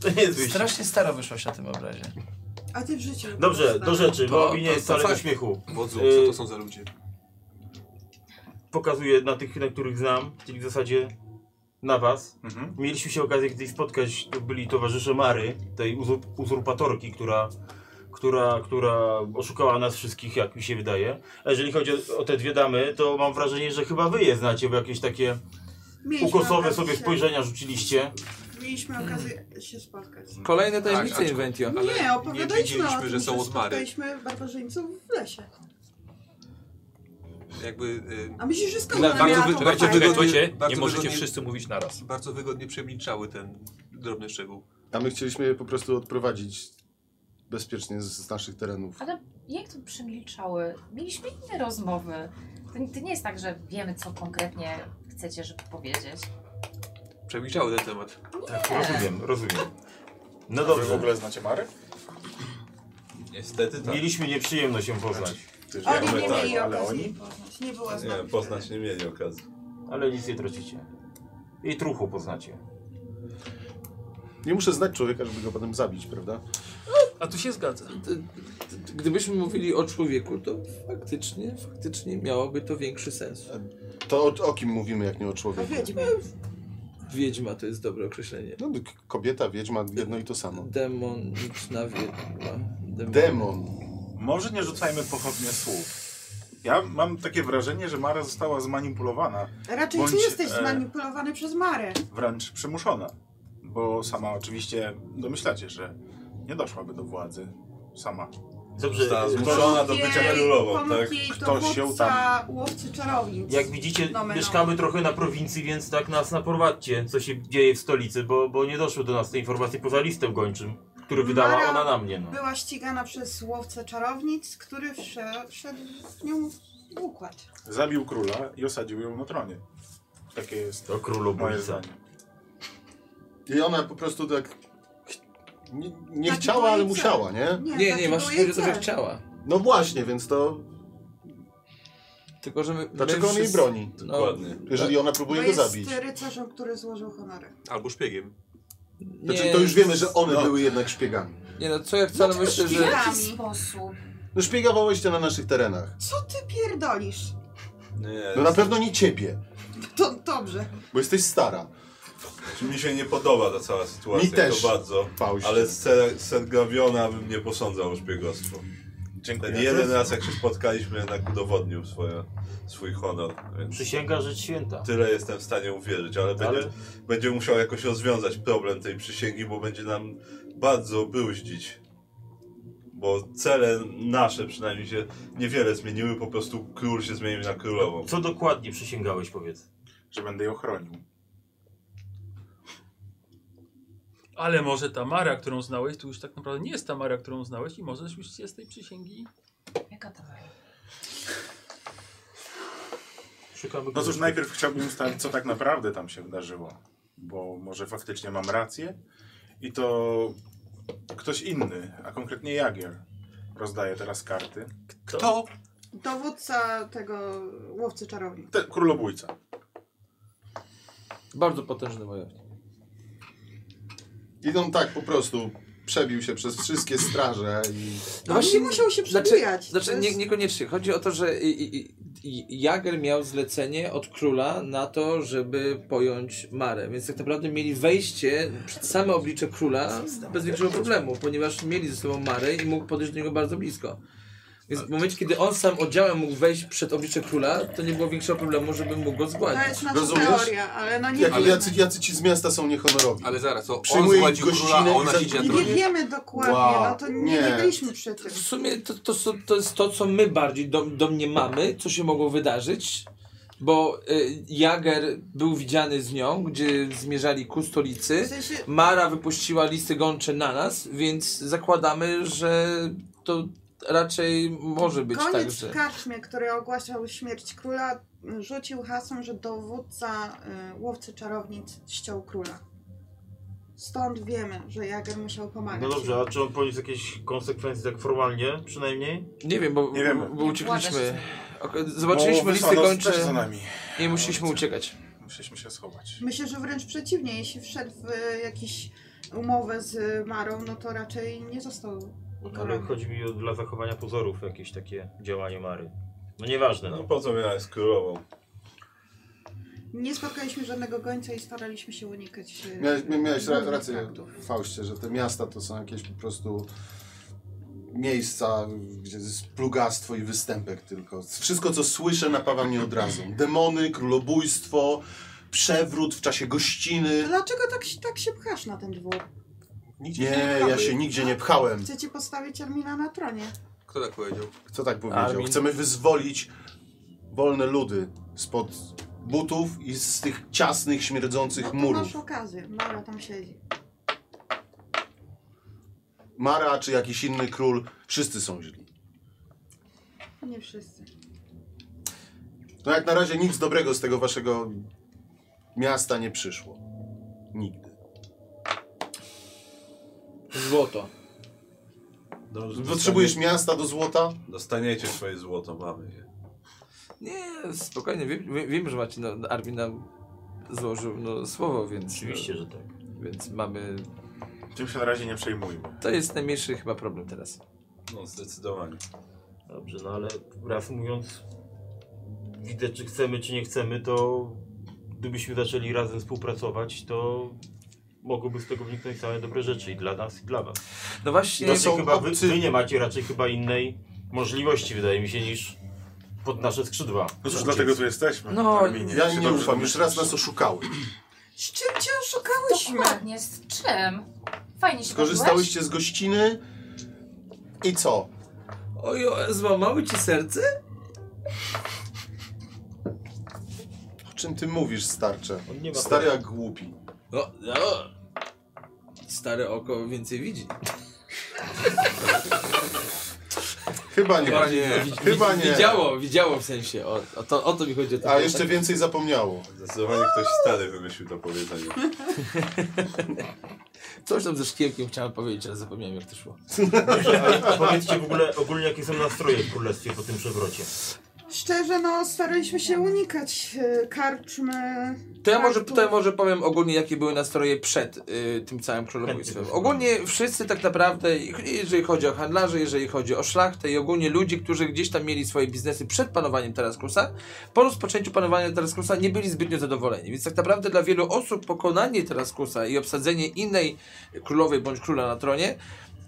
Speaker 5: To nie jest wyjście.
Speaker 19: Strasznie staro wyszłaś na tym obrazie.
Speaker 18: A ty w życiu...
Speaker 5: Dobrze, do rzeczy, bo
Speaker 19: To-
Speaker 5: opinia
Speaker 19: to-
Speaker 5: jest
Speaker 19: to
Speaker 5: wcale do
Speaker 19: fakt.
Speaker 5: śmiechu.
Speaker 19: Wodzu,
Speaker 5: Y,
Speaker 19: co to są za ludzie?
Speaker 5: Pokazuję na tych, na których znam, czyli w zasadzie
Speaker 13: na was.
Speaker 19: Mhm.
Speaker 13: Mieliśmy się okazję kiedyś spotkać, to byli towarzysze Mary, tej uzur- uzurpatorki, która, która, która oszukała nas wszystkich, jak mi się wydaje. A jeżeli chodzi o, o te dwie damy, to mam wrażenie, że chyba wy je znacie, bo jakieś takie
Speaker 18: Mieliśmy
Speaker 13: ukosowe
Speaker 18: okazję
Speaker 13: sobie
Speaker 18: się-
Speaker 13: spojrzenia rzuciliście.
Speaker 18: Mieliśmy okazję się spotkać.
Speaker 19: Kolejne tajemnice
Speaker 18: aczko-
Speaker 19: Inventio.
Speaker 18: Nie, opowiadaliśmy
Speaker 10: nie
Speaker 18: o
Speaker 10: wiedzieliśmy,
Speaker 18: tym,
Speaker 10: że są od Mary.
Speaker 18: spotkaliśmy barbarzyńców w lesie.
Speaker 10: Jakby... y,
Speaker 18: A myślisz, że skąd
Speaker 10: dla-
Speaker 18: ona
Speaker 10: bardzo
Speaker 18: miała
Speaker 10: wy-
Speaker 18: tą
Speaker 10: bardzo
Speaker 18: fajkę?
Speaker 10: wygodnie-
Speaker 18: Czekajcie,
Speaker 10: bardzo
Speaker 2: nie możecie
Speaker 10: wygodnie-
Speaker 2: wszyscy mówić naraz.
Speaker 10: Bardzo wygodnie przemilczały ten drobny szczegół.
Speaker 1: A my chcieliśmy je po prostu odprowadzić bezpiecznie z, z naszych terenów.
Speaker 20: Ale jak to przemilczały? Mieliśmy inne rozmowy. To, nie- to nie jest tak, że wiemy, co konkretnie chcecie, żeby powiedzieć.
Speaker 10: Przemilczały ten temat.
Speaker 20: Tak, rozumiem,
Speaker 13: rozumiem. No
Speaker 21: Wy
Speaker 13: dobrze.
Speaker 21: w ogóle znacie Mary?
Speaker 9: Niestety tak.
Speaker 13: Mieliśmy nieprzyjemność się poznać.
Speaker 18: Oni nie
Speaker 9: tak,
Speaker 18: mieli
Speaker 9: ale
Speaker 18: okazji
Speaker 9: oni?
Speaker 18: poznać. Nie była z
Speaker 9: Nie,
Speaker 18: nami.
Speaker 9: poznać nie mieli okazji.
Speaker 13: Ale nic nie tracicie. I truchu poznacie.
Speaker 1: Nie muszę znać człowieka, żeby go potem zabić, prawda?
Speaker 19: A tu się zgadza. Gdybyśmy mówili o człowieku, to faktycznie, faktycznie miałoby to większy sens.
Speaker 1: To o, o kim mówimy, jak nie o człowieku?
Speaker 19: Wiedźma to jest dobre określenie.
Speaker 1: No, k- kobieta, wiedźma, jedno i to samo.
Speaker 19: Demoniczna wiedźma. Demon.
Speaker 21: Może nie rzucajmy pochodnie słów. Ja mam takie wrażenie, że Mara została zmanipulowana.
Speaker 18: Raczej
Speaker 21: Bądź,
Speaker 18: ty jesteś
Speaker 21: e,
Speaker 18: zmanipulowany przez Marę.
Speaker 21: Wręcz przymuszona. Bo sama oczywiście domyślacie, że nie doszłaby do władzy. Sama.
Speaker 13: Dobrze,
Speaker 21: Została
Speaker 13: e,
Speaker 21: zmuszona do
Speaker 18: Jej
Speaker 21: bycia królową,
Speaker 18: pomógł
Speaker 21: tak?
Speaker 18: jej
Speaker 21: Ktoś ją
Speaker 18: dowódca
Speaker 21: tam...
Speaker 18: łowcy czarownic. No,
Speaker 13: Jak widzicie,
Speaker 18: Nomen
Speaker 13: mieszkamy trochę na prowincji, więc tak nas naprowadźcie, co się dzieje w stolicy, bo, bo nie doszły do nas te informacje poza listem gończym, który wydała
Speaker 18: Mara
Speaker 13: ona na mnie. No.
Speaker 18: Była ścigana przez łowcę czarownic, który wszedł, wszedł w nią w układ.
Speaker 21: Zabił króla i osadził ją na tronie. Takie jest
Speaker 13: to królu
Speaker 21: moje
Speaker 13: bójca.
Speaker 21: zdanie.
Speaker 1: I ona po prostu tak... ch- Nie, nie
Speaker 18: Taki
Speaker 1: chciała,
Speaker 18: był jej
Speaker 1: ale
Speaker 18: cel.
Speaker 1: musiała, nie?
Speaker 18: no Nie, tak Nie, nie, taki masz był jej wrażenie, że cel. chciała.
Speaker 1: No właśnie, więc to...
Speaker 19: Tylko, że my...
Speaker 1: Dlaczego on jej
Speaker 19: wszyscy-
Speaker 1: broni?
Speaker 19: No,
Speaker 1: Dokładnie. Jeżeli ona próbuje
Speaker 18: Bo
Speaker 1: go
Speaker 18: jest
Speaker 1: zabić.
Speaker 18: rycerzem, który złożył honory.
Speaker 10: Albo szpiegiem.
Speaker 1: Znaczy, to już wiemy, że one były jednak szpiegami.
Speaker 19: no, Nie no, co ja wcale myślę,
Speaker 18: W
Speaker 19: że...
Speaker 18: jaki sposób?
Speaker 1: No szpiegowałyście na naszych terenach.
Speaker 18: Co ty pierdolisz?
Speaker 1: No na pewno nie ciebie,
Speaker 18: To dobrze.
Speaker 1: bo jesteś stara.
Speaker 9: Czy mi się nie podoba ta cała sytuacja?
Speaker 1: Mi też,
Speaker 9: To bardzo.
Speaker 1: Fauście.
Speaker 9: Ale Sergawiona bym nie posądzał o szpiegostwo.
Speaker 21: Dziękuję.
Speaker 9: Ten jeden raz, jak się spotkaliśmy, jednak udowodnił swoje, swój honor. Więc
Speaker 13: Przysięga rzecz święta.
Speaker 9: Tyle jestem w stanie uwierzyć, ale, Będzie,
Speaker 13: Ale-
Speaker 9: będzie musiał jakoś rozwiązać problem tej przysięgi, bo będzie nam bardzo bruździć. Bo cele nasze przynajmniej się niewiele zmieniły, po prostu król się zmienił na królową.
Speaker 13: Co dokładnie przysięgałeś, powiedz?
Speaker 21: Że będę ją chronił.
Speaker 6: Ale może ta Mara, którą znałeś, to już tak naprawdę nie jest ta Mara, którą znałeś i możesz już się z tej przysięgi...
Speaker 20: Jaka to była?
Speaker 13: Szukamy
Speaker 21: No cóż, najpierw chciałbym ustalić, co tak naprawdę tam się wydarzyło. Bo może faktycznie mam rację i to ktoś inny, a konkretnie Jagier, rozdaje teraz karty.
Speaker 10: Kto?
Speaker 18: Dowódca tego łowcy czarownic.
Speaker 21: Te, królobójca.
Speaker 19: Bardzo potężny wojownik.
Speaker 1: Idą tak po prostu. Przebił się przez wszystkie straże i...
Speaker 18: No musiał się
Speaker 19: No znaczy-
Speaker 18: przebijać, to
Speaker 19: Znaczy, nie,
Speaker 18: jest-
Speaker 19: niekoniecznie. Chodzi o to, że i- i- i- i- Jager miał zlecenie od króla na to, żeby pojąć Marę. Więc tak naprawdę mieli wejście przed same oblicze króla bez większego problemu, ponieważ mieli ze sobą Marę i mógł podejść do niego bardzo blisko. Więc w momencie, kiedy on sam oddziałem mógł wejść przed oblicze króla, to nie było większego problemu, żeby mógł go zgładzić.
Speaker 18: To jest nasza teoria, ale no nie
Speaker 1: Jak,
Speaker 18: wiemy.
Speaker 1: jacy, jacy ci z miasta są niehonorowi.
Speaker 10: Ale zaraz, to on
Speaker 1: Przyjmuje ich
Speaker 10: zgładził króla,
Speaker 1: gościnę
Speaker 10: a
Speaker 1: i
Speaker 10: ona
Speaker 1: za-
Speaker 10: siedzi na
Speaker 1: i-
Speaker 18: Nie wiemy dokładnie,
Speaker 19: Wow,
Speaker 18: no to nie,
Speaker 19: nie.
Speaker 18: nie byliśmy przy tym.
Speaker 19: W sumie to, to, to, to jest to, co my bardziej do, domniemamy, co się mogło wydarzyć, bo y, Jager był widziany z nią, gdzie zmierzali ku stolicy.
Speaker 18: W sensie-
Speaker 19: Mara wypuściła listy gończe na nas, więc zakładamy, że to raczej może być
Speaker 18: Koniec
Speaker 19: tak, że...
Speaker 18: w karczmie, który ogłaszał śmierć króla, rzucił hasłem, że dowódca y, łowcy czarownic ściął króla. Stąd wiemy, że Jager musiał pomagać.
Speaker 13: No dobrze, a czy on poniósł jakieś konsekwencje tak formalnie przynajmniej?
Speaker 19: Nie wiem, bo,
Speaker 13: Nie wiemy.
Speaker 19: bo uciekliśmy. Ok,
Speaker 13: Bo
Speaker 19: Zobaczyliśmy listy
Speaker 13: wysłano
Speaker 19: gończe
Speaker 13: też za nami.
Speaker 19: i musieliśmy uciekać.
Speaker 21: Musieliśmy się schować.
Speaker 18: Myślę, że wręcz przeciwnie, jeśli wszedł w y, jakąś umowę z Marą, no to raczej nie został
Speaker 13: Ale
Speaker 18: ukarany.
Speaker 13: chodzi mi o dla zachowania pozorów jakieś takie działanie Mary. No nieważne.
Speaker 9: No po co miała jest królową?
Speaker 18: Nie spotkaliśmy żadnego gońca i staraliśmy się unikać. e,
Speaker 1: Miałeś, mia- miałeś ra-
Speaker 18: żadnych
Speaker 1: rację,
Speaker 18: kontaktów.
Speaker 1: Faustie, że te miasta to są jakieś po prostu miejsca, gdzie jest plugastwo i występek tylko. Wszystko, co słyszę, napawa mnie od razu. Demony, królobójstwo, przewrót w czasie
Speaker 18: To
Speaker 1: gościny.
Speaker 18: dlaczego tak, się- tak się pchasz na ten dwór?
Speaker 1: Nie, ja się nigdzie nie pchałem.
Speaker 18: Chcecie postawić Armina na tronie.
Speaker 1: Kto tak powiedział? Kto tak powiedział?
Speaker 2: Armin.
Speaker 1: Chcemy wyzwolić wolne ludy spod butów i z tych ciasnych, śmierdzących
Speaker 18: No to
Speaker 1: murów.
Speaker 18: masz okazję. Mara tam siedzi.
Speaker 1: Mara czy jakiś inny król, wszyscy są źli.
Speaker 18: Nie wszyscy.
Speaker 1: No jak na razie nic dobrego z tego waszego miasta nie przyszło. Nigdy.
Speaker 19: Złoto.
Speaker 9: Dobrze,
Speaker 1: Potrzebujesz miasta do złota?
Speaker 9: Dostaniecie swoje złoto, mamy je.
Speaker 19: Nie, spokojnie, wiem, wie- wiem że macie, no, Armin nam złożył no, słowo, więc...
Speaker 21: Oczywiście,
Speaker 19: że tak. Więc mamy...
Speaker 21: Tym się na razie nie przejmujmy.
Speaker 19: To jest najmniejszy chyba problem teraz.
Speaker 9: No, zdecydowanie.
Speaker 19: Dobrze,
Speaker 13: No ale reasumując, widać czy chcemy, czy nie chcemy, to gdybyśmy zaczęli razem współpracować, to mogłyby z tego wyniknąć same dobre rzeczy i dla nas, i dla was.
Speaker 19: No właśnie,
Speaker 13: to
Speaker 19: są
Speaker 13: są chyba wy,
Speaker 19: obcy-
Speaker 13: wy nie macie raczej chyba innej możliwości, wydaje mi się, niż pod nasze skrzydła.
Speaker 21: No cóż, dlatego tu jesteśmy,
Speaker 19: No,
Speaker 21: Arminie.
Speaker 1: Ja
Speaker 21: Się
Speaker 1: im nie
Speaker 21: dobrze
Speaker 1: ufam, już raz
Speaker 21: domyślasz.
Speaker 1: nas oszukały.
Speaker 18: Z czym cię oszukałyśmy?
Speaker 20: Dokładnie, z czym? Fajnie się bawiłeś?
Speaker 1: Skorzystałyście z gościny i co?
Speaker 19: Oj, złamały ci serce?
Speaker 1: O czym ty mówisz, starcze?
Speaker 19: nie ma
Speaker 1: Stary
Speaker 19: prawa.
Speaker 1: jak głupi.
Speaker 19: No, no. Stare oko więcej widzi.
Speaker 1: Chyba nie.
Speaker 19: Chyba nie.
Speaker 1: Chyba nie.
Speaker 19: Widziało, widziało w sensie. O, o, to, o to mi chodzi. Tak. O to
Speaker 1: A jeszcze więcej zapomniało.
Speaker 9: Zdecydowanie ktoś stary wymyślił to powiedzenie.
Speaker 19: Coś tam ze szkiełkiem chciałem powiedzieć, ale zapomniałem jak to szło.
Speaker 13: A Powiedzcie w ogóle ogólnie jakie są nastroje w królestwie po tym przewrocie.
Speaker 18: Szczerze, no staraliśmy się unikać e, karczmy.
Speaker 19: To ja, może, to ja może powiem ogólnie, jakie były nastroje przed y, tym całym królobójstwem. Ogólnie wszyscy tak naprawdę, jeżeli chodzi o handlarzy, jeżeli chodzi o szlachtę i ogólnie ludzi, którzy gdzieś tam mieli swoje biznesy przed panowaniem Taraskrusa, po rozpoczęciu panowania Taraskrusa nie byli zbytnio zadowoleni. Więc tak naprawdę dla wielu osób pokonanie Taraskrusa i obsadzenie innej królowej bądź króla na tronie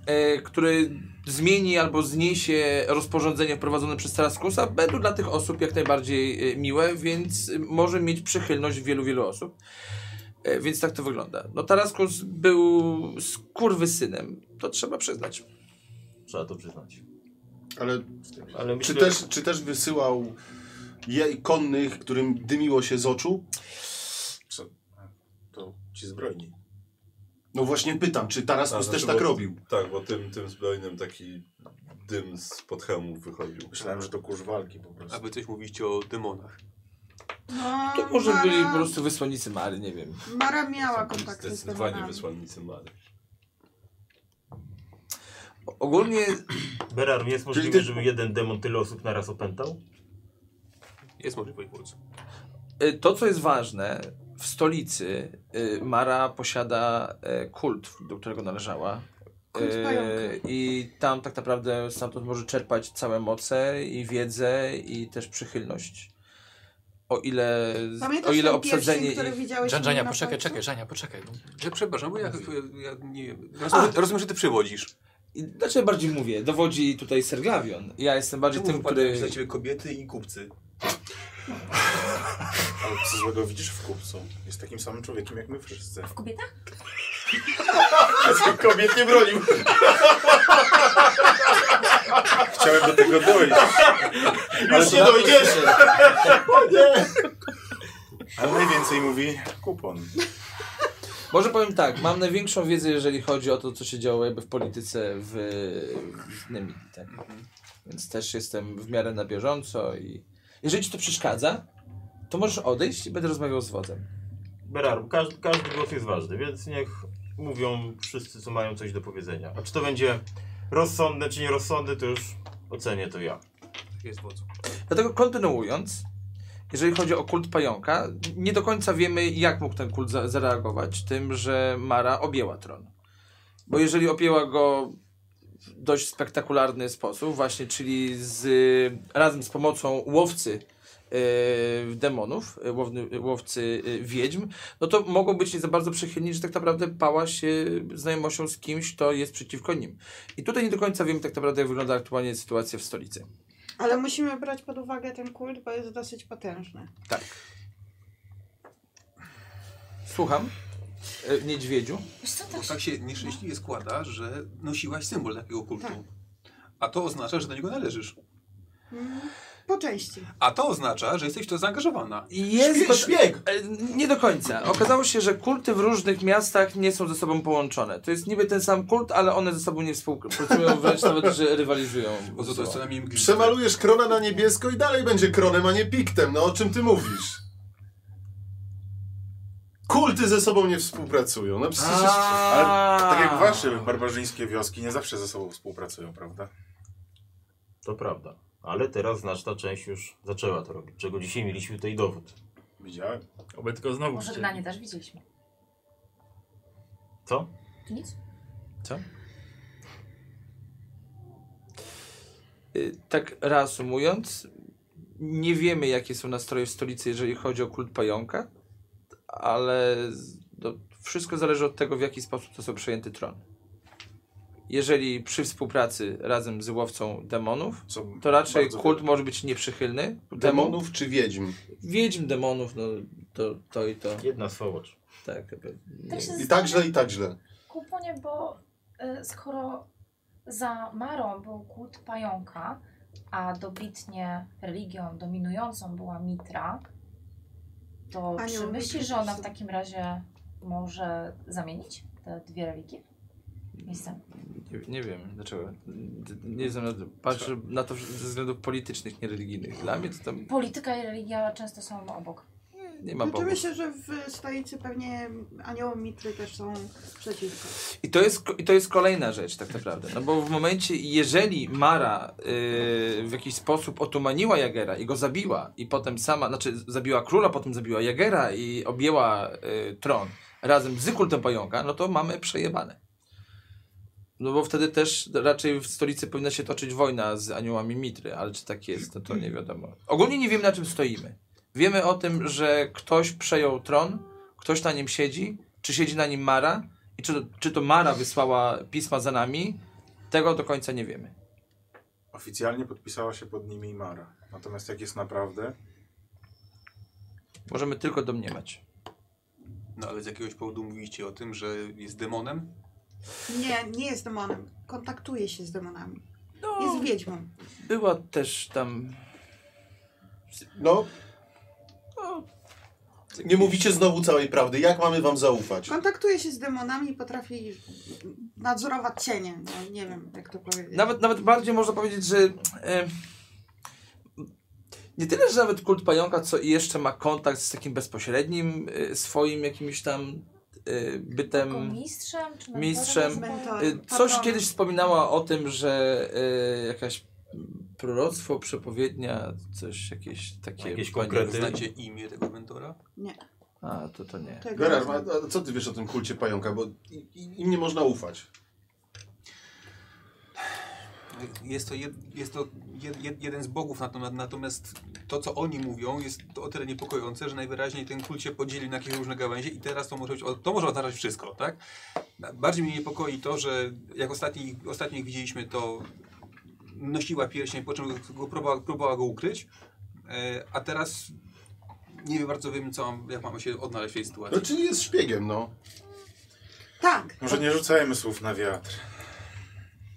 Speaker 19: e, który zmieni albo zniesie rozporządzenie wprowadzone przez Taraskusa, będą dla tych osób jak najbardziej e, miłe, więc e, może mieć przychylność wielu, wielu osób. E, Więc tak to wygląda. No Taraskus był skurwysynem, to trzeba przyznać.
Speaker 13: Trzeba to przyznać.
Speaker 1: Ale,
Speaker 13: Ale
Speaker 1: czy,
Speaker 13: myślę-
Speaker 1: też, czy też wysyłał jej konnych, którym dymiło się z oczu?
Speaker 21: Co? To ci zbrojni.
Speaker 1: No właśnie pytam, czy Taraskus
Speaker 9: A,
Speaker 1: też
Speaker 9: znaczy,
Speaker 1: tak
Speaker 9: bo-
Speaker 1: robił?
Speaker 9: Tak, bo tym, tym zbrojnym taki dym spod hełmu wychodził.
Speaker 21: Myślałem, że to kurz walki po prostu.
Speaker 10: Aby coś mówić o demonach.
Speaker 18: No,
Speaker 19: To może
Speaker 18: Mara,
Speaker 19: byli po prostu wysłannicy Mary, nie wiem.
Speaker 18: Mara miała kontakty z
Speaker 9: Zdecydowanie
Speaker 18: demonami.
Speaker 9: wysłannicy Mary.
Speaker 19: Ogólnie...
Speaker 13: Berarm, jest
Speaker 19: Czyli
Speaker 13: możliwe,
Speaker 19: ty-
Speaker 13: żeby jeden demon tyle osób naraz opętał?
Speaker 10: Jest możliwość móc.
Speaker 19: Y, To, co jest ważne, w stolicy y, Mara posiada y, kult, do którego należała.
Speaker 18: Kult
Speaker 19: Y,
Speaker 18: pająka.
Speaker 19: I tam tak naprawdę stamtąd może czerpać całe moce i wiedzę i też przychylność. O ile,
Speaker 18: Pamiętasz
Speaker 19: o ile
Speaker 18: ten
Speaker 19: obsadzenie...
Speaker 18: pierścień, który
Speaker 19: ich-
Speaker 18: widziałeś
Speaker 10: Żan- Żania,
Speaker 18: na
Speaker 10: poczekaj,
Speaker 18: palcu?
Speaker 10: czekaj,
Speaker 19: Żania, poczekaj.
Speaker 10: Że przepraszam, bo ja, ja, ja nie wiem.
Speaker 19: A,
Speaker 10: Rozumiem, rozumiem, że ty przywodzisz.
Speaker 19: I Znaczy ja bardziej mówię, dowodzi tutaj Serglavion. Ja jestem bardziej tym, który...
Speaker 10: Dla ciebie kobiety i kupcy.
Speaker 21: Ale co złego widzisz w kupcu? Jest takim samym człowiekiem jak my wszyscy.
Speaker 20: W kobietach?
Speaker 21: Kobiet nie bronił. Chciałem do tego dojść. Ale
Speaker 19: nie dojdziesz.
Speaker 21: nie. Ale najwięcej mówi kupon.
Speaker 19: Może powiem tak, mam największą wiedzę, jeżeli chodzi o to, co się działo jakby w polityce w, w Nemidii, tak? Więc też jestem w miarę na bieżąco i jeżeli ci to przeszkadza, to możesz odejść i będę rozmawiał z wodzem.
Speaker 13: Berarm, każdy, każdy głos jest ważny, więc niech mówią wszyscy, co mają coś do powiedzenia. A czy to będzie rozsądne, czy nierozsądne, to już ocenię to ja.
Speaker 10: tak Jest wodzą.
Speaker 19: Dlatego kontynuując, jeżeli chodzi o kult pająka, nie do końca wiemy, jak mógł ten kult za- zareagować tym, że Mara objęła tron. Bo jeżeli objęła go w dość spektakularny sposób, właśnie, czyli z, razem z pomocą łowcy e, demonów, e, łowny, łowcy e, wiedźm, no to mogą być nie za bardzo przychylni, że tak naprawdę pała się znajomością z kimś, kto jest przeciwko nim. I tutaj nie do końca wiemy tak naprawdę, jak wygląda aktualnie sytuacja w stolicy.
Speaker 18: Ale musimy brać pod uwagę ten kult, bo jest dosyć potężny.
Speaker 19: Tak. Słucham. E, Niedźwiedziu.
Speaker 10: Bo tak się nieszczęśliwie składa, że nosiłaś symbol takiego kultu. A to oznacza, że do niego należysz.
Speaker 18: Mm, Po części.
Speaker 10: A to oznacza, że jesteś w to zaangażowana.
Speaker 19: Jest śpieg, E, Nie do końca. Okazało się, że kulty w różnych miastach nie są ze sobą połączone. To jest niby ten sam kult, ale one ze sobą nie współpracują, wręcz nawet, że rywalizują.
Speaker 10: Bo No to, to jest co najmniej mgliwe.
Speaker 1: Przemalujesz krona na niebiesko i dalej będzie kronem, a nie piktem. No o czym ty mówisz? Kulty ze sobą nie współpracują. No przecież...
Speaker 21: Ale tak jak wasze barbarzyńskie wioski nie zawsze ze sobą współpracują, prawda?
Speaker 8: To prawda. Ale teraz znaczna część już zaczęła to robić, czego dzisiaj mieliśmy tutaj dowód.
Speaker 21: Widziałem.
Speaker 6: Oby tylko znowu
Speaker 20: Pożegnanie też widzieliśmy.
Speaker 8: Co?
Speaker 20: Nic?
Speaker 19: Co? Y, Tak reasumując, nie wiemy jakie są nastroje w stolicy, jeżeli chodzi o kult pająka, ale z- no, wszystko zależy od tego, w jaki sposób został przejęty tron. Jeżeli przy współpracy razem z łowcą demonów, to raczej
Speaker 1: bardzo
Speaker 19: kult może być nieprzychylny.
Speaker 1: Demonów czy wiedźm?
Speaker 19: Wiedźm, demonów, no to, to i to.
Speaker 8: Jedna słowoć.
Speaker 19: Tak.
Speaker 20: Tak się
Speaker 1: I tak źle, i tak źle.
Speaker 20: Kuponie, bo y, skoro za Marą był kult pająka, a dobitnie religią dominującą była Mitra, to
Speaker 18: Anioł
Speaker 20: czy myślisz,
Speaker 18: Mitra,
Speaker 20: że ona w
Speaker 18: co?
Speaker 20: takim razie może zamienić te dwie religie? Jestem.
Speaker 19: Nie, nie wiem, dlaczego. D- Nie znam, na to. patrzę na to ze względów politycznych, nie religijnych. Dla mnie to tam
Speaker 20: Polityka i religia często są obok.
Speaker 19: nie ma
Speaker 18: Znaczy
Speaker 19: bogów.
Speaker 18: myślę, że w stolicy pewnie anioły mitry też są przeciwko.
Speaker 19: I to, jest, ko- I to jest kolejna rzecz tak naprawdę. No bo w momencie, jeżeli Mara yy, w jakiś sposób otumaniła Jagera i go zabiła i potem sama, znaczy z- zabiła króla, potem zabiła Jagera i objęła yy, tron razem z kultem pająka, no to mamy przejebane. No bo wtedy też raczej w stolicy powinna się toczyć wojna z aniołami Mitry, ale czy tak jest, no to nie wiadomo. Ogólnie nie wiemy na czym stoimy. Wiemy o tym, że ktoś przejął tron, ktoś na nim siedzi, czy siedzi na nim Mara i czy, czy to Mara wysłała pisma za nami, tego do końca nie wiemy.
Speaker 21: Oficjalnie podpisała się pod nimi Mara. Natomiast jak jest naprawdę,
Speaker 19: Możemy tylko domniemać.
Speaker 10: No ale z jakiegoś powodu mówiliście o tym, że jest demonem?
Speaker 18: Nie, nie jest demonem. Kontaktuje się z demonami.
Speaker 19: No.
Speaker 18: Jest wiedźmą.
Speaker 19: Była też tam...
Speaker 1: No.
Speaker 19: No,
Speaker 1: Nie mówicie znowu całej prawdy. Jak mamy wam zaufać?
Speaker 18: Kontaktuje się z demonami i potrafi nadzorować cienie. No, nie wiem, jak to powiedzieć.
Speaker 19: Nawet, nawet bardziej można powiedzieć, że e, nie tyle, że nawet kult pająka, co i jeszcze ma kontakt z takim bezpośrednim e, swoim jakimś tam e, bytem.
Speaker 20: Mistrzem czy mentorem?
Speaker 19: mistrzem.
Speaker 20: Mentorem.
Speaker 19: Y, Coś
Speaker 20: Patronem.
Speaker 19: kiedyś wspominała o tym, że y, jakaś proroctwo, przepowiednia, coś jakieś takie.
Speaker 10: Jakieś
Speaker 19: pani-
Speaker 10: konkrety? Znacie imię tego mentora?
Speaker 18: Nie.
Speaker 19: A,
Speaker 1: No
Speaker 19: to to nie.
Speaker 18: Tego
Speaker 1: Gerard, a, a co ty wiesz o tym kulcie pająka? Bo i- i- im nie można ufać.
Speaker 10: Jest to, jed, jest to jed, jed, jeden z bogów, natom- natomiast to, co oni mówią, jest to o tyle niepokojące, że najwyraźniej ten kult się podzieli na jakieś różne gałęzie i teraz to może, być, o- to może oznaczać wszystko, tak? Na- Bardziej mnie niepokoi to, że jak ostatni, ostatnio ich widzieliśmy, to nosiła pierścień, po czym go próbowała, próbowała go ukryć, e, a teraz nie wiem bardzo wiem, co mam, jak mamy się odnaleźć w tej sytuacji.
Speaker 1: No, czyli jest szpiegiem, no.
Speaker 18: Tak.
Speaker 1: Może nie rzucajmy słów na wiatr.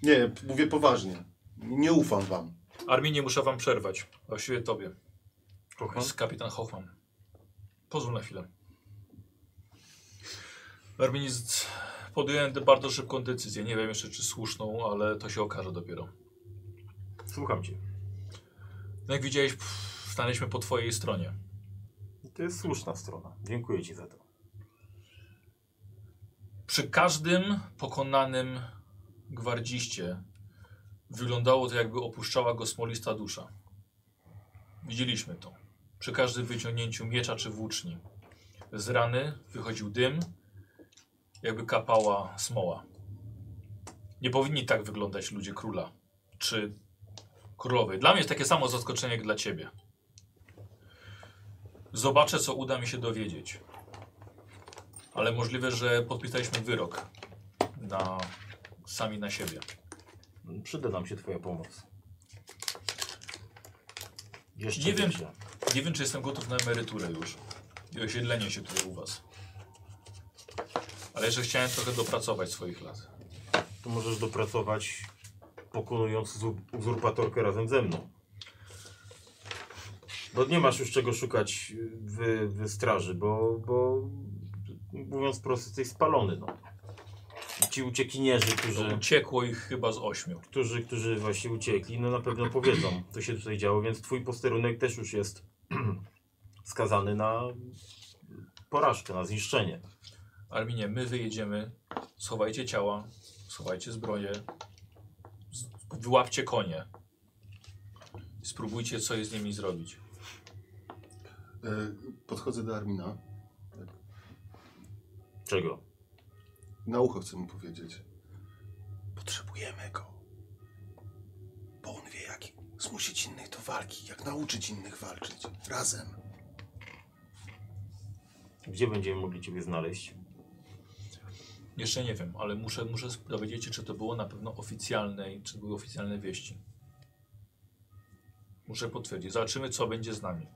Speaker 1: Nie, p- mówię poważnie. Nie ufam wam.
Speaker 2: Arminie, muszę wam przerwać. Właściwie tobie. Jest kapitan Hoffman. Pozwól na chwilę. Arminie, z- podjąłem tę bardzo szybką decyzję. Nie wiem jeszcze, czy słuszną, ale to się okaże dopiero.
Speaker 8: Słucham cię.
Speaker 2: No jak widziałeś, pff, stanęliśmy po twojej stronie.
Speaker 8: To jest słuszna strona. Dziękuję ci za to.
Speaker 2: Przy każdym pokonanym gwardziście wyglądało to, jakby opuszczała go smolista dusza. Widzieliśmy to. Przy każdym wyciągnięciu miecza czy włóczni. Z rany wychodził dym, jakby kapała smoła. Nie powinni tak wyglądać ludzie króla czy królowej. Dla mnie jest takie samo zaskoczenie jak dla ciebie. Zobaczę, co uda mi się dowiedzieć. Ale możliwe, że podpisaliśmy wyrok na, sami na siebie.
Speaker 8: Przyda nam się twoja pomoc. Jeszcze
Speaker 2: Nie wiem,
Speaker 8: większa.
Speaker 2: nie wiem, czy jestem gotów na emeryturę już i osiedlenie się tutaj u was. Ale jeszcze chciałem trochę dopracować swoich lat.
Speaker 8: To możesz dopracować pokonując zu- uzurpatorkę razem ze mną. Bo nie masz już czego szukać y, w, w straży, bo, bo mówiąc prosto, jesteś spalony. No. Ci uciekinierzy, którzy...
Speaker 2: uciekło ich chyba z ośmiu.
Speaker 8: Którzy, którzy właśnie uciekli, no na pewno powiedzą, co się tutaj działo, więc twój posterunek też już jest skazany na porażkę, na zniszczenie.
Speaker 2: Arminie, my wyjedziemy, schowajcie ciała, schowajcie zbroje, z- wyłapcie konie. Spróbujcie, co jest z nimi zrobić.
Speaker 1: E, Podchodzę do Armina.
Speaker 8: Czego?
Speaker 1: Na ucho chcę mu powiedzieć. Potrzebujemy go. Bo on wie, jak zmusić innych do walki, jak nauczyć innych walczyć. Razem.
Speaker 8: Gdzie będziemy mogli ciebie znaleźć?
Speaker 2: Jeszcze nie wiem, ale muszę, muszę sp- dowiedzieć się, czy to było na pewno oficjalne i czy były oficjalne wieści. Muszę potwierdzić. Zobaczymy, co będzie z nami.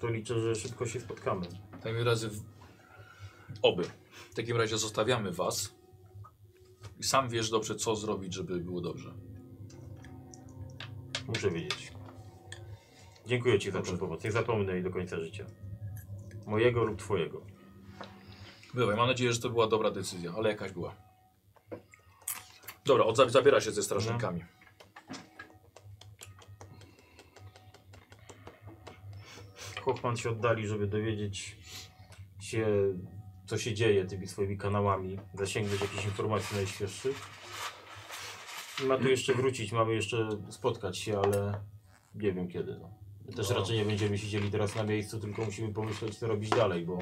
Speaker 8: To liczę, że szybko się spotkamy.
Speaker 2: W takim razie... W... Oby. W takim razie zostawiamy was. I sam wiesz dobrze, co zrobić, żeby było dobrze.
Speaker 8: Muszę wiedzieć. Dziękuję ci za tę pomoc. Nie zapomnę jej do końca życia. Mojego lub twojego.
Speaker 2: Bywaj, mam nadzieję, że to była dobra decyzja, ale jakaś była. Dobra, od, zabiera się ze strażnikami.
Speaker 8: Hochman się oddali, żeby dowiedzieć się, co się dzieje tymi swoimi kanałami, zasięgnąć jakichś informacji najświeższych. I
Speaker 19: Mm.
Speaker 8: ma tu jeszcze wrócić, mamy jeszcze spotkać się, ale nie wiem kiedy. No. My też
Speaker 2: No.
Speaker 8: raczej nie będziemy siedzieli teraz na miejscu, tylko musimy pomyśleć, co robić dalej, bo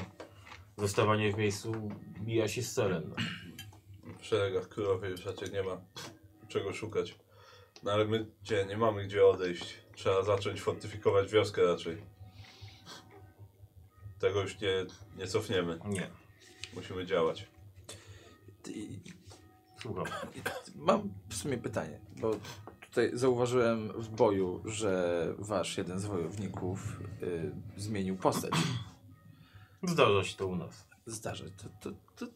Speaker 8: zostawanie w miejscu mija się z celem. No.
Speaker 9: W szeregach królowej już raczej nie ma czego szukać. No ale my gdzie, nie mamy gdzie odejść. Trzeba zacząć fortyfikować wioskę raczej. Tego już nie, nie cofniemy.
Speaker 8: Nie.
Speaker 9: Musimy działać.
Speaker 8: Słucham.
Speaker 19: Mam w sumie pytanie, bo tutaj zauważyłem w boju, że wasz jeden z wojowników y, zmienił postać.
Speaker 8: Zdarza się to u nas.
Speaker 19: Zdarza. To, to, to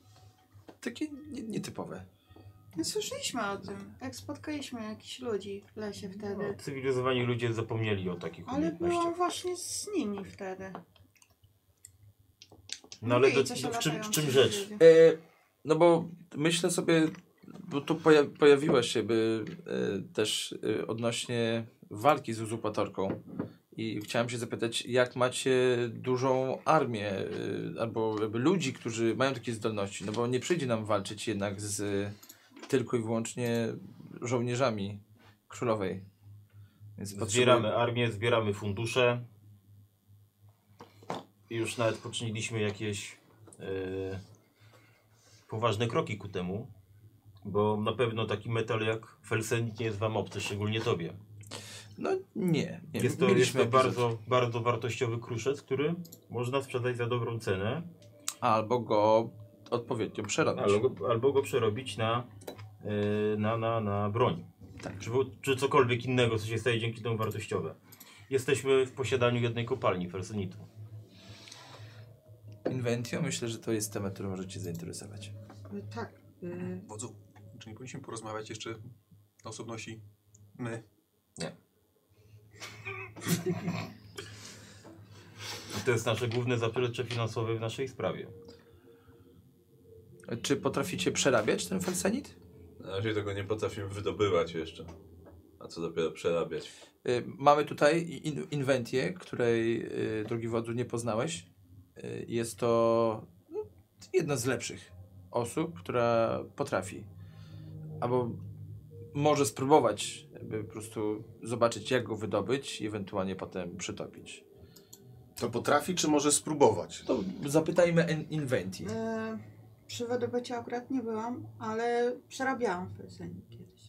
Speaker 19: takie nie- nietypowe.
Speaker 18: No, Słyszeliśmy o tym, jak spotkaliśmy jakichś ludzi w lesie wtedy.
Speaker 8: Cywilizowani ludzie zapomnieli o takich
Speaker 18: Ale
Speaker 8: umiejętnościach.
Speaker 18: byłam właśnie z nimi wtedy.
Speaker 8: No ale
Speaker 18: Mówili
Speaker 8: do,
Speaker 18: coś
Speaker 8: do,
Speaker 18: o
Speaker 8: w czym, w
Speaker 18: latających
Speaker 8: czym rzecz?
Speaker 18: ludziach.
Speaker 19: E, no bo myślę sobie, bo tu poja pojawiła się by e, też e, odnośnie walki z uzupatorką. I chciałem się zapytać, jak macie dużą armię e, albo jakby ludzi, którzy mają takie zdolności? No bo nie przyjdzie nam walczyć jednak z tylko i wyłącznie żołnierzami królowej. Więc
Speaker 8: Zbieramy armię, zbieramy fundusze. I już nawet poczyniliśmy jakieś e, poważne kroki ku temu, bo na pewno taki metal jak felsenit nie jest wam obcy, szczególnie tobie.
Speaker 19: No nie. nie.
Speaker 8: Jest to, jest
Speaker 19: Mieliśmy
Speaker 8: to
Speaker 19: epizod.
Speaker 8: bardzo, bardzo wartościowy kruszec, który można sprzedać za dobrą cenę.
Speaker 19: Albo go odpowiednio przerobić.
Speaker 8: Albo, go- albo go przerobić na, e, na, na, na broń.
Speaker 10: Tak.
Speaker 8: Czy, wo- czy cokolwiek innego, co się staje dzięki temu wartościowe. Jesteśmy w posiadaniu jednej kopalni felsenitu.
Speaker 19: Inventio, myślę, że to jest temat, który może Cię zainteresować.
Speaker 18: Tak. y,
Speaker 10: Wodzu, czy nie powinniśmy porozmawiać jeszcze na osobności? My.
Speaker 19: Nie.
Speaker 8: I to jest nasze główne zaplecze finansowe w naszej sprawie.
Speaker 19: Czy potraficie przerabiać ten felsenit?
Speaker 9: Na razie tego nie potrafimy wydobywać jeszcze. A co dopiero przerabiać.
Speaker 19: Y, Mamy tutaj in Inventię, której y, drogi wodzu nie poznałeś. Y, Jest to no, jedna z lepszych osób, która potrafi albo może spróbować, by po prostu zobaczyć, jak go wydobyć i ewentualnie potem przytopić.
Speaker 1: To potrafi, czy może spróbować?
Speaker 19: To zapytajmy en- Inventi.
Speaker 18: y, Przy wydobyciu akurat nie byłam, ale przerabiałam felsenik kiedyś.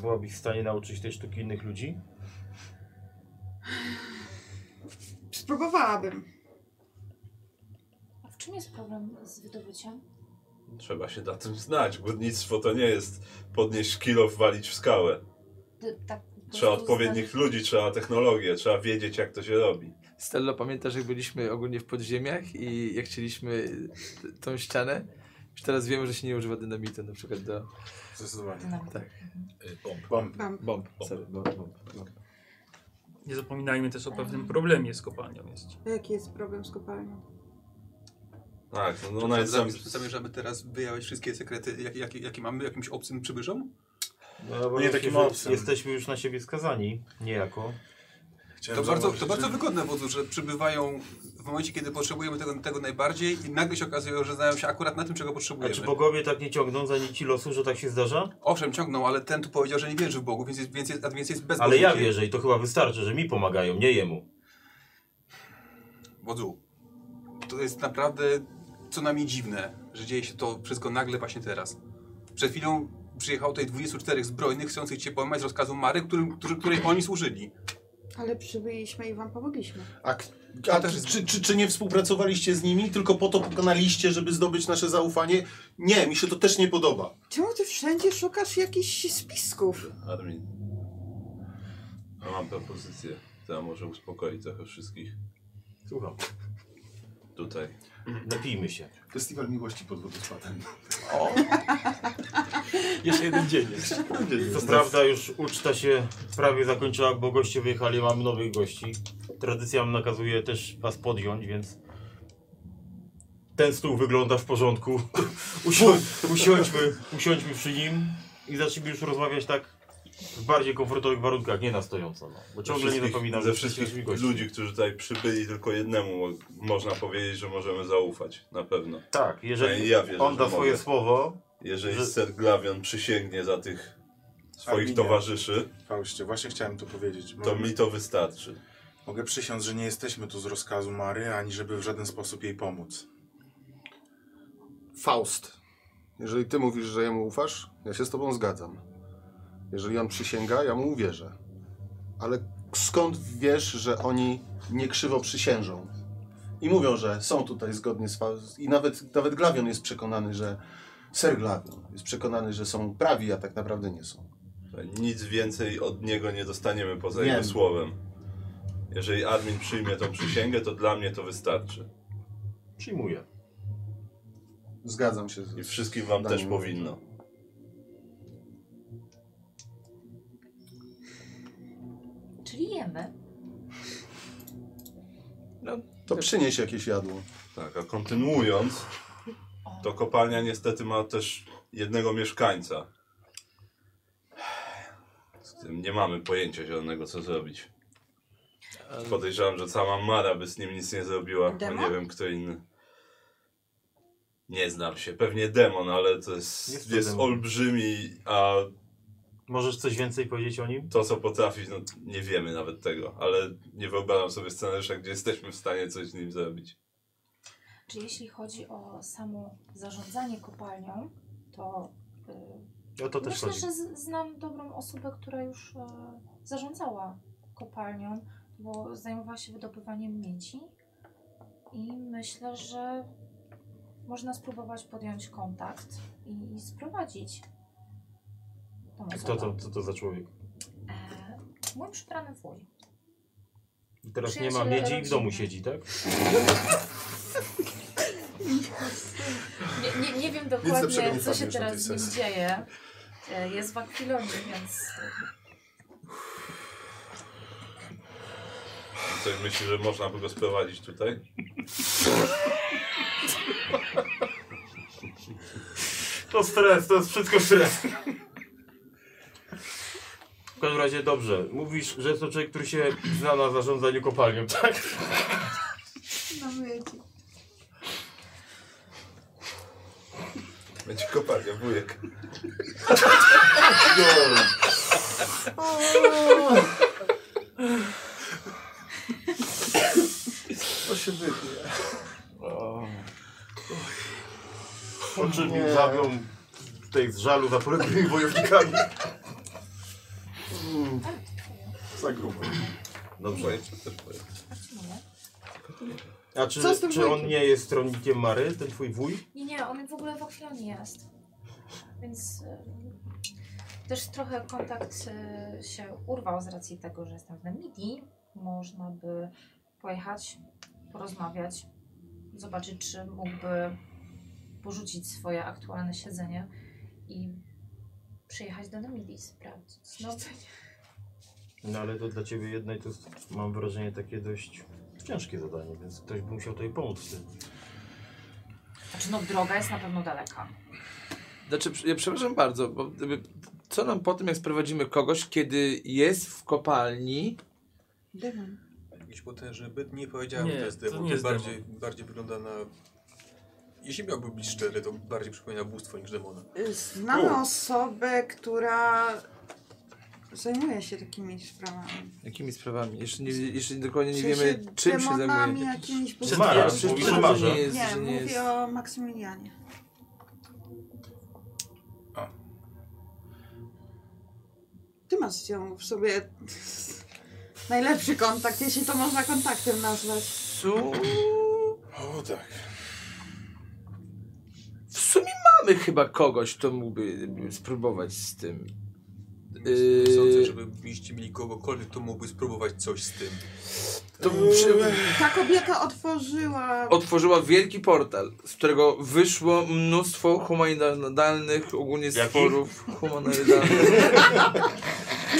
Speaker 8: Byłabyś w stanie nauczyć tej sztuki innych ludzi?
Speaker 18: Spróbowałabym.
Speaker 20: A w czym jest problem z wydobyciem?
Speaker 9: Trzeba się na tym znać. Górnictwo to nie jest podnieść kilo, walić w skałę.
Speaker 20: Ty, tak, po
Speaker 9: Trzeba
Speaker 20: prostu
Speaker 9: odpowiednich
Speaker 20: znasz-
Speaker 9: ludzi, trzeba technologię, trzeba wiedzieć jak to się robi.
Speaker 19: Stello, pamiętasz jak byliśmy ogólnie w podziemiach i jak chcieliśmy t- tą ścianę? Już teraz wiemy, że się nie używa dynamitu na przykład do...
Speaker 21: Zdecydowanie.
Speaker 19: Tak.
Speaker 2: Bomb.
Speaker 21: Bomb.
Speaker 18: Bomb.
Speaker 19: Bomb. Sorry,
Speaker 9: No,
Speaker 19: bomb, bomb.
Speaker 6: Nie zapominajmy też o pewnym problemie z kopalnią Tak, jest.
Speaker 18: Jaki jest problem z kopalnią?
Speaker 9: Tak, no,
Speaker 10: To
Speaker 9: ona jest
Speaker 10: zam-
Speaker 9: zam...
Speaker 10: Zamierzamy teraz wyjawiać wszystkie sekrety, jakie jak, jakie mamy jakimś obcym przybyszom?
Speaker 8: No, bo
Speaker 21: Nie
Speaker 8: już
Speaker 21: takim
Speaker 8: jest-
Speaker 21: obcym.
Speaker 8: Jesteśmy już na siebie skazani, niejako.
Speaker 10: To bardzo, to bardzo wygodne wodzu, że przybywają w momencie, kiedy potrzebujemy tego, tego najbardziej i nagle się okazuje, że znają się akurat na tym, czego
Speaker 8: A
Speaker 10: potrzebujemy.
Speaker 8: czy bogowie tak nie ciągną za nici losu, że tak się zdarza?
Speaker 10: Owszem, ciągnął, ale ten tu powiedział, że nie wierzy w Bogu, więc jest, więc jest, a więc jest bez
Speaker 8: Ale ja wierzę i to chyba wystarczy, że mi pomagają, nie jemu.
Speaker 10: Wodzu, to jest naprawdę co najmniej dziwne, że dzieje się to wszystko nagle właśnie teraz. Przed chwilą przyjechało tutaj 24 zbrojnych chcących cię pojmać z rozkazu Mary, którym, którzy, której oni służyli.
Speaker 18: Ale przybyliśmy i wam pomogliśmy.
Speaker 1: A, k- a czy, czy, czy, czy nie współpracowaliście z nimi, tylko po to pokonaliście, żeby zdobyć nasze zaufanie? Nie, mi się to też nie podoba.
Speaker 18: Czemu ty wszędzie szukasz jakichś spisków?
Speaker 9: Armin. Ja mam propozycję, która może uspokoi trochę wszystkich.
Speaker 8: Słucham.
Speaker 9: Tutaj.
Speaker 8: Napijmy się.
Speaker 1: Festiwal miłości pod wodospadem.
Speaker 9: O!
Speaker 8: Jeszcze jeden dzień jest. Co prawda już uczta się prawie zakończyła, bo goście wyjechali, mamy nowych gości. Tradycja nam nakazuje też was podjąć, więc ten stół wygląda w porządku. Usią usiądźmy, usiądźmy przy nim i zacznijmy już rozmawiać tak w bardziej komfortowych warunkach, nie na stojąco. No. Bo ciągle nie
Speaker 9: Wszystkich-
Speaker 8: zapominam,
Speaker 9: Ze
Speaker 8: że jesteśmy
Speaker 9: wszystkich
Speaker 8: gośćmi.
Speaker 9: ludzi, którzy tutaj przybyli, tylko jednemu mo- można powiedzieć, że możemy zaufać. Na pewno.
Speaker 8: Tak, jeżeli
Speaker 9: Ja wierzę,
Speaker 8: on da
Speaker 9: że
Speaker 8: swoje
Speaker 9: mogę.
Speaker 8: słowo,
Speaker 9: Jeżeli
Speaker 8: że-
Speaker 9: Ser Glavion przysięgnie za tych swoich
Speaker 21: Arminie.
Speaker 9: towarzyszy,
Speaker 21: Fauście, właśnie chciałem to powiedzieć.
Speaker 9: to
Speaker 21: Mogę-
Speaker 9: mi to wystarczy.
Speaker 21: Mogę przysiąc, że nie jesteśmy tu z rozkazu Mary, ani żeby w żaden sposób jej pomóc.
Speaker 1: Faust. Jeżeli ty mówisz, że jemu ufasz, ja się z tobą zgadzam. Jeżeli on przysięga, ja mu uwierzę. Ale skąd wiesz, że oni nie krzywo przysiężą? I mówią, że są tutaj zgodnie z Faust. I nawet, nawet Glawion jest przekonany, że. Ser Glawion jest przekonany, że są prawi, a tak naprawdę nie są.
Speaker 9: Nic więcej od niego nie dostaniemy poza
Speaker 1: Wiem.
Speaker 9: jego słowem. Jeżeli Armin przyjmie tą przysięgę, to dla mnie to wystarczy.
Speaker 8: przyjmuję.
Speaker 1: Zgadzam się. Z,
Speaker 9: I wszystkim wam
Speaker 1: Daniel.
Speaker 9: też powinno.
Speaker 20: Czyli jemy.
Speaker 8: No,
Speaker 1: To przynieś jakieś jadło.
Speaker 9: Tak, a kontynuując, to kopalnia niestety ma też jednego mieszkańca. Z tym nie mamy pojęcia zielonego, co zrobić. Podejrzewam, że cała Mara by z nim nic nie zrobiła, bo
Speaker 18: Demon?
Speaker 9: nie wiem kto inny. Nie znam się, pewnie demon, ale to jest,
Speaker 8: Jest
Speaker 9: jest,
Speaker 8: to demon.
Speaker 9: olbrzymi, a
Speaker 8: Możesz coś więcej powiedzieć o nim?
Speaker 9: to co potrafi, no nie wiemy nawet tego, ale nie wyobrażam sobie scenariusza, gdzie jesteśmy w stanie coś z nim zrobić.
Speaker 20: Czy jeśli chodzi o samo zarządzanie kopalnią, to y,
Speaker 8: O to też
Speaker 20: myślę,
Speaker 8: chodzi.
Speaker 20: że z, znam dobrą osobę, która już y, zarządzała kopalnią, bo zajmowała się wydobywaniem miedzi i myślę, że można spróbować podjąć kontakt i, i sprowadzić tą osobę.
Speaker 8: Kto to, co to za człowiek?
Speaker 20: E, mój przybrany wuj.
Speaker 8: I teraz nie ma
Speaker 20: Przyjaciele
Speaker 8: miedzi i w domu
Speaker 20: rodziny.
Speaker 8: siedzi, tak?
Speaker 20: Nie, nie, nie wiem
Speaker 1: lepszego nie
Speaker 20: dokładnie, co się
Speaker 1: padniesz na tej
Speaker 20: teraz z nim
Speaker 1: sesji.
Speaker 20: dzieje. E, Jest w akwilonie, więc...
Speaker 9: Coś myśli, że można by go sprowadzić tutaj?
Speaker 8: To stres, to jest wszystko stres. W każdym razie dobrze. Mówisz, że jest to człowiek, który się zna na zarządzaniu kopalnią, tak?
Speaker 18: Mamy ci.
Speaker 9: Będzie kopalnia, wujek.
Speaker 1: To się wytnie.
Speaker 8: Oczywiście
Speaker 1: Nie.
Speaker 8: zabią tej z żalu za poległymi wojownikami. Mm.
Speaker 1: Za grubo.
Speaker 8: Dobrze. A czy,
Speaker 18: Co z tym
Speaker 8: czy on
Speaker 18: wujkiem?
Speaker 8: nie jest stronnikiem Mary, ten twój wuj?
Speaker 20: Nie, nie, on w ogóle w Akwilanie jest. Więc y, też trochę kontakt y, się urwał z racji tego, że jestem w Namibii. Można by pojechać, porozmawiać, zobaczyć, czy mógłby porzucić swoje aktualne siedzenie i przyjechać do Namibii, sprawdzić. No,
Speaker 8: No ale to dla ciebie jednej to jest, mam wrażenie, takie dość ciężkie zadanie, więc ktoś by musiał tutaj pomóc w tym.
Speaker 20: znaczy, no droga jest na pewno daleka.
Speaker 19: Znaczy, ja przepraszam bardzo, bo gdyby, co nam po tym, jak sprowadzimy kogoś, kiedy jest w kopalni?
Speaker 18: Dymem.
Speaker 10: Jakiś potężny byt. Nie powiedziałem,
Speaker 19: Nie,
Speaker 10: że to jest
Speaker 19: to
Speaker 10: demon.
Speaker 19: nie
Speaker 10: To
Speaker 19: jest
Speaker 10: bardziej, bardziej wygląda na... Jeśli miałby być szczery, to bardziej przypomina bóstwo niż demona.
Speaker 18: Y, Znamy osobę, która zajmuje się takimi sprawami.
Speaker 19: Jakimi sprawami? Jeszcze, nie, jeszcze dokładnie nie
Speaker 18: Czy
Speaker 19: wiemy,
Speaker 18: się
Speaker 19: czym się
Speaker 18: demonami,
Speaker 19: zajmuje.
Speaker 18: jakimiś
Speaker 19: Przed-
Speaker 18: bóstwami?
Speaker 19: ja- przecież
Speaker 18: Mówisz
Speaker 19: to
Speaker 18: o
Speaker 19: nie
Speaker 18: Nie,
Speaker 19: jest, że nie
Speaker 18: mówię
Speaker 19: jest.
Speaker 18: o Maksymilianie. Ty masz z nią w sobie najlepszy kontakt, jeśli to można kontaktem nazwać.
Speaker 19: Su...
Speaker 21: O tak.
Speaker 19: W sumie mamy chyba kogoś, kto mógłby spróbować z tym.
Speaker 10: Nie Sądzę,
Speaker 19: Yy,
Speaker 10: żeby mieliście mieli kogokolwiek, kto mógłby spróbować coś z tym.
Speaker 19: to przy...
Speaker 18: Ta kobieta otworzyła
Speaker 19: Otworzyła wielki portal, z którego wyszło mnóstwo humanoidalnych ogólnie
Speaker 21: Jakich?
Speaker 19: stworów humanoidalnych.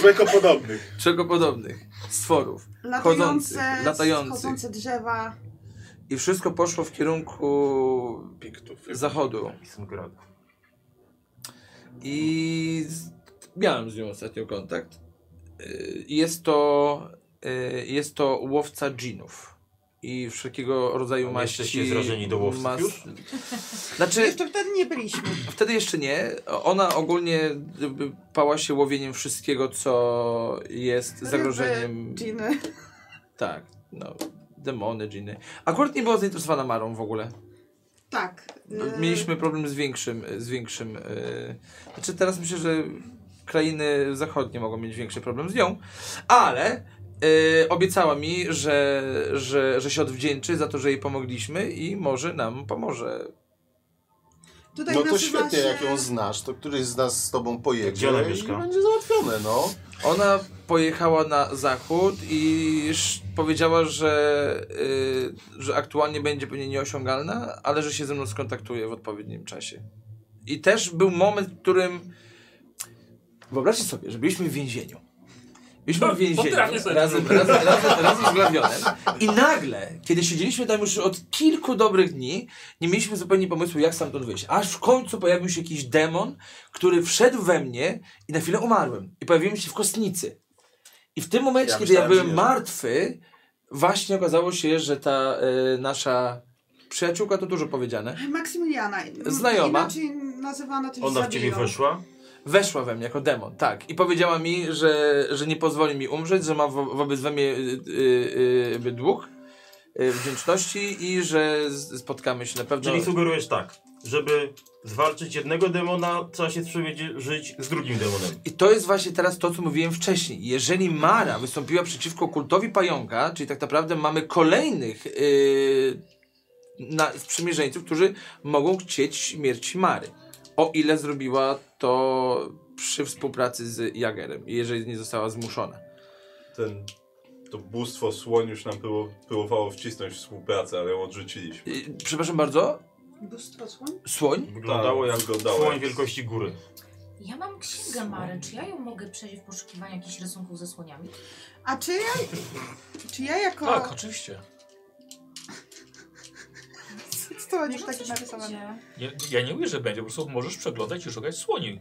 Speaker 21: Człeko podobnych.
Speaker 19: Czego podobnych stworów.
Speaker 18: latające,
Speaker 19: chodzących, latających.
Speaker 18: latające drzewa.
Speaker 19: I wszystko poszło w kierunku zachodu. I z... miałem z nią ostatnio kontakt. Y, Jest to, y, jest to łowca dżinów. I wszelkiego rodzaju
Speaker 8: Ale
Speaker 19: maści.
Speaker 8: jesteście zrażeni do łowców już?
Speaker 19: Znaczy,
Speaker 18: Jeszcze wtedy nie byliśmy.
Speaker 19: Wtedy jeszcze nie. Ona ogólnie jakby pała się łowieniem wszystkiego, co jest zagrożeniem.
Speaker 18: Ryby, dżiny.
Speaker 19: Tak, no. Demony, dżiny. Akurat nie była zainteresowana Marą w ogóle.
Speaker 18: Tak. y,
Speaker 19: No, Mieliśmy problem z większym, z większym. Yy... Znaczy teraz myślę, że krainy zachodnie mogą mieć większy problem z nią, ale yy, obiecała mi, że, że, że się odwdzięczy za to, że jej pomogliśmy i może nam pomoże.
Speaker 18: E, Tutaj
Speaker 1: no to
Speaker 18: nazywa
Speaker 1: świetnie,
Speaker 18: się-
Speaker 1: jak ją znasz, to któryś z nas z tobą pojedzie
Speaker 19: Gdzie ona
Speaker 1: i
Speaker 19: mieszka?
Speaker 1: będzie załatwione, no.
Speaker 19: Ona pojechała na zachód i sz- powiedziała, że, y, że aktualnie będzie pewnie nieosiągalna, ale że się ze mną skontaktuje w odpowiednim czasie. I też był moment, w którym. Wyobraźcie sobie, że byliśmy w więzieniu. Byliśmy w więzieniu
Speaker 6: No, potrafię sobie
Speaker 19: razem,
Speaker 6: wyobrazić.
Speaker 19: razem, razem, razem z Glawionem. I nagle, kiedy siedzieliśmy tam już od kilku dobrych dni, nie mieliśmy zupełnie pomysłu, jak stamtąd wyjść. Aż w końcu pojawił się jakiś demon, który wszedł we mnie i na chwilę umarłem. I pojawiłem się w kostnicy. I w tym momencie,
Speaker 21: Ja
Speaker 19: kiedy ja
Speaker 21: myślałem, że
Speaker 19: byłem
Speaker 21: nie.
Speaker 19: martwy, właśnie okazało się, że ta y, nasza przyjaciółka, to dużo powiedziane,
Speaker 18: Maksymiliana.
Speaker 19: Znajoma.
Speaker 18: Inaczej nazywana też Zabiją.
Speaker 19: Weszła we mnie jako demon, tak. I powiedziała mi, że, że nie pozwoli mi umrzeć, że ma wo- wobec we mnie y, y, y, jakby dług y, wdzięczności i że z- spotkamy się na
Speaker 3: No,
Speaker 19: pewno.
Speaker 8: Czyli sugerujesz tak, żeby zwalczyć jednego demona, trzeba się żyć z drugim demonem.
Speaker 19: I to jest właśnie teraz to, co mówiłem wcześniej. Jeżeli Mara wystąpiła przeciwko kultowi pająka, czyli tak naprawdę mamy kolejnych yy, na, sprzymierzeńców, którzy mogą chcieć śmierci Mary. O ile zrobiła to przy współpracy z Jagerem, jeżeli nie została zmuszona.
Speaker 9: Ten, to bóstwo słoń już nam było, próbowało wcisnąć współpracę, ale ją odrzuciliśmy.
Speaker 19: Przepraszam bardzo,
Speaker 18: Bóstwo słoń?
Speaker 19: słoń?
Speaker 8: Wyglądało
Speaker 9: Tak,
Speaker 8: jak
Speaker 9: wyglądało
Speaker 8: słoń
Speaker 9: jak-
Speaker 8: wielkości góry.
Speaker 3: Tak.
Speaker 20: Ja mam księgę Mary, czy ja ją mogę przejść w poszukiwaniu jakichś rysunków ze słoniami?
Speaker 18: A czy ja, czy ja jako...
Speaker 2: Tak, oczywiście.
Speaker 18: Co to nie taki narysowany?
Speaker 2: Nie, ja nie mówię, że będzie, po prostu możesz przeglądać i szukać słoni.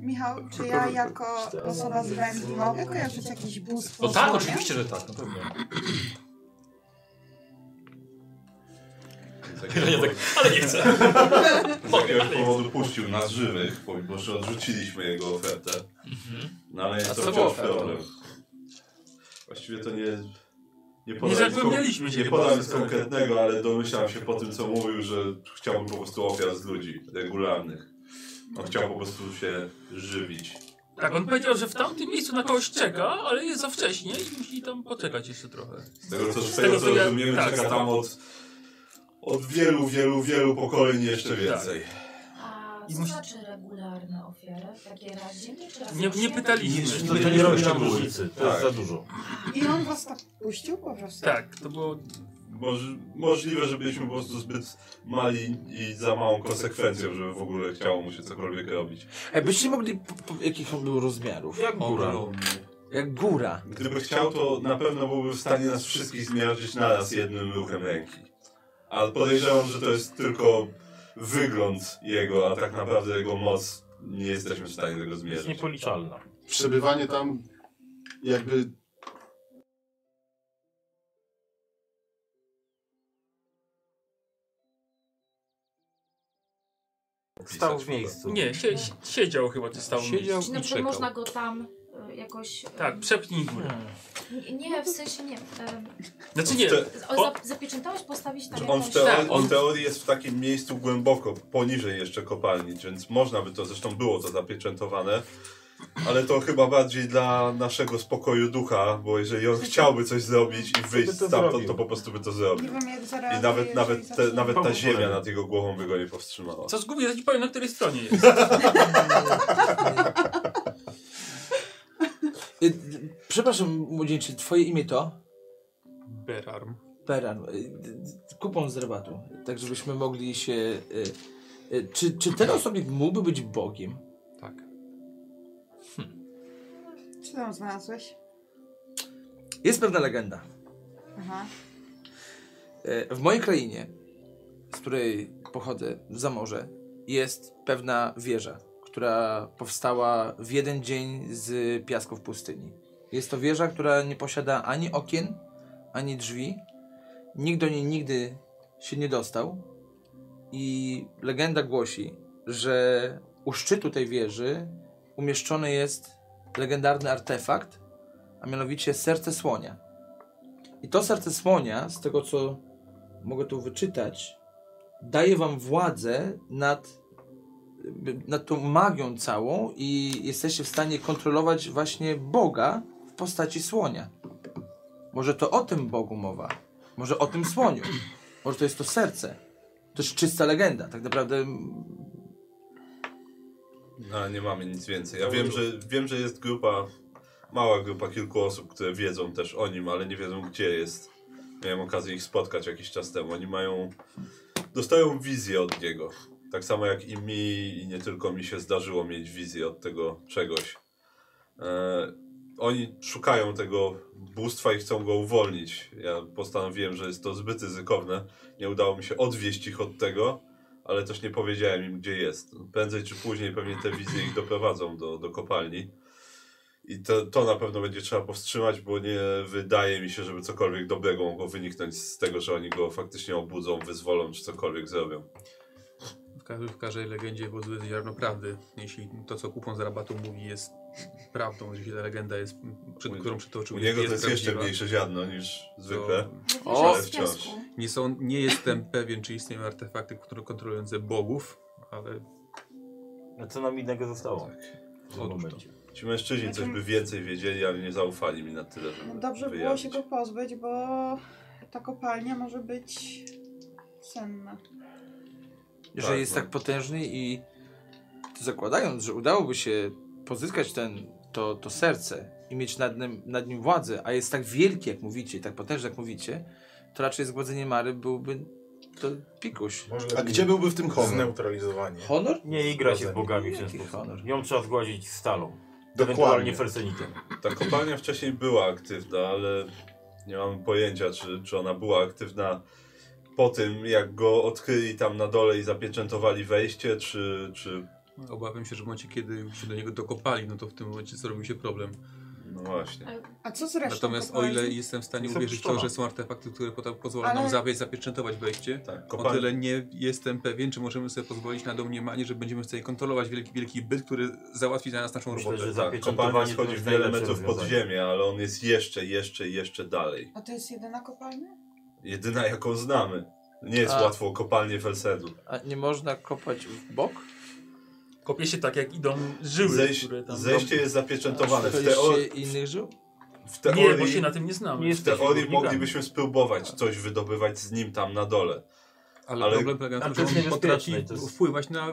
Speaker 18: Michał, czy ja jako osoba z Ręki mogę kojarzyć jakieś bóstwo
Speaker 2: No tak,
Speaker 18: słonia?
Speaker 2: oczywiście, że tak, na pewno. Ja tak, ale nie chcę.
Speaker 9: Z jakiegoś powodu puścił nas żywych, pomimo że odrzuciliśmy jego ofertę. No ale
Speaker 2: A
Speaker 9: jest to
Speaker 2: co
Speaker 9: wciąż
Speaker 2: było
Speaker 9: problem.
Speaker 2: ofertą?
Speaker 9: Właściwie to nie...
Speaker 2: Nie
Speaker 9: podał nic
Speaker 2: zapewnialiśmy
Speaker 9: kon-
Speaker 2: się
Speaker 9: Nie
Speaker 2: po
Speaker 9: podał nic
Speaker 2: prostu.
Speaker 9: konkretnego, ale domyślam się po tym, co mówił, że chciałby po prostu ofiar z ludzi regularnych. On chciał po prostu się żywić
Speaker 6: Tak, on powiedział, że w tamtym miejscu na kogoś czeka, ale jest za wcześnie i musi tam poczekać jeszcze trochę.
Speaker 9: Z tego co, z tego, co rozumiemy,
Speaker 6: tak,
Speaker 9: czeka tam od, od wielu, wielu, wielu pokoleń
Speaker 21: Tak.
Speaker 9: jeszcze więcej.
Speaker 20: A co znaczy regularne ofiary w takim razie? Nie, czy raz
Speaker 6: Nie,
Speaker 20: na
Speaker 6: nie
Speaker 20: siedem?
Speaker 6: pytaliśmy.
Speaker 8: Nie, nie, nie robi nam różnicy, to jest za dużo.
Speaker 18: I on was tak puścił po prostu?
Speaker 6: Tak, to było...
Speaker 9: Moż, możliwe, że byliśmy po prostu zbyt mali i za małą konsekwencją, żeby w ogóle chciało mu się cokolwiek robić.
Speaker 19: Ej, byście mogli, po, po, jakich on był rozmiarów?
Speaker 9: Jak góra.
Speaker 19: Ogromny. Jak góra.
Speaker 9: Gdyby chciał, to na pewno byłby w stanie nas wszystkich zmierzyć na raz jednym ruchem ręki. Ale podejrzewam, że to jest tylko wygląd jego, a tak naprawdę jego moc nie jesteśmy w stanie tego zmierzyć.
Speaker 8: Jest niepoliczalna.
Speaker 1: Przebywanie tam jakby
Speaker 8: Stał w miejscu.
Speaker 6: Nie, sie, sie- siedział chyba, czy stał
Speaker 7: Siedział
Speaker 20: Czy na
Speaker 6: Znaczy,
Speaker 20: przykład można go tam y, jakoś... y,
Speaker 6: Tak, przepnij górę.
Speaker 20: n- Nie, w sensie nie. y,
Speaker 6: Znaczy nie,
Speaker 20: o, za, zapieczętować, postawić tam
Speaker 9: On w,
Speaker 20: jakąś...
Speaker 6: Tak,
Speaker 9: teorii, on w teorii jest w takim miejscu głęboko, poniżej jeszcze kopalni, więc można by to, zresztą było to zapieczętowane, ale to chyba bardziej dla naszego spokoju ducha, bo jeżeli on chciałby coś zrobić i wyjść
Speaker 18: to
Speaker 9: stamtąd,
Speaker 18: zrobił?
Speaker 9: to po prostu by to zrobił.
Speaker 18: Nie wiem, jak
Speaker 9: I
Speaker 18: zareaguje,
Speaker 9: nawet,
Speaker 18: jeżeli
Speaker 9: nawet, te,
Speaker 18: zacznie-
Speaker 9: nawet ta
Speaker 18: Pomógł
Speaker 9: ziemia nad jego głową by go nie powstrzymała.
Speaker 6: co zgubię, ja ci powiem, na której stronie jest.
Speaker 19: Y, d- Przepraszam, młodzieńczy, twoje imię to?
Speaker 6: Berarm.
Speaker 19: Peran. Y, d- d- Kupon z rabatu, tak żebyśmy mogli się... y, y, Czy, czy ten osobnik mógłby być Bogiem? Hm.
Speaker 7: Tak.
Speaker 18: Co tam znalazłeś?
Speaker 19: Jest pewna legenda.
Speaker 18: Aha.
Speaker 19: E, W mojej krainie, z której pochodzę, za morze, jest pewna wieża, która powstała w jeden dzień z piasków pustyni. Jest to wieża, która nie posiada ani okien, ani drzwi. Nikt do niej nigdy się nie dostał. I legenda głosi, że u szczytu tej wieży umieszczony jest legendarny artefakt, a mianowicie serce słonia. I to serce słonia, z tego co mogę tu wyczytać, daje wam władzę nad, by- nad tą magią całą i jesteście w stanie kontrolować właśnie Boga w postaci słonia. Może to o tym Bogu mowa, może o tym słoniu, może to jest to serce. To jest czysta legenda, tak naprawdę. mm,
Speaker 9: No, nie mamy nic więcej. Ja wiem, że, wiem, że jest grupa, mała grupa kilku osób, które wiedzą też o nim, ale nie wiedzą gdzie jest. Miałem okazję ich spotkać jakiś czas temu. Oni mają, dostają wizję od niego. Tak samo jak i mi, i nie tylko mi się zdarzyło mieć wizję od tego czegoś. E, oni szukają tego bóstwa i chcą go uwolnić. Ja postanowiłem, że jest to zbyt ryzykowne. Nie udało mi się odwieść ich od tego, ale też nie powiedziałem im, gdzie jest. Prędzej czy później pewnie te wizje ich doprowadzą do, do kopalni. I to, to na pewno będzie trzeba powstrzymać, bo nie wydaje mi się, żeby cokolwiek dobrego mogło wyniknąć z tego, że oni go faktycznie obudzą, wyzwolą czy cokolwiek zrobią.
Speaker 27: W, każdej, w każdej legendzie wodzuje ziarno prawdy. Jeśli to, co kupon z rabatu mówi, jest prawdą, jeśli ta legenda, jest, przed, którą przytoczył,
Speaker 9: u niego to jest
Speaker 27: prawdziwa,
Speaker 9: jeszcze mniejsze ziarno niż zwykle,
Speaker 27: to-
Speaker 9: O! ale wciąż.
Speaker 27: Nie, są, nie jestem pewien, czy istnieją artefakty które kontrolujące bogów, ale...
Speaker 8: A no, co nam innego zostało?
Speaker 3: Tak.
Speaker 9: Otóż to. No Ci mężczyźni coś by więcej wiedzieli, ale nie zaufali mi na tyle, żeby
Speaker 18: No dobrze było
Speaker 9: wyjawić.
Speaker 18: się go pozbyć, bo ta kopalnia może być senna.
Speaker 19: że
Speaker 9: Tak,
Speaker 19: jest
Speaker 9: no.
Speaker 19: tak potężny i zakładając, że udałoby się pozyskać ten, to, to serce i mieć nad nim, nad nim władzę, a jest tak wielki, jak mówicie, i tak potężny, jak mówicie, to raczej zgładzenie Mary byłby to pikuś.
Speaker 1: A gdzie byłby w tym honor?
Speaker 21: Zneutralizowanie.
Speaker 19: Honor?
Speaker 8: Nie igra się z bogami w ten sposób. Ją trzeba zgładzić stalą. Ewentualnie felsenitem.
Speaker 9: Ta kopalnia wcześniej była aktywna, ale nie mam pojęcia, czy, czy ona była aktywna po tym, jak go odkryli tam na dole i zapieczętowali wejście, czy... czy...
Speaker 27: Obawiam się, że w momencie, kiedy się do niego dokopali, no to w tym momencie zrobił się problem.
Speaker 9: No właśnie.
Speaker 18: A
Speaker 27: No
Speaker 18: co z resztą
Speaker 27: Natomiast o
Speaker 18: kopalni?
Speaker 27: ile jestem w stanie
Speaker 18: Są
Speaker 27: uwierzyć w to,
Speaker 18: sztoma.
Speaker 27: że są artefakty, które potem pozwolą
Speaker 18: Ale-
Speaker 27: nam zawieść, zapieczętować wejście, o
Speaker 9: kopalnie-
Speaker 27: tyle nie jestem pewien, czy możemy sobie pozwolić na domniemanie, że będziemy w stanie kontrolować wielki, wielki byt, który załatwi za nas naszą robotę.
Speaker 9: tak, kopalnia schodzi wiele metrów pod ziemię, ale on jest jeszcze, jeszcze, jeszcze dalej.
Speaker 18: A to jest jedyna kopalnia?
Speaker 9: Jedyna, jaką znamy. Nie jest
Speaker 19: A-
Speaker 8: Tak
Speaker 9: łatwo o kopalnię Felsedu.
Speaker 19: A nie można kopać w bok?
Speaker 6: Kopie się tak, jak idą żyły,
Speaker 3: Zejś-
Speaker 6: które tam...
Speaker 3: zejście jest zapieczętowane.
Speaker 6: Aż to
Speaker 3: W teo-
Speaker 6: jeszcze
Speaker 19: innych żył?
Speaker 3: W
Speaker 6: Nie, bo się na tym nie znamy.
Speaker 3: W teorii moglibyśmy spróbować coś wydobywać z nim tam na dole.
Speaker 10: Ale, problem polega na
Speaker 9: znaczy,
Speaker 10: tym, że on potrafi wpływać na...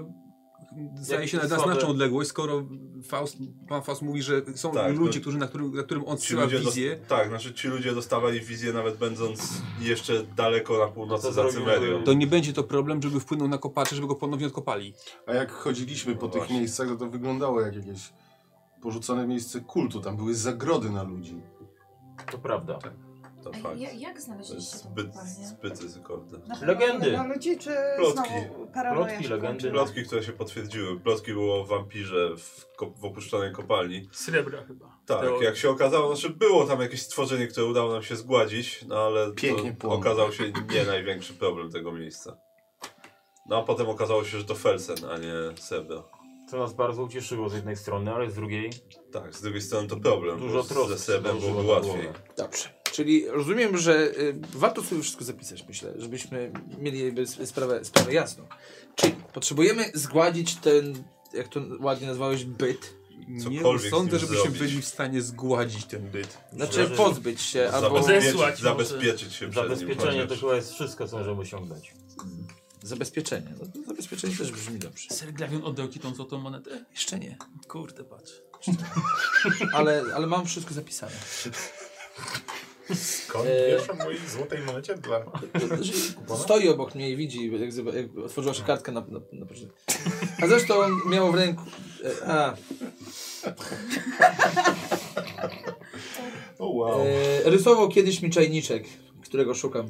Speaker 10: Zdaje się na
Speaker 3: słabe-
Speaker 10: znaczną odległość, skoro Faust, pan Faust mówi, że są
Speaker 3: Tak,
Speaker 10: ludzie,
Speaker 3: to-
Speaker 10: którzy, na, którym, na którym on
Speaker 3: Ci
Speaker 10: trzyma
Speaker 3: ludzie dos-
Speaker 10: wizję.
Speaker 3: tak, znaczy ci ludzie dostawali wizję nawet będąc jeszcze daleko na północy za Cymerią.
Speaker 10: No To nie będzie to problem, żeby wpłynął na kopaczy, żeby go ponownie odkopali.
Speaker 1: A jak chodziliśmy po
Speaker 10: No
Speaker 1: tych
Speaker 10: właśnie.
Speaker 1: miejscach, to to wyglądało jak jakieś porzucone miejsce kultu. Tam były zagrody na ludzi. Tak.
Speaker 8: To prawda.
Speaker 3: To
Speaker 20: Ej,
Speaker 3: fakt.
Speaker 20: ja- jak znaleźliście
Speaker 3: To jest
Speaker 20: tą
Speaker 3: zbyt,
Speaker 20: kopalnię?
Speaker 3: zbyt ryzykowne.
Speaker 8: Legendy.
Speaker 18: Na ludzi No, czy
Speaker 3: Plotki.
Speaker 18: znowu paranoja się włączyła?
Speaker 3: Plotki, które się potwierdziły. Plotki było o wampirze w, ko- w opuszczonej kopalni.
Speaker 6: Srebra chyba.
Speaker 3: Tak,
Speaker 6: Teorii.
Speaker 3: jak się okazało, znaczy było tam jakieś stworzenie, które udało nam się zgładzić, no ale
Speaker 1: Pięknie
Speaker 3: to
Speaker 1: płonął.
Speaker 3: okazał się nie największy problem tego miejsca. No a potem okazało się, że to Felsen, a nie Sebra.
Speaker 8: Co nas bardzo ucieszyło z jednej strony, ale z drugiej...
Speaker 3: Tak, z drugiej strony to problem,
Speaker 8: Dużo
Speaker 3: bo
Speaker 8: troski
Speaker 3: ze Sebrem
Speaker 8: przyłożyło
Speaker 3: byłoby
Speaker 8: na
Speaker 3: łatwiej.
Speaker 8: głowę.
Speaker 19: Dobrze. Czyli rozumiem, że y, warto sobie wszystko zapisać, myślę, żebyśmy mieli jakby s- sprawę, sprawę jasną. Czyli potrzebujemy zgładzić ten, jak to ładnie nazwałeś, byt.
Speaker 10: nie sądzę, żebyśmy byli w stanie zgładzić ten byt.
Speaker 19: Znaczy pozbyć się, albo
Speaker 8: Zabezpieczenie to chyba jest wszystko, co możemy osiągnąć.
Speaker 19: Zabezpieczenie. No, Zabezpieczenie też brzmi dobrze.
Speaker 6: Serglawion oddał ci tą złotą monetę?
Speaker 19: Jeszcze nie.
Speaker 6: Kurde, patrz.
Speaker 19: Ale, ale mam wszystko zapisane.
Speaker 21: Skąd
Speaker 19: E,
Speaker 21: wiesz o mojej złotej monecie dla
Speaker 19: Że
Speaker 1: znaczy,
Speaker 19: Stoi obok mnie i widzi, jak, zob- jak otworzyła się kartka na, na, na początku. A zresztą miał w ręku. e, A.
Speaker 1: O wow.
Speaker 19: E, rysował kiedyś mi czajniczek, którego szukam.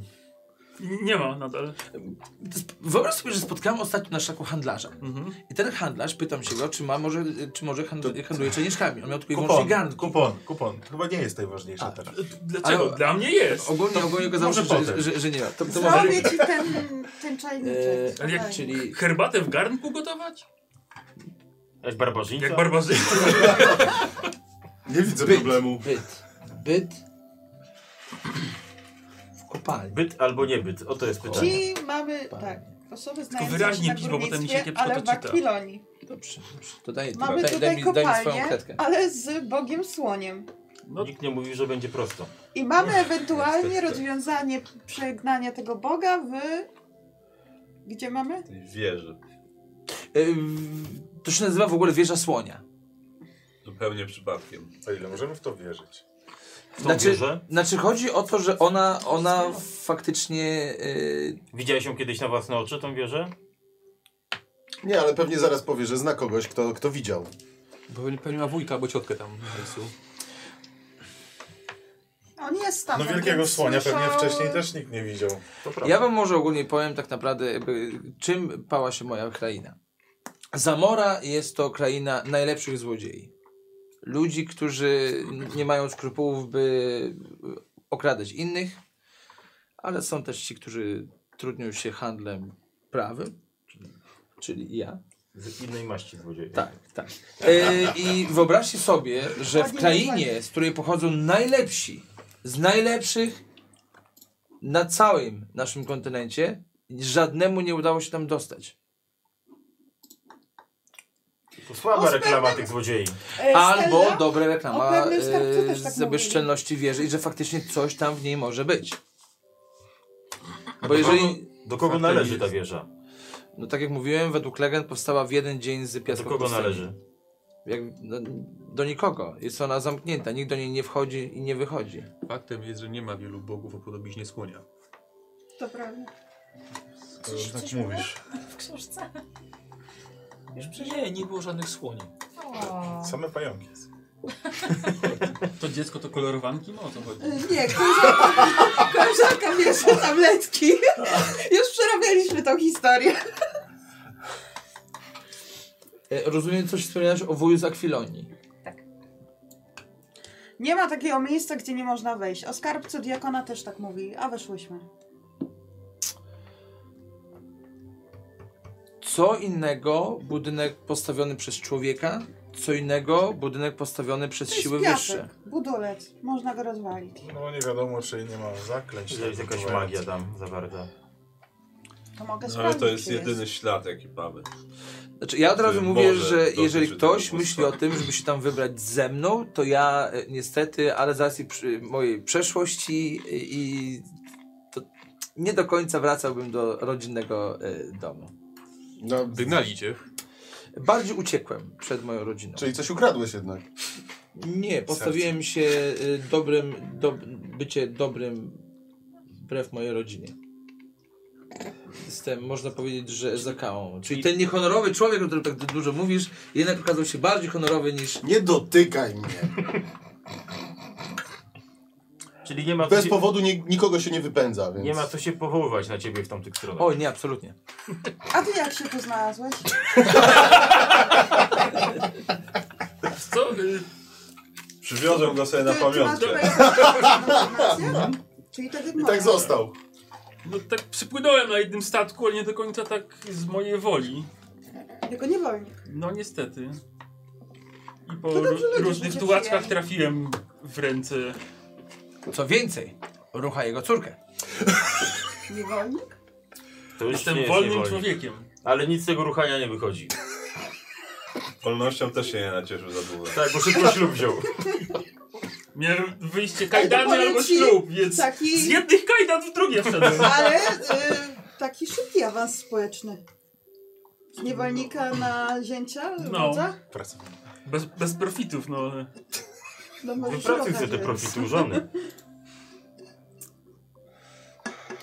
Speaker 6: Nie ma nadal.
Speaker 19: Wyobraź sobie, że spotkałem ostatnio na szlaku handlarza.
Speaker 6: Mhm.
Speaker 19: I ten handlarz, pytam się go, czy ma może, czy może handl- handluje czajniczkami. On miał tylko i
Speaker 21: Kupon,
Speaker 19: wyłącznie garnki.
Speaker 21: kupon, kupon. Chyba nie jest najważniejsze teraz.
Speaker 19: dlaczego? Ale- Dla mnie jest. ogólnie- ogólnie okazało się,
Speaker 21: może
Speaker 19: że-
Speaker 21: potem.
Speaker 19: że- że nie ma. To- to może- E,
Speaker 18: Zrobię ci ten, ten
Speaker 27: E,
Speaker 18: czajniczek.
Speaker 6: Ale jak,
Speaker 18: Daj.
Speaker 6: czyli... Herbatę w garnku gotować?
Speaker 8: Jak barbarzyńca?
Speaker 6: Jak barbarzyńca.
Speaker 1: Nie widzę problemu.
Speaker 19: Byt. Byt.
Speaker 8: Byt albo niebyt, o to jest pytanie.
Speaker 18: Ci mamy, tak, osoby znające
Speaker 8: wyraźnie
Speaker 18: się na
Speaker 8: pisz, bo potem mi się
Speaker 18: górnictwie,
Speaker 8: kiepsko
Speaker 18: ale
Speaker 8: to
Speaker 18: w
Speaker 8: czyta.
Speaker 18: Akwilonii.
Speaker 19: Dobrze, dobrze. To daj,
Speaker 18: Mamy
Speaker 19: daj,
Speaker 18: tutaj
Speaker 19: daj, mi, daj mi swoją
Speaker 18: kopalnię,
Speaker 19: kredkę.
Speaker 18: ale z Bogiem Słoniem.
Speaker 8: Nikt nie mówi, że będzie prosto.
Speaker 18: no- I mamy ewentualnie rozwiązanie przegnania tego Boga w... Gdzie mamy?
Speaker 3: Wieży.
Speaker 19: Y, To się nazywa w ogóle wieża słonia.
Speaker 3: Zupełnie przypadkiem.
Speaker 21: O ile możemy w to wierzyć?
Speaker 19: Znaczy, znaczy chodzi o to, że ona, ona faktycznie... y,
Speaker 8: Widziałeś ją kiedyś na własne oczy, tą wieżę?
Speaker 1: Nie, ale pewnie zaraz powie, że zna kogoś, kto, kto widział.
Speaker 10: Bo pewnie ma wujka albo ciotkę tam w miejscu.
Speaker 18: On jest tam.
Speaker 21: No
Speaker 18: on
Speaker 21: wielkiego
Speaker 18: więc
Speaker 21: słonia
Speaker 18: słyszał-
Speaker 21: pewnie wcześniej też nikt nie widział. To prawda.
Speaker 19: Ja wam może ogólnie powiem tak naprawdę, jakby, czym pała się moja kraina. Zamora jest to kraina najlepszych złodziei. Ludzi, którzy nie mają skrupułów, by okradać innych, ale są też ci, którzy trudnią się handlem prawym, czyli ja.
Speaker 8: Z innej maści złodziei.
Speaker 19: Tak, tak. E, I wyobraźcie sobie, że w krainie, z której pochodzą najlepsi, z najlepszych na całym naszym kontynencie, żadnemu nie udało się tam dostać.
Speaker 8: To słaba reklama tych złodziei.
Speaker 18: E,
Speaker 19: Albo
Speaker 18: Stella?
Speaker 19: dobra
Speaker 18: O
Speaker 19: reklama
Speaker 18: pewnym skarbcu też tak
Speaker 19: e, sobie
Speaker 18: mówili.
Speaker 19: szczelności wierzy i że faktycznie coś tam w niej może być. Bo jeżeli...
Speaker 8: No Do kogo należy ta wieża?
Speaker 19: No tak jak mówiłem, według legend powstała w jeden dzień z piasku.
Speaker 8: Do kogo
Speaker 19: pustyni.
Speaker 8: należy?
Speaker 19: Jak, no, do nikogo. Jest ona zamknięta, nikt do niej nie wchodzi i nie wychodzi.
Speaker 27: Faktem jest, że nie ma wielu bogów o podobiznie słonia.
Speaker 18: To prawda.
Speaker 21: Coś, tak
Speaker 20: coś
Speaker 21: mówisz.
Speaker 20: W książce.
Speaker 2: Już przecież nie, nie było żadnych słoni.
Speaker 20: O.
Speaker 21: Same pająki.
Speaker 6: To dziecko to kolorowanki? No o co chodzi?
Speaker 18: Y, Nie, koleżanka, koleżanka wiesza tabletki. Już przerabialiśmy tą historię.
Speaker 19: E, Rozumiem, coś wspominałeś o wuju z Akwilonii.
Speaker 18: Nie ma takiego miejsca, gdzie nie można wejść. O skarbcu diakona też tak mówi, a weszłyśmy.
Speaker 19: Co innego budynek postawiony przez człowieka, co innego budynek postawiony przez siły wyższe.
Speaker 18: Piasek, budulec, można go rozwalić.
Speaker 21: No nie wiadomo, czy nie ma zaklęć.
Speaker 8: Jest jakaś
Speaker 21: Ewentualnie.
Speaker 8: magia tam zawarta.
Speaker 18: To mogę
Speaker 3: No, ale
Speaker 18: sprawdzić,
Speaker 3: to jest
Speaker 18: czy jest.
Speaker 3: jedyny ślad, jaki mamy.
Speaker 19: Znaczy, ja od razu
Speaker 9: Który
Speaker 19: mówię,
Speaker 9: może
Speaker 19: że
Speaker 9: dotrzeć
Speaker 19: jeżeli
Speaker 9: do
Speaker 19: ktoś
Speaker 9: tego
Speaker 19: myśli o tym, żeby się tam wybrać ze mną, to ja e, niestety, ale z racji przy, mojej przeszłości i- i to nie do końca wracałbym do rodzinnego e, domu.
Speaker 1: No,
Speaker 19: Wygnali cię. Bardziej uciekłem przed moją rodziną.
Speaker 1: Czyli coś ukradłeś jednak.
Speaker 19: Nie, postawiłem się y, dobrym, do, bycie dobrym wbrew mojej rodzinie. Jestem, można powiedzieć, że zakałą. Czyli ten niehonorowy człowiek, o którym tak dużo mówisz, jednak okazał się bardziej honorowy niż...
Speaker 1: Nie dotykaj mnie.
Speaker 8: Czyli nie ma
Speaker 1: Bez powodu nie, nikogo się nie wypędza, więc...
Speaker 8: Nie ma co się powoływać na ciebie w tamtych stronach.
Speaker 19: O nie, absolutnie.
Speaker 18: A ty jak się tu znalazłeś?
Speaker 4: Co?
Speaker 3: Przywiozłem go sobie na
Speaker 18: Ty- ty masz
Speaker 3: pamiątkę.
Speaker 18: Informacja? Czyli to
Speaker 1: I tak został.
Speaker 6: No tak przypłynąłem na jednym statku, ale nie do końca tak z mojej woli.
Speaker 18: Tylko niewolnik.
Speaker 6: No niestety. I po
Speaker 18: To dobrze,
Speaker 6: ró-
Speaker 18: ludzie,
Speaker 6: różnych
Speaker 18: życie
Speaker 6: tułaczkach
Speaker 18: przyjemne.
Speaker 6: trafiłem w ręce.
Speaker 19: Co więcej, rucha jego córkę.
Speaker 18: Niewolnik?
Speaker 8: To już
Speaker 6: Jestem
Speaker 8: nie jest
Speaker 6: wolnym
Speaker 8: niewolnik.
Speaker 6: człowiekiem.
Speaker 8: Ale nic z tego ruchania nie wychodzi.
Speaker 3: Wolnością też się nie nacieszył za długo.
Speaker 8: Tak, bo szybko ślub wziął.
Speaker 6: Miałem wyjście
Speaker 18: Ej, to
Speaker 6: kajdany
Speaker 18: powiem
Speaker 6: albo
Speaker 18: ci, Tak.
Speaker 6: ślub, więc
Speaker 18: taki-
Speaker 6: z jednych kajdan w drugie wszedłem. No.
Speaker 18: Ale y, taki szybki awans społeczny. Z niewolnika na zięcia?
Speaker 6: No.
Speaker 18: Wodza?
Speaker 6: Bez, bez profitów, no ale...
Speaker 18: No może
Speaker 8: Wypracuj
Speaker 18: się
Speaker 8: sobie te
Speaker 18: okazać.
Speaker 8: profity u żony.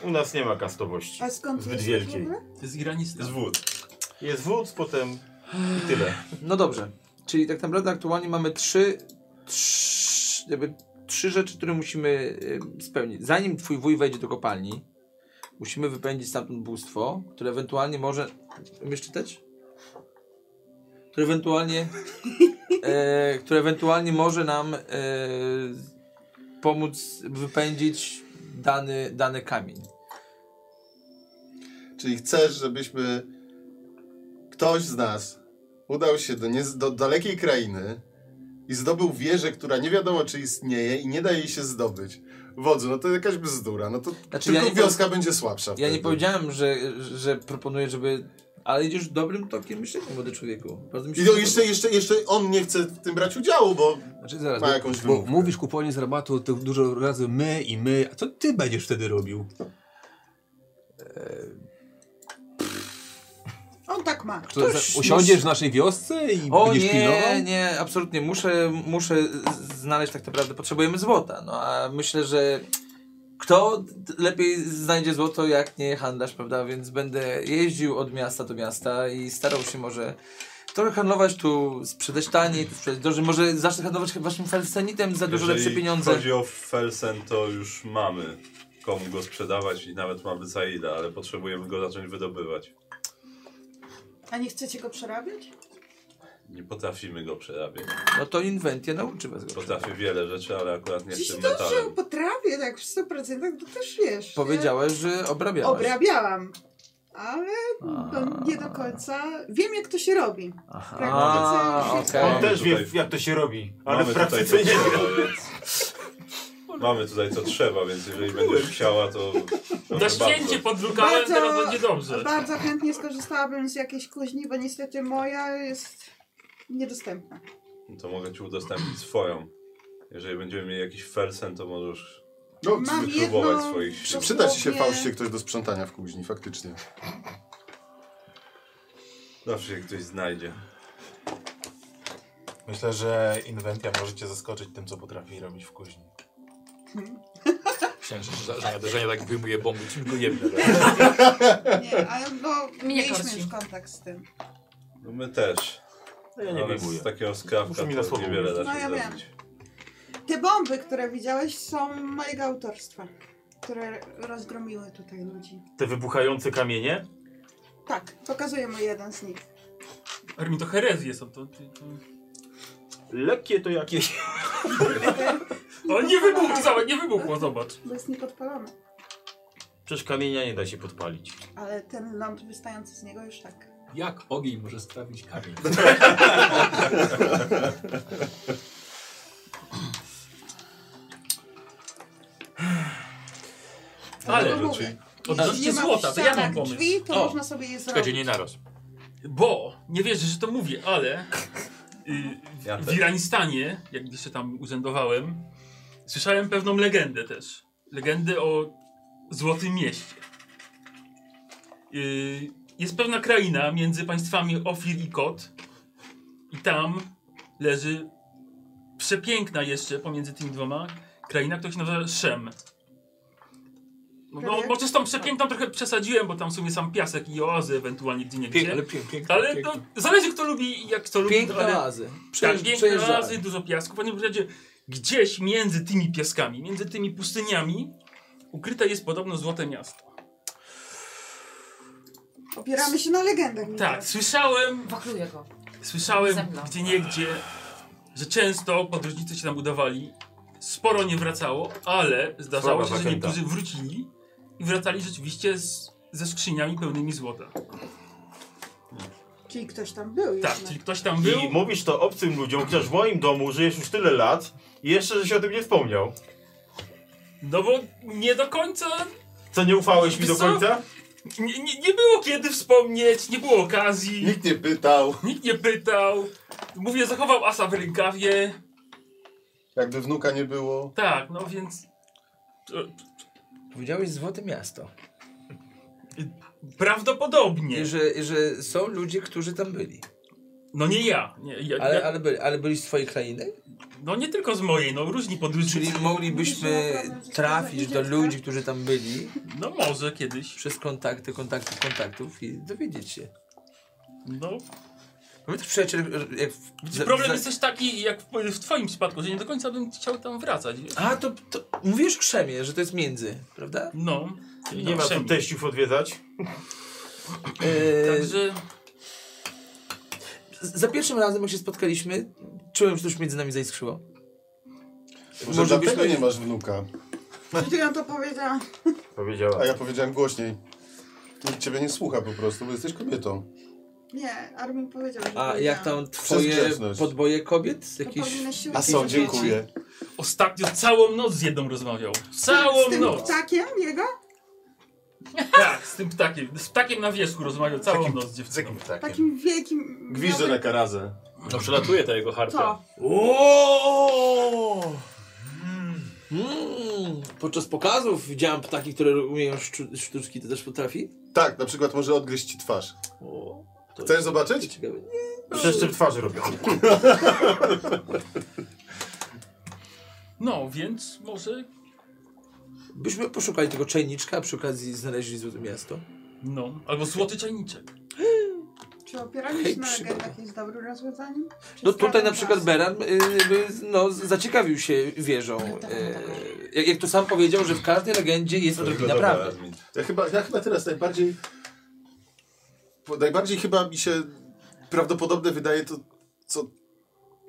Speaker 8: U nas nie ma kastowości.
Speaker 18: A skąd
Speaker 8: Zbyt
Speaker 18: jesteś w
Speaker 8: wielkiej.
Speaker 18: ogóle?
Speaker 6: Z granicy.
Speaker 8: Z wód. Jest wód, potem i tyle.
Speaker 19: No dobrze, czyli tak naprawdę aktualnie mamy trzy, trzy, jakby trzy rzeczy, które musimy y, spełnić. Zanim twój wuj wejdzie do kopalni, musimy wypędzić stamtąd bóstwo, które ewentualnie może... Umiesz czytać? Które ewentualnie... e, które ewentualnie może nam e, pomóc wypędzić dany, dany kamień.
Speaker 1: Czyli chcesz, żebyśmy ktoś z nas udał się do, nie, do dalekiej krainy i zdobył wieżę, która nie wiadomo czy istnieje i nie da jej się zdobyć. Wodzu, no to jakaś bzdura, no to tylko
Speaker 19: Znaczy, ja nie
Speaker 1: wioska
Speaker 19: powie-
Speaker 1: będzie słabsza.
Speaker 19: Ja
Speaker 1: wtedy.
Speaker 19: nie powiedziałem, że, że proponuję, żeby. Ale idziesz dobrym tokiem myślenia, młody człowieku. Bardzo mi się
Speaker 1: I no, jeszcze, jeszcze, jeszcze on nie chce w tym brać udziału, bo
Speaker 7: Znaczy, zaraz,
Speaker 1: ma jakąś
Speaker 7: bo
Speaker 1: wymówkę.
Speaker 7: mówisz kupowanie z rabatu to dużo razy my i my, a co ty będziesz wtedy robił?
Speaker 10: E,
Speaker 18: On tak ma.
Speaker 7: To,
Speaker 18: Ktoś
Speaker 7: za- usiądziesz no? w naszej wiosce i
Speaker 19: O
Speaker 7: będziesz pilnował?
Speaker 19: nie, nie, absolutnie. Muszę, muszę z- znaleźć tak naprawdę. Potrzebujemy złota. No a myślę, że kto d- lepiej znajdzie złoto, jak nie handlarz, prawda? Więc będę jeździł od miasta do miasta i starał się może trochę handlować tu, sprzedać taniej, tu sprzedać drożej. Może zacznę handlować waszym falsenitem za dużo
Speaker 3: Jeżeli
Speaker 19: lepsze pieniądze.
Speaker 3: chodzi o Felsen, to już mamy komu go sprzedawać i nawet mamy Zaida, ale potrzebujemy go zacząć wydobywać.
Speaker 18: A nie chcecie go przerabiać?
Speaker 3: Nie potrafimy go przerabiać.
Speaker 19: No to inwentję nauczy was go.
Speaker 3: Potrafię wiele rzeczy, ale akurat nie
Speaker 18: Dziś
Speaker 3: tym
Speaker 18: to, że
Speaker 3: metalem.
Speaker 18: potrafię tak w 100% to też wiesz.
Speaker 19: Powiedziałeś, że
Speaker 18: nie?
Speaker 19: obrabiałeś.
Speaker 18: Obrabiałam. Ale to nie do końca. Wiem, jak to się robi. Tak, no,
Speaker 19: A, okej.
Speaker 8: On też wie, jak to się robi, ale w praktyce nie wie.
Speaker 3: Mamy tutaj co trzeba, więc jeżeli będziesz chciała, to...
Speaker 6: Na święcie podrukałem, teraz będzie dobrze.
Speaker 18: bardzo chętnie skorzystałabym z jakiejś kuźni, bo niestety moja jest niedostępna.
Speaker 3: To mogę ci udostępnić swoją. Jeżeli będziemy mieli jakiś Felsen, to możesz
Speaker 1: No,
Speaker 18: Mam
Speaker 3: wypróbować
Speaker 18: jedną
Speaker 3: swoich sił.
Speaker 1: Przyda ci się
Speaker 18: Dosłownie-
Speaker 1: Faustie ktoś do sprzątania w kuźni, faktycznie.
Speaker 3: Zawsze się ktoś znajdzie.
Speaker 21: Myślę, że inwentia możecie zaskoczyć tym, co potrafi robić w kuźni.
Speaker 2: Myślałem, że, że, że, że ja tak wyjmuję bombę, czym go jebnę.
Speaker 18: Nie, ale no,
Speaker 20: Mnie
Speaker 18: mieliśmy
Speaker 20: korci.
Speaker 18: już kontakt z tym.
Speaker 3: No my też.
Speaker 8: No ja nie
Speaker 3: Ale
Speaker 8: wyjmuję.
Speaker 3: Z takiego skrawka
Speaker 8: Muszę mi na
Speaker 3: to
Speaker 8: słowo
Speaker 3: niewiele da
Speaker 18: No
Speaker 3: się
Speaker 18: ja wiem.
Speaker 3: zrobić.
Speaker 18: Te bomby, które widziałeś, są mojego autorstwa, które rozgromiły tutaj ludzi.
Speaker 8: Te wybuchające kamienie?
Speaker 18: Tak, pokazuję mu jeden z nich.
Speaker 6: Armin, to herezje są to. Ty, to...
Speaker 8: Lekkie to jakieś.
Speaker 6: O, nie wybuchł, zobacz, nie wybuchło, zobacz.
Speaker 18: Bo jest niepodpalony.
Speaker 8: Przecież kamienia nie da się podpalić.
Speaker 18: Ale ten ląd wystający z niego już tak.
Speaker 2: Jak ogień może sprawić kamień?
Speaker 6: Ale
Speaker 18: No mówię,
Speaker 6: odnośnie
Speaker 18: jeśli nie ma
Speaker 6: złota, to ja
Speaker 18: ścianek
Speaker 6: mam pomysł.
Speaker 18: drzwi, to można sobie je
Speaker 2: Czekajcie,
Speaker 18: zrobić.
Speaker 2: nie naraz.
Speaker 6: Bo Nie wierzę, że to mówię, ale y, w,
Speaker 8: Ja
Speaker 6: w
Speaker 8: też.
Speaker 6: Iranistanie, jak jeszcze tam urzędowałem, słyszałem pewną legendę też. Legendę o Złotym Mieście. Y, jest pewna kraina między państwami Ofir i Kot i tam leży przepiękna jeszcze pomiędzy tymi dwoma kraina, która się nazywa Szem. No, no,
Speaker 27: Prawie?
Speaker 6: bo też tam przepiękną trochę przesadziłem, bo tam w sumie sam piasek i oazy ewentualnie gdzie nie gdzie.
Speaker 19: ale piękna,
Speaker 6: Ale
Speaker 19: piękna.
Speaker 6: to zależy kto lubi i jak kto lubi.
Speaker 19: Piękne
Speaker 6: ale...
Speaker 19: oazy.
Speaker 6: Tak,
Speaker 19: Przejeżdż-
Speaker 6: piękne
Speaker 19: przejeżdżałem.
Speaker 6: oazy, dużo piasku. W każdym razie gdzieś między tymi piaskami, między tymi pustyniami ukryte jest podobno Złote Miasto.
Speaker 18: Opieramy się na legendach. Michał.
Speaker 6: Tak, słyszałem
Speaker 20: Wakluję go.
Speaker 6: Słyszałem
Speaker 20: Ze mną.
Speaker 6: gdzie niegdzie, że często podróżnicy się tam udawali. Sporo nie wracało, ale zdarzało
Speaker 8: Chwała
Speaker 6: się, że
Speaker 8: Bakenta.
Speaker 6: niektórzy wrócili i wracali rzeczywiście z, ze skrzyniami pełnymi złota.
Speaker 18: Czyli ktoś tam był
Speaker 6: Tak,
Speaker 18: jednak.
Speaker 6: czyli ktoś tam był.
Speaker 8: I mówisz to obcym ludziom, chociaż w moim domu żyjesz już tyle lat i jeszcze, że się o tym nie wspomniał.
Speaker 6: No bo nie do końca...
Speaker 8: Co, nie ufałeś mi do
Speaker 6: Wiesz co?
Speaker 8: końca?
Speaker 6: Nie, nie, nie było kiedy wspomnieć, nie było okazji. Nikt
Speaker 1: nie pytał.
Speaker 6: Nikt nie pytał. Mówię, zachował asa w rękawie.
Speaker 1: Jakby wnuka nie było.
Speaker 6: Tak, no więc... e,
Speaker 19: Powiedziałeś Złote Miasto.
Speaker 6: Prawdopodobnie.
Speaker 19: I że, i że są ludzie, którzy tam byli.
Speaker 6: No nie ja. Nie, ja
Speaker 19: ale,
Speaker 6: ja-
Speaker 19: ale, byli, ale byli z twojej krainy?
Speaker 6: No nie tylko z mojej, no różni podróżnicy.
Speaker 19: Czyli moglibyśmy trafić do ludzi, którzy tam byli.
Speaker 6: No może kiedyś.
Speaker 19: Przez kontakty, kontaktów, kontaktów i dowiedzieć się.
Speaker 6: No.
Speaker 19: My też przyjaciele... Jak
Speaker 6: Widzisz, Problem jest też taki, jak w, w twoim przypadku, że nie do końca bym chciał tam wracać. wiesz?
Speaker 19: A, to, to mówisz krzemie, że to jest między, prawda?
Speaker 6: No.
Speaker 8: I nie ma tu teściów odwiedzać.
Speaker 6: Także...
Speaker 19: E, Za pierwszym razem, jak się spotkaliśmy, czułem, że coś między nami zaiskrzyło.
Speaker 1: Może dlatego nie masz wnuka.
Speaker 18: Ty ja to powiedziałam.
Speaker 8: Powiedziała.
Speaker 1: A ja powiedziałem głośniej. Nikt ciebie nie słucha po prostu, bo jesteś kobietą.
Speaker 18: Nie, Armin powiedział, że
Speaker 19: A jak tam
Speaker 18: powiedziałam.
Speaker 19: twoje
Speaker 1: grzeczność.
Speaker 19: podboje kobiet? Jakieś...
Speaker 18: powinieneś się
Speaker 19: A
Speaker 18: uczyć
Speaker 19: są,
Speaker 18: od dzieci.
Speaker 19: dziękuję.
Speaker 6: Ostatnio całą noc z jedną rozmawiał.
Speaker 18: Z
Speaker 6: Całą
Speaker 18: tym
Speaker 6: noc.
Speaker 18: ptakiem jego?
Speaker 6: Tak, z tym ptakiem. Z ptakiem na wierzchu rozmawiał całą noc z dziewczyną.
Speaker 18: Takim wielkim... miałby-
Speaker 2: na karazę. No przelatuje ta jego harpia.
Speaker 18: Co?
Speaker 19: Tak. Oooo!
Speaker 1: Hmm.
Speaker 19: Mm. Podczas pokazów widziałem ptaki, które umieją sztu- sztuczki, ty też potrafi?
Speaker 1: Tak, na przykład może odgryźć ci twarz. Chcesz zobaczyć?
Speaker 8: Przeszczep twarzy robią.
Speaker 6: No, więc może...
Speaker 19: Byśmy poszukali tego czajniczka, przy okazji znaleźli Złote Miasto.
Speaker 6: No, albo Złoty Czajniczek.
Speaker 18: Czy opieramy
Speaker 19: Hej,
Speaker 18: się na
Speaker 19: przygoda.
Speaker 18: legendach jest dobrym rozwiązaniem? Czy
Speaker 19: No tutaj na
Speaker 18: sprawdzam
Speaker 19: przykład
Speaker 18: was?
Speaker 19: Beran y, by, no, zaciekawił się wieżą. Y, jak- jak to sam powiedział, że w każdej legendzie jest odrobina prawdy.
Speaker 1: Ja chyba, ja chyba teraz najbardziej. bo Najbardziej chyba mi się prawdopodobne wydaje to, co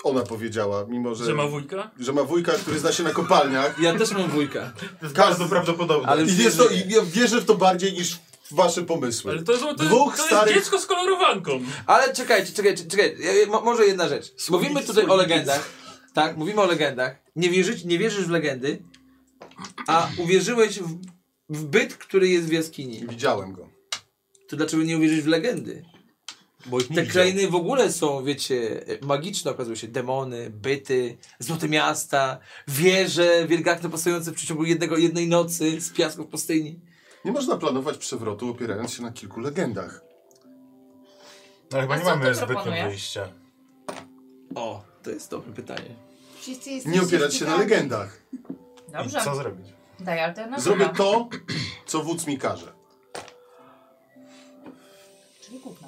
Speaker 1: ona powiedziała, mimo że.
Speaker 6: Że ma wujka?
Speaker 1: Że ma wujka, który zna się na kopalniach.
Speaker 19: Ja też mam wujka.
Speaker 1: Każdy prawdopodobne.
Speaker 19: Ale
Speaker 1: I
Speaker 19: już
Speaker 1: jest
Speaker 19: nie
Speaker 1: to, i ja wierzę w to bardziej niż w wasze pomysły.
Speaker 6: Ale to jest, to jest,
Speaker 1: Dwóch
Speaker 6: to jest
Speaker 1: starych.
Speaker 6: dziecko z kolorowanką.
Speaker 19: Ale czekajcie, czekajcie, czekajcie. Ja- ja- mo- może jedna rzecz. Mówimy tutaj o legendach. Tak, mówimy o legendach. Nie, wierzyć, nie wierzysz w legendy, a uwierzyłeś w, w byt, który jest w jaskini.
Speaker 1: Widziałem go.
Speaker 19: To dlaczego nie uwierzyć w legendy? Bo Te krainy w ogóle są, wiecie, magiczne okazują się. Demony, byty, złote miasta, wieże wielgachne powstające w przeciągu jednego, jednej nocy z piasku w pustyni.
Speaker 1: Nie można planować przewrotu opierając się na kilku legendach.
Speaker 21: No chyba
Speaker 20: A
Speaker 21: nie
Speaker 20: co
Speaker 21: mamy
Speaker 20: ty
Speaker 21: zbytnio
Speaker 20: proponujesz?
Speaker 21: wyjścia.
Speaker 19: O, to jest dobre pytanie.
Speaker 20: Wszyscy jesteście
Speaker 1: Nie opierać się na
Speaker 20: ciekawi.
Speaker 1: legendach.
Speaker 20: Dobrze. No Daj alternatywę.
Speaker 1: Zrobię to, co wódz mi każe.
Speaker 20: Czyli gówno.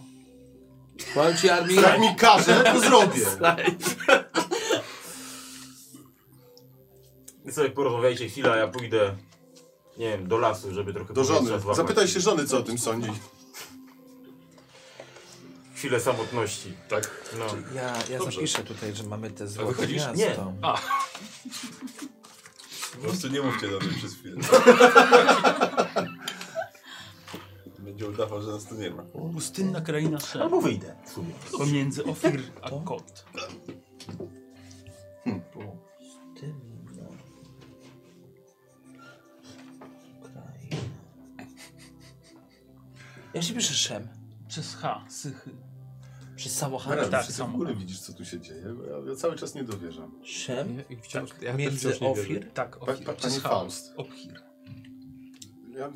Speaker 19: Powiem ci armii.
Speaker 1: Jak mi każe, no to zrobię.
Speaker 8: Wy sobie porozmawiajcie chwilę, a ja pójdę, nie wiem, do lasu, żeby trochę
Speaker 1: Do żony.
Speaker 8: powietrza złapać.
Speaker 1: Zapytaj się żony, co o tym sądzi.
Speaker 8: Chwilę samotności. Tak. No.
Speaker 19: Ja, ja
Speaker 8: Dobrze.
Speaker 19: zapiszę tutaj, że mamy te
Speaker 8: A
Speaker 19: złote
Speaker 8: wychodzisz?
Speaker 19: miasto.
Speaker 8: Nie. A.
Speaker 9: Po prostu nie mówcie do mnie przez chwilę. Będzie udawał, że nas tu nie ma.
Speaker 6: Pustynna kraina Szem.
Speaker 8: Albo wyjdę w sumie.
Speaker 6: Pomiędzy Ofir a Kot.
Speaker 19: Ja się piszę Szem.
Speaker 6: Przez H, Sychy.
Speaker 19: Przy Samochadzim.
Speaker 1: Mara,
Speaker 19: Tak,
Speaker 1: czy ty w
Speaker 19: Samochadzim.
Speaker 1: ogóle widzisz, co tu się dzieje? Bo ja, ja cały czas nie dowierzam.
Speaker 19: Szem?
Speaker 1: Ja- i wciąż-
Speaker 19: Tak,
Speaker 1: też
Speaker 19: między
Speaker 1: wciąż nie wierzę.
Speaker 19: Ofir?
Speaker 1: Tak,
Speaker 19: Tak,
Speaker 1: Ofir.
Speaker 19: Ofir.
Speaker 1: Pa, pa,
Speaker 19: Przez
Speaker 1: panie
Speaker 19: Faust.
Speaker 1: Faust. Ofir. Ja ja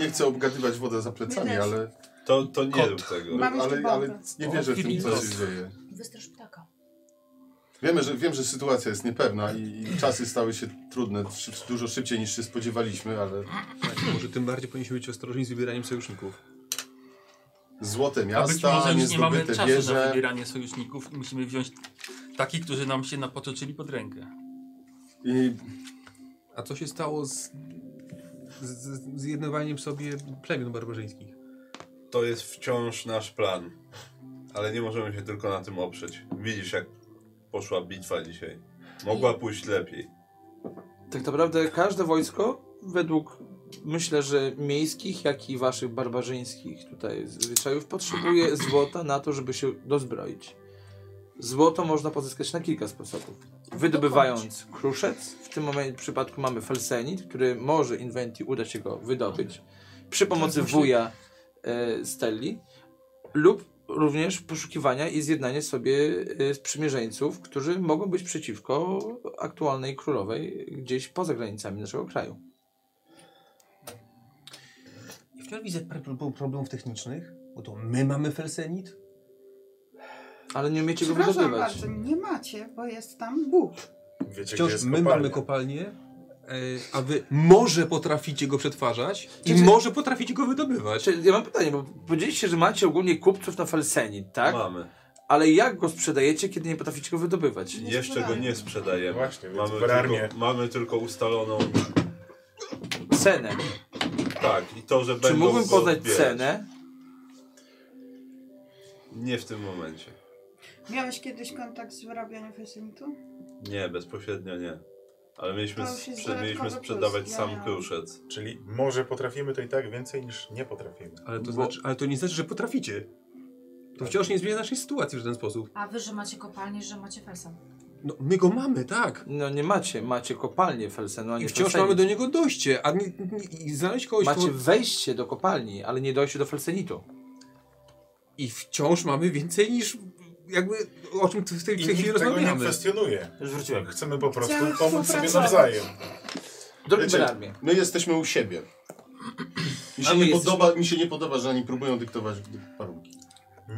Speaker 1: nie chcę obgadywać wodę za plecami,
Speaker 20: Nie, nie.
Speaker 1: ale...
Speaker 9: To, to nie
Speaker 1: Kot.
Speaker 9: rób tego.
Speaker 1: Ale,
Speaker 20: Mam jeszcze
Speaker 1: ale, ale
Speaker 20: bombę.
Speaker 1: nie wierzę w tym, co się
Speaker 20: Ofir.
Speaker 1: dzieje.
Speaker 20: Wystrasz ptaka.
Speaker 1: Wiemy, że, wiem, że sytuacja jest niepewna i, i czasy stały się trudne, szy, dużo szybciej niż się spodziewaliśmy, ale
Speaker 27: Może tym bardziej powinniśmy być ostrożni z wybieraniem sojuszników.
Speaker 1: złote
Speaker 6: A być może
Speaker 1: miasta,
Speaker 6: już nie mamy
Speaker 1: niezdobyte
Speaker 6: czasu na
Speaker 1: wieże.
Speaker 6: wybieranie sojuszników i musimy wziąć takich, którzy nam się napotoczyli pod rękę.
Speaker 1: I...
Speaker 27: A co się stało z, z, z zjednowaniem sobie plemion barbarzyńskich?
Speaker 9: To jest wciąż nasz plan. Ale nie możemy się tylko na tym oprzeć. Widzisz, jak poszła bitwa dzisiaj. Mogła pójść lepiej.
Speaker 19: Tak naprawdę każde wojsko, według myślę, że miejskich, jak i waszych barbarzyńskich tutaj zwyczajów, potrzebuje złota na to, żeby się dozbroić. Złoto można pozyskać na kilka sposobów. Wydobywając kruszec, w tym momencie w przypadku mamy felsenit, który może Inventi uda się go wydobyć przy pomocy wuja e, Stelli lub również poszukiwania i zjednanie sobie e, sprzymierzeńców, którzy mogą być przeciwko aktualnej królowej gdzieś poza granicami naszego kraju.
Speaker 28: I wciąż widzę pr- pr- problemów technicznych, bo to my mamy felsenit.
Speaker 19: Ale nie umiecie
Speaker 18: Przepraszam bardzo, nie macie, bo jest tam Bóg.
Speaker 21: Wiecie,
Speaker 28: Wciąż
Speaker 21: gdzie jest
Speaker 28: my
Speaker 21: kopalnia.
Speaker 28: mamy kopalnię, e, a wy może potraficie go przetwarzać i może potraficie go wydobywać.
Speaker 19: Czy- Ja mam pytanie, bo powiedzieliście, że macie ogólnie kupców na felsenit, tak?
Speaker 9: Mamy.
Speaker 19: Ale jak go sprzedajecie, kiedy nie potraficie go wydobywać?
Speaker 9: Jeszcze go nie sprzedajemy.
Speaker 21: Właśnie, więc
Speaker 9: mamy,
Speaker 21: w armię.
Speaker 9: tylko, mamy tylko ustaloną.
Speaker 19: Cenę.
Speaker 9: Tak, i to, że
Speaker 19: Czy
Speaker 9: będą.
Speaker 19: mógłbym
Speaker 9: go
Speaker 19: podać
Speaker 9: odbierać.
Speaker 19: cenę?
Speaker 9: Nie w tym momencie.
Speaker 18: Miałeś kiedyś kontakt z wyrabianiem fesenitu?
Speaker 9: Nie, bezpośrednio nie. Ale mieliśmy,
Speaker 18: To już jest
Speaker 9: sprze- mieliśmy
Speaker 18: dodatkowy
Speaker 9: sprzedawać
Speaker 18: plus, ja
Speaker 9: sam
Speaker 18: miałam.
Speaker 9: kruszec.
Speaker 21: Czyli może potrafimy to i tak więcej niż nie potrafimy.
Speaker 27: Ale to, znaczy, ale to nie znaczy, że potraficie.
Speaker 28: Tak.
Speaker 27: To wciąż nie zmienia naszej sytuacji w żaden sposób.
Speaker 20: A wy, że macie kopalnię, że macie felsen.
Speaker 28: No, my go mamy, tak.
Speaker 19: No nie macie, macie kopalnię felsenu, a nie
Speaker 28: I wciąż
Speaker 19: felsenit.
Speaker 28: mamy do niego dojście, a nie, nie, i znaleźć kogoś,
Speaker 19: Macie
Speaker 28: kto-
Speaker 19: wejście do kopalni, ale nie dojście do felsenitu.
Speaker 28: I wciąż mamy więcej niż jakby o czym w tej, w
Speaker 21: I
Speaker 28: tej
Speaker 21: nikt
Speaker 28: chwili
Speaker 21: tego
Speaker 28: rozmawiamy.
Speaker 21: nie kwestionuje.
Speaker 28: Już wróciłem.
Speaker 21: Chcemy po prostu
Speaker 28: Chciałem
Speaker 21: pomóc sobie
Speaker 28: współpracować.
Speaker 21: nawzajem.
Speaker 1: Wiecie, my jesteśmy u siebie. Mi się,
Speaker 21: A my
Speaker 1: nie
Speaker 21: jesteśmy-
Speaker 1: podoba, mi się nie podoba, że oni próbują dyktować warunki.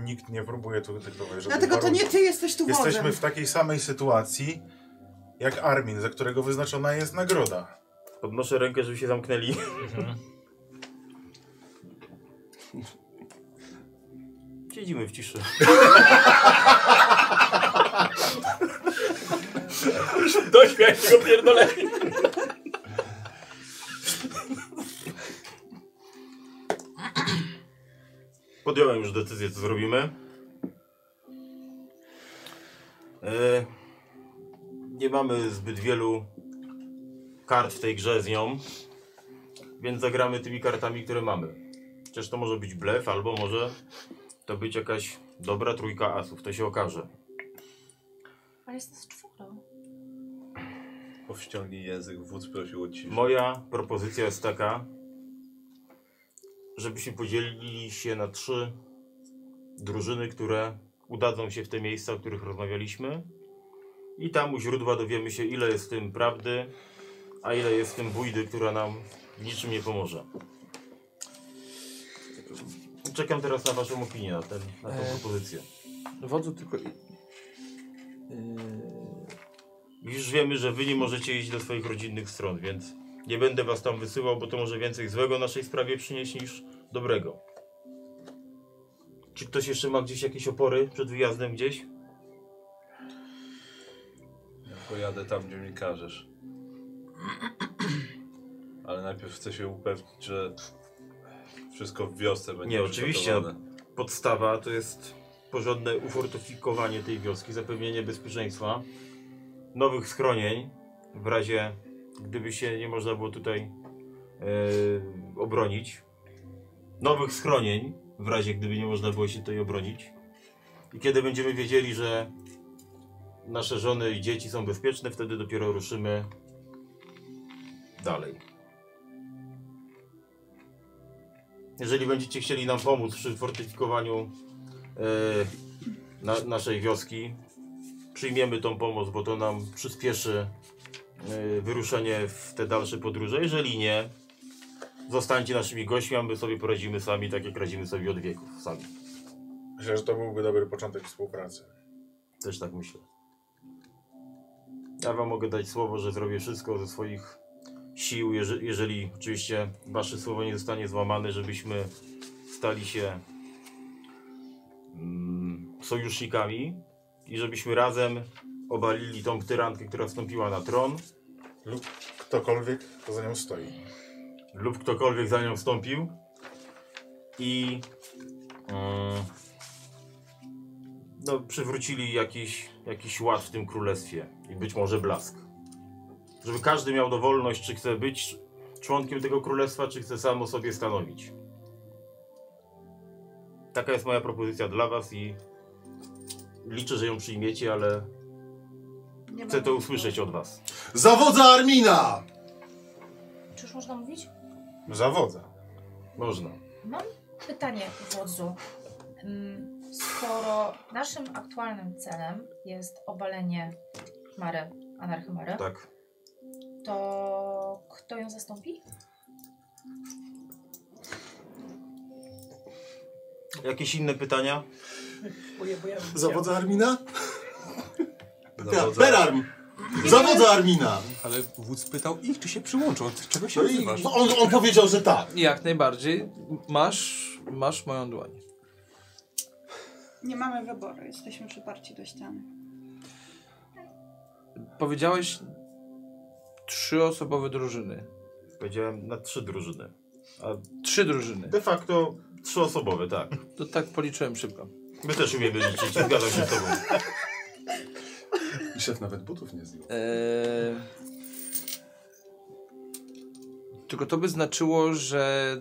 Speaker 21: Nikt nie próbuje tu dyktować żadnych
Speaker 18: Dlatego to
Speaker 21: warunków.
Speaker 18: nie ty jesteś tu wodzem.
Speaker 21: Jesteśmy w takiej samej sytuacji jak Armin, za którego wyznaczona jest nagroda.
Speaker 8: Podnoszę rękę, żeby się zamknęli.
Speaker 1: Mhm.
Speaker 8: Siedzimy w ciszy. Dośmiać tego pierdolenia. Podjąłem już decyzję, co zrobimy. E, nie mamy zbyt wielu kart w tej grze z nią, więc zagramy tymi kartami, które mamy. Chociaż to może być blef, albo może to być jakaś dobra trójka asów, to się okaże.
Speaker 20: Ale jest nas czworo.
Speaker 9: Powściągnij język, wódz prosił o ciszę.
Speaker 8: Moja propozycja jest taka, żebyśmy podzielili się na trzy drużyny, które udadzą się w te miejsca, o których rozmawialiśmy. I tam u źródła dowiemy się, ile jest w tym prawdy, a ile jest w tym bójdy, która nam w niczym nie pomoże. Czekam teraz na Waszą opinię na, ten, na tą
Speaker 19: E,
Speaker 8: propozycję.
Speaker 19: Wodzu tylko... i-
Speaker 8: Yy, Już wiemy, że wy nie możecie iść do swoich rodzinnych stron, więc nie będę was tam wysyłał, bo to może więcej złego naszej sprawie przynieść niż dobrego. Czy ktoś jeszcze ma gdzieś jakieś opory przed wyjazdem gdzieś?
Speaker 9: Ja pojadę tam, gdzie mi każesz. Ale najpierw chcę się upewnić, że wszystko w wiosce będzie
Speaker 8: Nie, oczywiście. No,
Speaker 9: przygotowane.
Speaker 8: podstawa to jest porządne ufortyfikowanie tej wioski, zapewnienie bezpieczeństwa, nowych schronień w razie, gdyby się nie można było tutaj e, obronić. Nowych schronień w razie, gdyby nie można było się tutaj obronić. I kiedy będziemy wiedzieli, że nasze żony i dzieci są bezpieczne, wtedy dopiero ruszymy dalej. Jeżeli będziecie chcieli nam pomóc przy fortyfikowaniu e, na, naszej wioski. Przyjmiemy tą pomoc, bo to nam przyspieszy y, wyruszenie w te dalsze podróże. Jeżeli nie, zostańcie naszymi gośćmi, a my sobie poradzimy sami, tak jak radzimy sobie od wieków sami.
Speaker 21: Myślę, że to byłby dobry początek współpracy.
Speaker 8: Też tak myślę. Ja wam mogę dać słowo, że zrobię wszystko ze swoich sił, jeżeli, jeżeli oczywiście wasze słowo nie zostanie złamane, żebyśmy stali się mm, sojusznikami i żebyśmy razem obalili tą tyrankę, która wstąpiła na tron.
Speaker 21: Lub ktokolwiek, kto za nią stoi.
Speaker 8: Lub ktokolwiek za nią wstąpił. I mm, no, przywrócili jakiś, jakiś ład w tym królestwie i być może blask. Żeby każdy miał dowolność, czy chce być członkiem tego królestwa, czy chce sam o sobie stanowić. Taka jest moja propozycja dla was i liczę, że ją przyjmiecie, ale
Speaker 20: Nie
Speaker 8: chcę
Speaker 20: ma-
Speaker 8: to usłyszeć od was.
Speaker 1: Zawodza Armina!
Speaker 20: Czy już można mówić?
Speaker 21: Zawodza.
Speaker 8: Można.
Speaker 20: Mam pytanie, wodzu. Mm, Skoro naszym aktualnym celem jest obalenie Mary, anarchymary,
Speaker 8: Tak.
Speaker 20: to kto ją zastąpi?
Speaker 8: Jakieś inne pytania?
Speaker 1: Zawodza Armina?
Speaker 28: Zawodza-
Speaker 1: Ja, Berarm! Zawodza Armina!
Speaker 28: Ale wódz pytał ich, czy się przyłączą. Od czego się
Speaker 19: No i-
Speaker 28: odzywasz?
Speaker 19: no
Speaker 1: on- on powiedział, że tak.
Speaker 19: Jak najbardziej. Masz, masz moją dłoń.
Speaker 18: Nie mamy wyboru, jesteśmy przyparci do ściany.
Speaker 19: Powiedziałeś trzyosobowe drużyny.
Speaker 8: Powiedziałem na trzy drużyny. A
Speaker 19: Trzy drużyny.
Speaker 8: De facto trzyosobowe, tak.
Speaker 19: To tak policzyłem szybko.
Speaker 8: My też umiemy liczyć, zgadzam się z tobą.
Speaker 1: I szef nawet butów nie zdjął.
Speaker 19: Eee... Tylko to by znaczyło, że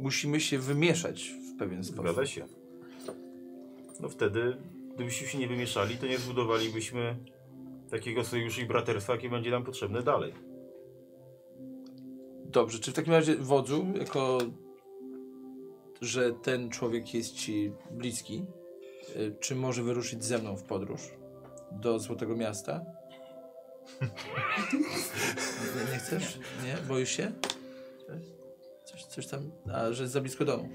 Speaker 19: musimy się wymieszać w pewien sposób.
Speaker 8: Zgadza się. No wtedy, gdybyśmy się nie wymieszali, to nie zbudowalibyśmy takiego sojuszu i braterstwa, jakie będzie nam potrzebne dalej.
Speaker 19: Dobrze, czy w takim razie wodzu, jako że ten człowiek jest ci bliski, y, czy może wyruszyć ze mną w podróż do Złotego Miasta? Nie chcesz? Nie? Boisz się? Coś, coś tam, a że jest za blisko domu.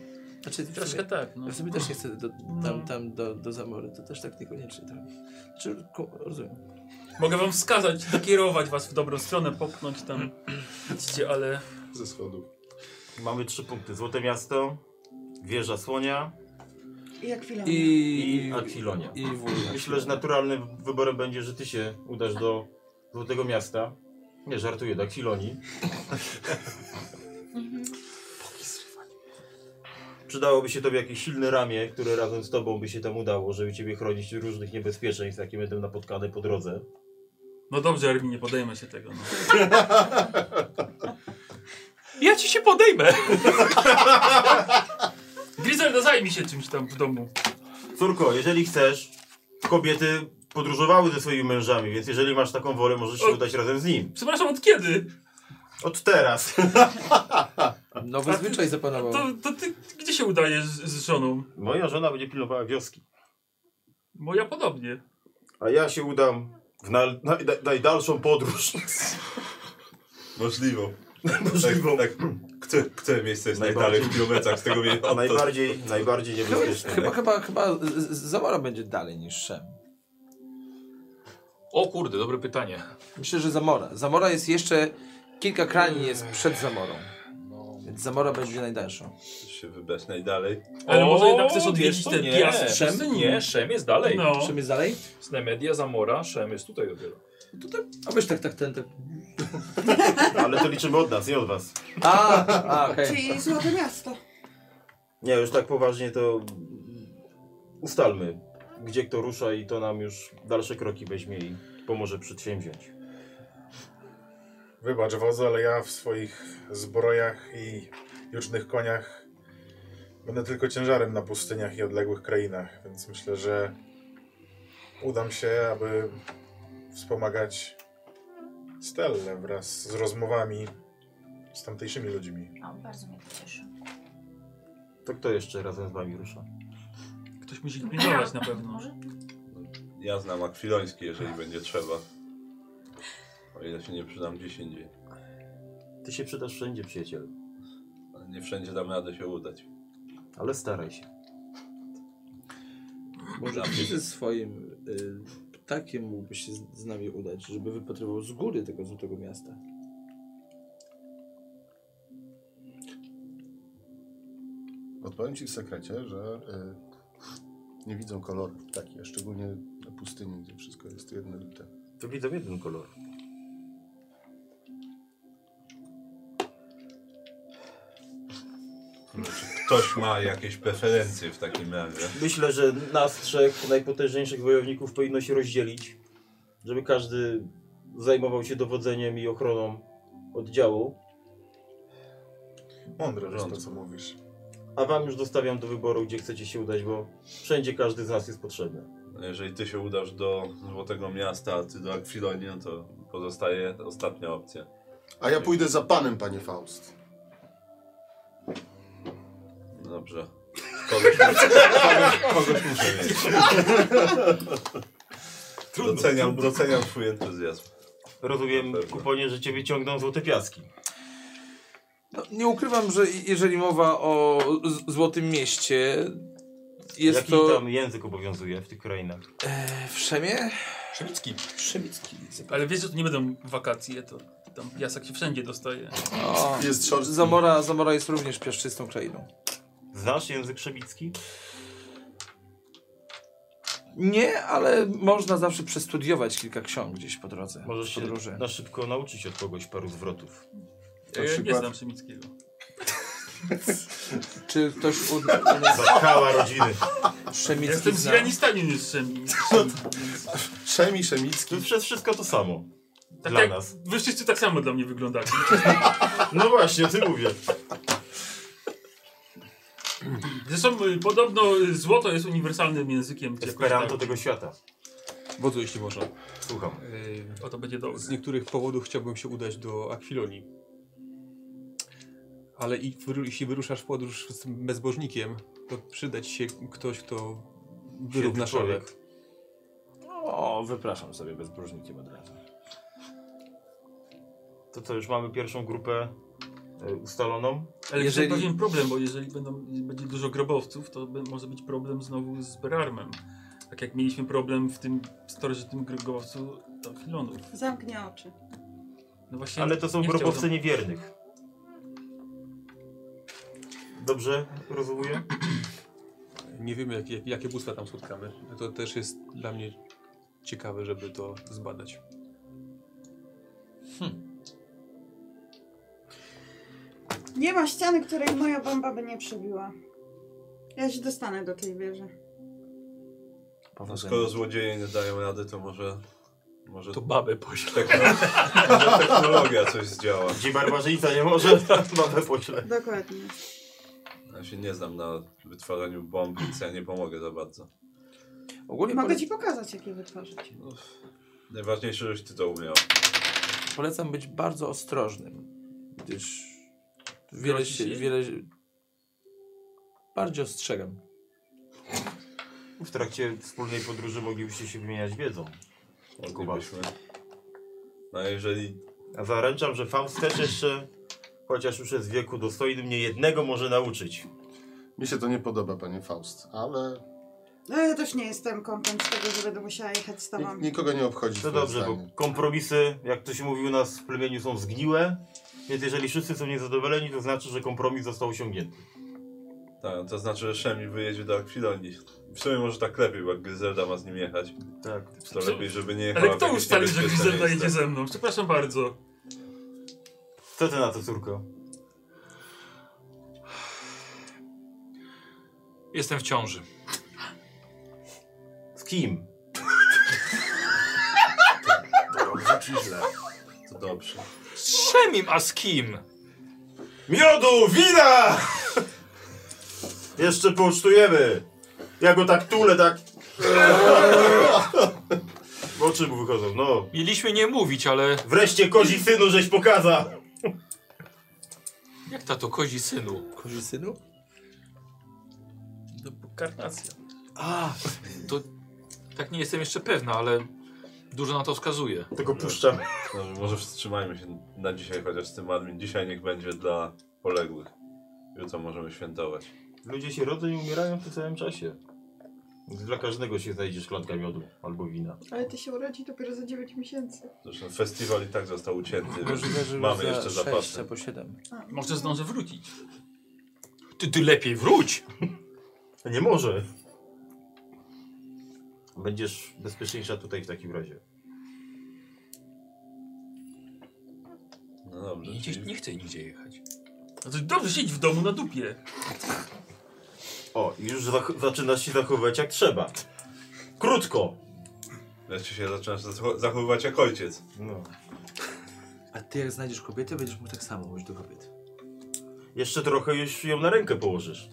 Speaker 19: Znaczy, w
Speaker 6: Troszkę
Speaker 19: sumie-
Speaker 6: tak, no.
Speaker 19: Ja w sumie też nie chcę do, tam,
Speaker 6: No.
Speaker 19: tam do, do zamory, to też tak niekoniecznie. Tak. Znaczy, ku- rozumiem.
Speaker 6: Mogę wam wskazać, nakierować was w dobrą stronę, popchnąć tam. Widzicie, ale...
Speaker 1: Ze schodów.
Speaker 8: Mamy trzy punkty. Złote Miasto, Wieża Słonia
Speaker 18: I jak chwilę.
Speaker 8: i, Akwilonia.
Speaker 19: i Wójna.
Speaker 8: Myślę, że naturalnym wyborem będzie, że ty się udasz do Złotego Miasta. Nie, żartuję, do Akwilonii.
Speaker 18: Mhm.
Speaker 8: Przydałoby się tobie jakieś silne ramię, które razem z tobą by się tam udało, żeby ciebie chronić od różnych niebezpieczeństw, jakie będą napotkane po drodze.
Speaker 6: No dobrze, Arminie, podejmę się tego. No.
Speaker 8: Ja ci się podejmę!
Speaker 6: Griselda, zajmij się czymś tam w domu.
Speaker 8: Córko, jeżeli chcesz, kobiety podróżowały ze swoimi mężami, więc jeżeli masz taką wolę, możesz się udać razem z nim.
Speaker 6: Przepraszam, od kiedy?
Speaker 8: Od teraz.
Speaker 19: Nowy zwyczaj zapanował.
Speaker 6: To, to ty gdzie się udajesz z, z żoną?
Speaker 8: Moja żona będzie pilnowała wioski.
Speaker 6: Moja podobnie.
Speaker 8: A ja się udam w na, na, na, najdalszą podróż.
Speaker 3: Możliwą.
Speaker 8: Możliwą.
Speaker 3: Tak, tak. Które, które miejsce jest najdalej w kilometrach z tego miejsca?
Speaker 8: Najbardziej, najbardziej niebezpieczne.
Speaker 19: Chyba, chyba, chyba z- z- Zamora będzie dalej niż Szem.
Speaker 2: O kurde, dobre pytanie.
Speaker 19: Myślę, że Zamora. Zamora jest jeszcze... Kilka krani jest
Speaker 2: Eee.
Speaker 19: przed Zamorą. Więc Zamora będzie najdalszą.
Speaker 3: Się wybrać najdalej.
Speaker 2: Ale
Speaker 19: O,
Speaker 2: może jednak chcesz
Speaker 19: wiesz
Speaker 2: odwiedzić
Speaker 19: co?
Speaker 2: te
Speaker 19: Nie,
Speaker 2: piasty
Speaker 19: Szem?
Speaker 2: Szem? Nie, Szem jest dalej.
Speaker 19: No. Szem jest dalej?
Speaker 2: Snemedia, Zamora, Szem jest tutaj dopiero.
Speaker 19: A wiesz, tak, tak, ten, tak.
Speaker 8: Tak, Ale to liczymy od nas, nie od was.
Speaker 19: A, a okej.
Speaker 18: Czyli Złote Miasto.
Speaker 8: Nie, już tak poważnie to ustalmy, gdzie kto rusza i to nam już dalsze kroki weźmie i pomoże przedsięwziąć.
Speaker 21: Wybacz wodzu, ale ja w swoich zbrojach i jucznych koniach będę tylko ciężarem na pustyniach i odległych krainach, więc myślę, że udam się, aby wspomagać Stellę wraz z rozmowami z tamtejszymi ludźmi.
Speaker 20: O, bardzo mnie to cieszy.
Speaker 8: To kto jeszcze razem z wami rusza?
Speaker 6: Ktoś musi ich pilnować na pewno.
Speaker 9: Ja znam akwiloński, jeżeli będzie trzeba. O ile się nie przydam gdzieś indziej.
Speaker 8: Ty się przydasz wszędzie, przyjacielu.
Speaker 9: Nie wszędzie dam radę się udać.
Speaker 8: Ale staraj się.
Speaker 19: Może ty ze swoim y, ptakiem mógłbyś się z- z nami udać, żeby wypatrywał z góry tego złotego miasta.
Speaker 1: Odpowiem ci w sekrecie, że y, nie widzą kolorów takich, a szczególnie na pustyni, gdzie wszystko jest jednolite.
Speaker 8: To widzę jeden kolor.
Speaker 9: Ktoś ma jakieś preferencje w takim razie.
Speaker 8: Myślę, że nas trzech najpotężniejszych wojowników powinno się rozdzielić, żeby każdy zajmował się dowodzeniem i ochroną oddziału.
Speaker 21: Mądre jest to, co mówisz.
Speaker 8: A wam już dostawiam do wyboru, gdzie chcecie się udać, bo wszędzie każdy z nas jest potrzebny.
Speaker 9: Jeżeli ty się udasz do Złotego Miasta, a ty do Akwilonii, no to pozostaje ostatnia opcja.
Speaker 1: A ja pójdę za panem, panie Faust.
Speaker 9: Dobrze. Kogoś, kogoś, kogoś muszę mieć.
Speaker 8: Trudno,
Speaker 9: doceniam,
Speaker 8: trudno.
Speaker 9: doceniam twój entuzjazm.
Speaker 8: Rozumiem, kuponie, że cię wyciągną złote piaski.
Speaker 19: No, nie ukrywam, że jeżeli mowa o z- Złotym Mieście, jest
Speaker 8: Jaki
Speaker 19: to...
Speaker 8: tam język obowiązuje w tych krainach?
Speaker 19: E, w Szemie?
Speaker 8: Szemicki.
Speaker 19: Szemicki.
Speaker 6: Ale wiesz, że to nie będą wakacje, to tam piasek się wszędzie dostaje.
Speaker 19: O, Zamora, Zamora jest również piaszczystą krainą.
Speaker 8: Znasz język szemicki?
Speaker 19: Nie, ale można zawsze przestudiować kilka ksiąg gdzieś po drodze.
Speaker 8: Możesz
Speaker 19: w
Speaker 8: się
Speaker 19: podróży.
Speaker 8: na szybko nauczyć od kogoś paru zwrotów.
Speaker 19: Na Ja nie przykład? znam
Speaker 6: Szemickiego.
Speaker 19: Czy ktoś u...
Speaker 8: Zatkała rodziny.
Speaker 19: Szemicki
Speaker 6: Jestem
Speaker 19: zna.
Speaker 6: Zjanistanin niż Szemi.
Speaker 1: Szemi, Szemicki.
Speaker 8: To przez wszystko to samo.
Speaker 6: Tak
Speaker 8: Dla
Speaker 6: jak
Speaker 8: nas.
Speaker 6: Wy wszyscy tak samo dla mnie wyglądacie.
Speaker 8: No właśnie, o tym mówię.
Speaker 6: Zresztą y, podobno y, złoto jest uniwersalnym językiem. tak. gdzie
Speaker 8: Esperanto
Speaker 6: korzystają-
Speaker 8: tego świata.
Speaker 28: Wodzu, jeśli można.
Speaker 8: Słucham.
Speaker 6: o to będzie dobrze.
Speaker 28: Z niektórych powodów chciałbym się udać do Akwilonii. Ale i wyru- jeśli wyruszasz w podróż z tym bezbożnikiem, to przyda ci się ktoś, kto wyrówna
Speaker 8: człowiek.
Speaker 28: szereg.
Speaker 8: O, No, wypraszam sobie bezbróżnikiem od razu. To co, już mamy pierwszą grupę e, ustaloną?
Speaker 6: Ale jeżeli... pewien problem, bo jeżeli będą, będzie dużo grobowców, to be- może być problem znowu z Berarmem. Tak jak mieliśmy problem w tym starożytnym grobowcu do Filonów.
Speaker 18: Zamknij oczy.
Speaker 6: No właśnie,
Speaker 8: Ale to są
Speaker 6: nie
Speaker 8: grobowce
Speaker 6: chciałbym-
Speaker 8: niewiernych. Dobrze rozumiem?
Speaker 28: Nie wiemy, jakie, jakie bóstwa tam spotkamy. To też jest dla mnie ciekawe, żeby to zbadać.
Speaker 18: Nie ma ściany, której moja bomba by nie przebiła. Ja się dostanę do tej wieży.
Speaker 9: Skoro złodzieje nie dają rady, to może... może
Speaker 28: to babę pośle.
Speaker 9: może technologia coś zdziała.
Speaker 8: Gdzie barbarzyńca nie może, tam babę pośle.
Speaker 18: Dokładnie.
Speaker 9: Ja się nie znam na wytwarzaniu bomb, więc ja nie pomogę za bardzo.
Speaker 19: Ogólnie
Speaker 18: Mogę
Speaker 19: pole-
Speaker 18: ci pokazać, jak je wytworzyć.
Speaker 9: Najważniejsze, żeś ty to umiał.
Speaker 19: Polecam być bardzo ostrożnym, gdyż wiele
Speaker 9: Grozi
Speaker 19: się,
Speaker 9: się?
Speaker 19: wiele... Bardziej ostrzegam.
Speaker 8: W trakcie wspólnej podróży moglibyście się wymieniać wiedzą. Moglibyśmy.
Speaker 9: No a jeżeli...
Speaker 8: A zaręczam, że Faust też jeszcze, chociaż już jest w wieku dostojnym, nie jednego może nauczyć.
Speaker 1: Mi się to nie podoba, panie Faust, ale
Speaker 18: No ja też nie jestem kontent z tego, że będę musiała jechać z tobą.
Speaker 1: nikogo nie obchodzi.
Speaker 8: To
Speaker 1: twoje
Speaker 8: No dobrze, bo
Speaker 1: zdanie.
Speaker 8: kompromisy, jak to się mówi u nas w plemieniu, są zgniłe. Więc jeżeli wszyscy są niezadowoleni, to znaczy, że kompromis został osiągnięty.
Speaker 9: Tak, to znaczy, że Szemi wyjedzie do Akwilonii. W sumie może tak lepiej, bo jak Gryzelda ma z nim jechać.
Speaker 8: Tak.
Speaker 9: To lepiej, żeby nie jechała
Speaker 6: Ale
Speaker 9: w
Speaker 6: kto
Speaker 9: jakieś
Speaker 6: ustalił, że
Speaker 9: niebezpieczne
Speaker 6: Griselda
Speaker 9: miejsce.
Speaker 6: jedzie ze mną? Przepraszam bardzo.
Speaker 8: Co ty na to, córko?
Speaker 2: Jestem w ciąży.
Speaker 8: Z kim?
Speaker 9: Dobrze czy źle? To dobrze.
Speaker 2: Z Szemim, a z kim?
Speaker 8: Miodu, wina! Jeszcze pocztujemy. Ja go tak tulę, tak... W oczy mu wychodzą, no.
Speaker 2: Mieliśmy nie mówić, ale
Speaker 8: Wreszcie kozi synu żeś pokaza.
Speaker 2: jak tato, kozi synu.
Speaker 19: Kozi synu?
Speaker 6: No, karnacja.
Speaker 2: A, to tak nie jestem jeszcze pewna, ale dużo na to wskazuje.
Speaker 8: Tego puszczamy.
Speaker 9: No, może wstrzymajmy się na dzisiaj chociaż z tym admin. Dzisiaj niech będzie dla poległych. Jutro możemy świętować.
Speaker 8: Ludzie się rodzą i umierają w tym samym czasie. Dla każdego się znajdzie szklanka miodu albo wina.
Speaker 18: Ale ty się urodzi dopiero za 9 miesięcy.
Speaker 9: Zresztą festiwal i tak został ucięty.
Speaker 19: Możliwe, że już
Speaker 9: Mamy
Speaker 19: za
Speaker 9: jeszcze
Speaker 19: sześć
Speaker 9: zapasy.
Speaker 19: albo siedem.
Speaker 2: Może zdążę wrócić. Ty, ty lepiej wróć!
Speaker 8: Nie może. Będziesz bezpieczniejsza tutaj w takim razie.
Speaker 9: No dobrze.
Speaker 2: Gdzieś, nie chcę nigdzie jechać.
Speaker 6: No to dobrze, siedź w domu na dupie.
Speaker 8: O, i już zach- zaczynasz się zachowywać jak trzeba. Krótko!
Speaker 9: Wreszcie się zaczynasz zachow- zachowywać jak ojciec.
Speaker 8: No.
Speaker 19: A ty jak znajdziesz kobietę, będziesz mógł tak samo mówić do kobiet.
Speaker 8: Jeszcze trochę już ją na rękę położysz.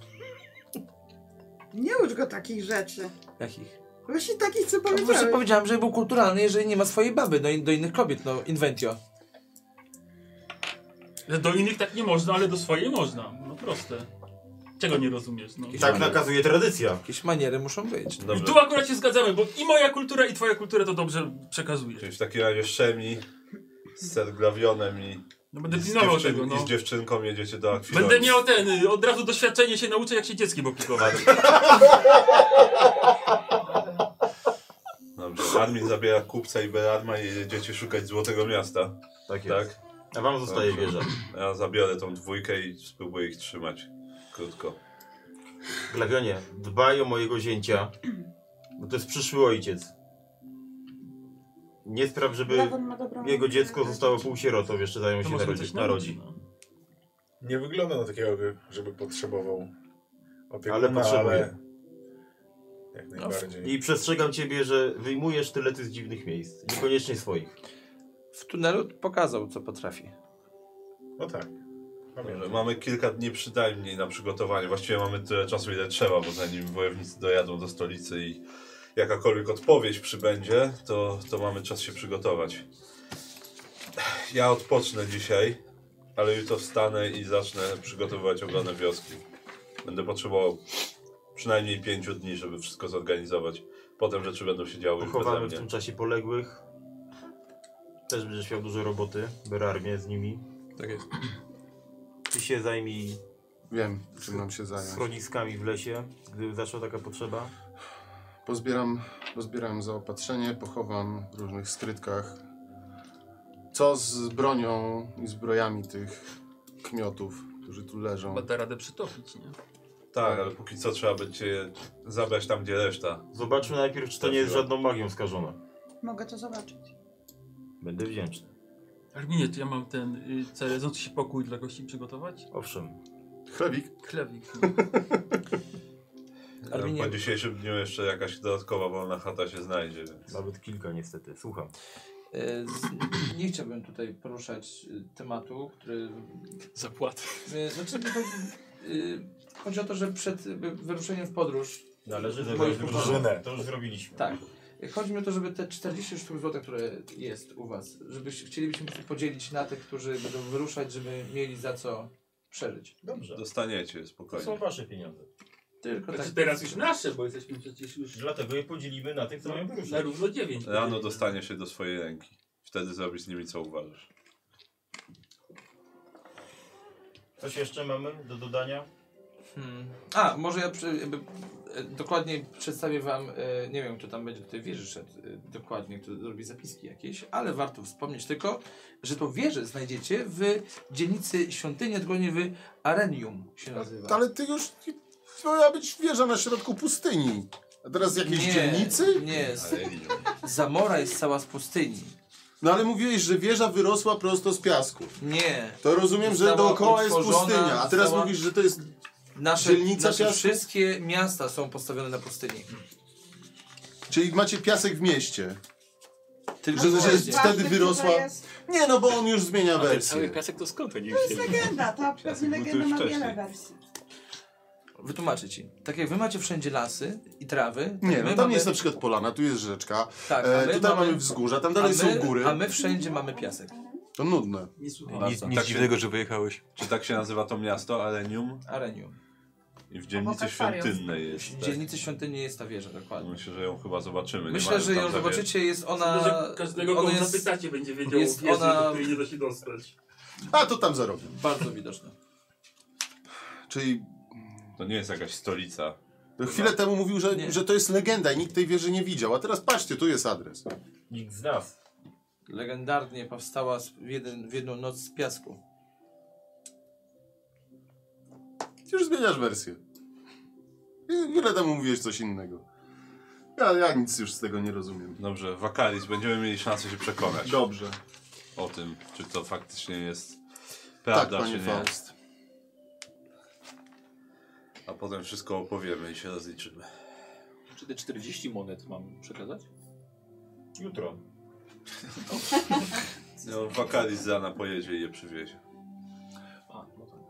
Speaker 18: Nie ucz go takich rzeczy.
Speaker 19: Jakich?
Speaker 18: Właśnie takich, co
Speaker 19: No, po prostu
Speaker 18: powiedziałeś.
Speaker 19: powiedziałem, że był kulturalny, jeżeli nie ma swojej baby do, in- do innych kobiet, no inventio.
Speaker 6: Że do innych tak nie można, ale do swojej można. No proste. Czego nie rozumiesz? No.
Speaker 8: Tak
Speaker 19: Jakieś maniery muszą być.
Speaker 6: I tu akurat się zgadzamy, bo i moja kultura, i twoja kultura to dobrze przekazuje.
Speaker 9: Czyli w takim razie Szemi z Serglawionem i,
Speaker 6: No będę
Speaker 9: i, z,
Speaker 6: pilnował tego, no.
Speaker 9: i z dziewczynką jedziecie do Akwilonii.
Speaker 6: Będę miał ten, y, od razu doświadczenie się nauczę, jak się dzieckiem opiekować.
Speaker 9: Dobrze, Admin zabiera kupca i Beradma i jedziecie szukać Złotego Miasta.
Speaker 8: Tak jest. A wam zostaje
Speaker 9: Dobrze.
Speaker 8: wieża.
Speaker 9: Ja zabiorę tą dwójkę i spróbuję ich trzymać. Krótko.
Speaker 8: Glawionie, dbaj o mojego zięcia, bo to jest przyszły ojciec. Nie spraw, żeby
Speaker 18: Glawon ma dobrą
Speaker 8: jego dziecko zostało półsierotą jeszcze zanim
Speaker 18: To
Speaker 8: się
Speaker 18: może
Speaker 8: narodzi.
Speaker 18: coś
Speaker 8: narodzi.
Speaker 21: Nie wygląda na takiego, żeby
Speaker 18: no.
Speaker 21: potrzebował opiekuna,
Speaker 8: Ale potrzebuje.
Speaker 21: Jak
Speaker 8: No,
Speaker 21: najbardziej.
Speaker 8: I przestrzegam ciebie, że wyjmujesz tylety z dziwnych miejsc, niekoniecznie swoich.
Speaker 19: W tunelu pokazał, co potrafi.
Speaker 21: No tak.
Speaker 9: Dobrze, mamy kilka dni przynajmniej na przygotowanie. Właściwie mamy tyle czasu, ile trzeba, bo zanim wojownicy dojadą do stolicy i jakakolwiek odpowiedź przybędzie, to, to mamy czas się przygotować. Ja odpocznę dzisiaj, ale jutro wstanę i zacznę przygotowywać obronę wioski. Będę potrzebował przynajmniej pięciu dni, żeby wszystko zorganizować. Potem rzeczy będą się działy już beze
Speaker 8: Pochowamy w
Speaker 9: mnie.
Speaker 8: tym czasie poległych. Też będziesz miał dużo roboty, Berarmie z nimi.
Speaker 28: Tak jest.
Speaker 8: Ty się zajmij.
Speaker 1: Wiem, czym mam się zająć.
Speaker 8: Schroniskami w lesie, gdyby zaszła taka potrzeba.
Speaker 1: Pozbieram, pozbieram zaopatrzenie, pochowam w różnych skrytkach. Co z bronią i zbrojami tych kmiotów, którzy tu leżą?
Speaker 6: Będę radę przytopić, nie?
Speaker 9: Tak, ale póki co trzeba będzie je zabrać tam, gdzie reszta.
Speaker 8: Zobaczmy najpierw, czy to nie jest żadną magią skażone.
Speaker 18: Mogę to zobaczyć.
Speaker 8: Będę wdzięczny.
Speaker 6: Arminie, czy ja mam ten y, caledzący się pokój dla gości przygotować?
Speaker 8: Owszem.
Speaker 1: Chlebik?
Speaker 6: Chlebik.
Speaker 19: Arminie-
Speaker 9: Po dzisiejszym dniu jeszcze jakaś dodatkowa wolna chata się znajdzie.
Speaker 8: Nawet kilka niestety, słucham.
Speaker 19: E, Z, nie chciałbym tutaj poruszać y, tematu, który...
Speaker 2: Zapłaty.
Speaker 19: Znaczy, to, y, chodzi o to, że przed y, wyruszeniem w podróż...
Speaker 8: Należy
Speaker 19: moich
Speaker 8: zebrać
Speaker 19: kumplanów-
Speaker 8: drużynę. To już zrobiliśmy.
Speaker 19: Tak. Chodzi mi o to, żeby te 40 sztuk złota, które jest u was, żebyś, chcielibyśmy to podzielić na tych, którzy będą wyruszać, żeby mieli za co przeżyć.
Speaker 9: Dobrze. Dostaniecie, spokojnie.
Speaker 8: są wasze pieniądze.
Speaker 19: Tylko
Speaker 9: Znaczy,
Speaker 19: tak.
Speaker 9: teraz
Speaker 6: już nasze, bo jesteśmy przecież już... No,
Speaker 8: Dlatego je podzielimy na tych, co mają
Speaker 6: Na równo dziewięć.
Speaker 9: Rano dostanie się do swojej ręki. Wtedy zrobisz z nimi co uważasz.
Speaker 8: Coś jeszcze mamy do dodania?
Speaker 19: Hmm. A, może ja przy, jakby, e, dokładniej przedstawię wam, e, nie wiem kto tam będzie do tej wieży szedł, e, dokładnie, kto robi zapiski jakieś, ale warto wspomnieć tylko, że tą wieżę znajdziecie w dzielnicy świątyni, dokładnie w Arenium się nazywa.
Speaker 1: Ale ty już... Miała być wieża na środku pustyni. A teraz jakiejś
Speaker 19: Nie,
Speaker 1: dzielnicy?
Speaker 19: Nie, Zamora jest cała z pustyni.
Speaker 1: No ale mówiłeś, że wieża wyrosła prosto z piasku.
Speaker 19: Nie.
Speaker 1: To rozumiem, że
Speaker 19: Została
Speaker 1: dookoła jest
Speaker 19: utworzona,
Speaker 1: pustynia, a teraz
Speaker 19: została-
Speaker 1: mówisz, że to jest
Speaker 19: Nasze,
Speaker 1: dzielnica
Speaker 19: nasze
Speaker 1: piasku?
Speaker 19: wszystkie miasta są postawione na pustyni.
Speaker 1: Czyli macie piasek w mieście.
Speaker 19: Tylko
Speaker 1: że, że
Speaker 19: właśnie.
Speaker 1: wtedy wyrosła...
Speaker 18: Ważne, że
Speaker 1: Nie, no bo on już zmienia
Speaker 2: ten
Speaker 1: wersję.
Speaker 2: cały piasek to skąd oni
Speaker 18: To jest legenda, ta pewnie legenda ma wiele wersji.
Speaker 19: Wytłumaczę ci. Tak jak wy macie wszędzie lasy i trawy.
Speaker 1: Nie,
Speaker 19: tak
Speaker 1: no tam
Speaker 19: my mamy-
Speaker 1: jest na przykład polana, tu jest rzeczka,
Speaker 19: Tak, a
Speaker 1: e,
Speaker 19: my
Speaker 1: tutaj mamy,
Speaker 19: mamy-
Speaker 1: wzgórza, tam dalej
Speaker 19: a
Speaker 1: są
Speaker 19: my-
Speaker 1: góry.
Speaker 19: A my wszędzie mamy piasek.
Speaker 1: To nudne.
Speaker 6: Nie
Speaker 19: słucham.
Speaker 9: Bardzo.
Speaker 19: Nic- nic dziwnego,
Speaker 9: że wyjechałeś. Czy tak się nazywa to miasto? Arenium?
Speaker 19: Arenium.
Speaker 9: I w dzielnicy
Speaker 19: akwarium.
Speaker 9: świątynnej jest. tak.
Speaker 19: W dzielnicy świątynnej jest ta wieża, dokładnie.
Speaker 9: Myślę, że ją chyba zobaczymy.
Speaker 19: Myślę, że ją zobaczycie, jest ona...
Speaker 4: Może każdego, kogo
Speaker 19: ona jest-
Speaker 4: zapytacie, będzie wiedział
Speaker 19: jest
Speaker 4: jest wieży,
Speaker 19: ona-
Speaker 4: do której nie da się dostać.
Speaker 1: A, to tam zarobię.
Speaker 19: Bardzo widoczne.
Speaker 1: Czyli...
Speaker 9: To nie jest jakaś stolica. No.
Speaker 1: Chwilę temu mówił, że, że to jest legenda i nikt tej wieży nie widział, a teraz patrzcie, tu jest adres.
Speaker 19: Nikt z nas. Legendarnie powstała z- w, jeden, w jedną noc z piasku.
Speaker 1: Ty już zmieniasz wersję. I- Chwilę temu mówiłeś coś innego. Ja, ja nic już z tego nie rozumiem.
Speaker 9: Dobrze, Wakaris, będziemy mieli szansę się przekonać.
Speaker 1: Dobrze.
Speaker 9: O tym, czy to faktycznie jest
Speaker 19: Tak,
Speaker 9: prawda,
Speaker 1: panie
Speaker 9: czy nie
Speaker 1: Faust.
Speaker 9: jest. A potem wszystko opowiemy i się rozliczymy.
Speaker 2: Czy te 40 monet mam przekazać?
Speaker 9: Jutro. No, Wakaris za na pojedzie i je przywiezie.
Speaker 2: A, no tak.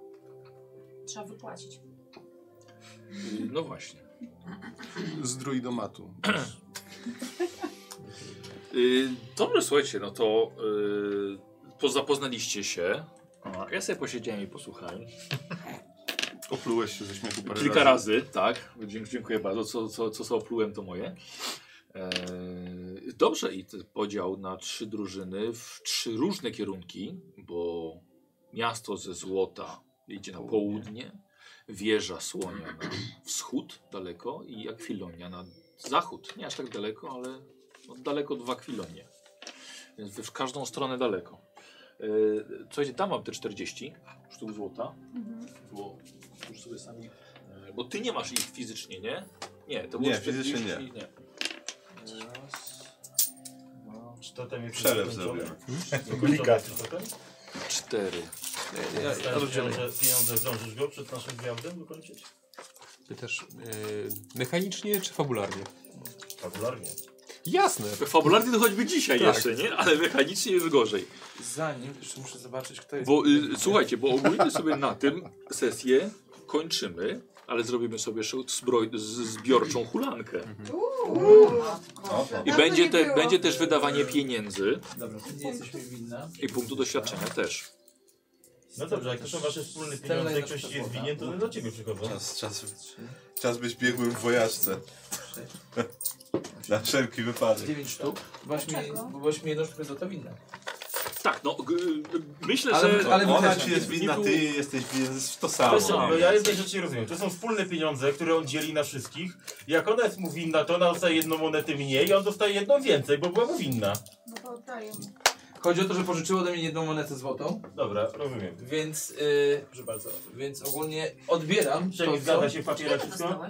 Speaker 20: Trzeba wypłacić.
Speaker 2: Y, No właśnie.
Speaker 1: Z druidomatu.
Speaker 2: Y, Dobrze, słuchajcie, no to y, po- zapoznaliście się. A, Ja sobie posiedziałem i posłuchałem.
Speaker 1: Oplułeś się ze śmiechu parę
Speaker 2: Kilka
Speaker 1: razy.
Speaker 2: razy, tak. Dziękuję, dziękuję bardzo. Co, co, co sobie oplułem, to moje. E, dobrze, i ten podział na trzy drużyny w trzy różne kierunki, bo miasto ze złota idzie na południe, wieża słonia na wschód daleko i akwilonia na zachód. Nie aż tak daleko, ale no, daleko dwa akwilonie. Więc w każdą stronę daleko. E, słuchajcie, tam mam te 40 sztuk złota
Speaker 6: Mhm.
Speaker 2: bo już sobie sami. e, Bo ty nie masz ich fizycznie, nie? Nie, to było
Speaker 9: Nie, fizycznie
Speaker 2: 40
Speaker 9: nie.
Speaker 2: i Raz, dwa,
Speaker 8: Czy to tam jest
Speaker 9: Przelew
Speaker 8: zakończone?
Speaker 9: zrobiłem.
Speaker 8: Zakończone
Speaker 9: Duplikat.
Speaker 8: czy potem?
Speaker 2: cztery.
Speaker 8: Ja, ja, ja
Speaker 2: rozdzielę.
Speaker 8: pieniądze zdążysz go przed naszym gwiazdem wykończyć?
Speaker 28: Pytasz e, mechanicznie czy fabularnie?
Speaker 8: Fabularnie.
Speaker 28: Jasne.
Speaker 2: Fabularnie to choćby dzisiaj
Speaker 28: Tak.
Speaker 2: jeszcze, nie? Ale mechanicznie jest gorzej.
Speaker 19: Zanim, jeszcze muszę zobaczyć, kto jest...
Speaker 2: Bo y, słuchajcie, bo ogólnie sobie na tym sesję kończymy, ale zrobimy sobie jeszcze zbroj, z, zbiorczą hulankę. I będzie, te, będzie też wydawanie pieniędzy
Speaker 19: Dobra, ty nie jesteś mi winna.
Speaker 2: i punktu doświadczenia też.
Speaker 8: No dobrze, jak to są wasze wspólne
Speaker 19: Stella
Speaker 8: pieniądze, ktoś
Speaker 19: jest na
Speaker 8: jest
Speaker 19: przykład,
Speaker 8: winien, to one do ciebie przychodzą.
Speaker 9: Czas, czas, czas być biegłym w wojaczce. Na wszelki wypadek.
Speaker 19: 9 sztuk. Byłaś mi,
Speaker 9: Dlaczego?
Speaker 19: byłaś mi jedną sztukę za to winna.
Speaker 2: Tak, no g- y, myślę,
Speaker 19: Ale-
Speaker 2: że...
Speaker 19: ale
Speaker 9: Ona
Speaker 19: wydaje-
Speaker 9: ci jest winna, ty jej jesteś winien w to samo.
Speaker 8: To są- no ja jednej rzeczy nie rozumiem. To są wspólne pieniądze, które on dzieli na wszystkich. Jak ona jest mu winna, to ona dostaje jedną monetę mniej, a on dostaje jedną więcej, bo była mu winna.
Speaker 18: No to oddaję.
Speaker 19: Chodzi o to, że pożyczyło ode mnie jedną monetę złotą.
Speaker 8: Dobra, rozumiem.
Speaker 19: Więc, yy, proszę bardzo, więc ogólnie odbieram
Speaker 8: Czekaj,
Speaker 19: co-
Speaker 8: zgadza się w papierach wszystko?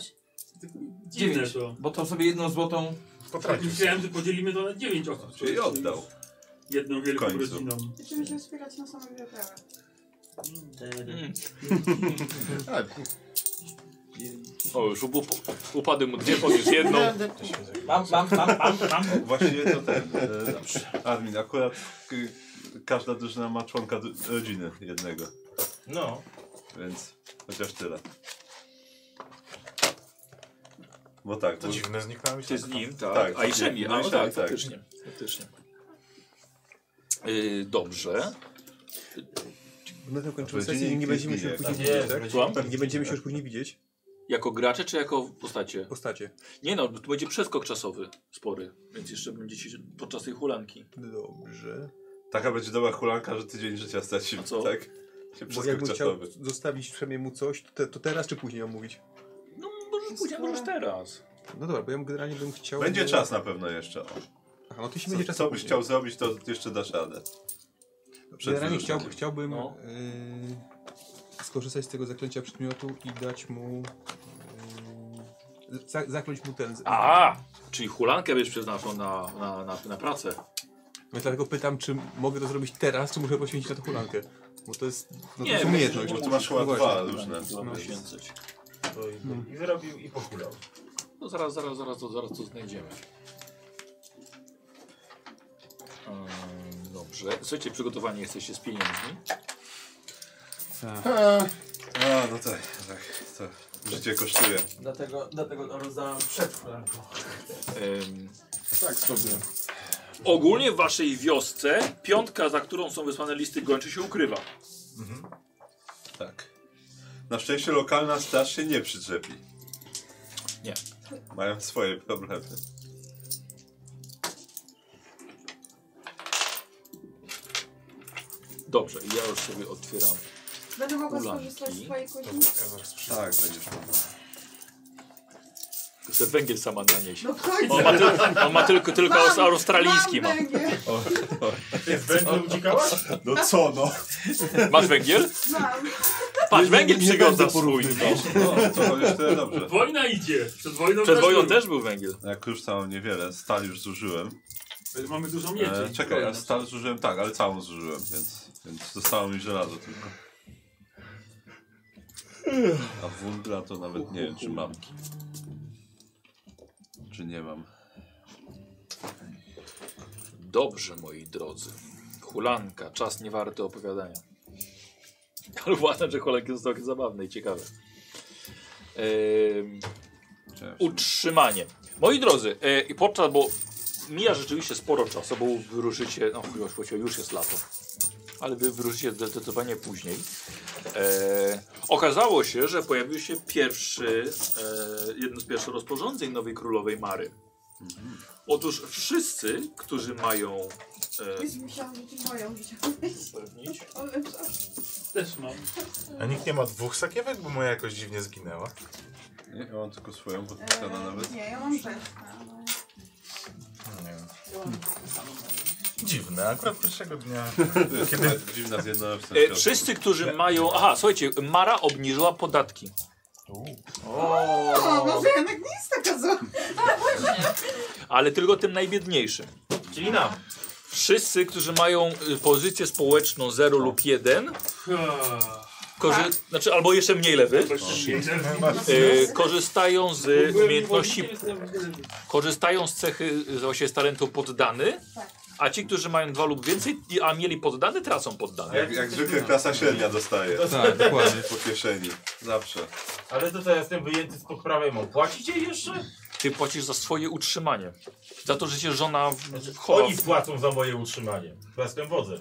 Speaker 19: Dziewięć,
Speaker 4: Dziwne to.
Speaker 19: bo to sobie jedną złotą...
Speaker 4: Tak, myślałem, że podzielimy to na 9 osób.
Speaker 19: Czyli oddał.
Speaker 4: Jedną wielką
Speaker 19: końcu.
Speaker 4: rodziną.
Speaker 18: Będziemy się wspierać na samą wyprawę.
Speaker 19: Tak.
Speaker 2: O, już up, upadły mu dwie, podniósł jedną.
Speaker 19: Mam, mam, mam, mam, mam.
Speaker 9: Właściwie to ten. E, dobrze. Armin, akurat k- każda drużyna ma członka d- rodziny jednego.
Speaker 8: No.
Speaker 9: Więc chociaż tyle. Bo tak.
Speaker 21: To
Speaker 9: bo...
Speaker 21: dziwne, zniknęła mi
Speaker 2: Ty z
Speaker 21: szansa.
Speaker 2: nim, tak.
Speaker 9: Tak,
Speaker 2: a i
Speaker 9: tak,
Speaker 2: Szemi,
Speaker 9: no
Speaker 2: a
Speaker 9: i
Speaker 2: no
Speaker 9: tak,
Speaker 2: tak,
Speaker 9: tak.
Speaker 2: faktycznie. faktycznie. Yy, dobrze.
Speaker 28: My No to kończymy
Speaker 2: Będzie
Speaker 28: sesję i nie
Speaker 2: nikt
Speaker 28: będziemy
Speaker 2: nie
Speaker 28: się już
Speaker 2: bije,
Speaker 28: później
Speaker 2: tak?
Speaker 28: widzieć,
Speaker 2: Nie,
Speaker 28: tak?
Speaker 2: Słucham?
Speaker 28: Nie będziemy się już później widzieć.
Speaker 2: Jako gracze czy jako postacie?
Speaker 28: Postacie.
Speaker 2: Nie no, tu będzie przeskok czasowy spory, więc jeszcze będziecie się- podczas tej hulanki.
Speaker 28: Dobrze.
Speaker 9: Taka będzie dobra hulanka, że tydzień życia stać się,
Speaker 2: co?
Speaker 9: tak? Się
Speaker 28: Bo
Speaker 9: przeskok
Speaker 28: jakbym chciał
Speaker 9: czasowy.
Speaker 28: zostawić przemiemu coś, to, te, to teraz czy później mam mówić?
Speaker 2: No może później, możesz teraz.
Speaker 28: No dobra, bo ja generalnie bym chciał...
Speaker 9: Będzie czas na pewno jeszcze. o.
Speaker 28: Aha, no to się
Speaker 9: Co,
Speaker 28: będzie czas
Speaker 9: co
Speaker 28: na
Speaker 9: byś
Speaker 28: później.
Speaker 9: chciał zrobić, to jeszcze dasz radę. Przed
Speaker 28: Generalnie chciał,
Speaker 9: wyruszeniem.
Speaker 28: chciałbym y, skorzystać z tego zaklęcia przedmiotu i dać mu... Yy, za, zakląć mu ten...
Speaker 2: A, czyli hulankę będziesz przeznaczał na, na, na, na pracę.
Speaker 28: No i dlatego pytam, czy mogę to zrobić teraz, czy muszę poświęcić na to hulankę. Bo to jest... No to jest umiejętność.
Speaker 9: bo tu masz chyba
Speaker 28: No
Speaker 9: dwa
Speaker 28: właśnie.
Speaker 9: różne.
Speaker 28: No.
Speaker 8: To i- I wyrobił i pochulał.
Speaker 2: Hmm. No zaraz, zaraz, zaraz, to, zaraz to znajdziemy. Ehm, Dobrze. Słuchajcie, przygotowani jesteście z pieniędzmi.
Speaker 9: Tak.
Speaker 8: Tak.
Speaker 9: A, no tak, tak. To życie kosztuje.
Speaker 19: Dlatego, dlatego to rozdałam przed hulanką.
Speaker 2: Ehm,
Speaker 19: Tak sobie.
Speaker 2: ogólnie w waszej wiosce piątka, za którą są wysłane listy gończy się ukrywa.
Speaker 9: Tak. Na szczęście lokalna straż się nie przyczepi.
Speaker 2: Nie.
Speaker 9: Mają swoje problemy.
Speaker 2: Dobrze, i ja już sobie otwieram.
Speaker 18: Będę mogła
Speaker 2: ulanki.
Speaker 18: skorzystać z twojej kuźni?
Speaker 9: Tak, będziesz mogła.
Speaker 2: To sobie węgiel sama naniesie.
Speaker 18: No w końcu.
Speaker 2: on ma, tyl, on ma tylko, tylko
Speaker 18: Mam-
Speaker 2: aus- australijski.
Speaker 18: mam
Speaker 2: ma.
Speaker 18: węgiel.
Speaker 2: Ty
Speaker 21: z węglem uciekałaś?
Speaker 9: No co no?
Speaker 2: Masz węgiel?
Speaker 18: Mam.
Speaker 2: Patrz, węgiel
Speaker 9: nie
Speaker 2: przygoda
Speaker 9: będę
Speaker 2: swój.
Speaker 9: porównywał. No, to powiesz tyle dobrze.
Speaker 4: Wojna idzie. Przed wojną,
Speaker 2: Przed
Speaker 4: też
Speaker 2: wojną
Speaker 4: był.
Speaker 2: też był węgiel.
Speaker 9: No Jak już tam niewiele, stal już zużyłem.
Speaker 4: Mamy dużo mieczy.
Speaker 9: E, czekaj, a stal zużyłem tak, ale całą zużyłem, więc, więc zostało mi żelazo tylko. A wundra to nawet nie wiem, czy mam. Czy nie mam.
Speaker 2: Dobrze, moi drodzy. Hulanka, czas nie warty opowiadania. Ale uważam, że hulanki są całkiem zabawne i ciekawe. Ehm, utrzymanie. Moi drodzy, e, i podczas, bo mija rzeczywiście sporo czasu, bo wyruszycie, no już, właściwie już jest lato, ale wy wyruszycie zdecydowanie później. E, okazało się, że pojawił się pierwszy, e, jedno z pierwszych rozporządzeń nowej królowej Mary. Otóż wszyscy, którzy mają. y,
Speaker 18: Jezu, Myślałam, że ty moją wziąłeś. Ale żart.
Speaker 4: Też mam.
Speaker 21: A nikt nie ma dwóch sakiewek, bo moja jakoś dziwnie zginęła.
Speaker 9: Nie, ja mam tylko swoją
Speaker 18: E,
Speaker 9: podpisaną nawet.
Speaker 18: Nie, ja mam rzecz. ale-
Speaker 21: Dziwne, akurat pierwszego dnia.
Speaker 9: To jest
Speaker 21: Kiedy...
Speaker 9: Kiedy... dziwna zjednoczona.
Speaker 2: E, wszyscy, którzy mają. Aha, słuchajcie, Mara obniżyła podatki.
Speaker 18: O, może jednak nie jest taka zła.
Speaker 2: Ale tylko tym najbiedniejszym. Czyli nam. Wszyscy, którzy mają y, pozycję społeczną 0 lub 1, korzy- znaczy albo jeszcze mniej lewy, y, korzystają z umiejętności korzystają z cechy, z- właśnie z talentu poddany, a ci, którzy mają dwa lub więcej, i- a mieli poddany, tracą poddany.
Speaker 9: Jak, jak zwykle klasa średnia dostaje.
Speaker 2: Tak, dokładnie.
Speaker 9: Po kieszeni. Zawsze.
Speaker 8: Ale to teraz jestem wyjęty spod prawej mu. Płacicie jeszcze?
Speaker 2: Ty płacisz za swoje utrzymanie. Za to, że cię żona w, w chowa.
Speaker 8: Oni płacą za moje utrzymanie. Bo ja jestem wodzem.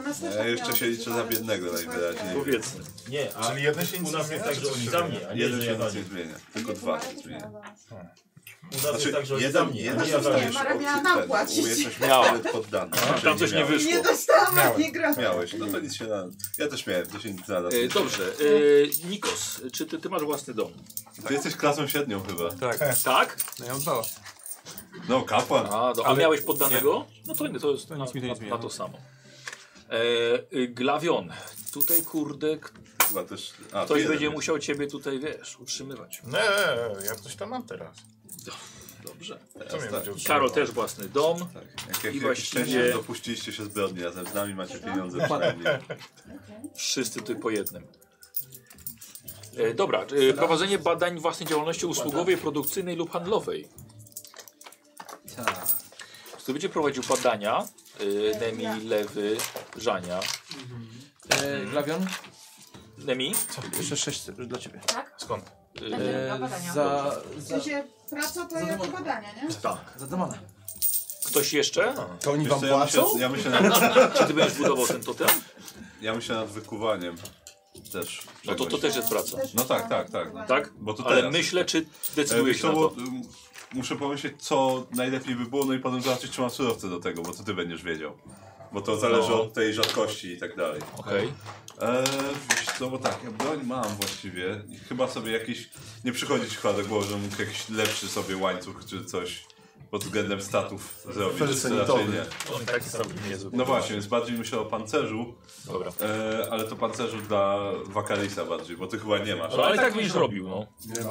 Speaker 18: Ona też
Speaker 9: Ja
Speaker 18: tak
Speaker 9: jeszcze
Speaker 18: miała
Speaker 9: się liczę za
Speaker 18: wyzywane.
Speaker 9: biednego najwyraźniej.
Speaker 2: Powiedzmy.
Speaker 8: Nie, a
Speaker 21: Czyli jeden się nic
Speaker 8: u nas
Speaker 21: nie
Speaker 8: jest
Speaker 21: zmienia,
Speaker 8: tak, że
Speaker 21: czy
Speaker 8: oni
Speaker 21: coś
Speaker 8: za
Speaker 21: się
Speaker 8: mnie, a nie,
Speaker 9: Jeden
Speaker 8: że
Speaker 9: się
Speaker 8: ja za
Speaker 9: nic
Speaker 8: nie.
Speaker 9: nie zmienia. Tylko dwa się zmienia.
Speaker 2: Hmm.
Speaker 8: U nas jest tak, że oni za
Speaker 9: jeden,
Speaker 8: mnie, a
Speaker 9: jeden
Speaker 8: nie ja
Speaker 2: no,
Speaker 8: za
Speaker 9: dostajesz
Speaker 8: nich.
Speaker 18: Mara miała
Speaker 9: od- ten,
Speaker 18: napłacić.
Speaker 9: u- Jesteś
Speaker 2: Miała.
Speaker 9: miał poddany. czyli
Speaker 2: tam coś nie
Speaker 9: miałeś.
Speaker 2: wyszło.
Speaker 18: Nie dostałam
Speaker 9: Miałeś.
Speaker 18: ani gra.
Speaker 9: Miałeś, no to nic się na... Ja też miałem 10 na nas.
Speaker 2: E, dobrze, e, Nikos, czy ty, ty masz własny dom?
Speaker 9: Ty jesteś klasą średnią chyba.
Speaker 28: Tak.
Speaker 2: Tak?
Speaker 28: No ja mam dwa.
Speaker 9: No, kapłan.
Speaker 2: A, do, a
Speaker 28: Ale-
Speaker 2: miałeś poddanego? No to nie, to jest na,
Speaker 28: nic mi to nie
Speaker 2: na,
Speaker 28: zmienia.
Speaker 2: na to samo. E, y, glawion. Tutaj kurde, k-
Speaker 9: Chyba też... A,
Speaker 2: ktoś
Speaker 9: ty
Speaker 2: będzie
Speaker 9: jeden.
Speaker 2: musiał ciebie tutaj, wiesz, utrzymywać.
Speaker 21: Nie,
Speaker 8: tak-
Speaker 21: E, ja coś tam mam teraz.
Speaker 2: Dobrze.
Speaker 21: Co mnie będzie utrzymywało?
Speaker 2: Karol też własny dom.
Speaker 9: Tak. Jak, jak,
Speaker 2: I
Speaker 9: jak szczęście, że
Speaker 2: właściwie
Speaker 9: dopuściliście się zbrodni razem z nami, macie pieniądze przynajmniej.
Speaker 2: wszyscy tu po jednym. E, dobra, e, prowadzenie badań własnej działalności usługowej, produkcyjnej lub handlowej.
Speaker 10: Tak.
Speaker 2: Kto będzie prowadził badania? E, Nemi, Lewy, Żania.
Speaker 10: E, Glawion?
Speaker 2: Nemi?
Speaker 10: Jeszcze sześć dla ciebie.
Speaker 20: Tak?
Speaker 2: Skąd?
Speaker 10: E, za,
Speaker 18: W
Speaker 10: za,
Speaker 18: sensie praca to jak badania, nie?
Speaker 2: Tak.
Speaker 10: za demona.
Speaker 2: Ktoś jeszcze?
Speaker 9: To oni wam płacą? Ja myślę, ja myślę nad,
Speaker 2: Czy ty będziesz budował ten totem?
Speaker 9: ja myślę nad wykuwaniem. Też.
Speaker 2: No to, to
Speaker 9: czegoś.
Speaker 2: też jest praca.
Speaker 9: No tak, tak, tak. no.
Speaker 2: Tak?
Speaker 9: Bo to
Speaker 2: Ale
Speaker 9: teraz.
Speaker 2: myślę, czy
Speaker 9: E,
Speaker 2: decydujesz
Speaker 9: wiesz
Speaker 2: się
Speaker 9: co,
Speaker 2: na
Speaker 9: bo,
Speaker 2: to.
Speaker 9: ym, Muszę pomyśleć, co najlepiej by było, no i potem zobaczyć, czy mam surowce do tego, bo to ty będziesz wiedział. Bo to zależy od tej rzadkości i tak dalej.
Speaker 2: No. Okej.
Speaker 9: Eee, wiesz co, bo tak, ja broń mam właściwie. I Chyba sobie jakiś, nie przychodzi ci chyba do głowy, że mógł jakiś lepszy sobie łańcuch czy coś pod względem statów zrobić. czy raczej
Speaker 21: Felsenitowy.
Speaker 9: nie.
Speaker 2: On taki sam niezwykły.
Speaker 9: No właśnie, więc bardziej myślę o pancerzu.
Speaker 2: Dobra.
Speaker 9: E, ale to pancerzu dla Wakarisa bardziej, bo ty chyba nie masz.
Speaker 2: No, ale i tak będziesz robił, no.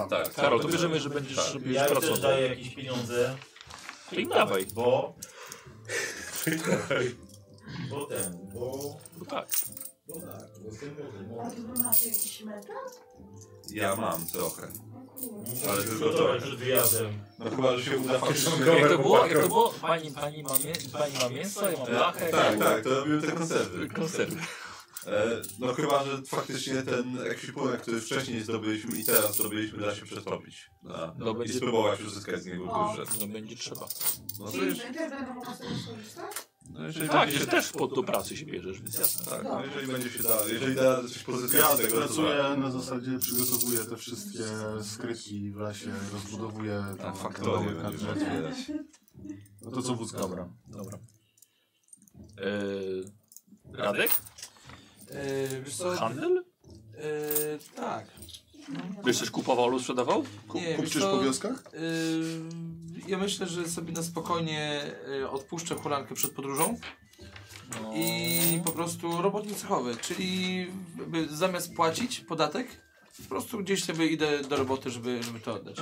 Speaker 9: Tak,
Speaker 2: Karol,
Speaker 9: tak.
Speaker 2: to bierzemy, że będziesz
Speaker 9: Tak.
Speaker 2: robił
Speaker 8: Ja im też
Speaker 2: pracował.
Speaker 8: daję jakieś pieniądze.
Speaker 2: I dawaj.
Speaker 8: Bo... Bo ten, bo...
Speaker 2: Bo tak.
Speaker 8: Bo tak, bo jestem wodzem,
Speaker 18: A
Speaker 8: bo...
Speaker 18: ty masz jakiś metal?
Speaker 9: Ja mam trochę. Ale tylko
Speaker 8: Przygotować
Speaker 9: trochę.
Speaker 8: przed wyjazdem.
Speaker 9: No chyba, że się uda faktycznie.
Speaker 2: Jak Tak, to było? Jak to było? Pani, pani, ma, mie- pani ma mięso, ja mam blachę.
Speaker 9: Tak, tak, tak, to robimy te konserwy.
Speaker 2: Konserwy.
Speaker 9: E, no chyba, że faktycznie ten ekwipunek, który wcześniej zdobyliśmy i teraz zdobyliśmy, da się przetopić. Da.
Speaker 2: No,
Speaker 9: I
Speaker 2: będzie-
Speaker 9: spróbować uzyskać z niego budżet.
Speaker 2: No będzie trzeba.
Speaker 9: No to
Speaker 18: Czyli
Speaker 9: już...
Speaker 18: będę mogła sobie skorzystać?
Speaker 2: No, jeżeli tak, się też pod do pracy się bierzesz, więc jasne.
Speaker 9: Tak, no, jeżeli będzie się da, jeżeli da coś pozytywnego,
Speaker 21: Ja
Speaker 9: tego, to
Speaker 21: pracuję
Speaker 9: tak.
Speaker 21: na zasadzie, przygotowuję te wszystkie skryki w lesie, rozbudowuję tam
Speaker 9: faktorię
Speaker 21: domy na
Speaker 9: będziesz
Speaker 21: drzewie.
Speaker 9: otwierać.
Speaker 21: No to co wódz
Speaker 2: Dobra, dobra. Eee, Radek?
Speaker 19: Yy, wiesz co?
Speaker 2: Handel?
Speaker 19: Yy, tak.
Speaker 2: Byś coś kupował lub sprzedawał?
Speaker 19: Nie, wiesz co, y, ja myślę, że sobie na spokojnie y, odpuszczę hulankę przed podróżą.
Speaker 2: No.
Speaker 19: I po prostu robotnik cechowy, czyli jakby zamiast płacić podatek, po prostu gdzieś sobie idę do roboty, żeby, żeby to oddać.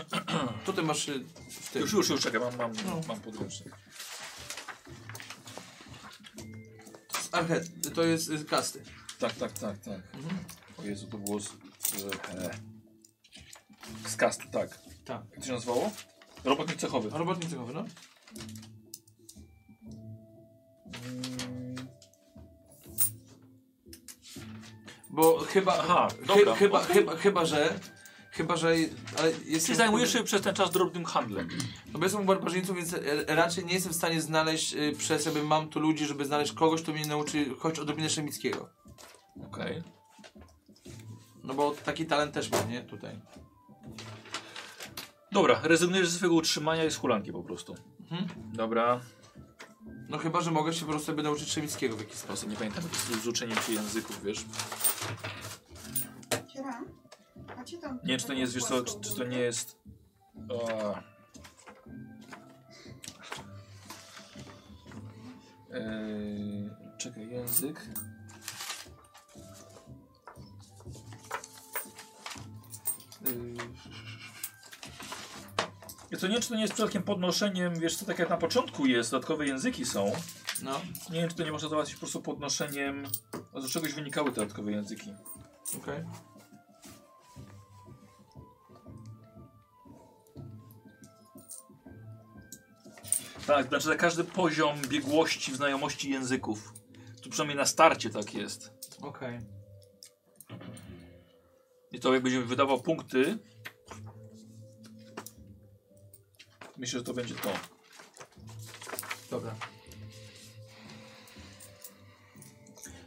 Speaker 19: Tutaj masz y, w tym.
Speaker 2: Już, już, już, czekaj, mam, mam,
Speaker 19: No.
Speaker 2: mam podręcznik.
Speaker 19: Archet, to jest y, kasty. Mhm.
Speaker 2: Tak, tak, tak, tak. O Jezu, to było z... z, e, z kastu, tak.
Speaker 19: Tak.
Speaker 2: Jak to się nazywało? Robotnik cechowy.
Speaker 19: Robotnik cechowy, no. Bo chyba,
Speaker 2: Aha,
Speaker 19: chy-
Speaker 2: dobra,
Speaker 19: chyba,
Speaker 2: okej.
Speaker 19: chyba, chyba, że, chyba, że, ale
Speaker 2: Ty
Speaker 19: jestem...
Speaker 2: zajmujesz się przez ten czas drobnym handlem.
Speaker 19: No bo jestem u barbarzyńców, więc e, raczej nie jestem w stanie znaleźć y, przez jakby mam tu ludzi, żeby znaleźć kogoś, kto mnie nauczy choć odrobinę szemickiego.
Speaker 2: Okej.
Speaker 19: No bo taki talent też mam, nie? Tutaj.
Speaker 2: Dobra, rezygnujesz ze swojego utrzymania i z hulanki po prostu. Dobra.
Speaker 19: No chyba, że mogę się po prostu sobie nauczyć szemickiego w jakiś
Speaker 2: sposób. Nie pamiętam, jak z, z uczeniem się języków, wiesz.
Speaker 18: Cieram. A gdzie tam?
Speaker 2: Nie wiem, czy to nie jest, wiesz co, czy, czy to nie jest... O. Eee, czekaj, język. Ja to Yy. nie wiem, czy to nie jest przypadkiem podnoszeniem, wiesz co, tak jak na początku jest, dodatkowe języki są.
Speaker 19: No.
Speaker 2: Nie wiem, czy to nie można załatwić po prostu podnoszeniem, a z czegoś wynikały te dodatkowe języki.
Speaker 19: Okej.
Speaker 2: Tak, znaczy za każdy poziom biegłości w znajomości języków. Tu przynajmniej na starcie tak jest.
Speaker 19: Okej.
Speaker 2: I to jak będziemy wydawał punkty. Myślę, że to będzie to.
Speaker 19: Dobra.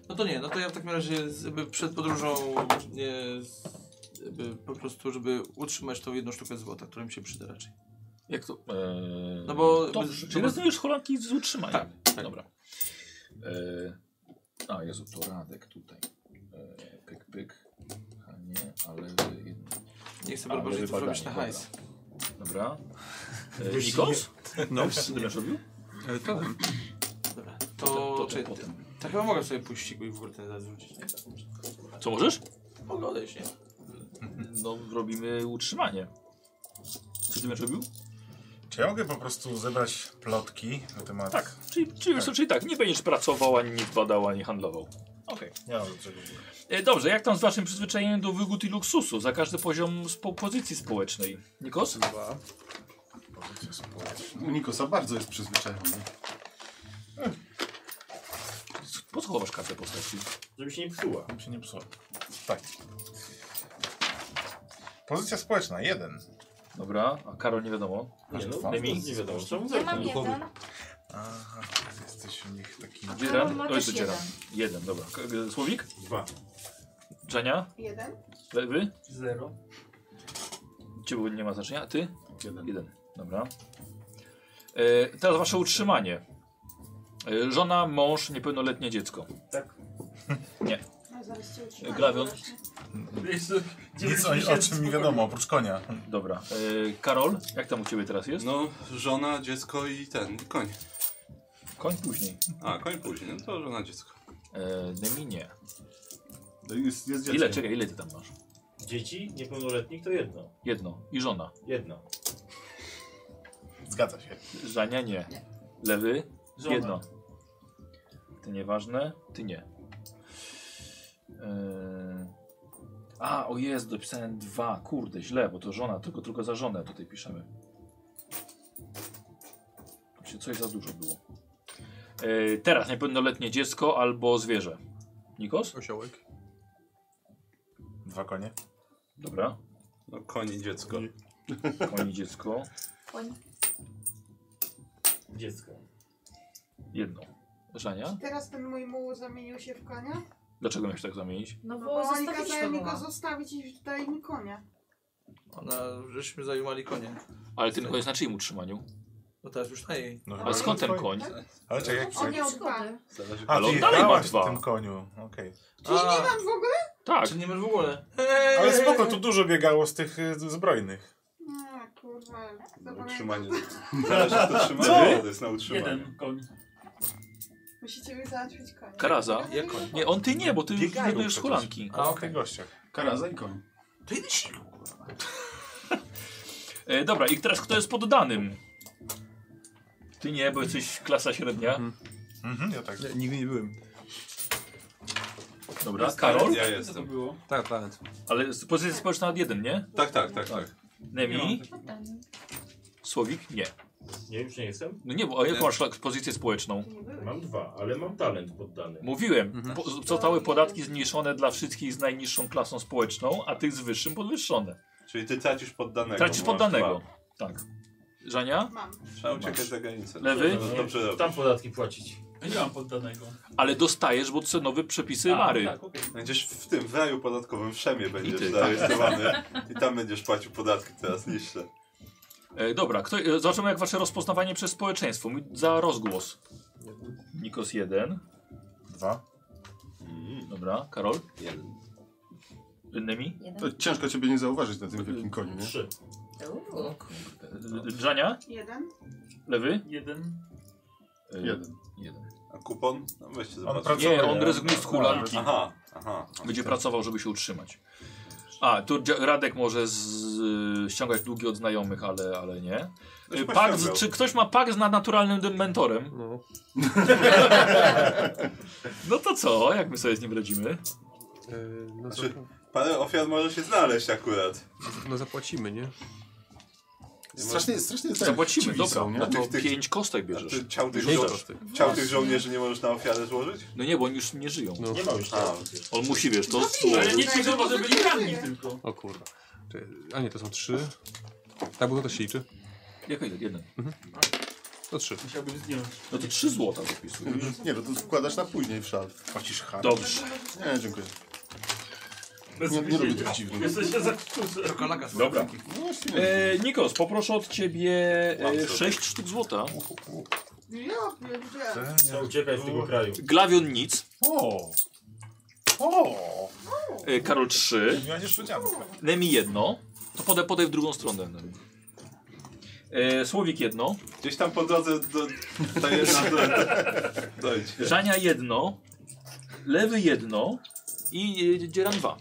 Speaker 19: No to nie, no to ja w takim razie z- jakby przed podróżą nie, z- jakby po prostu, żeby utrzymać tą jedną sztukę złota, która mi się przyda raczej.
Speaker 2: Jak to? e,
Speaker 19: No bo...
Speaker 2: Dobrze,
Speaker 19: bo-
Speaker 2: czyli rozumiesz Holandki z utrzymaniem.
Speaker 19: Tak, tak.
Speaker 2: Dobra. Eee, a, Jezu, to Radek tutaj. Eee, pyk, pyk. A nie, ale... wy-
Speaker 19: Nie chcę
Speaker 2: ale
Speaker 19: barbarzyńców
Speaker 2: wybadanie,
Speaker 19: robić na
Speaker 2: dobra.
Speaker 19: hajs.
Speaker 2: Dobra. Eee,
Speaker 19: Wiesz,
Speaker 2: Nikos?
Speaker 19: nie-
Speaker 2: No. Ty będziesz robił?
Speaker 19: Dobra, to, to, czy, to chyba mogę sobie puścić i w ogóle ten zarzucić. Tak
Speaker 2: Co możesz?
Speaker 19: Mogę odejść, nie?
Speaker 2: No, robimy utrzymanie. Co ty będziesz robił?
Speaker 21: Czy ja mogę po prostu zebrać plotki na temat...
Speaker 2: Tak, czyli, czyli, tak. czyli tak, nie będziesz pracował, ani nic badał, ani handlował. Okej.
Speaker 21: Nie mam do czego w ogóle.
Speaker 2: E, Dobrze, jak tam z waszym przyzwyczajeniem do wygód i luksusu? Za każdy poziom spo pozycji społecznej. Nikos? Dwa.
Speaker 1: Nikosa bardzo jest przyzwyczajony.
Speaker 2: Po co chowasz kartę postaci?
Speaker 13: Żeby się nie psuła.
Speaker 21: Żeby się nie psuła. Tak. Pozycja społeczna, jeden.
Speaker 2: Dobra, a Karol nie wiadomo.
Speaker 21: Masz
Speaker 2: Nie, no,
Speaker 21: dwa.
Speaker 2: Dymi?
Speaker 21: Nie wiadomo.
Speaker 20: Ja mam jeden.
Speaker 21: Aha, jesteś u nich taki...
Speaker 2: Dzieran?
Speaker 20: ma
Speaker 2: To jest
Speaker 20: też
Speaker 2: Dzieran. Jeden, dobra. K- e, Słowik?
Speaker 21: Dwa.
Speaker 2: Żenia?
Speaker 18: Jeden.
Speaker 2: Le- Wy?
Speaker 4: Zero.
Speaker 2: Ciebie nie ma znaczenia. A ty? Jeden. Dobra. E, teraz wasze utrzymanie. E, żona, mąż, niepełnoletnie dziecko.
Speaker 13: Tak.
Speaker 2: Nie.
Speaker 18: No, zaraz cię utrzymam.
Speaker 2: Grawion.
Speaker 21: Nic o, o czym mi wiadomo, oprócz konia.
Speaker 2: Dobra. E, Karol, jak tam u ciebie teraz jest?
Speaker 9: No, żona, dziecko i ten, i koń.
Speaker 2: Koń później.
Speaker 9: A, koń później, no to żona, dziecko.
Speaker 2: E, Demi nie.
Speaker 9: Jest, jest
Speaker 2: Ile, czekaj, ile ty tam masz?
Speaker 13: Dzieci niepełnoletnich to jedno.
Speaker 2: Jedno. I żona.
Speaker 13: Jedno.
Speaker 21: Zgadza się.
Speaker 2: Żania nie. Lewy?
Speaker 13: Żona.
Speaker 2: Jedno. Ty nieważne, ty nie. Yy... A, o jest, dopisałem dwa. Kurde, źle, bo to żona, tylko, tylko za żonę tutaj piszemy. Tu się coś za dużo było. Yy, teraz niepełnoletnie dziecko albo zwierzę. Nikos?
Speaker 28: Osiołek.
Speaker 21: Dwa konie.
Speaker 2: Dobra.
Speaker 9: No, koń i dziecko.
Speaker 2: Koni dziecko.
Speaker 20: Koń.
Speaker 13: Dziecko.
Speaker 2: Jedno. Żania?
Speaker 18: Teraz ten mój muł zamienił się w konia?
Speaker 2: Dlaczego miałeś tak zamienić?
Speaker 18: No
Speaker 20: bo
Speaker 18: oni
Speaker 20: zostawiliśmy
Speaker 18: kazali mi
Speaker 20: muła.
Speaker 18: go zostawić i dali mi konia.
Speaker 19: Ona, żeśmy zajumali konie.
Speaker 2: Ale ten koń jest na czyim utrzymaniu?
Speaker 19: No teraz już na jej.
Speaker 2: No, ale skąd ten koń?
Speaker 21: Ale czekaj, jak...
Speaker 18: On miał dwa.
Speaker 21: Zależy-
Speaker 2: Ale
Speaker 21: ty
Speaker 2: on dalej ma
Speaker 21: jechałaś
Speaker 2: dwa.
Speaker 21: w tym koniu, okej.
Speaker 18: Czyli nie mam w ogóle?
Speaker 2: Tak.
Speaker 19: Czy nie masz w ogóle?
Speaker 21: Ale spoko, tu dużo biegało z tych y, zbrojnych.
Speaker 18: Nie, kurwa.
Speaker 3: Utrzymanie.
Speaker 18: Zależy,
Speaker 3: Zależy, to utrzymanie. To jest na utrzymanie.
Speaker 4: Jeden koń.
Speaker 18: Musicie mi załatwić konia.
Speaker 2: Karaza? Nie, on ty nie, bo ty już nie będziesz hulanki.
Speaker 21: A okej, gościa.
Speaker 1: Karaza i koń.
Speaker 2: To jeden silu, e, Dobra, i teraz kto jest poddanym? Ty nie, bo jesteś klasa średnia.
Speaker 21: Mhm, ja tak.
Speaker 28: Nie, nigdy nie byłem.
Speaker 2: Dobra,
Speaker 28: Jest
Speaker 2: Karol?
Speaker 28: talent, ja jestem. Co to
Speaker 2: było?
Speaker 28: Tak, talent.
Speaker 2: Ale z- pozycja społeczna od jeden, nie?
Speaker 9: Tak, tak, tak, tak.
Speaker 2: Nemi? Słowik? Nie.
Speaker 8: Nie, już nie jestem?
Speaker 2: No nie, bo a jaką masz tak pozycję społeczną?
Speaker 8: Mam dwa, ale mam talent poddany.
Speaker 2: Mówiłem,
Speaker 28: Mhm.
Speaker 2: po, zostały podatki zmniejszone dla wszystkich z najniższą klasą społeczną, a tych z wyższym podwyższone.
Speaker 9: Czyli ty tracisz poddanego.
Speaker 2: Tracisz
Speaker 9: bo masz
Speaker 2: poddanego.
Speaker 9: dwa.
Speaker 2: Tak. Żania?
Speaker 9: Trzeba uciekać za granicę.
Speaker 2: Lewy?
Speaker 9: Dobrze, dobrze, dobrze.
Speaker 8: Tam podatki płacić.
Speaker 4: Ja nie mam poddanego.
Speaker 2: Ale dostajesz, bo cenowe przepisy Mary.
Speaker 9: no tak, Będziesz w tym, w raju podatkowym w Szemie będziesz
Speaker 2: ty. tak.
Speaker 9: zarejestrowany i tam będziesz płacił podatki teraz niższe.
Speaker 2: E, dobra, kto, e, zobaczymy jak wasze rozpoznawanie przez społeczeństwo. Mi- Za rozgłos. Nikos jeden.
Speaker 21: Dwa.
Speaker 9: Mm.
Speaker 2: Dobra, Karol? Jeden. Innymi?
Speaker 21: To ciężko ciebie nie zauważyć na tym wielkim koniu, nie?
Speaker 2: Trzy.
Speaker 18: O
Speaker 2: Żania?
Speaker 18: Jeden.
Speaker 2: Lewy?
Speaker 4: Jeden.
Speaker 2: E,
Speaker 21: Jeden.
Speaker 2: jeden.
Speaker 9: A kupon? No weźcie zobaczcie.
Speaker 2: nie, on rezygnuje z hulanki.
Speaker 9: Aha, aha.
Speaker 2: Będzie pracował, żeby się utrzymać. A, tu Dzia- Radek może z, y, ściągać długi od znajomych, ale, ale nie.
Speaker 9: Ktoś
Speaker 2: E, Pak z,
Speaker 9: pościągał.
Speaker 2: czy ktoś ma pak z na- naturalnym dementorem? No. no to co, jak my sobie z nim radzimy?
Speaker 21: E,
Speaker 9: no znaczy, parę ofiar może się znaleźć akurat.
Speaker 28: No zapłacimy, nie?
Speaker 21: Strasznie, strasznie jest
Speaker 2: Zapłacimy,
Speaker 21: dziwi
Speaker 2: dobra.
Speaker 21: są, nie?
Speaker 2: A
Speaker 21: Bo
Speaker 2: tych, tych pięć kostek bierzesz.
Speaker 9: A ty ciał tych,
Speaker 2: Pięć
Speaker 9: żo-
Speaker 2: kostek.
Speaker 9: ciał tych żołnierzy nie możesz na ofiarę złożyć?
Speaker 2: No nie, bo oni już nie żyją.
Speaker 9: Nie ma już
Speaker 2: A, On musi, wiesz, to...
Speaker 4: Ale nie ci, że może byli ranni tylko.
Speaker 28: O kurwa. Czekaj, A nie, to są trzy. Tak, bo to też się liczy.
Speaker 2: Jaka jeden? Jeden.
Speaker 28: To trzy.
Speaker 4: Musiałbym zdjąć.
Speaker 2: No to trzy złota zapisujesz.
Speaker 21: Nie, no to składasz na później w szal. Płacisz haracz.
Speaker 2: Mhm. Dobrze.
Speaker 21: Nie, dziękuję. Nie, nie lubię tych dziwnych.
Speaker 4: Jesteś za kurze.
Speaker 19: Czekolaga z
Speaker 2: Dobra.
Speaker 1: No
Speaker 2: E, Nikos, poproszę od ciebie e, 6 sztuk złota.
Speaker 18: Ja pierdzielę.
Speaker 8: No, uciekaj z tego kraju.
Speaker 2: Glawion nic.
Speaker 21: O! O!
Speaker 2: E, Karol 3.
Speaker 21: Ja nie szukam.
Speaker 2: Nemi jedno. To podaj, podaj w drugą stronę. Nemi. E, Słowik jedno.
Speaker 9: Gdzieś tam po drodze do... Ta jedna... Do, dojdź.
Speaker 2: Żania jedno. Lewy jedno. I e, Dzieran dwa.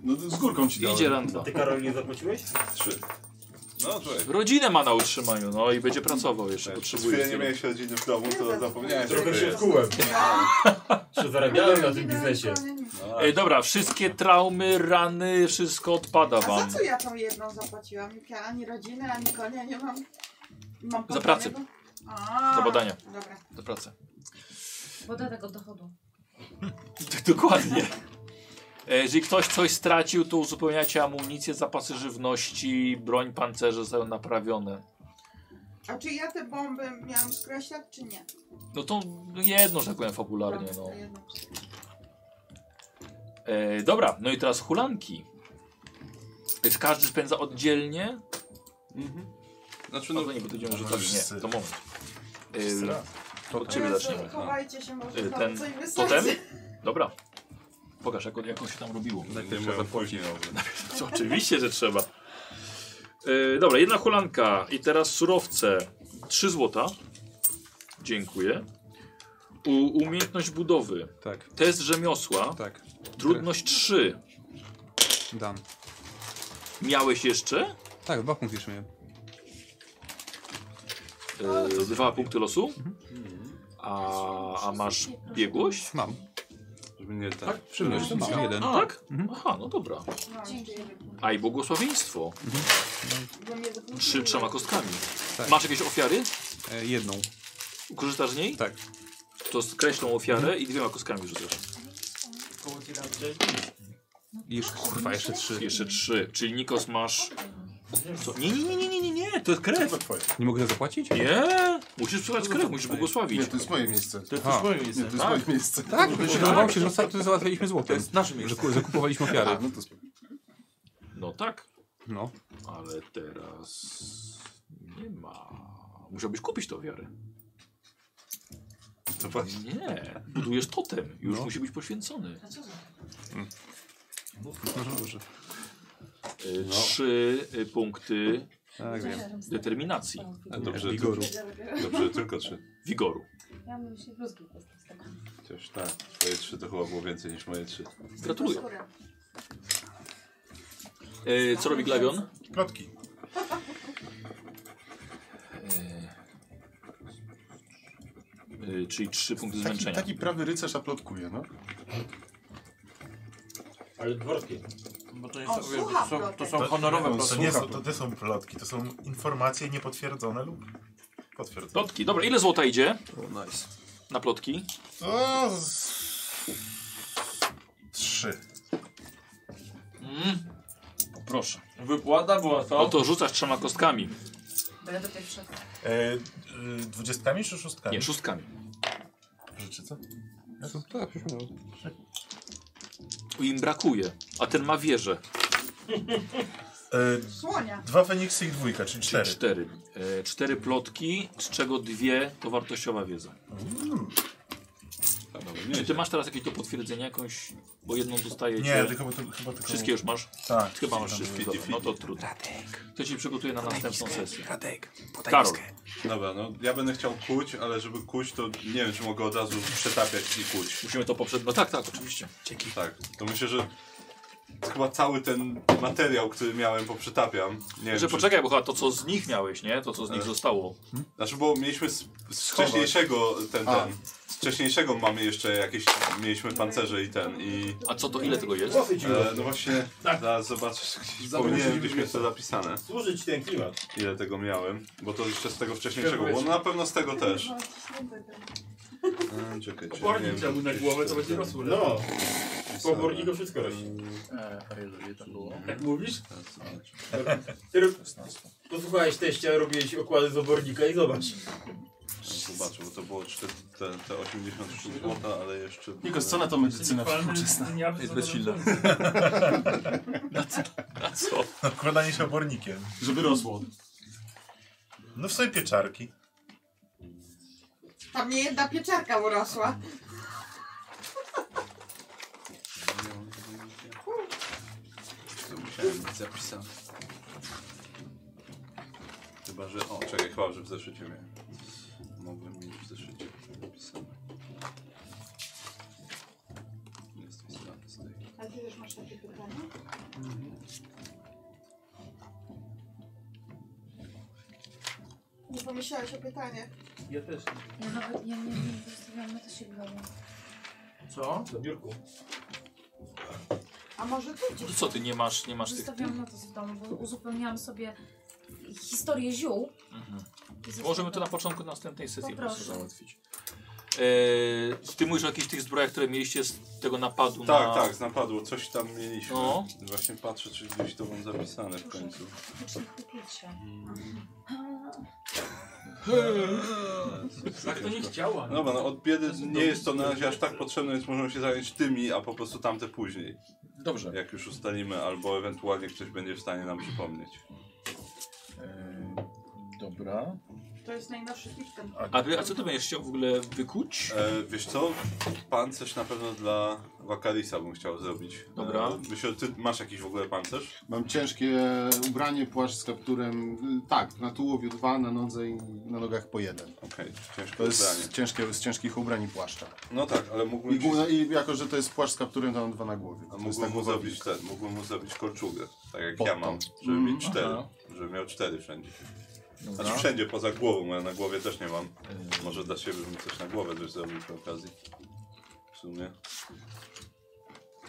Speaker 21: No to z górką ci dałem.
Speaker 2: I Dzieran dwa.
Speaker 8: Ty Karol nie zapłaciłeś?
Speaker 9: Trzy. No człowiek.
Speaker 2: Rodzinę ma na utrzymaniu, no i będzie pracował jeszcze,
Speaker 9: Przez
Speaker 2: potrzebuje.
Speaker 9: chwilę Tak, nie miałeś rodziny w domu, to zapomniałem. że
Speaker 8: Trochę
Speaker 9: to
Speaker 8: się
Speaker 9: jest.
Speaker 8: wkułem. Czy zarabiałem na tym biznesie?
Speaker 2: E, dobra, wszystkie traumy, rany, wszystko odpada
Speaker 18: A za
Speaker 2: wam.
Speaker 18: co ja tą jedną zapłaciłam? Jak ja ani rodziny, ani konia nie mam. mam
Speaker 2: Za pracę.
Speaker 18: poddanego? A,
Speaker 2: Za badania.
Speaker 18: Dobra.
Speaker 2: Za pracę.
Speaker 20: Podatek od dochodu.
Speaker 2: Dokładnie. E, Jeżeli ktoś coś stracił, to uzupełniacie amunicję, zapasy żywności, broń, pancerze zostają naprawione.
Speaker 18: A czy ja te bomby miałam skreślać, czy nie?
Speaker 2: No to jedno, że tak powiem, fabularnie. No. E, dobra, no i teraz hulanki. Więc każdy spędza oddzielnie. Mhm. Znaczy, no, to nie, bo to będziemy rzucać. Nie, to moment.
Speaker 21: Wszyscy
Speaker 2: E,
Speaker 21: raz.
Speaker 2: to od ciebie
Speaker 18: Jezu,
Speaker 2: zaczniemy.
Speaker 18: No Chowajcie się, może
Speaker 2: E,
Speaker 18: tam
Speaker 2: Ten
Speaker 18: coś wysadzi.
Speaker 2: totem? Dobra. Pokaż, jak, jak on się tam robiło.
Speaker 9: Najpierw trzeba później oglądać.
Speaker 2: To Oczywiście, że trzeba. E, dobra, jedna hulanka i teraz surowce. 3 złota. Dziękuję. U, umiejętność budowy.
Speaker 28: Tak.
Speaker 2: Test rzemiosła.
Speaker 28: Tak.
Speaker 2: Trudność 3.
Speaker 28: Dam.
Speaker 2: Miałeś jeszcze?
Speaker 28: Tak, dwa punkty jeszcze miałem.
Speaker 2: E, dwa punkty losu.
Speaker 9: Mhm.
Speaker 2: A, a masz biegłość?
Speaker 28: Mam.
Speaker 9: Żeby nie tak.
Speaker 28: przyjemność, to mam jeden.
Speaker 2: A, tak?
Speaker 4: mhm.
Speaker 2: Aha, no dobra.
Speaker 18: No,
Speaker 20: Dzięki.
Speaker 2: A i błogosławieństwo.
Speaker 18: Bo mnie zapomnieli.
Speaker 2: Trzy trzema kostkami.
Speaker 28: Tak.
Speaker 2: Masz jakieś ofiary?
Speaker 28: E, jedną.
Speaker 2: Korzystasz z niej?
Speaker 28: Tak.
Speaker 2: To skreślą ofiarę i dwiema kostkami rzucasz.
Speaker 28: Jeszcze, kurwa, jeszcze trzy.
Speaker 2: Jeszcze trzy. Czyli Nikos masz. Co? Nie, nie, nie, nie, nie, nie, nie.
Speaker 8: Nie, to jest krew.
Speaker 28: Nie mogę za to zapłacić?
Speaker 8: Nie, musisz przelać krew, musisz błogosławić.
Speaker 1: Nie, to jest moje miejsce. To
Speaker 28: jest moje miejsce.
Speaker 1: Nie, to jest
Speaker 28: Tak.
Speaker 1: moje miejsce.
Speaker 28: Tak,
Speaker 1: To
Speaker 28: bo
Speaker 1: jest-
Speaker 28: wydawało mi się, że ostatnio załatwialiśmy złotem.
Speaker 1: To jest nasze miejsce.
Speaker 28: Że ku- zakupowaliśmy ofiary.
Speaker 1: A, no to spoko.
Speaker 2: No tak.
Speaker 28: No.
Speaker 2: Ale teraz nie ma. Musiałbyś kupić to wiary.
Speaker 9: To
Speaker 2: Nie, budujesz totem. Już musi być poświęcony. Y, Trzy y, punkty
Speaker 28: Tak, wiem.
Speaker 2: determinacji.
Speaker 20: Tak,
Speaker 9: A dobrze, Wigoru. dobrze, tylko trzy.
Speaker 2: Wigoru.
Speaker 20: Ja bym się bluzki postać z tego.
Speaker 9: Chociaż tak, twoje trzy to chyba było więcej niż moje trzy.
Speaker 2: Gratuluję. E, co robi Glawion?
Speaker 21: Plotki.
Speaker 2: E, czyli trzy punkty
Speaker 1: Taki,
Speaker 2: zmęczenia.
Speaker 1: taki prawy rycerz aplotkuje, no.
Speaker 8: Ale dworskie. Bo to
Speaker 18: jest- O, wiesz, słucha to są- plotek. to są honorowe
Speaker 21: To,
Speaker 8: plotki.
Speaker 21: nie są, to nie są plotki, to są informacje niepotwierdzone lub potwierdzone.
Speaker 2: Plotki. Dobra, ile złota idzie? nice. Na plotki?
Speaker 21: O, z... Trzy.
Speaker 2: Mm. Proszę.
Speaker 8: Wypłata była to.
Speaker 2: No to rzucasz trzema kostkami.
Speaker 20: Będę do pierwszego.
Speaker 21: E, y, dwudziestkami czy szóstkami?
Speaker 2: Nie, szóstkami.
Speaker 21: Życzy co?
Speaker 28: Tak,
Speaker 2: Im brakuje, a ten ma wieżę.
Speaker 21: E,
Speaker 18: Słonia.
Speaker 21: Dwa Feniksy i dwójka, czyli
Speaker 2: Czyli
Speaker 21: cztery.
Speaker 2: cztery. E, cztery plotki, z czego dwie to wartościowa wiedza.
Speaker 21: Mhm.
Speaker 18: Mm.
Speaker 2: Czy ty masz teraz jakieś to potwierdzenie jakąś, bo jedną dostajecie?
Speaker 21: Nie, tylko- tylko- chyba tylko-
Speaker 2: Wszystkie już masz?
Speaker 21: Tak.
Speaker 2: Chyba masz
Speaker 21: Tam
Speaker 2: wszystkie.
Speaker 21: były.
Speaker 2: Dobra, No to trudno. To ci przygotuje na następną sesję.
Speaker 9: Karol.
Speaker 2: Karol.
Speaker 9: Dobra, no ja będę chciał kuć, ale żeby kuć, to nie wiem, czy mogę od razu przetapiać i kuć.
Speaker 2: Musimy to poprzeć. No tak, tak, oczywiście.
Speaker 9: Dzięki. Tak, to myślę, że chyba cały ten materiał, który miałem, poprzetapiam.
Speaker 2: Że
Speaker 9: Nie wiem, czy-
Speaker 2: poczekaj, bo chyba to co z nich miałeś, nie? To co z nich
Speaker 9: E.
Speaker 2: zostało. Hmm?
Speaker 9: Znaczy, bo mieliśmy z, z wcześniejszego ten,
Speaker 2: A.
Speaker 9: ten. Z wcześniejszego mamy jeszcze jakieś. Mieliśmy pancerze i ten i.
Speaker 2: A co to ile tego jest?
Speaker 9: E, no właśnie, zaraz zobaczysz gdzieś powinienem gdzieś mieć to zapisane.
Speaker 13: Służyć ten klimat.
Speaker 9: Ile tego miałem? Bo to jeszcze z tego wcześniejszego, bo no na pewno z tego też. E, Czekaj, czy nie
Speaker 4: Opornik
Speaker 9: wiem,
Speaker 4: trzeba mu na
Speaker 9: gdzieś
Speaker 4: głowę, to
Speaker 9: to
Speaker 4: będzie
Speaker 9: ten-
Speaker 4: rosło.
Speaker 9: No.
Speaker 4: Po oporniku wszystko rośnie.
Speaker 2: A ile to było?
Speaker 4: Tak mówisz?
Speaker 13: Ty rob... Posłuchałeś teścia, robiłeś okłady z obornika i zobacz.
Speaker 9: Zobaczę, bo to było czte- te, te 83 zł, ale jeszcze...
Speaker 1: Nikos, co na to medycyna współczesna?
Speaker 9: Jest bezsilna.
Speaker 2: Na co? Na co?
Speaker 21: Nakładanie się obornikiem.
Speaker 1: Żeby rosło.
Speaker 21: No w sobie pieczarki.
Speaker 18: Tam nie jedna pieczarka urosła.
Speaker 9: To musiałem mieć zapisane. Chyba, że... O, czekaj, chyba, że w zeszycie miałem. Mogłem mieć w zeszycie zapisane. Nie Jest zapisane z tej.
Speaker 20: A ty już masz takie pytanie?
Speaker 18: Nie pomyślałeś o pytanie.
Speaker 13: Ja też.
Speaker 20: Ja nawet ja nie wiem, zostawiam na to się głowy.
Speaker 13: Co? Do biurku.
Speaker 18: A może ty gdzieś?
Speaker 2: Co ty nie masz, nie masz tych...
Speaker 20: Zostawiam na to w domu, bo uzupełniałam sobie historię ziół.
Speaker 2: Mhm.
Speaker 20: I zostawiam.
Speaker 2: Możemy to na początku następnej sesji po prostu
Speaker 20: Poproszę.
Speaker 2: załatwić. E, ty mówisz o jakichś tych zbrojach, które mieliście z tego napadu na...
Speaker 9: Tak, tak, napadło. Coś tam mieliśmy.
Speaker 2: No.
Speaker 9: Właśnie patrzę, czy gdzieś to mam zapisane w końcu.
Speaker 20: Wycznik kupicie.
Speaker 4: Tak to nie chciała.
Speaker 9: No Dobra, no od biedy nie jest to na razie aż tak potrzebne, więc możemy się zająć tymi, a po prostu tamte później.
Speaker 2: Dobrze.
Speaker 9: Jak już ustalimy, albo ewentualnie ktoś będzie w stanie nam przypomnieć.
Speaker 2: E, Dobra.
Speaker 18: To jest najnowszy system.
Speaker 2: A, ty, a co ty będziesz chciał w ogóle wykuć?
Speaker 9: E, wiesz co, pancerz na pewno dla Wakarisa bym chciał zrobić.
Speaker 2: Dobra.
Speaker 9: E, myślę, że ty masz jakiś w ogóle pancerz?
Speaker 1: Mam ciężkie ubranie, płaszcz z kapturem. y, Tak, na tułowiu dwa, na nodze i na nogach po jeden.
Speaker 9: Okej, ciężkie
Speaker 1: To jest
Speaker 9: ubranie.
Speaker 1: z ciężkie, z ciężkich ubrań i płaszcza.
Speaker 9: No tak, ale mógłbym
Speaker 1: I, główna, I jako, że to jest płaszcz z kapturem, to mam dwa na głowie.
Speaker 9: A
Speaker 1: To jest
Speaker 9: mógłbym
Speaker 1: tak
Speaker 9: mu zrobić ten, mógłbym mu zrobić kolczugę, tak jak
Speaker 1: Pod
Speaker 9: ja
Speaker 1: to.
Speaker 9: mam, żeby
Speaker 1: Mhm.
Speaker 9: mieć cztery,
Speaker 1: Aha.
Speaker 9: żeby miał cztery wszędzie.
Speaker 2: Dobra.
Speaker 9: Znaczy wszędzie, poza głową, bo ja na głowie też nie mam.
Speaker 1: Y.
Speaker 9: Może dla siebie bym coś na głowę też zrobił przy okazji. W sumie.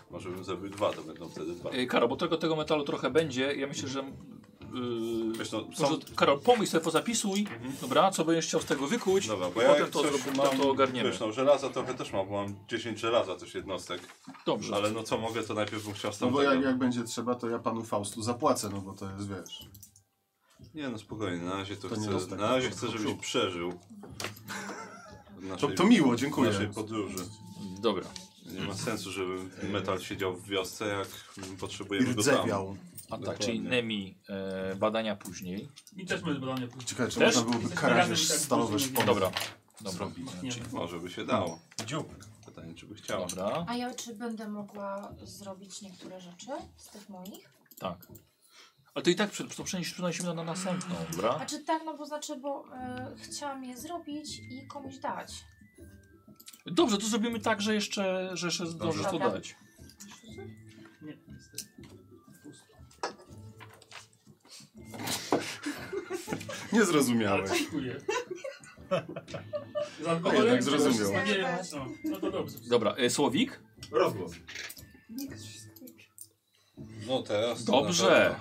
Speaker 9: Może bym zrobił dwa, to będą wtedy dwa.
Speaker 2: E, Karol, bo tego, tego metalu trochę będzie. Ja myślę, że... Yy,
Speaker 9: Wiesz, no,
Speaker 2: może, Karol, pomyśl sobie, pozapisuj, dobra, co będziesz chciał z tego wykuć,
Speaker 9: Mhm. Dobra, bo
Speaker 2: bo
Speaker 9: ja
Speaker 2: potem
Speaker 9: jak
Speaker 2: to,
Speaker 9: coś
Speaker 2: zrobimy,
Speaker 9: mam,
Speaker 2: to ogarniemy.
Speaker 9: Wiesz, no żelaza trochę też mam, bo mam 10 żelaza też jednostek.
Speaker 2: Dobrze.
Speaker 9: Ale no co mogę, to najpierw bym chciał z
Speaker 1: No bo
Speaker 9: tamtego.
Speaker 1: jak, jak będzie trzeba, to ja panu Faustu zapłacę, no bo to jest, wiesz...
Speaker 9: Nie no, spokojnie, na razie to,
Speaker 1: To nie jest
Speaker 9: chcę,
Speaker 1: tak.
Speaker 9: na razie chcę, żebyś przeżył. W
Speaker 1: to miło, dziękuję.
Speaker 9: w Naszej podróży.
Speaker 2: Dobra.
Speaker 9: Nie ma sensu, żeby metal siedział w wiosce, jak potrzebujemy go tam.
Speaker 2: A tak, czyli Nemi e, badania później.
Speaker 4: I też mamy badania później.
Speaker 1: Ciekawe, czy
Speaker 2: Też?
Speaker 1: można byłoby karać stalowe szpony.
Speaker 2: Dobra. Dobra.
Speaker 9: Czyli Może by się dało.
Speaker 2: Dziób.
Speaker 9: Pytanie, czy by chciała.
Speaker 2: Dobra.
Speaker 20: A ja czy będę mogła zrobić niektóre rzeczy z tych moich?
Speaker 2: Tak. Ale to i tak prze- to przeniesiesz przenosimy na następną, dobra?
Speaker 20: A czy tak, no bo znaczy, bo e, chciałam je zrobić i komuś dać.
Speaker 2: Dobrze, to zrobimy tak, że jeszcze, że jeszcze zdążysz to
Speaker 20: Dobra.
Speaker 2: dać.
Speaker 4: Nie, niestety. Pusto.
Speaker 1: Nie zrozumiałeś.
Speaker 4: Dziękuję. Za
Speaker 1: A
Speaker 4: alkoholem
Speaker 1: jednak
Speaker 4: czy
Speaker 1: zrozumiał.
Speaker 4: z nadzieją? No, no to dobrze.
Speaker 2: Dobra, e, Słowik?
Speaker 9: Rozgłos.
Speaker 18: Nikt się skończy.
Speaker 9: No teraz. to
Speaker 2: Dobrze.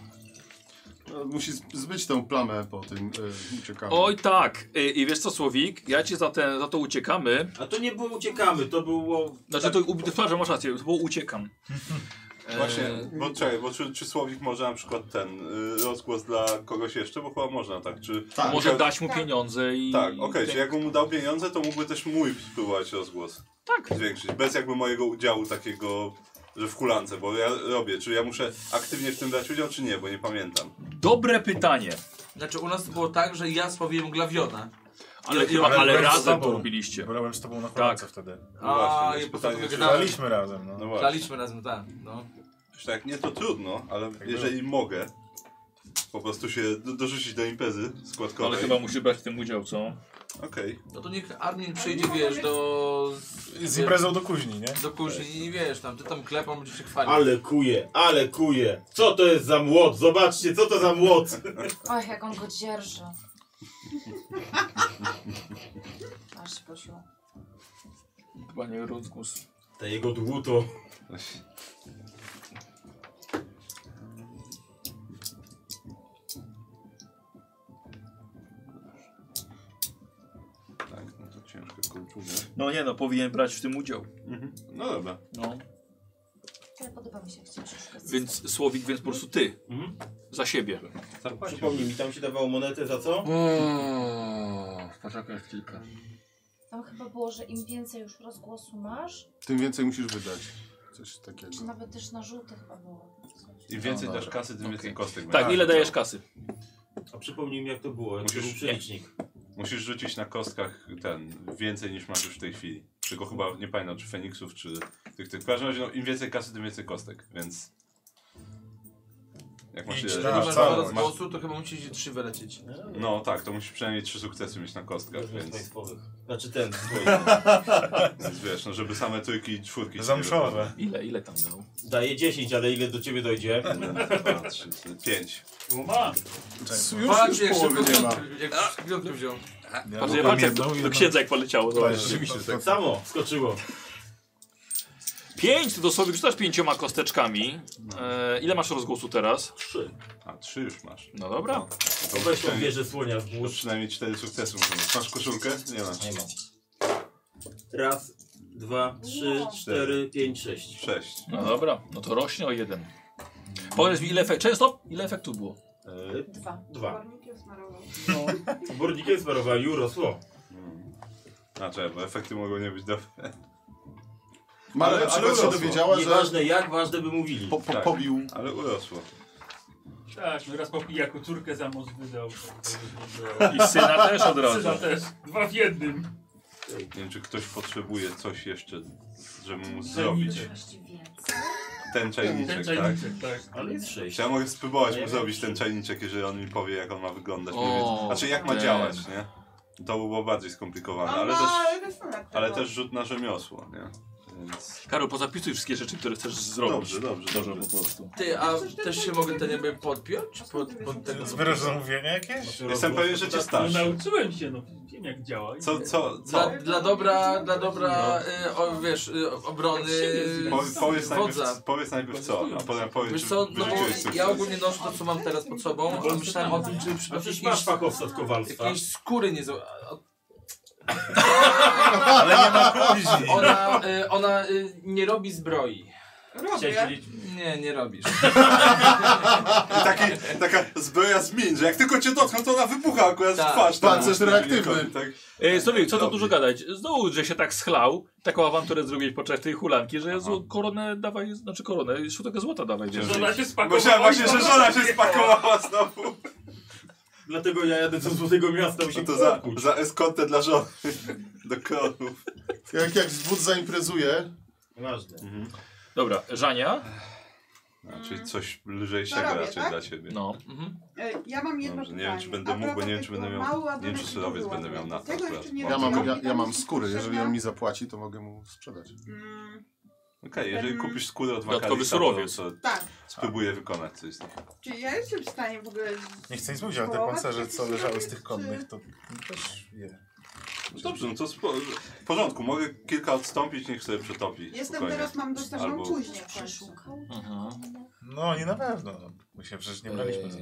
Speaker 1: No, Musi z- zbyć tę plamę po tym y, uciekaniu.
Speaker 2: Oj tak. E, I wiesz co, Słowik? Ja ci za, te, za to uciekamy.
Speaker 5: A to nie było uciekamy, to było...
Speaker 2: Znaczy, to, u- przepraszam, masz rację, to było uciekam.
Speaker 9: na pewno. Właśnie,
Speaker 2: E,
Speaker 9: bo czekaj, bo czy, czy Słowik może na przykład ten y, rozgłos dla kogoś jeszcze, bo chyba można, tak? Czy
Speaker 2: Tak. Może dać mu pieniądze i...
Speaker 9: Tak, okej,
Speaker 2: i-
Speaker 9: czyli jakbym mu dał pieniądze, to mógłby też mój wpływać rozgłos.
Speaker 2: Tak.
Speaker 9: Zwiększyć, bez jakby mojego udziału takiego, że w hulance, bo ja robię, czy ja muszę aktywnie w tym brać udział, czy nie, bo nie pamiętam.
Speaker 2: Dobre pytanie.
Speaker 19: Znaczy u nas było tak, że ja sprawiłem glawiona.
Speaker 2: Ale
Speaker 19: Ja-
Speaker 2: chyba-
Speaker 19: ja-
Speaker 2: ale
Speaker 19: ja-
Speaker 2: razem
Speaker 19: z tobą.
Speaker 2: to robiliście. Tak.
Speaker 21: Brałem z tobą na kolację wtedy.
Speaker 19: A,
Speaker 9: No właśnie,
Speaker 19: i
Speaker 9: jest
Speaker 19: po prostu
Speaker 9: pytanie, czy-
Speaker 19: wygadałem.
Speaker 21: Graliśmy razem, no.
Speaker 9: No właśnie.
Speaker 19: Graliśmy razem, tak. No.
Speaker 9: Jeśli tak nie, to trudno, ale jeżeli mogę po prostu się do, dorzucić do imprezy składkowej.
Speaker 2: Ale chyba musi brać w tym udział, co?
Speaker 9: Okej.
Speaker 19: No to niech Armin przyjdzie, wiesz, do...
Speaker 21: Z imprezą do kuźni, nie?
Speaker 19: Do kuźni i wiesz, tam ty tam klepą, będziesz się chwalił.
Speaker 5: Ale kuje, ale kuje. Co to jest za młot? Zobaczcie, co to za młot.
Speaker 20: Och, jak on go dzierży. Aż się posiło.
Speaker 2: Chyba nie rozgłos.
Speaker 5: Ta jego dłuto.
Speaker 9: Tak, no to ciężko kulturę.
Speaker 2: No nie no, powinien brać w tym udział.
Speaker 9: No dobra.
Speaker 2: No.
Speaker 20: Ale podoba mi się, jak chciałam troszkę
Speaker 2: Więc Słowik, więc po prostu ty. Za siebie.
Speaker 13: Przypomnij mi, tam się dawało monetę za co?
Speaker 2: Poczekaj kilka.
Speaker 20: Tam chyba było, że im więcej już rozgłosu masz,
Speaker 1: Tym więcej musisz wydać. Coś
Speaker 2: Tak
Speaker 1: takiego.
Speaker 20: czy nawet też na żółty chyba było.
Speaker 9: Im więcej
Speaker 2: No
Speaker 9: dasz
Speaker 2: dobra.
Speaker 9: kasy, tym więcej kostek
Speaker 2: Tak, ile dajesz kasy?
Speaker 5: A przypomnij mi jak to było, jak to był
Speaker 9: Musisz,
Speaker 5: przelicznik.
Speaker 9: musisz rzucić na kostkach ten, więcej niż masz już w tej chwili. Tylko chyba, nie pamiętam, czy Feniksów, czy tych, tych. W każdym razie, no, im więcej kasy, tym więcej kostek, więc... Jak masz...
Speaker 19: Jeśli
Speaker 9: ile-
Speaker 19: nie
Speaker 9: masz
Speaker 19: masz
Speaker 9: całą-
Speaker 19: zaraz
Speaker 9: masz-
Speaker 19: głosu, to chyba musisz trzy wylecieć.
Speaker 9: No tak, to musisz przynajmniej trzy sukcesy mieć na kostkach,
Speaker 19: Różnych
Speaker 9: więc...
Speaker 19: państwowych.
Speaker 5: Znaczy ten,
Speaker 19: swoich.
Speaker 9: Więc wiesz, no żeby same trójki i czwórki... ci nie
Speaker 5: Zamszowe.
Speaker 9: wypadły.
Speaker 2: Ile, ile tam
Speaker 13: No.
Speaker 2: dał?
Speaker 5: Daje 10, ale ile do ciebie dojdzie?
Speaker 9: Dwa, trzy, cztery, Pięć.
Speaker 4: Uma!
Speaker 19: Patrz, jak szybko jak szybko wziął.
Speaker 2: Patrz, ja patrzę, jak do, do księdza jak poleciało. To
Speaker 5: Rzeczywiście, tak samo, skoczyło.
Speaker 2: Pięć, to dosłownie rzucasz pięcioma kosteczkami. E, ile masz rozgłosu teraz?
Speaker 5: Trzy.
Speaker 9: A, trzy już masz.
Speaker 2: No dobra.
Speaker 9: To
Speaker 5: Weź tą
Speaker 9: przynajmniej-
Speaker 5: wieżę słonia w
Speaker 9: to
Speaker 5: bóż.
Speaker 9: Przynajmniej cztery sukcesy muszą mieć. Masz koszulkę? Nie masz.
Speaker 5: Nie mam. Raz, dwa, trzy, cztery, pięć, sześć.
Speaker 9: Sześć.
Speaker 2: No dobra, no to rośnie o jeden. Powiedz mi, ile, efekt, często, ile efektu było?
Speaker 20: Dwa.
Speaker 5: E, Dwa. No,
Speaker 18: Górnikiem smarował.
Speaker 5: Bornikiem sparowała i urosło.
Speaker 9: Znaczy, bo efekty mogą nie być dobre.
Speaker 1: Mara na przykład się
Speaker 9: urosło. Tak,
Speaker 1: dowiedziała, że-
Speaker 5: Nieważne jak, ważne by mówili.
Speaker 1: Po, po, Pobił.
Speaker 9: Ale urosło.
Speaker 4: Tak, no raz po pijaku córkę za mąż wydał.
Speaker 9: I syna też od razu.
Speaker 4: Syna też. Dwa w jednym.
Speaker 9: Nie wiem, czy ktoś potrzebuje coś jeszcze, żeby mu zrobić. Ten
Speaker 4: Ten
Speaker 9: czajniczek, tak?
Speaker 4: czajniczek, tak.
Speaker 5: Ale jest sześć.
Speaker 9: Czy ja mogę spróbować mu
Speaker 4: Nie.
Speaker 9: zrobić ten czajniczek, jeżeli on mi powie, jak on ma wyglądać. mniej
Speaker 2: O,
Speaker 9: więcej. Znaczy, jak ma
Speaker 2: ten.
Speaker 9: działać, nie? To by było bardziej skomplikowane, ale
Speaker 18: Ale
Speaker 9: też,
Speaker 18: rysunek tego.
Speaker 9: ale też rzut na rzemiosło, nie? Więc...
Speaker 2: Karol, pozapisuj wszystkie rzeczy, które chcesz zrobić.
Speaker 9: Dobrze, dobrze,
Speaker 2: Może
Speaker 9: dobrze.
Speaker 2: po prostu.
Speaker 19: Ty, a też się mogę ten jakby podpiąć? Pod, pod tego
Speaker 21: Zbierasz zamówienie jakieś?
Speaker 9: Jestem pewien, że cię
Speaker 4: No
Speaker 9: stasz.
Speaker 4: nauczyłem się, no wiem jak działa. No.
Speaker 9: Co, co, No. co?
Speaker 19: Dla, dla dobra, dla dobra, y, o, wiesz, y, obrony
Speaker 9: Powiedz, powiedz,
Speaker 19: wodza.
Speaker 9: najpierw, powiedz najpierw co, a potem powiedz,
Speaker 19: Wiesz
Speaker 9: czy
Speaker 19: co, no bo
Speaker 9: wyrzuciłeś sukces.
Speaker 19: ja ogólnie noszę to, co mam teraz pod sobą, ale myślałem o tym, czy przypadkiem
Speaker 5: przecież masz fachowca od kowalstwa.
Speaker 19: Jakieś skóry nie zł...
Speaker 5: Ale nie ma kuźni.
Speaker 19: Ona, y, ona y, nie robi zbroi. Robię. Nie, nie robisz.
Speaker 3: I taki, taka zbroja zmień, że jak tylko cię dotkną, to ona wybucha akurat w twarz. tam. Tak.
Speaker 2: Tak. E, Słowik, co to dużo gadać? Znowu, że się tak schlał, taką awanturę zrobić podczas tej hulanki, że zł- koronę dawaj, znaczy koronę, sztukę złota dawaj. dzierżyć.
Speaker 13: Żona się spakowała.
Speaker 3: Myślałem właśnie, że żona się spakowała znowu.
Speaker 13: Dlatego ja jadę co z złotego miasta, musi
Speaker 3: No to za, za eskortę dla żony. Do królów.
Speaker 1: Jak, jak zwód zaimprezuje.
Speaker 13: Ważne.
Speaker 2: Dobra, Żania?
Speaker 9: Czyli Znaczy, coś lżejszego
Speaker 18: To robię,
Speaker 9: raczej
Speaker 18: tak?
Speaker 9: dla ciebie.
Speaker 2: No.
Speaker 19: mhm.
Speaker 18: E, Ja mam jedno
Speaker 9: Dobrze, nie
Speaker 18: pytanie.
Speaker 9: wiem, czy będę
Speaker 18: A
Speaker 9: mógł, bo nie wiem,
Speaker 18: propos
Speaker 9: czy będę
Speaker 18: tego
Speaker 9: miał.
Speaker 18: mały
Speaker 9: Nie wiem, czy
Speaker 18: ładunek
Speaker 9: surowiec
Speaker 18: była.
Speaker 9: będę miał na to
Speaker 18: Tego
Speaker 9: akurat.
Speaker 18: jeszcze nie
Speaker 1: Ja
Speaker 9: Mam
Speaker 1: mam,
Speaker 9: tylko-
Speaker 1: ja, ja mam skórę, jeżeli on mi zapłaci, to mogę mu sprzedać.
Speaker 18: Mm,
Speaker 9: Okej, jeżeli
Speaker 18: Ten-
Speaker 9: kupisz skórę od
Speaker 2: Dodatkowy
Speaker 9: wakalisa,
Speaker 2: surowiec.
Speaker 9: to, to
Speaker 18: Tak.
Speaker 9: spróbuję wykonać coś z tym.
Speaker 18: Czy ja jestem w stanie w ogóle...
Speaker 21: Nie chcę nic mówić, ale te
Speaker 18: połować
Speaker 21: pancerze,
Speaker 18: jakiś
Speaker 21: co leżały
Speaker 18: surowiec,
Speaker 21: z tych konnych,
Speaker 18: czy-
Speaker 21: to też je.
Speaker 9: No dobrze, no to spo... w porządku, mogę kilka odstąpić, niech sobie przetopi.
Speaker 18: Jestem
Speaker 9: spokojnie.
Speaker 18: teraz, mam dostępną
Speaker 9: Albo-
Speaker 18: czuźnię w końcu.
Speaker 2: Mhm.
Speaker 21: No, nie na pewno. no. My się przecież nie braliśmy. za-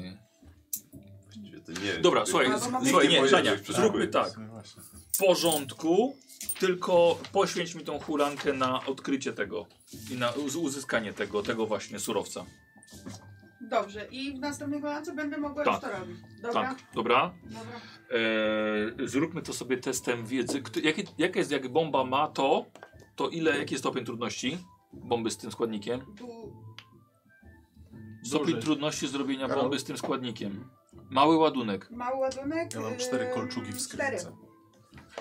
Speaker 9: Właściwie to nie wiem.
Speaker 2: Dobra,
Speaker 9: Ty-
Speaker 2: słuchaj,
Speaker 9: Nikt
Speaker 2: z- słuchaj, nie,
Speaker 9: powiedział,
Speaker 2: Żania,
Speaker 9: że przetopi.
Speaker 2: zróbmy tak.
Speaker 9: No
Speaker 2: W porządku, tylko poświęć mi tą hulankę na odkrycie tego i na uz- uzyskanie tego, tego właśnie surowca.
Speaker 18: Dobrze, i w następnej kolance będę mogła
Speaker 2: Tak.
Speaker 18: już to robić. Dobra?
Speaker 2: Tak, dobra?
Speaker 18: Dobra.
Speaker 2: Eee, zróbmy to sobie testem wiedzy. Kto, jakie, jaka jest, jak bomba ma to, to ile, jaki jest stopień trudności bomby z tym składnikiem?
Speaker 18: Tu...
Speaker 2: Stopień
Speaker 18: Duży.
Speaker 2: trudności zrobienia
Speaker 18: Karol?
Speaker 2: bomby z tym składnikiem. Mały ładunek.
Speaker 18: Mały ładunek.
Speaker 2: Ja mam
Speaker 18: ym,
Speaker 2: cztery kolczugi w
Speaker 18: cztery.
Speaker 2: skrytce.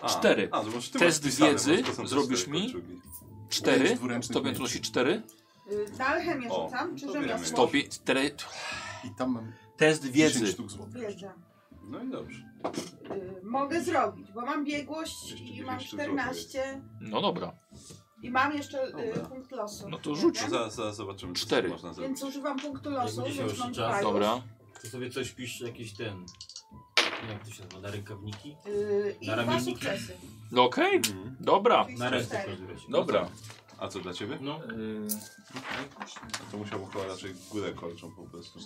Speaker 2: Cztery.
Speaker 9: a, to może ty
Speaker 2: Test
Speaker 9: masz wpisane,
Speaker 2: wiedzy
Speaker 9: masz, to są te
Speaker 2: zrobisz
Speaker 9: cztery
Speaker 2: mi.
Speaker 9: kolczugi.
Speaker 2: Cztery.
Speaker 9: Pięć dwuręcznych
Speaker 2: Stopień
Speaker 9: miecz.
Speaker 2: trudności cztery.
Speaker 18: Y, Na alchemię
Speaker 2: O,
Speaker 18: rzucam, czy
Speaker 9: to
Speaker 18: rzemiosło?
Speaker 9: bierzemy.
Speaker 2: Stopień... Cztery.
Speaker 1: I tam mam...
Speaker 2: Test wiedzy.
Speaker 18: Wiedza.
Speaker 9: No i dobrze.
Speaker 18: Y, Mogę zrobić, bo mam biegłość i mam 14
Speaker 2: No dobra.
Speaker 18: i mam jeszcze y, punkt losu.
Speaker 2: No to
Speaker 9: rzuć.
Speaker 18: Jeden?
Speaker 9: Zaraz, zaraz zobaczymy, co
Speaker 2: Cztery.
Speaker 9: można zrobić.
Speaker 18: Więc używam punktu losu,
Speaker 9: będzie się
Speaker 18: więc mam
Speaker 9: już
Speaker 18: dwa
Speaker 9: czas.
Speaker 18: już.
Speaker 9: Dobra.
Speaker 13: To sobie coś pisz, jakiś ten. Jak to się nazywa? Na rękawniki?
Speaker 18: Y, I
Speaker 13: Na
Speaker 18: dwa
Speaker 13: ramienniki?
Speaker 18: sukcesy.
Speaker 2: No okej,
Speaker 9: Mhm.
Speaker 2: dobra.
Speaker 18: Na ręce w każdym razie.
Speaker 2: Dobra.
Speaker 9: A co dla ciebie?
Speaker 13: No.
Speaker 9: A to musiałbym chyba raczej górę kolczą po prostu.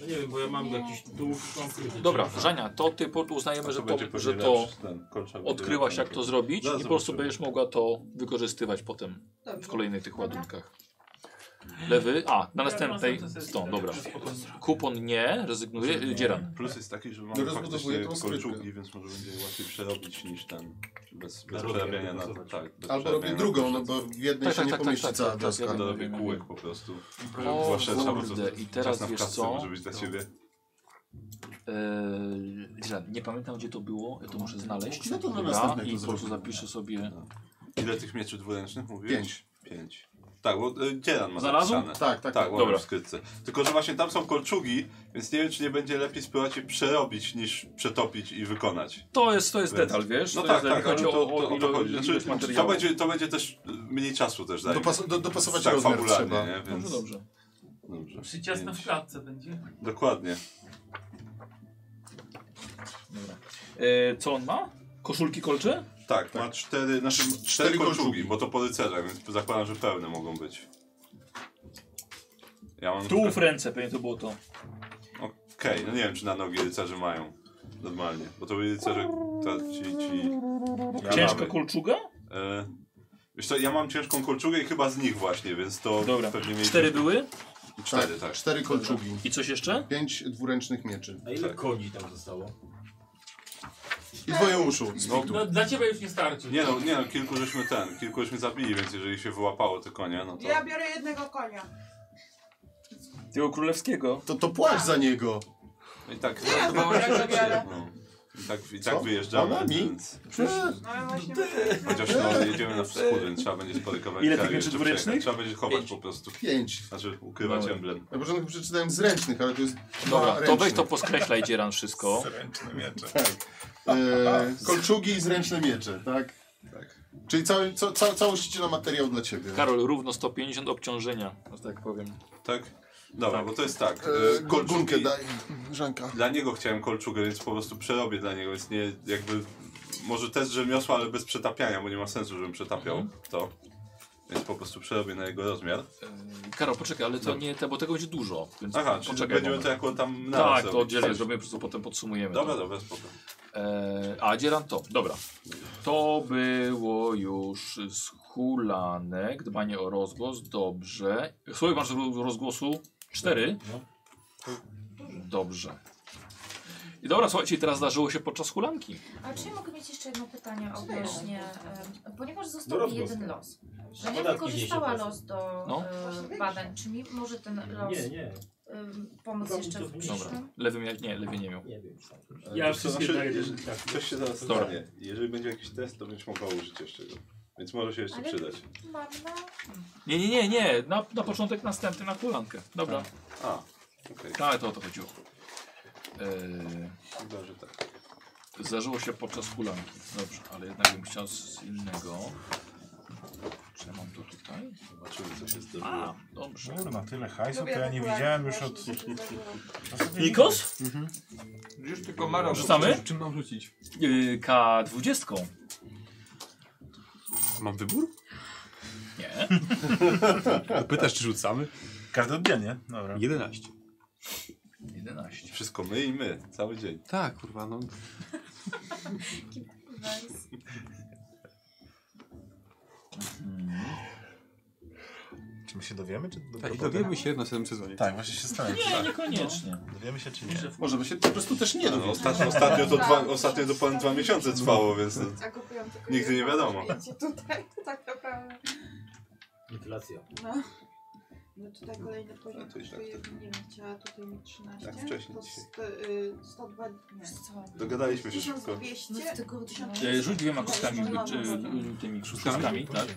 Speaker 13: No nie wiem, bo ja mam jakiś dług konkretny.
Speaker 2: Dobra, Żania, to ty po- uznajemy, że to,
Speaker 9: będzie
Speaker 2: że
Speaker 9: później
Speaker 2: to
Speaker 9: lepszy ten, kolcza będzie
Speaker 2: odkryłaś
Speaker 9: lepsza.
Speaker 2: jak to zrobić
Speaker 9: Zaraz
Speaker 2: i po prostu
Speaker 9: zobaczymy.
Speaker 2: będziesz mogła to wykorzystywać potem w
Speaker 18: Dobrze.
Speaker 2: kolejnych tych
Speaker 18: Dobra.
Speaker 2: ładunkach. Lewy, a na
Speaker 18: Ja
Speaker 2: następnej
Speaker 18: na następnej
Speaker 2: stąd, dobra. Kupon nie, rezygnuje, yy, dzieran.
Speaker 9: Plus jest taki, że
Speaker 1: No
Speaker 9: mamy
Speaker 1: rozbudowuję
Speaker 9: faktycznie
Speaker 1: tą skrytkę.
Speaker 9: kolczugi, więc może będzie łatwiej przerobić niż ten. Bez, bez
Speaker 1: robię,
Speaker 9: przerabiania na
Speaker 1: zobacz.
Speaker 9: tak. Bez
Speaker 1: Albo robię
Speaker 9: przerabiania
Speaker 1: drugą,
Speaker 9: na-
Speaker 1: no bo w jednej
Speaker 2: Tak,
Speaker 1: się
Speaker 2: tak,
Speaker 1: nie
Speaker 2: tak,
Speaker 1: pomieści
Speaker 2: tak, tak,
Speaker 1: cała
Speaker 2: tak,
Speaker 1: taska.
Speaker 2: ja
Speaker 9: To
Speaker 2: robię.
Speaker 9: robię kółek po prostu.
Speaker 2: O,
Speaker 9: Zwłaszcza trzeba po
Speaker 2: kurde,
Speaker 9: prostu
Speaker 2: i teraz
Speaker 9: czas na
Speaker 2: wiesz
Speaker 9: wkładce
Speaker 2: co?
Speaker 9: Może być dla ciebie.
Speaker 2: Eee, dzieran, nie pamiętam gdzie to było, ja to muszę znaleźć.
Speaker 1: No to na
Speaker 2: Dobra,
Speaker 1: następnej
Speaker 2: I
Speaker 1: to
Speaker 2: po prostu
Speaker 1: zrobimy. Tak.
Speaker 2: zapiszę sobie.
Speaker 9: Ile tych mieczy dwuręcznych mówisz?
Speaker 1: Pięć.
Speaker 9: Pięć. Tak, bo e, Dzielan ma
Speaker 2: Znalazł?
Speaker 9: zapisane.
Speaker 1: Tak, tak,
Speaker 9: tak.
Speaker 1: tak.
Speaker 9: Dobra.
Speaker 1: Dobra.
Speaker 9: w skrytce. Tylko, że właśnie tam są kolczugi, więc nie wiem, czy nie będzie lepiej spróbować je przerobić, niż przetopić i wykonać.
Speaker 2: To jest, to jest
Speaker 9: Więc-
Speaker 2: detal, wiesz?
Speaker 9: No
Speaker 2: to
Speaker 9: tak,
Speaker 2: jest
Speaker 9: tak,
Speaker 2: detal.
Speaker 9: ale
Speaker 2: Chodzi
Speaker 9: to, to,
Speaker 2: o, o,
Speaker 9: o
Speaker 2: ilo-
Speaker 9: to chodzi.
Speaker 2: ilość
Speaker 9: Znaczy, to,
Speaker 2: materiału.
Speaker 9: będzie, to będzie też y, mniej czasu też zajmie.
Speaker 1: Dopas- do- dopasować
Speaker 9: tak,
Speaker 1: rozmiar
Speaker 9: fabularnie,
Speaker 1: trzeba.
Speaker 9: Nie?
Speaker 2: No
Speaker 9: Więc...
Speaker 1: Dobrze, dobrze.
Speaker 9: Dobrze.
Speaker 6: Przyciasna w klatce będzie.
Speaker 9: Dokładnie.
Speaker 2: Eee, co on ma? Koszulki kolcze?
Speaker 9: Tak, ma cztery, znaczy, cztery, kolczugi, bo to po rycerzach, więc zakładam, że pełne mogą być. Ja mam na
Speaker 2: Tu
Speaker 9: przykład-
Speaker 2: w ręce pewnie to było to.
Speaker 9: Okej, no nie wiem czy na nogi rycerze mają. Normalnie, bo to byli rycerze ta, ci, ci...
Speaker 2: Ciężka kolczuga?
Speaker 9: E, wiesz co, ja mam ciężką kolczugę i chyba z nich właśnie, więc to
Speaker 2: Dobra.
Speaker 9: pewnie mieli...
Speaker 2: Cztery były?
Speaker 9: Cztery, tak.
Speaker 1: Cztery kolczugi.
Speaker 2: I coś jeszcze?
Speaker 1: Pięć dwuręcznych mieczy.
Speaker 13: A ile
Speaker 9: Tak.
Speaker 13: koni tam zostało?
Speaker 1: I dwoje uszu. z
Speaker 9: No,
Speaker 1: fitu.
Speaker 4: No, dla ciebie już nie starczy.
Speaker 9: Nie no, nie no, kilku żeśmy ten, kilku żeśmy zabili, więc jeżeli się wyłapało te konie, no to...
Speaker 18: Ja biorę jednego konia.
Speaker 2: Tego królewskiego.
Speaker 1: To, to
Speaker 18: Tak.
Speaker 1: płacz za niego.
Speaker 9: I tak...
Speaker 18: Nie, ja biorę, ja biorę.
Speaker 9: No. I tak, i tak wyjeżdżamy,
Speaker 1: Ona mi?
Speaker 9: więc...
Speaker 18: No ja właśnie...
Speaker 9: Chociaż no, jedziemy na wschód, więc trzeba będzie spory kawałek
Speaker 2: Ile tych
Speaker 9: kraju
Speaker 2: mieczy
Speaker 9: jeszcze
Speaker 2: dwuręcznych?
Speaker 9: przejechać. Trzeba będzie chować po prostu.
Speaker 1: Pięć.
Speaker 9: Znaczy ukrywać
Speaker 2: Dobra.
Speaker 9: emblem.
Speaker 1: Na początku przeczytałem z ręcznych, ale to jest dwa
Speaker 2: Dobra, to
Speaker 1: ręczne.
Speaker 2: weź to poskreślaj dzieran wszystko.
Speaker 21: Zręczne miecze.
Speaker 1: Tak. E, kolczugi i zręczne miecze, tak? Tak. Czyli cały, co, ca, całość na materiał dla ciebie.
Speaker 2: Karol, równo 150 obciążenia, że tak powiem.
Speaker 9: Tak? Dobra, bo to jest tak.
Speaker 1: E,
Speaker 9: E,
Speaker 1: Gunkę
Speaker 9: kolczugi-
Speaker 1: daj, Żanka.
Speaker 9: Dla niego chciałem kolczugę, więc po prostu przerobię dla niego, więc nie jakby. Może też rzemiosło, ale bez przetapiania, bo nie ma sensu, żebym przetapiał to. Więc po prostu przerobię na jego rozmiar.
Speaker 2: Karol, poczekaj, ale to
Speaker 9: No.
Speaker 2: nie te, bo tego będzie dużo. Więc
Speaker 9: Aha, czyli
Speaker 2: poczekaj
Speaker 9: będziemy
Speaker 2: moment.
Speaker 9: to jako tam na
Speaker 2: Tak,
Speaker 9: raz
Speaker 2: to oddzielnie
Speaker 9: robić.
Speaker 2: zrobimy, po prostu potem podsumujemy.
Speaker 9: Dobra,
Speaker 2: to.
Speaker 9: dobra, spoko.
Speaker 2: E, a dzieran to, dobra. To było już z Kulanek, dbanie o rozgłos, dobrze. Słowik masz ro- rozgłosu? Cztery?
Speaker 9: No,
Speaker 2: Dobrze. I dobra, słuchajcie, teraz zdarzyło się podczas hulanki.
Speaker 20: A czy ja mogę mieć jeszcze jedno pytanie
Speaker 29: Śmiało.
Speaker 20: odnośnie, em, ponieważ
Speaker 2: No
Speaker 20: został mi
Speaker 2: rozgłos.
Speaker 20: jeden los, że ja
Speaker 2: Podatki
Speaker 20: wykorzystała
Speaker 2: 10%.
Speaker 20: los do
Speaker 2: No.
Speaker 20: e, badań, czy mi może ten los
Speaker 2: Nie, nie.
Speaker 20: em, pomóc jeszcze w
Speaker 2: Dobra,
Speaker 20: przyszłym?
Speaker 2: lewy miał, nie, lewy nie miał.
Speaker 4: Ja
Speaker 9: To
Speaker 4: wszystkie
Speaker 9: znaczy,
Speaker 4: daję,
Speaker 9: jeżeli-
Speaker 4: tak.
Speaker 9: Coś się zaraz
Speaker 2: Dobra.
Speaker 9: stanie. Jeżeli będzie jakiś test, to będziesz mogła użyć jeszcze go. Więc może się jeszcze
Speaker 20: Ale
Speaker 9: przydać.
Speaker 20: mam na...
Speaker 2: Nie, nie, nie, nie, na, na początek następny, na hulankę. Dobra.
Speaker 9: A, okej.
Speaker 2: Tak, to o to chodziło. Yy...
Speaker 9: Chyba, że tak.
Speaker 2: Zdarzyło się podczas hulanki. Dobrze, ale jednak bym chciał z innego. Czy ja mam to tutaj?
Speaker 9: Zobaczymy, co się zdarzyło.
Speaker 2: A, dobrze.
Speaker 21: Kurna, tyle hajsu, to
Speaker 2: Lubię
Speaker 21: ja nie
Speaker 2: okulary,
Speaker 21: widziałem już od...
Speaker 2: Nikos?
Speaker 9: Mhm.
Speaker 10: Już tylko Maro.
Speaker 2: Rzucamy?
Speaker 10: Czym mam rzucić?
Speaker 2: Yy, K20.
Speaker 28: Mam wybór?
Speaker 2: Nie.
Speaker 28: Pytasz, czy rzucamy?
Speaker 21: Każdy oddzielnie, dobra.
Speaker 28: 11.
Speaker 2: 11.
Speaker 9: Wszystko my i my, cały dzień.
Speaker 28: Tak, kurwa, no.
Speaker 21: Czy my się dowiemy? Czy
Speaker 28: Tak, i dowiemy się w następnym sezonie.
Speaker 21: Tak, właśnie się zastanawiam.
Speaker 2: Nie,
Speaker 21: Tak.
Speaker 2: niekoniecznie.
Speaker 21: Dowiemy się czy nie.
Speaker 9: Może by się po prostu też nie
Speaker 21: dowiedzieć.
Speaker 9: Ostatnio, ostatnio, to dwa, ostatnio to ponad dwa miesiące trwało, więc no, to
Speaker 18: A kupiłam tylko
Speaker 9: nigdy nie
Speaker 18: jedno,
Speaker 9: wiadomo.
Speaker 18: wiecie, tutaj, tak naprawdę.
Speaker 13: Inflacja.
Speaker 18: No. No tutaj kolejny poziom
Speaker 9: to i tak
Speaker 18: kosztuje, nie wiem, chciała tutaj mieć 13.
Speaker 9: Tak, wcześniej
Speaker 18: To
Speaker 9: dzisiaj.
Speaker 18: sto, y, 102, nie.
Speaker 9: Dogadaliśmy się szybko.
Speaker 18: 1200,
Speaker 20: No w tygodniu.
Speaker 18: 1000.
Speaker 10: E,
Speaker 2: Yy, rzuć dwiema kostkami,
Speaker 18: Dobra,
Speaker 2: yy,
Speaker 18: dobra.
Speaker 2: yy, tymi szóstkami, tak?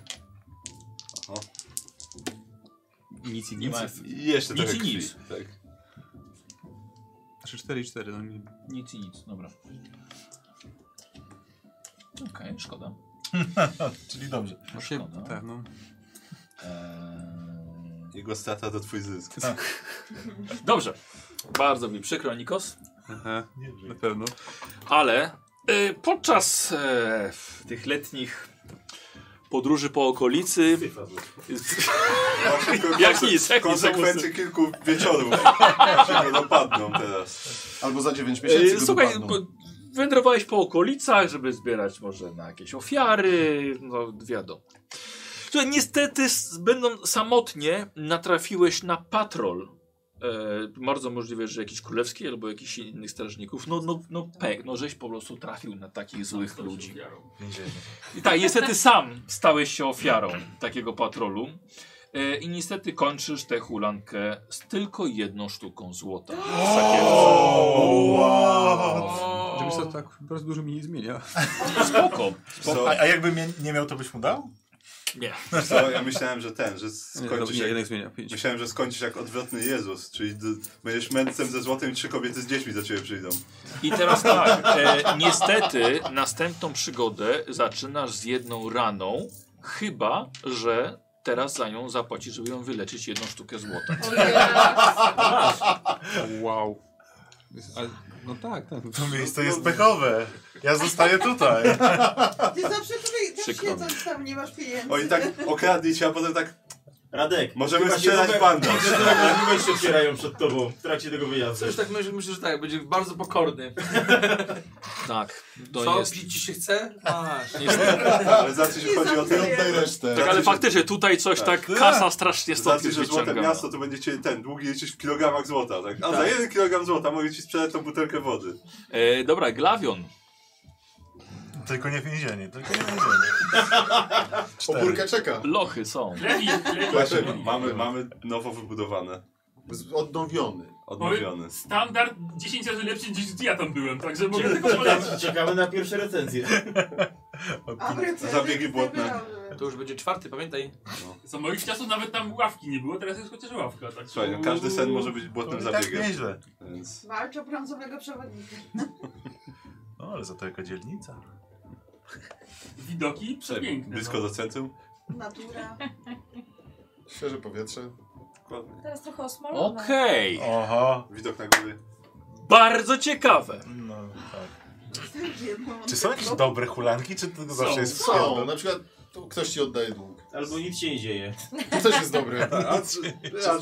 Speaker 28: Nic i
Speaker 2: Nie
Speaker 28: nic.
Speaker 2: ma-
Speaker 9: Jeszcze
Speaker 2: nic
Speaker 9: trochę
Speaker 2: i
Speaker 9: krwi,
Speaker 2: nic.
Speaker 9: Tak.
Speaker 28: Znaczy 4 i 4, no nie.
Speaker 2: Nic i nic, dobra. Okej, szkoda.
Speaker 21: Czyli dobrze.
Speaker 28: No się, tak, no.
Speaker 9: Jego strata to twój zysk.
Speaker 2: Tak. Dobrze. Bardzo mi przykro, Nikos.
Speaker 28: Aha, na pewno.
Speaker 2: Ale y, podczas e, w tych letnich podróży po okolicy. jak nic, jak nic.
Speaker 9: Konsekwencje kilku wieczorów się nie dopadną teraz.
Speaker 1: Albo za 9
Speaker 2: Y,
Speaker 1: miesięcy go
Speaker 2: Słuchaj,
Speaker 1: dopadną.
Speaker 2: po, wędrowałeś po okolicach, żeby zbierać może na jakieś ofiary, no wiadomo. Słuchaj, niestety s- będąc samotnie natrafiłeś na patrol. E, bardzo możliwe, że jakiś królewski albo jakiś innych strażników. No, no, no pek, no żeś po prostu trafił na takich złych ludzi. I tak, niestety sam stałeś się ofiarą takiego patrolu. E, I niestety kończysz tę hulankę z tylko jedną sztuką złota.
Speaker 28: Wow. Żebyś to tak bardzo dużo mi nie zmienia.
Speaker 2: Spoko.
Speaker 21: A, a jakby mnie nie miał, to byś mu dał?
Speaker 2: Nie.
Speaker 9: Wiesz Co, ja myślałem, że ten, że skończysz
Speaker 28: nie,
Speaker 9: jak...
Speaker 28: jednak zmienia, pięć.
Speaker 9: Myślałem, że skończysz jak odwrotny Jezus, czyli d- będziesz mędrcem ze złotem i trzy kobiety z dziećmi do ciebie przyjdą.
Speaker 2: I teraz tak, e, niestety następną przygodę zaczynasz z jedną raną, chyba, że teraz za nią zapłacisz, żeby ją wyleczyć jedną sztukę złota.
Speaker 28: Wow. Jest- ale- No tak, tak.
Speaker 21: To miejsce jest pechowe. Ja zostaję tutaj.
Speaker 18: No Ty zawsze tutaj też
Speaker 9: Przykro mi.
Speaker 18: siedząc tam nie masz pieniędzy.
Speaker 9: Oni tak okradli cię, a potem tak...
Speaker 13: Radek,
Speaker 9: Możemy
Speaker 13: chyba się
Speaker 9: strzelać
Speaker 13: nowe-
Speaker 9: bandaż.
Speaker 13: Chyba się nowe się otwierają przed tobą w trakcie tego wyjazdu.
Speaker 19: Coś tak myślę, myślę, że tak, będzie bardzo pokorny.
Speaker 2: Tak, to
Speaker 19: Co?
Speaker 2: jest...
Speaker 19: Pić ci się chce? Masz.
Speaker 9: Ale za co się chodzi o tę
Speaker 2: Tak, ale faktycznie tutaj coś tak, kasa strasznie stąd
Speaker 9: Znaczy,
Speaker 2: jest
Speaker 9: że złote
Speaker 2: wyciągana.
Speaker 9: miasto to będziecie ten, długi jesteś w kilogramach złota, tak? A za
Speaker 2: Tak.
Speaker 9: jeden kilogram złota mogę ci sprzedać tą butelkę wody.
Speaker 2: E, dobra, Glawion.
Speaker 21: Tylko nie więzienie, tylko nie więzienie. Cztery.
Speaker 1: Opórka czeka.
Speaker 2: Lochy są.
Speaker 9: Właśnie, mamy, mamy nowo wybudowane.
Speaker 1: Odnowiony.
Speaker 9: Odnowiony.
Speaker 4: Standard 10 razy lepszy niż ja tam byłem, także mogę
Speaker 13: Ciekawe-
Speaker 4: tylko polecić.
Speaker 13: Czekamy na pierwsze recenzje.
Speaker 9: Zabiegi błotne. No.
Speaker 19: To już będzie czwarty, pamiętaj.
Speaker 4: Za moich czasów nawet tam ławki nie było, teraz jest chociaż ławka. Tak.
Speaker 9: Słuchaj, no każdy sen może być błotnym
Speaker 21: To i tak
Speaker 9: zabiegiem.
Speaker 21: nieźle.
Speaker 9: Więc...
Speaker 18: Walcz o brązowego przewodnika.
Speaker 21: No ale za to jaka dzielnica.
Speaker 4: Widoki przepiękne.
Speaker 9: Blisko do centrum?
Speaker 18: Natura.
Speaker 1: Świeże powietrze.
Speaker 20: Teraz trochę osmolone.
Speaker 2: Okej.
Speaker 21: Oho.
Speaker 9: Widok na góry.
Speaker 2: Bardzo ciekawe.
Speaker 21: No tak.
Speaker 18: Jedno.
Speaker 21: Czy są jakieś dobre hulanki, czy to zawsze jest
Speaker 1: Są, na przykład tu ktoś ci oddaje dług.
Speaker 13: Albo nic się nie dzieje.
Speaker 1: To też jest dobre.
Speaker 9: Raz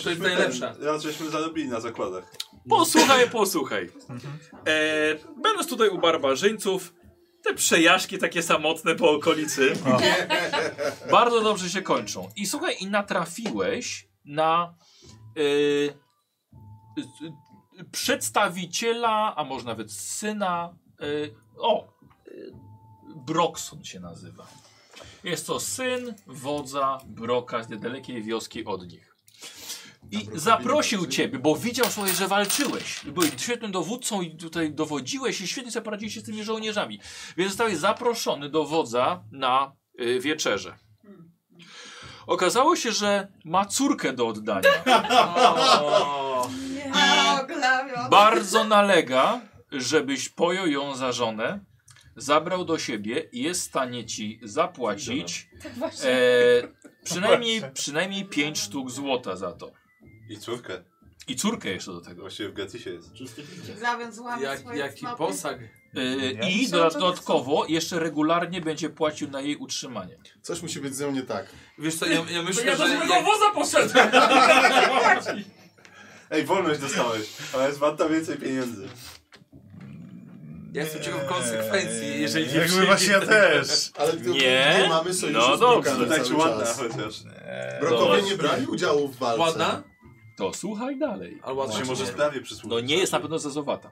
Speaker 9: żeśmy, ten, raz żeśmy zarobili na zakładach.
Speaker 2: Posłuchaj, posłuchaj. E, będąc tutaj u barbarzyńców, Te przejażdżki takie samotne po okolicy bardzo dobrze się kończą. I słuchaj, i natrafiłeś na yy, y, y, przedstawiciela, a może nawet syna. Yy, o, yy, Brokson się nazywa. Jest to syn wodza Broka z niedalekiej wioski od nich. I zaprosił ciebie, bo widział sobie, że walczyłeś. Byłeś świetnym dowódcą i tutaj dowodziłeś i świetnie sobie poradziłeś się z tymi żołnierzami. Więc zostałeś zaproszony do wodza na y, wieczerze. Okazało się, że ma córkę do oddania.
Speaker 18: A, Glawion.
Speaker 2: Bardzo nalega, żebyś pojął ją za żonę, zabrał do siebie i jest w stanie ci zapłacić
Speaker 20: Tak właśnie.
Speaker 2: e, przynajmniej, przynajmniej 5 sztuk złota za to.
Speaker 9: I córkę.
Speaker 2: I córkę jeszcze do tego.
Speaker 9: Właściwie w Gacysie jest.
Speaker 18: Glawion złamie
Speaker 10: Jak-
Speaker 18: swoje
Speaker 10: jaki
Speaker 18: cnopy.
Speaker 10: posag.
Speaker 2: Y,
Speaker 18: Nie?
Speaker 2: I
Speaker 18: Są
Speaker 2: doda-
Speaker 18: to-
Speaker 2: dodatkowo jeszcze regularnie będzie płacił na jej utrzymanie.
Speaker 1: Coś musi być ze mnie tak.
Speaker 10: Wiesz co, ja, ja
Speaker 4: To ja
Speaker 10: myślę,
Speaker 4: do
Speaker 10: że...
Speaker 4: złego
Speaker 10: jak-
Speaker 4: woza poszedłem.
Speaker 9: Ej, wolność dostałeś, ale jest wanta więcej pieniędzy.
Speaker 10: Ja jestem ciekaw konsekwencji, jeżeli nie
Speaker 9: Jakby
Speaker 10: przyjdzie
Speaker 9: właśnie ja
Speaker 10: tego.
Speaker 9: też.
Speaker 1: Ale to- nie mamy sojuszu
Speaker 2: No
Speaker 1: z
Speaker 2: dobrze.
Speaker 1: Brokami
Speaker 10: Tak.
Speaker 2: Dajcie
Speaker 1: cały
Speaker 2: ładna
Speaker 1: czas.
Speaker 9: chociaż.
Speaker 1: Brokowie
Speaker 2: No.
Speaker 1: nie brali udziału w walce.
Speaker 10: Ładna?
Speaker 2: To słuchaj dalej.
Speaker 10: A ładna
Speaker 2: To
Speaker 10: czy nie?
Speaker 2: No nie jest na pewno zezowata.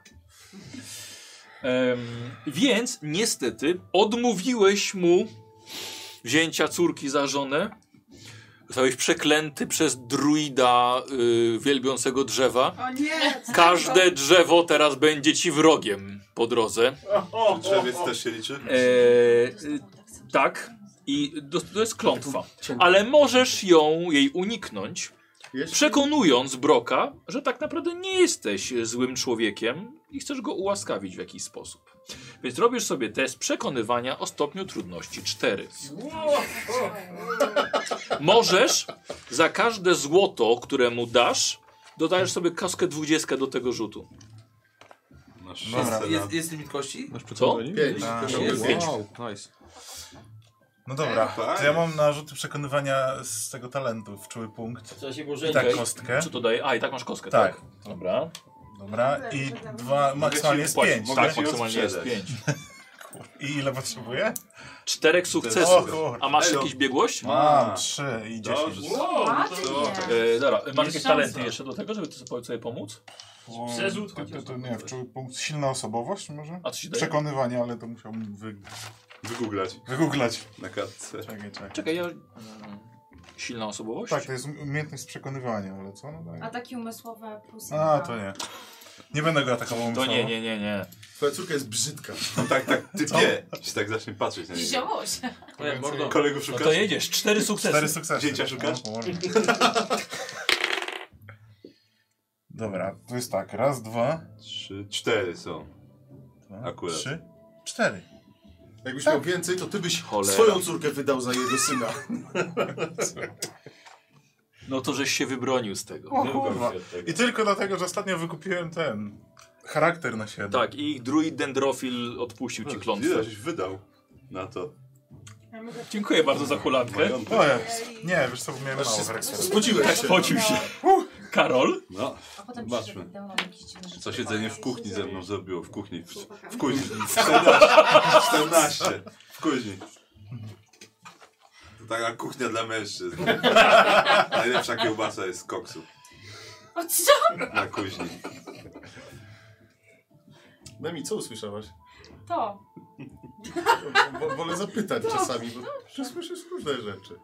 Speaker 2: Em, więc niestety odmówiłeś mu wzięcia córki za żonę. Zostałeś przeklęty przez druida y, wielbiącego drzewa.
Speaker 18: O nie! co
Speaker 2: Każde
Speaker 18: to?
Speaker 2: drzewo teraz będzie ci wrogiem po drodze.
Speaker 9: Czy drzewiec też się liczy?
Speaker 2: Eee, tak. I do, to jest klątwa. Ale możesz ją, jej uniknąć, przekonując Broka, że tak naprawdę nie jesteś złym człowiekiem i chcesz go ułaskawić w jakiś sposób. Więc robisz sobie test przekonywania o stopniu trudności 4. Możesz za każde złoto, które mu dasz, dodajesz sobie kaskę 20 do tego rzutu.
Speaker 9: No
Speaker 10: Jest, jest, jest, jest limit kości?
Speaker 2: Co?
Speaker 1: Pięć.
Speaker 8: Tak.
Speaker 21: A,
Speaker 10: Jest.
Speaker 2: Pięć.
Speaker 7: nice.
Speaker 21: No dobra,
Speaker 10: Fajnie.
Speaker 21: to ja mam narzuty przekonywania z tego talentu, w czuły punkt.
Speaker 13: Trzeba się
Speaker 21: I
Speaker 13: pożegnać.
Speaker 21: tak kostkę.
Speaker 2: Co to daje? A, i tak masz kostkę,
Speaker 21: Tak.
Speaker 2: tak? Dobra.
Speaker 21: Dobra, i dwa,
Speaker 2: Mogę
Speaker 21: maksymalnie
Speaker 2: ci
Speaker 21: jest
Speaker 2: wpłacić,
Speaker 21: pięć,
Speaker 2: tak,
Speaker 21: tak?
Speaker 2: maksymalnie jest pięć.
Speaker 21: I ile potrzebuję?
Speaker 2: Czterech
Speaker 21: O
Speaker 2: sukcesów.
Speaker 21: kurde.
Speaker 2: A masz
Speaker 21: Elo.
Speaker 2: jakieś biegłość?
Speaker 21: Mam trzy i dziesięć.
Speaker 2: Wow,
Speaker 20: no to-
Speaker 2: E, dobra, masz
Speaker 4: Jest
Speaker 2: jakieś
Speaker 4: szansa.
Speaker 2: talenty jeszcze do tego, żeby to sobie- sobie pomóc?
Speaker 21: O,
Speaker 4: Przerzut
Speaker 21: to, to,
Speaker 4: chociaż
Speaker 21: tak, to
Speaker 4: na
Speaker 21: nie, w czuły punkt. Silna osobowość może?
Speaker 2: A co ci daje?
Speaker 21: Przekonywanie, ale to musiałbym wy...
Speaker 9: Wygooglać.
Speaker 21: wygooglać.
Speaker 9: Na kartce.
Speaker 21: Czekaj, czekaj.
Speaker 2: Czekaj, ja... Mm. Silna osobowość?
Speaker 21: Tak, to jest umiejętność przekonywania, ale co No ona daje?
Speaker 20: Ataki umysłowe plus
Speaker 21: A,
Speaker 20: inna.
Speaker 21: to nie. Nie będę go atakował
Speaker 2: To
Speaker 21: umysłowo.
Speaker 2: nie, nie, nie, nie.
Speaker 1: Twoja córka jest brzydka.
Speaker 9: No tak, tak, ty pie. Się tak zacznie patrzeć na niego.
Speaker 20: Wzięło się.
Speaker 9: mordo. Kolegów
Speaker 2: No
Speaker 9: szukasz?
Speaker 2: to jedziesz, cztery sukcesy.
Speaker 21: Cztery sukcesy. No,
Speaker 9: Dzięcia szukasz?
Speaker 21: O, Boże. Dobra, to jest tak. Raz, dwa,
Speaker 9: Trzy, cztery są.
Speaker 21: dwa
Speaker 9: Akurat.
Speaker 21: trzy, cztery.
Speaker 1: Jakbyś miał więcej, to ty byś
Speaker 2: Cholera.
Speaker 1: swoją córkę wydał za jego syna.
Speaker 2: No to żeś się wybronił z tego.
Speaker 21: O
Speaker 2: Wybrał
Speaker 21: kurwa.
Speaker 2: się od tego.
Speaker 21: I tylko dlatego, że ostatnio wykupiłem ten charakter na siebie.
Speaker 2: Tak, i druid dendrofil odpuścił ci klątwę.
Speaker 9: Ile żeś wydał na to?
Speaker 18: Ja mogę-
Speaker 2: Dziękuję bardzo za hulankę.
Speaker 21: O, ja, nie, wiesz co, bo miałem mało charakteru.
Speaker 1: Spociłeś
Speaker 2: Tak,
Speaker 1: się.
Speaker 2: spocił się. Karol?
Speaker 9: No,
Speaker 20: A potem
Speaker 9: Zobaczmy.
Speaker 20: przyszedł dał nam jakieś dziwne rzeczy.
Speaker 9: co siedzenie w kuchni ze mną zrobiło. W kuchni. W, w kuźni. W 14. W kuźni. To taka kuchnia dla mężczyzn. Najlepsza kiełbasa jest z koksu.
Speaker 20: O co?
Speaker 9: Na kuźni.
Speaker 1: Memi, co usłyszałaś?
Speaker 20: To.
Speaker 1: Bo, wolę zapytać
Speaker 20: Dobrze,
Speaker 1: czasami, bo że słyszysz różne rzeczy.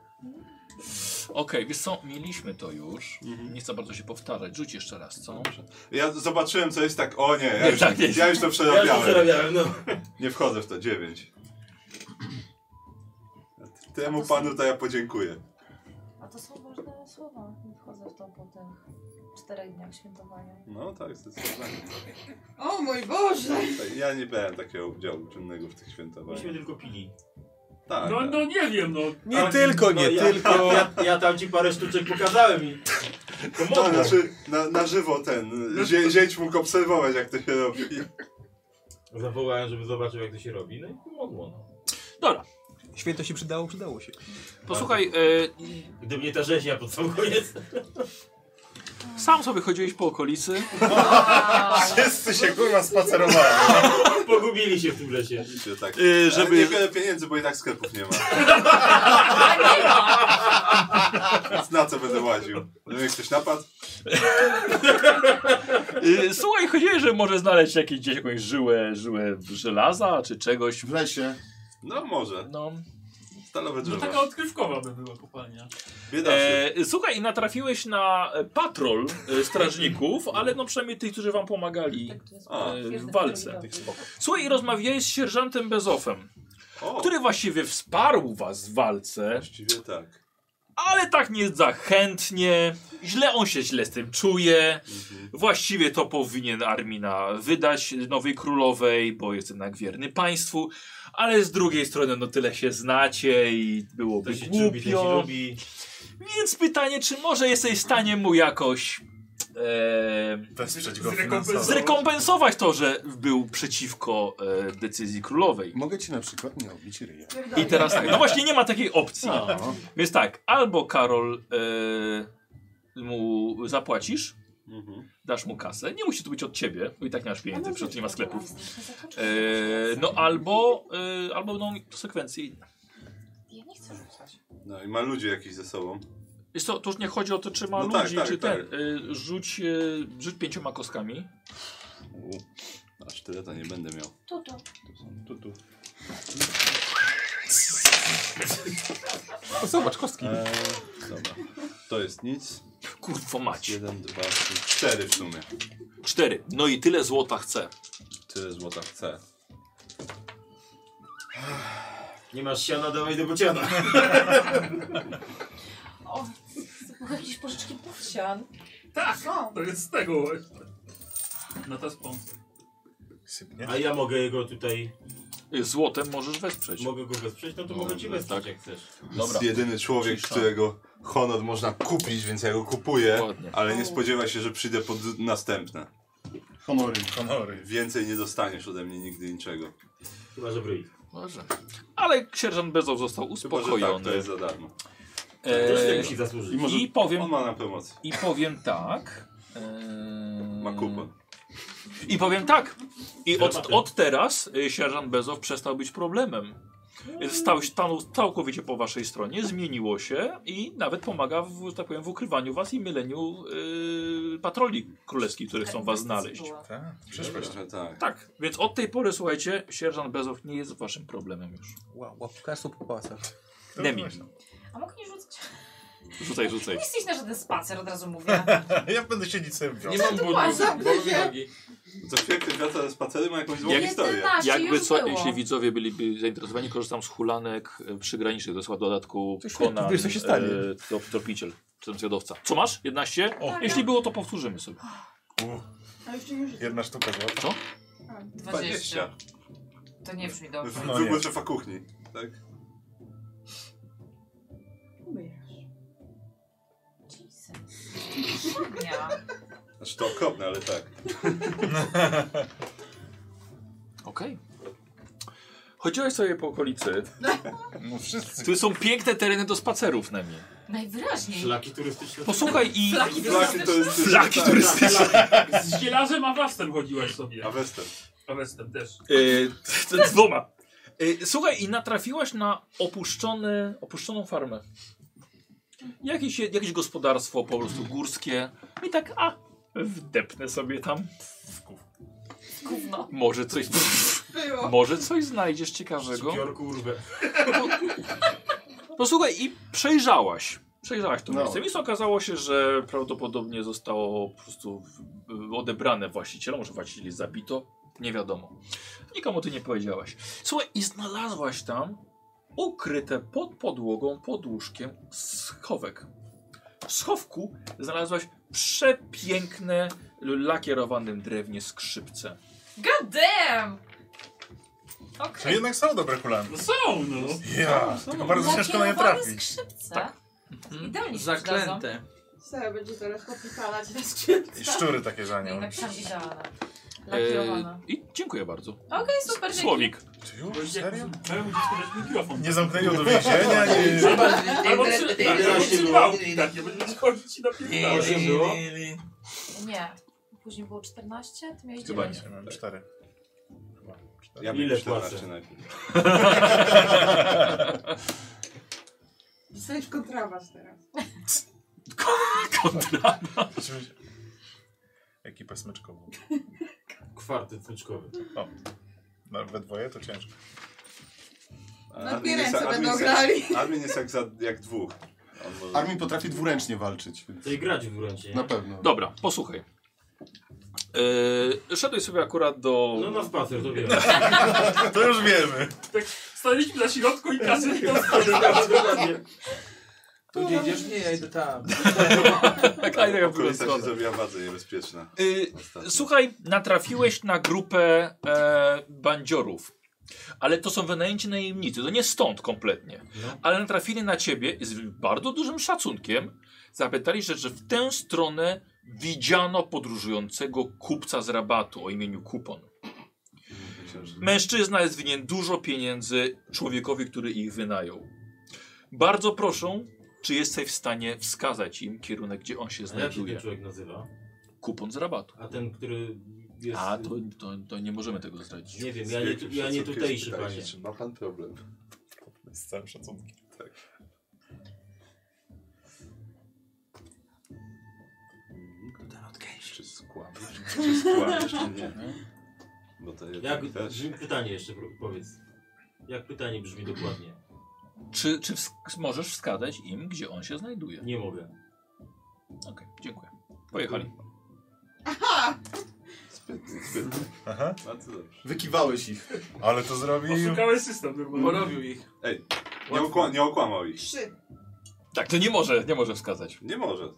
Speaker 2: Okej, wiesz co, mieliśmy to już. Nie chcę bardzo się powtarzać. Rzuć jeszcze raz, co?
Speaker 9: Ja zobaczyłem, co jest tak. O nie, ja,
Speaker 2: Nie,
Speaker 9: już,
Speaker 2: tak jest.
Speaker 9: ja już to
Speaker 13: Ja
Speaker 9: przerabiałem.
Speaker 13: to przerabiałem, no.
Speaker 9: Nie wchodzę w to. 9. Temu panu to ja podziękuję.
Speaker 20: A to są ważne słowa. Nie wchodzę w to po tych czterech dniach świętowania.
Speaker 9: No tak, zdecydowanie.
Speaker 18: O mój Boże!
Speaker 9: Tak, Ja nie brałem takiego udziału czynnego w tych świętowaniach.
Speaker 13: Myśmy tylko pili.
Speaker 9: Tak.
Speaker 4: No,
Speaker 9: tak.
Speaker 4: no nie wiem, no.
Speaker 13: Nie tylko, nie tylko. Ja, ja tam ci parę sztuczek pokazałem i... To
Speaker 9: To
Speaker 13: mogę.
Speaker 9: znaczy na, na żywo ten. Zie, zięć mógł obserwować jak to się robi.
Speaker 13: Zawołałem, żeby zobaczył jak to się robi, no i pomogło. No.
Speaker 2: Dobra,
Speaker 10: Święto się przydało, przydało się.
Speaker 2: posłuchaj, e,
Speaker 13: Gdyby nie ta rzeźnia pod sam koniec.
Speaker 2: Sam sobie chodziłeś po okolicy.
Speaker 21: Wszyscy się kurwa spacerowali.
Speaker 8: Pogubili się w tym lesie.
Speaker 9: Tak.
Speaker 2: Yy, żeby-
Speaker 9: Ale niewiele pieniędzy, bo i tak sklepów nie ma. Więc na co będę łaził? Będę miał ktoś napadł?
Speaker 2: Y, Słuchaj, chodziłeś, że może znaleźć jakieś, gdzieś jakąś żyłę, żyłę żelaza czy czegoś. W
Speaker 1: lesie.
Speaker 9: No może.
Speaker 2: No.
Speaker 9: Stalowe
Speaker 4: No
Speaker 9: drzewo.
Speaker 4: taka odkrywkowa by była kopalnia.
Speaker 2: E, słuchaj, i natrafiłeś na e, patrol e, strażników, ale no przynajmniej tych, którzy wam pomagali e, w walce. Słuchaj, i rozmawiałeś z sierżantem Bezofem, który właściwie wsparł was w walce.
Speaker 9: Właściwie tak.
Speaker 2: Ale tak nie za chętnie, źle on się źle z tym czuje.
Speaker 8: Mhm.
Speaker 2: Właściwie to powinien Armina wydać nowej królowej, bo jest jednak wierny państwu. Ale z drugiej strony, no tyle się znacie i byłoby
Speaker 8: się
Speaker 2: głupio.
Speaker 8: lubi, to się lubi.
Speaker 2: Więc pytanie, czy może jesteś w stanie mu jakoś e,
Speaker 1: Wesprzeć go finansowo.
Speaker 2: zrekompensować to, że był przeciwko e, decyzji królowej.
Speaker 1: Mogę ci na przykład nie obić ryja.
Speaker 2: I teraz tak. No właśnie nie ma takiej opcji.
Speaker 1: No.
Speaker 2: Więc tak, albo Karol e, mu zapłacisz,
Speaker 1: Mhm.
Speaker 2: dasz mu kasę. Nie musi to być od ciebie, bo i tak nie masz pieniędzy, przecież nie ma sklepów. E, no albo, e, albo będą konsekwencje inne.
Speaker 20: Ja nie chcę rzucać.
Speaker 9: No i ma ludzi jakiś ze sobą.
Speaker 2: Wiesz co, to już nie chodzi o to, czy ma
Speaker 9: No tak,
Speaker 2: ludzi,
Speaker 9: tak,
Speaker 2: czy
Speaker 9: tak.
Speaker 2: ten. E, rzuć, e, rzuć pięcioma kostkami.
Speaker 9: U, aż tyle to nie będę miał.
Speaker 20: Tu, tu.
Speaker 9: Tu, tu.
Speaker 2: O, zobacz, kostki.
Speaker 9: Eee, dobra. To jest nic.
Speaker 2: Kurwa macie.
Speaker 9: Jeden, dwa, trzy, cztery w sumie.
Speaker 2: Cztery. No i tyle złota chce.
Speaker 9: Tyle złota chcę.
Speaker 13: Nie masz siana, dawaj do bociana.
Speaker 20: O, były jakieś pożyczki powsian.
Speaker 4: Tak, to jest z tego właśnie. No to sponsor.
Speaker 13: A ja mogę go tutaj...
Speaker 2: Złotem możesz wesprzeć.
Speaker 13: Mogę go wesprzeć? No to mogę ci wesprzeć, jak chcesz.
Speaker 9: tak. To jest jedyny człowiek,
Speaker 13: Cisza.
Speaker 9: którego honor można kupić, więc ja go kupuję,
Speaker 1: Dokładnie.
Speaker 9: ale nie spodziewa się, że przyjdę pod następne.
Speaker 1: Honory, honory.
Speaker 9: Więcej nie dostaniesz ode mnie nigdy niczego.
Speaker 13: Chyba, że bryj.
Speaker 2: Może. Ale sierżant Bezow został uspokojony.
Speaker 9: Chyba, że tak, to jest za darmo.
Speaker 2: Eee,
Speaker 9: Ktoś nie musi zasłużyć.
Speaker 2: I,
Speaker 9: może-
Speaker 2: powiem.
Speaker 9: on ma na pomoc.
Speaker 2: I powiem tak. eee,
Speaker 9: Ma kupon.
Speaker 2: I powiem tak. I od,
Speaker 9: Dramaty.
Speaker 2: od teraz y, sierżant Bezow przestał być problemem. Stał, stanął całkowicie po waszej stronie, zmieniło się i nawet pomaga, w, że tak powiem, w ukrywaniu was i myleniu y, patroli królewskich, które chcą was znaleźć.
Speaker 9: Przyszłość. Tak.
Speaker 2: Tak, więc od tej pory, słuchajcie, sierżant Bezow nie jest waszym problemem już.
Speaker 10: Wow, łapka po pasach.
Speaker 2: Nemi.
Speaker 20: A mogę nie rzucać?
Speaker 2: Rzucaj, rzucaj.
Speaker 20: Nie jesteś na żaden spacer, od razu mówię.
Speaker 9: ja będę siedzieć sobie w
Speaker 20: Nie mam budu, bo mi nogi.
Speaker 9: To świetnie, wraca ze spacery, ma jakąś złą
Speaker 2: Jak-
Speaker 9: historię.
Speaker 2: Jakby
Speaker 20: już
Speaker 2: co,
Speaker 20: było.
Speaker 2: jeśli widzowie byliby zainteresowani, korzystam z hulanek e, przygranicznych, to jest chyba w dodatku
Speaker 10: To świetnie,
Speaker 2: Conan, e,
Speaker 10: wiesz, co się stanie.
Speaker 2: to, tropiciel, czy tam zwiadowca. Co masz? 11?
Speaker 18: O.
Speaker 2: Jeśli było, to powtórzymy sobie.
Speaker 18: A jeszcze nie rzucę.
Speaker 21: Jedna sztuka złota.
Speaker 2: Co?
Speaker 20: 20. To nie brzmi dobrze.
Speaker 9: No Wybór szefa kuchni. Tak?
Speaker 20: Dnia.
Speaker 9: Znaczy to okropne, ale tak.
Speaker 2: Okej. Chodziłeś sobie po okolicy.
Speaker 1: No wszyscy.
Speaker 2: Tu są piękne tereny do spacerów na mnie.
Speaker 20: Najwyraźniej.
Speaker 13: Szlaki turystyczne.
Speaker 2: Posłuchaj i...
Speaker 20: Flaki turystyczne. Tak,
Speaker 2: Flaki turystyczne.
Speaker 4: Z zielarzem a wastem chodziłaś sobie. A
Speaker 9: westem.
Speaker 4: A westem też.
Speaker 2: Y, t- t- Dwoma. Y, Słuchaj, i natrafiłaś na opuszczony, opuszczoną farmę. Jakieś, jakieś gospodarstwo po prostu górskie. I tak, a, wdepnę sobie tam.
Speaker 20: Gówno.
Speaker 2: Może coś.
Speaker 20: Było.
Speaker 2: Może coś znajdziesz ciekawego.
Speaker 13: Piorku urwę.
Speaker 2: No słuchaj, i przejrzałaś. Przejrzałaś to
Speaker 1: No.
Speaker 2: miejsce. Więc okazało się, że prawdopodobnie zostało po prostu w- odebrane właścicielom, może właścicieli zabito. Nie wiadomo. Nikomu ty nie powiedziałaś. Słuchaj, i znalazłaś tam ukryte pod podłogą, pod łóżkiem schowek. W schowku znalazłaś przepiękne, l- lakierowanym drewnie skrzypce.
Speaker 20: God damn! Okej.
Speaker 21: Czyli jednak są dobre kulany.
Speaker 4: No są, no.
Speaker 21: Ja,
Speaker 20: Są,
Speaker 21: tylko
Speaker 20: są.
Speaker 21: bardzo ciężko na nie
Speaker 20: Lakierowane
Speaker 21: trafić.
Speaker 20: skrzypce.
Speaker 21: Tak.
Speaker 6: Mhm.
Speaker 20: Mhm. Idealnie się
Speaker 10: Zaklęte.
Speaker 20: przydadzą.
Speaker 18: Sara będzie zaraz popytalać na skrzypce.
Speaker 21: I szczury takie za
Speaker 20: No i
Speaker 21: nią.
Speaker 20: napisałam idealne.
Speaker 21: E,
Speaker 20: Lakierowana.
Speaker 2: E, I dziękuję bardzo.
Speaker 20: Okej, super, dzięki.
Speaker 2: Słowik.
Speaker 4: Już, serio? Memu dziecku dać mikrofon.
Speaker 21: Nie zamknęli do więzienia, nie...
Speaker 4: Albo przy- albo przy- albo tak przy małpki takie, będziesz chodzić i napierdalać.
Speaker 20: Nie. Później było 14, ty miałeś
Speaker 21: Chyba nie,
Speaker 20: 9.
Speaker 21: mam cztery.
Speaker 9: Ja
Speaker 21: Ile
Speaker 9: Ile
Speaker 21: płacę?
Speaker 9: płacę? najpierw.
Speaker 18: Dostajesz kontrawas teraz.
Speaker 21: Kontrabasz. Ekipę smyczkową.
Speaker 8: Kwarty smyczkowy.
Speaker 21: O, no, we dwoje to ciężko.
Speaker 18: Na No, dwie ręce będą grali.
Speaker 9: Armin jest jak, za, jak dwóch. On może-
Speaker 1: Armin potrafi dwuręcznie walczyć. Więc...
Speaker 8: To i grać dwuręcznie.
Speaker 1: Na pewno.
Speaker 2: Dobra, posłuchaj. Yy, szedłeś sobie akurat do...
Speaker 8: No na spacer, to wiemy.
Speaker 21: to już wiemy.
Speaker 4: Tak, staliśmy na środku i każdy miał swoje.
Speaker 19: Tu gdzie idziesz? Nie, ja idę tam.
Speaker 2: Klejnek w drugą
Speaker 9: Okolica się
Speaker 2: stronę.
Speaker 9: zrobiła bardzo niebezpieczna.
Speaker 2: Y, słuchaj, natrafiłeś na grupę e, bandziorów. Ale to są wynajęci najemnicy, to nie stąd kompletnie. Ale natrafili na ciebie z bardzo dużym szacunkiem. Zapytali, że, że w tę stronę widziano podróżującego kupca z rabatu o imieniu Kupon. Mężczyzna jest winien dużo pieniędzy człowiekowi, który ich wynajął. Bardzo proszę, czy jesteś w stanie wskazać im kierunek, gdzie on się
Speaker 8: A jak się
Speaker 2: znajduje?
Speaker 8: ten człowiek nazywa?
Speaker 2: Kupon z rabatu.
Speaker 8: A ten, który jest...
Speaker 2: A, to, to, to nie możemy tego zdradzić.
Speaker 8: Nie wiem, ja nie, tu- ja nie tutejszy, panie.
Speaker 9: Czy ma pan problem?
Speaker 21: Z całym szacunkiem. Tak.
Speaker 9: Czy skłamiesz? Czy skłamiesz, czy nie? Bo to
Speaker 8: Jak,
Speaker 9: jednak też...
Speaker 8: pytanie jeszcze, pro- powiedz. Jak pytanie brzmi dokładnie?
Speaker 2: Czy, czy wsk- możesz wskazać im, gdzie on się znajduje?
Speaker 8: Nie mogę.
Speaker 2: Okej, dziękuję. Pojechali.
Speaker 21: Aha.
Speaker 9: Bardzo dobrze.
Speaker 1: Wykiwałeś ich.
Speaker 21: Ale to zrobił...
Speaker 4: Oszukałeś system normalnie.
Speaker 8: Porobił ich.
Speaker 9: Ej, nie, okła nie okłamał ich.
Speaker 18: Trzy.
Speaker 2: Tak, to nie może, nie może wskazać.
Speaker 9: Nie może.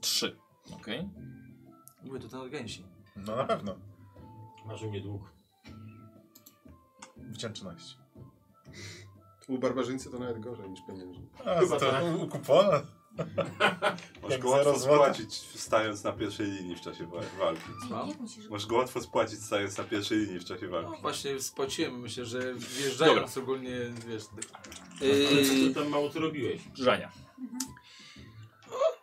Speaker 2: Trzy. Okej.
Speaker 10: Mówię to ten gęsi.
Speaker 21: No na pewno.
Speaker 8: Masz u mnie dług.
Speaker 21: Wdzięczność.
Speaker 1: U barbarzyńcy to nawet gorzej niż pieniężnie.
Speaker 21: A, to
Speaker 10: tak.
Speaker 1: tak.
Speaker 21: u kupona.
Speaker 9: Możesz
Speaker 21: Jak
Speaker 9: go
Speaker 21: zero złota.
Speaker 9: łatwo spłacić stając na pierwszej linii w czasie wa- walki.
Speaker 10: Co?
Speaker 9: Możesz go No, łatwo spłacić stając na pierwszej linii w czasie walki.
Speaker 10: Właśnie spłaciłem, myślę, że wjeżdżając
Speaker 2: Dobra.
Speaker 10: ogólnie, wiesz... tak.
Speaker 8: Ale co
Speaker 10: Yy,
Speaker 8: ty tam mało co robiłeś?
Speaker 2: Żania.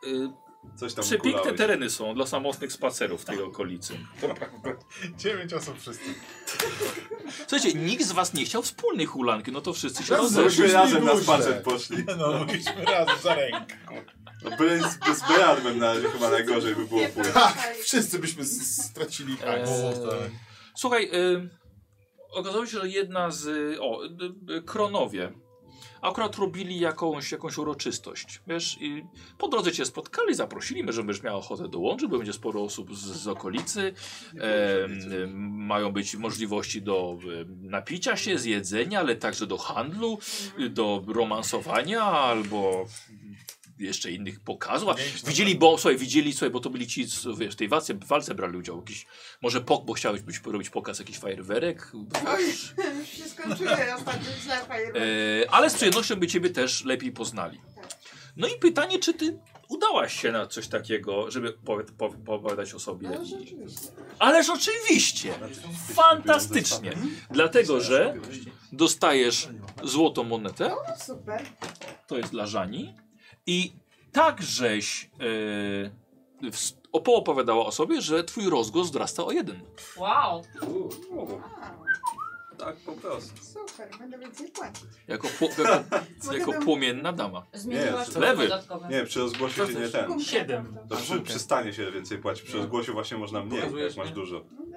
Speaker 2: Y,
Speaker 9: Coś tam
Speaker 2: Przepiękne
Speaker 9: ukulałeś.
Speaker 2: tereny są dla samotnych spacerów w tej okolicy.
Speaker 21: Dziewięć osób wszystkich.
Speaker 2: Słuchajcie, nikt z was nie chciał wspólnej hulanki, no to wszyscy się
Speaker 9: No, żeśmy
Speaker 2: rozeszli.
Speaker 9: razem na spacer poszli.
Speaker 21: No, mogliśmy razem za rękę.
Speaker 9: No, byle z, z Beradmem na razie chyba najgorzej by było pójść.
Speaker 1: Tak, wszyscy byśmy s- stracili Tak. hajs.
Speaker 2: Eee, E, Słuchaj, y, okazało się, że jedna z. O, y, y, kronowie. Akurat robili jakąś, jakąś uroczystość. Wiesz, i po drodze cię spotkali, zaprosili mnie, że będziesz miała ochotę dołączyć, bo będzie sporo osób z, z okolicy. Em, em, mają być możliwości do em, napicia się, zjedzenia, ale także do handlu, y, do romansowania albo jeszcze innych pokazów. A Widzieli, bo słuchaj, widzieli, słuchaj, bo to byli ci, co, wiesz, w tej walce, w walce brali udział. Jakiś, może pok, bo chciałeś być, robić pokaz jakiś fajerwerek. wiesz.
Speaker 18: Już się skończyły ostatnio źle fajerwerki.
Speaker 2: E, ale z przyjemnością by ciebie też lepiej poznali. No i pytanie, czy ty udałaś się na coś takiego, żeby powi- powi- opowiadać o sobie. i- Ależ oczywiście! Fantastycznie! Dlatego, że dostajesz złotą monetę,
Speaker 18: O, No, super.
Speaker 2: to jest dla Żani, i tak żeś yy, opowiadała o sobie, że twój rozgłos wzrasta o jeden.
Speaker 20: Wow.
Speaker 9: Tak po prostu.
Speaker 18: Super, będę więcej płacić.
Speaker 2: Jako, pło, jako, jako płomienna dama.
Speaker 9: Zmieniłaś to
Speaker 2: lewy.
Speaker 9: dodatkowe. Nie, przy rozgłosie się nie ten.
Speaker 18: Siedem.
Speaker 9: To przy, przy stanie się więcej płaci. Przy rozgłosie właśnie można mniej, jak masz dużo.
Speaker 6: Mhm.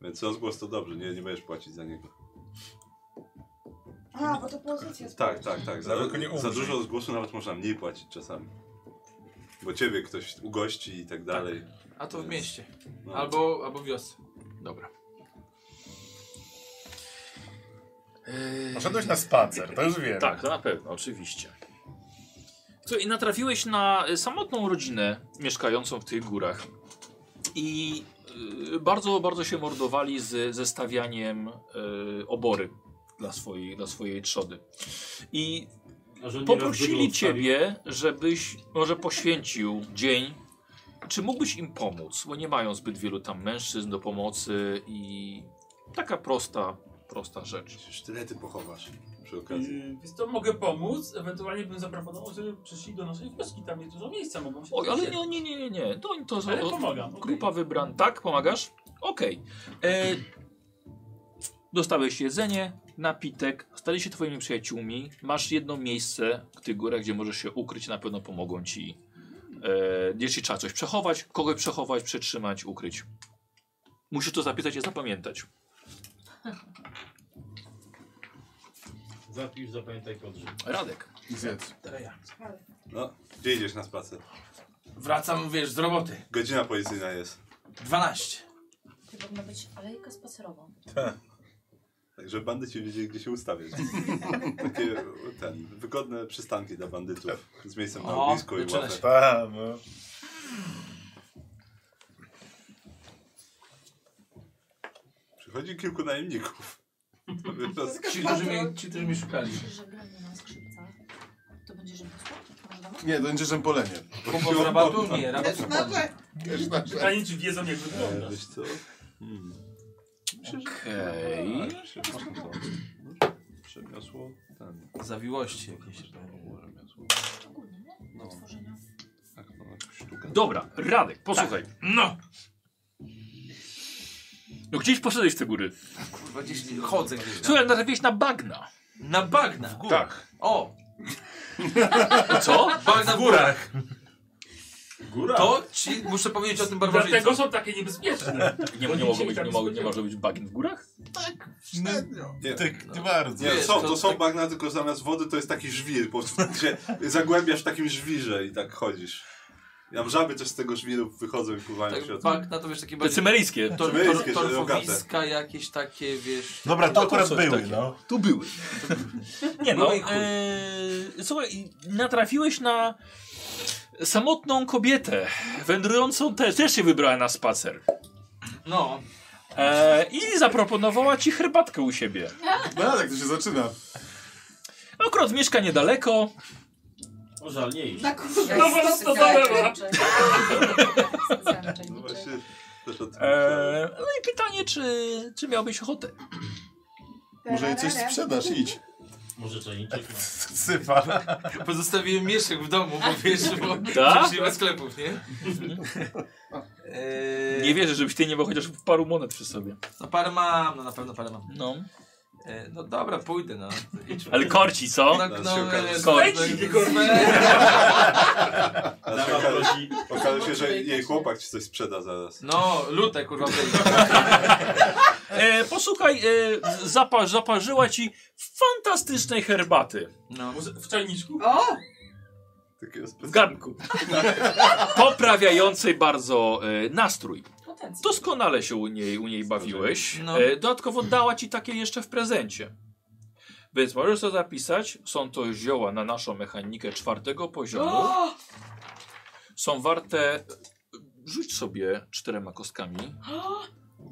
Speaker 9: Więc rozgłos to dobrze, nie, nie będziesz płacić za niego.
Speaker 18: A, bo to pozycja jest.
Speaker 9: Tak, tak, tak. Za,
Speaker 21: Tylko nie umrzyj.
Speaker 9: za dużo rozgłosu nawet można mniej płacić czasami. Bo ciebie ktoś ugości i tak dalej.
Speaker 10: a to w
Speaker 9: Więc-
Speaker 10: mieście.
Speaker 9: No.
Speaker 10: Albo, albo w wiosce.
Speaker 2: Dobra.
Speaker 21: E, Poszedłeś na spacer, to już wiem.
Speaker 2: Tak, to na pewno, oczywiście. Co, i natrafiłeś na y, samotną rodzinę mieszkającą w tych górach. I y, bardzo, bardzo się mordowali z zestawianiem y, obory dla swojej, dla swojej trzody. I
Speaker 8: A że on nieraz
Speaker 2: poprosili
Speaker 8: bydło
Speaker 2: ciebie, żebyś może poświęcił dzień Czy mógłbyś im pomóc? Bo nie mają zbyt wielu tam mężczyzn do pomocy i taka prosta, prosta rzecz.
Speaker 9: Sztylety pochowasz przy
Speaker 4: Yy, Więc to mogę pomóc, ewentualnie bym zaproponował, żeby przyszli do naszej wioski, tam jest dużo miejsca, mogą się
Speaker 2: Oj, ale
Speaker 4: usiąść.
Speaker 2: nie, nie, nie, nie, nie. To, to
Speaker 4: Ale
Speaker 2: o-
Speaker 4: pomagam,
Speaker 2: Grupa wybran. Tak, pomagasz? Okej. E, Dostałeś jedzenie, napitek, stali się twoimi przyjaciółmi. Masz jedno miejsce w tych górach, gdzie możesz się ukryć, na pewno pomogą ci. E, jeśli trzeba coś przechować, kogoś przechować, przetrzymać, ukryć. Musisz to zapisać i zapamiętać.
Speaker 13: Zapisz, zapamiętaj, podrzuć.
Speaker 2: Radek.
Speaker 9: I zjedz.
Speaker 13: Teraz ja.
Speaker 9: No, gdzie idziesz na spacer?
Speaker 10: Wracam, wiesz, z roboty.
Speaker 9: Godzina policyjna jest.
Speaker 10: 12.
Speaker 20: To powinna być alejka spacerowa.
Speaker 9: Tak. Także bandyci wiedzieli, gdzie się ustawiać. Takie ten, wygodne przystanki dla bandytów z
Speaker 1: No,
Speaker 9: miejscem na
Speaker 10: O,
Speaker 8: No,
Speaker 9: ognisku i
Speaker 10: zaczyna
Speaker 9: ławę.
Speaker 10: się.
Speaker 21: Ta, no.
Speaker 9: Przychodzi kilku najemników. To wiesz, to z-
Speaker 10: Ci, którzy mnie, ci, którzy mnie szukali.
Speaker 20: Że gramy na skrzypcach, to będzie żebrostwo? Może damy?
Speaker 1: Nie, to będzie rzępolenie.
Speaker 10: Kupo z rabatu? Nie, rabatu Też na
Speaker 18: rzecz.
Speaker 1: Też na rzecz.
Speaker 4: Pytanie, czy wiedzą, jak wygląda.
Speaker 9: Wiesz co? Hmm.
Speaker 2: Okej.
Speaker 9: Przemiosło ten.
Speaker 10: Zawiłości jakieś. że tak powiem.
Speaker 9: No. Tak, no, jakąś sztukę.
Speaker 2: Dobra, Radek, posłuchaj. No! No gdzieś poszedłeś w te góry.
Speaker 10: Kurwa, gdzieś nie- chodzę gdzieś. tam.
Speaker 2: Słuchaj, natrafiłeś na bagna.
Speaker 10: Na bagna w górę.
Speaker 2: Tak.
Speaker 10: O!
Speaker 2: Co?
Speaker 10: Bagna w górach.
Speaker 9: Góra.
Speaker 10: To ci muszę powiedzieć o tym barbarzyńcu.
Speaker 4: Tak, Dlatego są takie
Speaker 9: Tak.
Speaker 4: niebezpieczne.
Speaker 2: Nie,
Speaker 4: Bo
Speaker 2: nie,
Speaker 4: nigdzie
Speaker 2: mogło
Speaker 4: tam
Speaker 2: być,
Speaker 4: Tak,
Speaker 2: nie, mogło, nie
Speaker 4: spodziewam.
Speaker 2: może być bagien w No. górach?
Speaker 9: Nie,
Speaker 14: nie Tak, bardzo.
Speaker 9: Nie,
Speaker 10: Wiesz,
Speaker 9: są,
Speaker 10: to- tak-
Speaker 9: to są bagna, tylko zamiast wody to jest taki żwir. Po prostu tak się zagłębiasz w takim żwirze i tak chodzisz. Tam żaby też z tego żwiru wychodzą i pływają w
Speaker 10: Tak,
Speaker 9: środku.
Speaker 10: bagna to wiesz takie
Speaker 2: Te
Speaker 10: bardziej-
Speaker 2: cymeryjskie.
Speaker 10: Tor, tor,
Speaker 9: Cymeryjskie,
Speaker 10: torfowiska jakieś takie, wiesz...
Speaker 14: Dobra, to
Speaker 10: No,
Speaker 14: akurat
Speaker 10: coś
Speaker 14: były,
Speaker 10: takiego.
Speaker 14: no.
Speaker 2: Tu były. Nie no,
Speaker 10: No i
Speaker 2: e,
Speaker 10: chuj.
Speaker 2: słuchaj, i natrafiłeś na samotną kobietę, wędrującą też, też się wybrała na spacer.
Speaker 10: No.
Speaker 2: E, I zaproponowała ci herbatkę u siebie.
Speaker 14: No tak to się zaczyna.
Speaker 2: Akurat mieszka niedaleko.
Speaker 13: O żal, nie iść.
Speaker 18: Na kurwa.
Speaker 4: No was to
Speaker 2: Tak.
Speaker 4: zalewa.
Speaker 9: No właśnie, też o tym
Speaker 2: E, no i pytanie, czy, czy miałbyś ochotę?
Speaker 1: Może jej coś sprzedasz, idź.
Speaker 13: Może czajniczek ma.
Speaker 14: Sypa.
Speaker 10: Pozostawiłem mieszek w domu, bo wiesz, bo
Speaker 2: Tak?
Speaker 10: przecież nie ma sklepów, nie? Eee,
Speaker 2: Nie wierzę, żebyś ty nie miał chociaż paru monet przy sobie.
Speaker 10: No parę mam, no na pewno parę mam.
Speaker 2: No.
Speaker 10: Eee, no dobra, pójdę, no. Idźmy.
Speaker 2: Ale korci, co?
Speaker 10: No, no,
Speaker 2: Korci.
Speaker 10: korci.
Speaker 4: nie
Speaker 10: no,
Speaker 9: A się okaże, okaże się, że jej chłopak ci coś sprzeda zaraz.
Speaker 10: No, lute kurwa wyjdzie.
Speaker 2: E, posłuchaj, e, zapa, zaparzyła ci fantastycznej herbaty.
Speaker 10: No.
Speaker 4: Może W czajniczku?
Speaker 18: O!
Speaker 9: Takiego
Speaker 2: W garnku. Poprawiającej bardzo e, nastrój.
Speaker 20: Potencjał.
Speaker 2: Doskonale się u niej, u niej bawiłeś.
Speaker 10: No.
Speaker 2: E, dodatkowo dała ci takie jeszcze w prezencie. Więc możesz to zapisać. Są to zioła na naszą mechanikę czwartego poziomu.
Speaker 10: O!
Speaker 2: Są warte. Rzuć sobie czterema kostkami.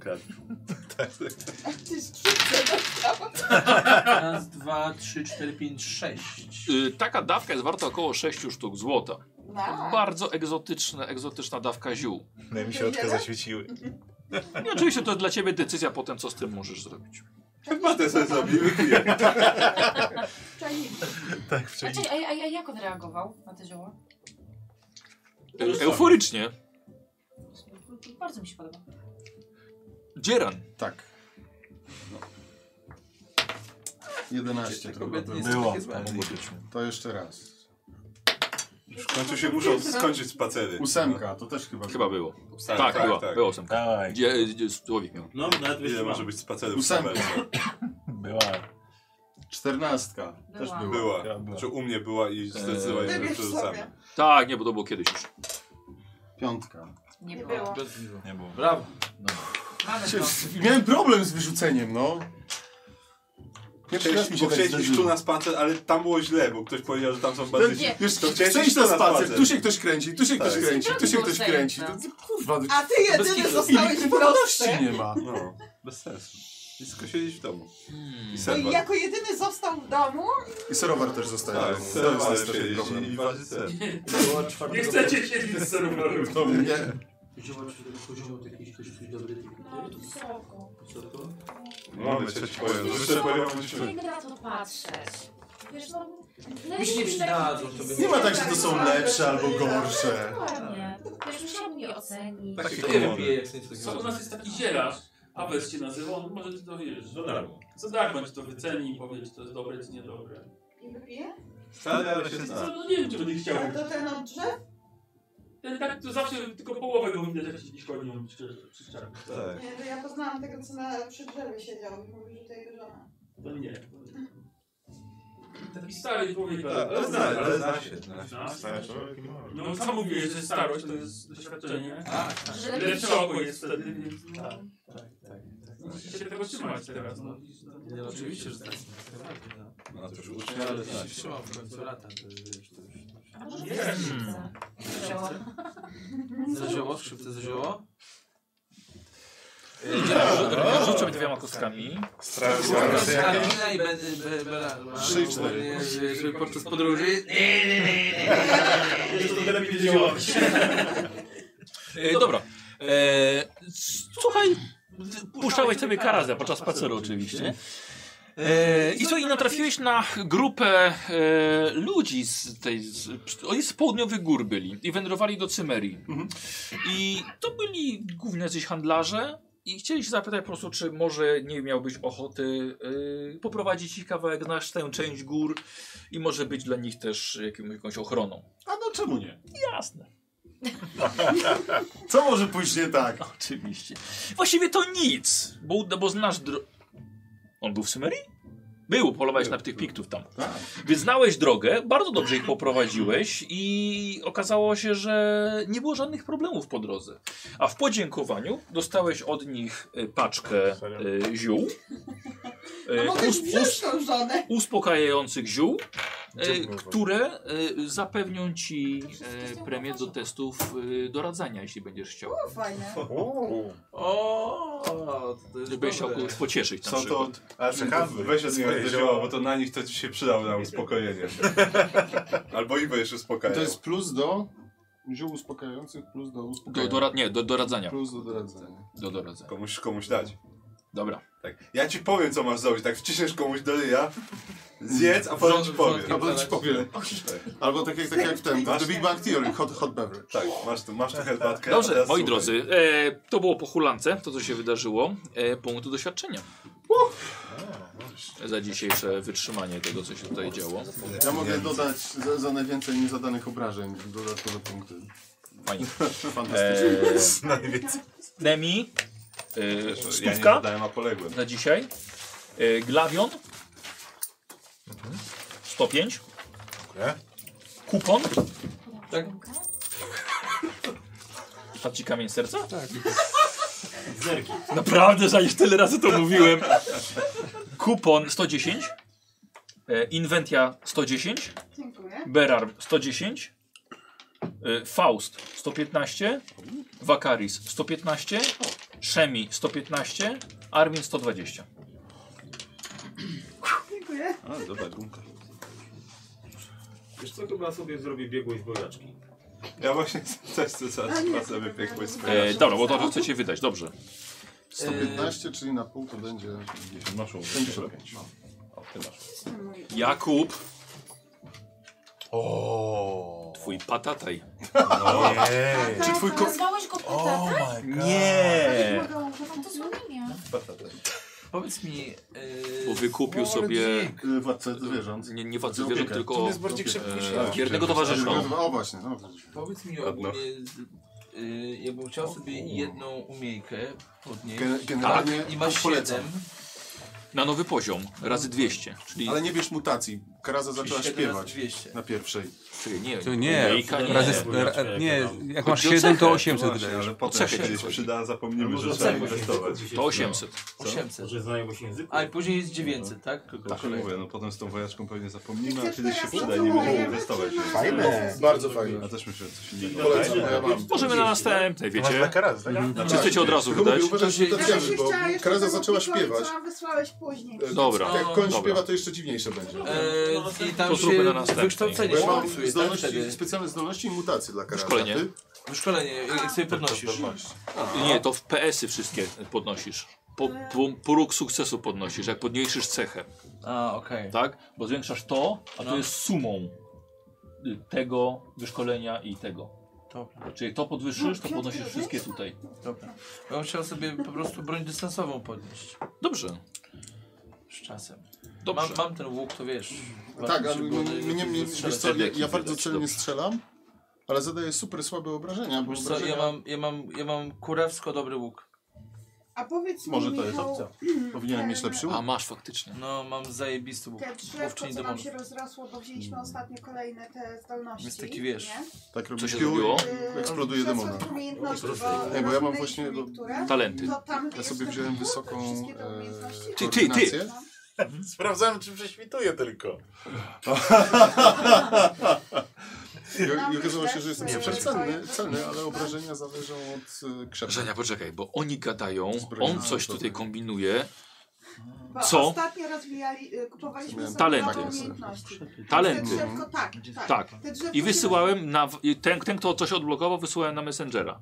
Speaker 10: Raz, dwa, trzy, cztery, pięć, sześć.
Speaker 2: Y, taka dawka jest warta około 6 sztuk złota.
Speaker 18: Wow.
Speaker 2: Bardzo egzotyczna, egzotyczna dawka ziół.
Speaker 14: No i mi się oczka zaświeciły.
Speaker 2: I oczywiście to dla ciebie decyzja potem, co z tym możesz zrobić.
Speaker 1: tak
Speaker 9: Herbatę sobie zrobimy, piję.
Speaker 18: Czajniczek.
Speaker 14: Tak,
Speaker 20: A,
Speaker 14: wcześniej.
Speaker 20: czekaj, a, a, a jak on reagował na te zioła?
Speaker 2: E, euforycznie.
Speaker 20: Bardzo mi się podoba.
Speaker 2: Dzieran.
Speaker 1: Tak. 11 to chyba
Speaker 10: kobiety nie
Speaker 1: było.
Speaker 10: są
Speaker 1: Było.
Speaker 10: takie złe.
Speaker 1: To jeszcze raz.
Speaker 9: Już w końcu się muszą skończyć spacery.
Speaker 1: Ósemka, to też chyba.
Speaker 2: Chyba było.
Speaker 9: Tak,
Speaker 2: Tak,
Speaker 9: tak,
Speaker 2: była,
Speaker 9: tak.
Speaker 2: była ósemka.
Speaker 14: Dawaj.
Speaker 2: Gdzie, gdzie człowiek miał.
Speaker 13: No, nawet
Speaker 9: Ile
Speaker 13: wiesz,
Speaker 9: może
Speaker 13: może być.
Speaker 9: być spacerów w
Speaker 1: Ósemka.
Speaker 9: Samerze?
Speaker 14: Była.
Speaker 1: Czternastka. Też
Speaker 20: Była.
Speaker 1: była.
Speaker 9: Była.
Speaker 14: Ja była.
Speaker 9: Czy Znaczy, u mnie była i zdecydowaliśmy, że
Speaker 18: Wybierz
Speaker 9: przerzucamy.
Speaker 18: sobie.
Speaker 2: Tak, nie, bo to było kiedyś już.
Speaker 1: Piątka.
Speaker 20: Nie
Speaker 18: Nie
Speaker 20: było.
Speaker 18: było.
Speaker 14: Nie było.
Speaker 10: Brawo.
Speaker 20: Mamy
Speaker 1: Się,
Speaker 20: to.
Speaker 1: miałem problem z wyrzuceniem, no. Pierwszy raz mi
Speaker 9: Chcieliśmy
Speaker 1: się
Speaker 9: bo
Speaker 1: tak
Speaker 9: chcieliśmy iść
Speaker 1: zdarzyło.
Speaker 9: tu na spacer, ale tam było źle, bo ktoś powiedział, że tam
Speaker 18: No
Speaker 9: są bandyci.
Speaker 20: Nie.
Speaker 1: Wiesz,
Speaker 9: To
Speaker 1: to
Speaker 9: chciałeś
Speaker 1: chcesz iść
Speaker 9: iść na
Speaker 1: na spacer,
Speaker 9: spacer.
Speaker 1: tu się ktoś kręci, tu się ktoś
Speaker 9: Tak.
Speaker 1: kręci, tu się
Speaker 20: Było
Speaker 1: ktoś
Speaker 20: zajęte.
Speaker 1: kręci. To, to, kurwa,
Speaker 18: A ty jedyny
Speaker 1: bez
Speaker 18: zostałeś w
Speaker 1: kitu. Innych
Speaker 18: proste.
Speaker 1: opcji nie ma.
Speaker 9: No, bez sensu. I tylko siedzieć w domu. I
Speaker 18: Hmm. No I jako jedyny został w domu.
Speaker 1: I serowar też zostaje.
Speaker 9: Tak,
Speaker 1: w domu.
Speaker 9: serowar
Speaker 1: To jest też
Speaker 9: siedzi
Speaker 1: problem.
Speaker 9: i waży ser.
Speaker 6: Nie chcecie siedzieć z serwerem w domu.
Speaker 1: Nie.
Speaker 19: Wziąłem się do poziomu jakiś ktoś coś dobry.
Speaker 20: Tak,
Speaker 19: Co to?
Speaker 9: Mamy No, coś powiem.
Speaker 20: Wiesz,
Speaker 9: Wyższe
Speaker 20: no,
Speaker 9: poziomy
Speaker 20: Nie
Speaker 9: siły.
Speaker 20: na to patrzeć. Wiesz, no...
Speaker 18: Mi się nie przydadzą, to by-
Speaker 1: Nie ma tak, że to są lepsze albo gorsze.
Speaker 20: Tak, Dokładnie. Wiesz, musiałbym Tak. je ocenić.
Speaker 18: Tak
Speaker 1: Takie
Speaker 20: Takie
Speaker 1: komory.
Speaker 20: komory.
Speaker 1: Wypije, jak sobie coś
Speaker 6: Co u
Speaker 1: zrobi.
Speaker 6: nas jest taki zielarz, a bez się nazywa, on może ci to wiesz. Za darmo. Za darmo ci to wyceni i powie, czy to jest dobre, czy niedobre.
Speaker 18: I wypije?
Speaker 9: Wcale, ale się
Speaker 6: Co,
Speaker 9: zna.
Speaker 6: no nie wiem, czy
Speaker 18: Tak,
Speaker 6: będzie chciał.
Speaker 18: A to ten od drzew?
Speaker 6: Ten tak, to zawsze tylko połowę go widać, jak się dziś chodzi, on przy, przy ścianach.
Speaker 9: Tak.
Speaker 18: Nie, to ja poznałam tego, co na przy drzewie siedział i mówił, że to jego żona.
Speaker 2: No
Speaker 6: To nie. Taki stary człowiek,
Speaker 9: Tak, ale zna- ale zna się, zna się.
Speaker 6: Stary
Speaker 9: człowiek.
Speaker 6: No sam mówiłeś, że starość to jest doświadczenie.
Speaker 9: Tak, tak.
Speaker 6: Że Lepsze oko jest wtedy, więc no.
Speaker 19: Tak,
Speaker 6: Musisz
Speaker 2: tak,
Speaker 6: się tego trzymać teraz. No.
Speaker 19: Nie, oczywiście, że tak.
Speaker 9: No to już ucznia,
Speaker 19: Ja
Speaker 9: ale
Speaker 19: ale
Speaker 9: tak.
Speaker 19: się trzymam w końcu lata, to już wiesz, to już...
Speaker 20: A może
Speaker 19: Jest.
Speaker 20: skrzypce? Zioło.
Speaker 19: Za zioło? Skrzypce za zioło?
Speaker 2: Rzu- Rzuć mi dwiema kostkami.
Speaker 19: Karabina i be- be- be-
Speaker 2: Trzy i cztery.
Speaker 19: Nie, że- Żeby podczas podróży...
Speaker 2: Jeszcze to tyle mi nie działa. E, Dobra. E, s- Słuchaj, puszczałeś sobie karazę podczas spaceru oczywiście. E, I co, i natrafiłeś na grupę e, ludzi z tej, z, oni z południowych gór byli i wędrowali do Cymerii. I to byli głównie jacyś handlarze i chcieli się zapytać po prostu, czy może nie miałbyś ochoty y, poprowadzić ich kawałek na tę część gór i może być dla nich też jakim, jakąś ochroną.
Speaker 1: A no czemu nie?
Speaker 2: Jasne.
Speaker 1: Co może pójść nie tak?
Speaker 2: Oczywiście. Właściwie to nic, bo, bo znasz dro... On był w Symerii? Był, polowałeś na tych piktów tam.
Speaker 1: Tak.
Speaker 2: Więc znałeś drogę, bardzo dobrze ich poprowadziłeś i okazało się, że nie było żadnych problemów po drodze. A w podziękowaniu dostałeś od nich e, paczkę e, ziół.
Speaker 1: No
Speaker 18: No,
Speaker 2: e, us- us-
Speaker 18: tą żonę.
Speaker 2: uspokajających ziół, e, które e, zapewnią ci e, premię do testów e, doradzania, jeśli będziesz chciał.
Speaker 18: To fajne.
Speaker 19: O, to jest
Speaker 2: Żebyś chciał
Speaker 19: dobre.
Speaker 2: kogoś pocieszyć na
Speaker 9: Są to...
Speaker 2: przykład.
Speaker 9: Ale
Speaker 1: Czekamy.
Speaker 9: Weź od
Speaker 1: Nie,
Speaker 9: swoje
Speaker 1: zioła.
Speaker 9: zioła, bo to na nich to ci się przydało na uspokojenie. Albo i jeszcze uspokajają.
Speaker 1: To jest plus do ziół uspokajających, plus do
Speaker 2: Do,
Speaker 1: uspokajania.
Speaker 2: dora, nie, do doradzania.
Speaker 1: Plus do doradzania.
Speaker 2: Do doradzenia.
Speaker 9: Komuś, komuś dać.
Speaker 2: Dobra.
Speaker 9: Tak. Ja ci powiem, co masz zrobić. Tak wciśniesz komuś do ryja, zjedz, a potem ci powiem.
Speaker 1: A potem ci powiem. Albo tak jak, tak jak w tym,
Speaker 9: Masz-
Speaker 1: The Big Bang Theory, hot, hot beverage.
Speaker 9: Tak, masz tu, masz tu herbatkę. a
Speaker 2: Dobrze,
Speaker 9: teraz
Speaker 2: moi
Speaker 9: słuchaj.
Speaker 2: drodzy, e, to było po hulance, to co się wydarzyło, e, punktu doświadczenia. Za dzisiejsze wytrzymanie tego, co się tutaj działo.
Speaker 1: Ja mogę dodać za, za najwięcej niezadanych obrażeń dodatkowe punkty.
Speaker 2: Fajnie.
Speaker 1: Fantastycznie.
Speaker 2: Eee, Nemi, e,
Speaker 9: Eee, Ja nie
Speaker 2: stówka
Speaker 9: dodałem, a poległem.
Speaker 2: na dzisiaj. E, Glawion,
Speaker 9: Mhm.
Speaker 2: 105. Kupon.
Speaker 19: Tak.
Speaker 2: A ci kamień serca? Tak. Zerki. Naprawdę, że już tyle razy to mówiłem. Kupon 110. E, Inwentia 110.
Speaker 18: Dziękuję.
Speaker 2: Berarm 110. e, Faust 115. Wakaris 115. Szemi 115. Armin 120.
Speaker 18: Dziękuję.
Speaker 9: A, dobra, gumka.
Speaker 8: Wiesz co, chyba sobie zrobię biegłość wojaczki.
Speaker 9: Ja właśnie też chcę zaraz
Speaker 18: A nie, tak
Speaker 9: chyba sobie piekło i
Speaker 2: E, dobra, bo to, to chcecie wydać, dobrze.
Speaker 1: 115, czyli na pół to będzie...
Speaker 9: Noszą
Speaker 1: 55.
Speaker 2: E, Jakub. O. Twój patataj.
Speaker 20: Tak,
Speaker 1: Czy twój ko...
Speaker 20: Nazwałeś go pytata?
Speaker 2: Nie.
Speaker 20: Mam to złe imię.
Speaker 19: Powiedz mi... e,
Speaker 2: Bo wykupił sobie.
Speaker 1: Y, Władcę zwierząt.
Speaker 2: Nie, nie władcy
Speaker 1: Opiekę.
Speaker 2: zwierząt, tylko.
Speaker 19: To jest bardziej krzywdy niż
Speaker 2: e,
Speaker 19: ja.
Speaker 2: Wiernego towarzysza.
Speaker 1: O właśnie, no.
Speaker 19: Powiedz mi ogólnie... y, Ja bym chciał sobie jedną umiejkę podnieść.
Speaker 1: Gen- generalnie
Speaker 19: tak, i masz
Speaker 1: polecam.
Speaker 19: siedem.
Speaker 2: Na nowy poziom, razy 200. Czyli...
Speaker 1: Ale nie bierz mutacji, Karaza zaczęła
Speaker 29: 7 razy
Speaker 1: śpiewać
Speaker 29: 200.
Speaker 1: na pierwszej.
Speaker 2: Czyli nie, no.
Speaker 1: To
Speaker 10: nie,
Speaker 1: Jamaica
Speaker 10: razy- ra- nie, jak masz 7, to 800 wydajesz.
Speaker 9: Ale potem się
Speaker 10: Poczekaj.
Speaker 9: kiedyś przyda, zapomnimy,
Speaker 10: Może
Speaker 9: że trzeba
Speaker 10: znajomość
Speaker 9: inwestować.
Speaker 10: języków To 800.
Speaker 9: Co?
Speaker 29: 800.
Speaker 9: Może znajomość języków.
Speaker 29: A i później jest 900, tak?
Speaker 9: Tylko
Speaker 29: Tak.
Speaker 9: tak, mówię, no potem z tą wojaczką pewnie zapomnimy, a
Speaker 29: Jak
Speaker 9: kiedyś
Speaker 29: się
Speaker 9: się
Speaker 29: teraz
Speaker 9: przyda i nie będziemy
Speaker 29: zawołujemy,
Speaker 9: inwestować.
Speaker 29: czy na-
Speaker 1: Fajne, bardzo fajne.
Speaker 9: Ja też myślę, że coś innego.
Speaker 1: Polecam, ja mam.
Speaker 2: Możemy na następnej, wiecie? Czy chcecie od razu
Speaker 1: Tylko
Speaker 2: wydać?
Speaker 1: mówię, uważać, że to
Speaker 18: Ja
Speaker 1: dziarzy,
Speaker 18: właśnie
Speaker 1: bo
Speaker 18: chciała jeszcze
Speaker 1: Karaza
Speaker 18: tego
Speaker 1: zaczęła
Speaker 18: Pikola,
Speaker 1: śpiewać.
Speaker 18: co wysłałeś później.
Speaker 2: Dobra.
Speaker 1: E, Jak koń
Speaker 2: Dobra.
Speaker 1: śpiewa, to jeszcze dziwniejsze będzie.
Speaker 29: Eee, i tam
Speaker 1: To
Speaker 29: się
Speaker 1: zróbmy na następnej.
Speaker 29: wykształcenie
Speaker 1: Bo ja mam
Speaker 29: wpisuje, tak,
Speaker 1: zdolności-
Speaker 29: wtedy.
Speaker 1: Specjalne zdolności i mutacje dla Tak, Karaza.
Speaker 2: Szkolenie.
Speaker 1: a ty?
Speaker 29: Szkolenie, jak sobie podnosisz.
Speaker 1: tak,
Speaker 2: Nie, to w PS-y wszystkie podnosisz. Po, po, próg sukcesu podnosisz, jak podniesisz cechę.
Speaker 29: A, okej.
Speaker 2: Tak? Bo zwiększasz to, a to
Speaker 29: No.
Speaker 2: jest sumą y, tego wyszkolenia i tego.
Speaker 29: Dobra.
Speaker 2: Czyli to podwyższysz, to podnosisz wszystkie tutaj.
Speaker 29: Dobra. Ja bym chciał sobie po prostu broń dystansową podnieść.
Speaker 2: Dobrze.
Speaker 29: Z czasem.
Speaker 2: Dobrze.
Speaker 29: Mam, mam ten łuk, to wiesz.
Speaker 1: Tak,
Speaker 29: bardzo
Speaker 1: ale
Speaker 29: szybko do-
Speaker 1: mnie, mnie, mnie,
Speaker 29: do
Speaker 1: wiesz co, ja,
Speaker 29: strzelania.
Speaker 1: ja bardzo celnie strzelam, ale zadaję super słabe obrażenia, bo
Speaker 29: Wiesz co,
Speaker 1: obrażenia...
Speaker 29: ja mam, ja mam, ja mam kurewsko dobry łuk.
Speaker 18: A powiedz mi,
Speaker 1: Może to jest
Speaker 18: Michał,
Speaker 1: opcja. Powinienem mieć lepszy łuk.
Speaker 2: A masz faktycznie.
Speaker 29: No, mam zajebisty łuk.
Speaker 18: Te drzewko,
Speaker 29: Łowczyni
Speaker 18: co nam
Speaker 29: demonów.
Speaker 18: się rozrosło, bo wzięliśmy ostatnio kolejne te zdolności.
Speaker 29: Jest taki, wiesz,
Speaker 18: nie?
Speaker 1: Mm. Tak robię
Speaker 2: Co się
Speaker 1: piu i
Speaker 2: zrobiło?
Speaker 1: Eksploduje
Speaker 18: Szacun
Speaker 1: demona.
Speaker 18: umiejętności, bo
Speaker 1: Nie, bo ja mam
Speaker 18: rozumieliśmy
Speaker 1: właśnie bo-
Speaker 18: niektóre, to tam
Speaker 1: Ja
Speaker 18: jest
Speaker 1: sobie
Speaker 18: ten
Speaker 1: wziąłem
Speaker 18: wzór,
Speaker 1: wysoką
Speaker 18: wszystkie te
Speaker 1: e,
Speaker 18: umiejętności.
Speaker 1: Ty, ty, ty.
Speaker 21: Sprawdzałem, czy prześwituję tylko.
Speaker 1: I- I okazało się, że jestem
Speaker 2: Nie,
Speaker 1: super
Speaker 2: przeciwko.
Speaker 1: celny, celny, ale obrażenia zależą od e, krzepka.
Speaker 2: Żenia, poczekaj, bo oni gadają,
Speaker 1: Zbrojna
Speaker 2: on coś
Speaker 29: No,
Speaker 1: osoba.
Speaker 29: tak.
Speaker 2: tutaj kombinuje.
Speaker 18: Bo
Speaker 2: Co?
Speaker 18: Ostatnio rozwijali, y, kupowaliśmy sobie
Speaker 2: Talenty.
Speaker 18: nowe umiejętności.
Speaker 2: Talenty.
Speaker 18: Te drzewko, tak, tak.
Speaker 2: Tak.
Speaker 18: Te drzewko
Speaker 2: I wysyłałem na. Ten, ten, kto coś odblokował, wysyłałem na Messengera.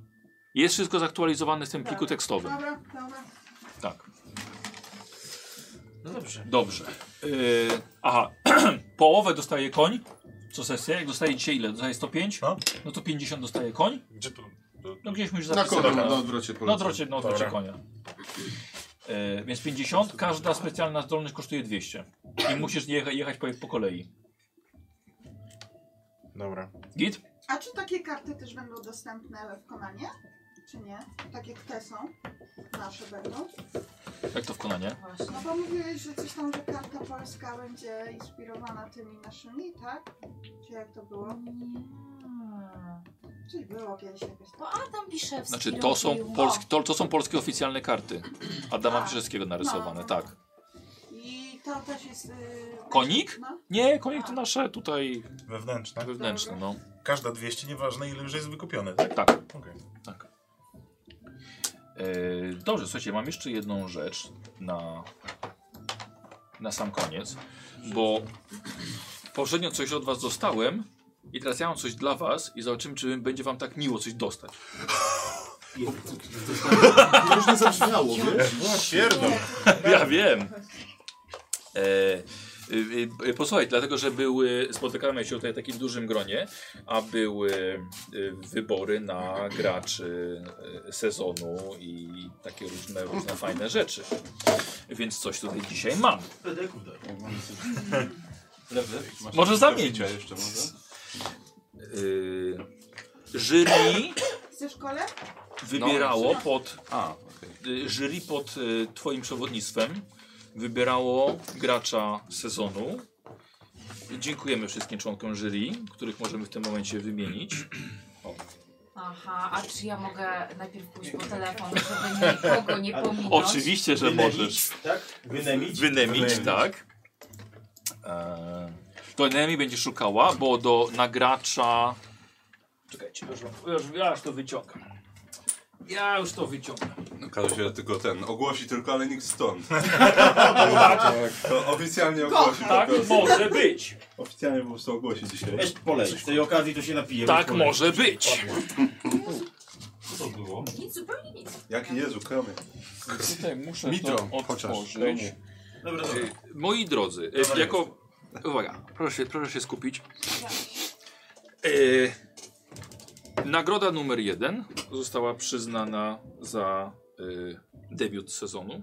Speaker 2: Jest wszystko zaktualizowane w tym pliku tekstowym.
Speaker 18: Dobra, dobra.
Speaker 2: Tak.
Speaker 29: No dobrze.
Speaker 2: Dobrze. Yy, aha. Połowę dostaje koń. Co sesję? Jak dostaje dzisiaj ile? Dostaje 105? No to 50 dostaje koń.
Speaker 21: Gdzie tu?
Speaker 2: No gdzieśmy już
Speaker 1: Na
Speaker 2: zapisali.
Speaker 1: konia, na odwrocie
Speaker 2: Na
Speaker 1: polecam.
Speaker 2: odwrocie, na odwrocie
Speaker 1: Dobra.
Speaker 2: konia. Yy, więc 50. Każda specjalna zdolność kosztuje 200. I musisz jecha, jechać po, po kolei.
Speaker 21: Dobra.
Speaker 2: Git?
Speaker 18: A czy takie karty też będą dostępne w Konanie? Czy nie? Takie te są? Nasze będą?
Speaker 2: Jak to w konanie?
Speaker 18: No bo mówiłeś, że coś tam, że karta polska będzie inspirowana tymi naszymi, tak? Czy jak to było? Czyli było kiedyś jakaś
Speaker 20: No Adam Biszewski
Speaker 2: Znaczy to są,
Speaker 20: robił.
Speaker 2: polskie, to, to są polskie oficjalne karty. Adama Piszewskiego narysowane, tak.
Speaker 18: I to też jest... Yy...
Speaker 2: Konik?
Speaker 18: No.
Speaker 2: Nie, konik to nasze tutaj
Speaker 21: Wewnętrzne.
Speaker 2: wewnętrzne, no.
Speaker 21: Każda 200, nieważne ile już jest wykupione, tak?
Speaker 2: Tak.
Speaker 21: Okej.
Speaker 2: tak. Yy, dobrze, słuchajcie, mam jeszcze jedną rzecz na, na sam koniec, bo poprzednio coś od was dostałem i teraz ja mam coś dla was i zobaczymy, czy będzie wam tak miło coś dostać.
Speaker 1: Różnie zabrzmiało, wiesz?
Speaker 21: Pierdol.
Speaker 2: Ja wiem. E, y, y, posłuchaj, dlatego, że były, spotykamy się tutaj w takim dużym gronie, a były y, wybory na graczy y, sezonu i takie różne, różne fajne rzeczy. Więc coś tutaj dzisiaj mam.
Speaker 29: Pedeków daj.
Speaker 9: Masz
Speaker 2: Może
Speaker 9: coś do
Speaker 2: zamienić.
Speaker 9: picia jeszcze może?
Speaker 2: Y, jury
Speaker 18: Chcesz kole?
Speaker 2: wybierało
Speaker 18: No.
Speaker 2: pod. A, y, jury pod y, Twoim przewodnictwem wybierało gracza sezonu. Dziękujemy wszystkim członkom jury, których możemy w tym momencie wymienić.
Speaker 20: Aha, a czy ja mogę najpierw pójść po telefon, żeby nikogo nie pominąć?
Speaker 2: Oczywiście, że możesz.
Speaker 13: Tak? Wynemić?
Speaker 2: Wynemić, tak. Eee, to Nemi będzie szukała, bo do nagracza. Czekajcie, już, wam- już, ja już to wyciągam. Ja już to wyciągam.
Speaker 9: Okaże się że tylko ten, ogłosi tylko, ale nikt stąd. To oficjalnie
Speaker 2: Tak,
Speaker 9: ogłosi. po
Speaker 2: tak
Speaker 9: prostu.
Speaker 2: może być.
Speaker 9: Oficjalnie po prostu ogłosi dzisiaj.
Speaker 13: Weź polej. Z tej okazji to się napijemy.
Speaker 2: Tak
Speaker 13: Polej.
Speaker 2: może być.
Speaker 13: Co to było?
Speaker 20: Nic, zupełnie nic.
Speaker 9: Jaki Jezu, kramy.
Speaker 2: Tutaj muszę
Speaker 9: Mitro,
Speaker 2: to
Speaker 9: chociaż.
Speaker 10: No
Speaker 2: otworzyć.
Speaker 13: Dobra, dobra.
Speaker 2: Y, Moi drodzy, y,
Speaker 13: Dobra,
Speaker 2: jako... Uwaga, proszę, proszę się skupić. Y, Nagroda numer jeden została przyznana za y, debiut sezonu.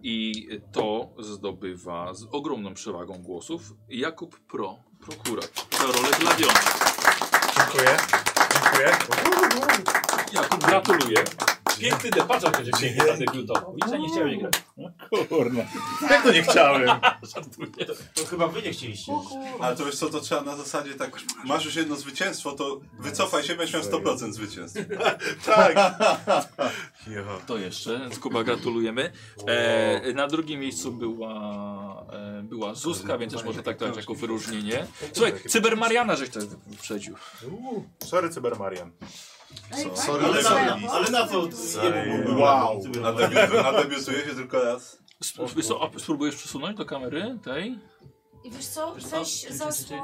Speaker 2: I to zdobywa z ogromną przewagą głosów Jakub Pro, prokurat, za rolę Gladiona.
Speaker 21: Dziękuję. Dziękuję.
Speaker 2: Jakub, gratuluję. Piękny depaczek będzie pięknie zadebiutował. Widzisz, ja nie chciałem grać.
Speaker 21: Kurna. Jak to nie chciałem?
Speaker 13: To chyba wy nie chcieliście.
Speaker 9: Ale to wiesz co, to trzeba na zasadzie tak, masz już jedno zwycięstwo, to wycofaj się, będziesz miał 100% zwycięstw.
Speaker 2: Tak. To jeszcze. Kuba, gratulujemy. E, na drugim miejscu była, e, była Zuzka, więc też może traktować jako wyróżnienie. Słuchaj, Cybermariana żeś też wyprzedził.
Speaker 21: Sorry, Cybermarian.
Speaker 9: Co? Sorry, ale, na, ale na co?
Speaker 21: Wow.
Speaker 9: Nadebiutuję nadebiutuję się tylko raz.
Speaker 2: Sp- so, a spróbujesz przesunąć do kamery tej?
Speaker 20: I wiesz co? Weź zasłon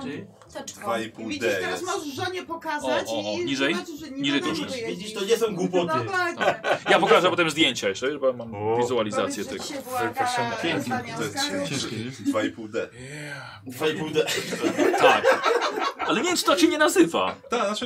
Speaker 20: teczką.
Speaker 2: Dwa i pół
Speaker 18: Widzisz,
Speaker 2: D
Speaker 18: teraz
Speaker 2: jest.
Speaker 18: możesz żonie pokazać
Speaker 2: O, o, o,
Speaker 18: i
Speaker 2: niżej?
Speaker 18: znaczy, zobaczysz, że nie
Speaker 2: Niżej
Speaker 18: wiadomo,
Speaker 2: troszkę.
Speaker 18: gdzie
Speaker 13: Widzisz, to
Speaker 18: jeździsz.
Speaker 13: nie są głupoty.
Speaker 18: No tak.
Speaker 2: Ja pokażę potem zdjęcia jeszcze, bo mam wizualizację
Speaker 18: Powiedz,
Speaker 2: tych.
Speaker 18: że dzisiaj była gala Pięknie. rozdania
Speaker 9: To jest
Speaker 18: Oscarów.
Speaker 9: ciężkie, nie? 2,5 D.
Speaker 13: Dwa i pół D.
Speaker 2: Tak. Ale nie wiem, czy to się nie nazywa.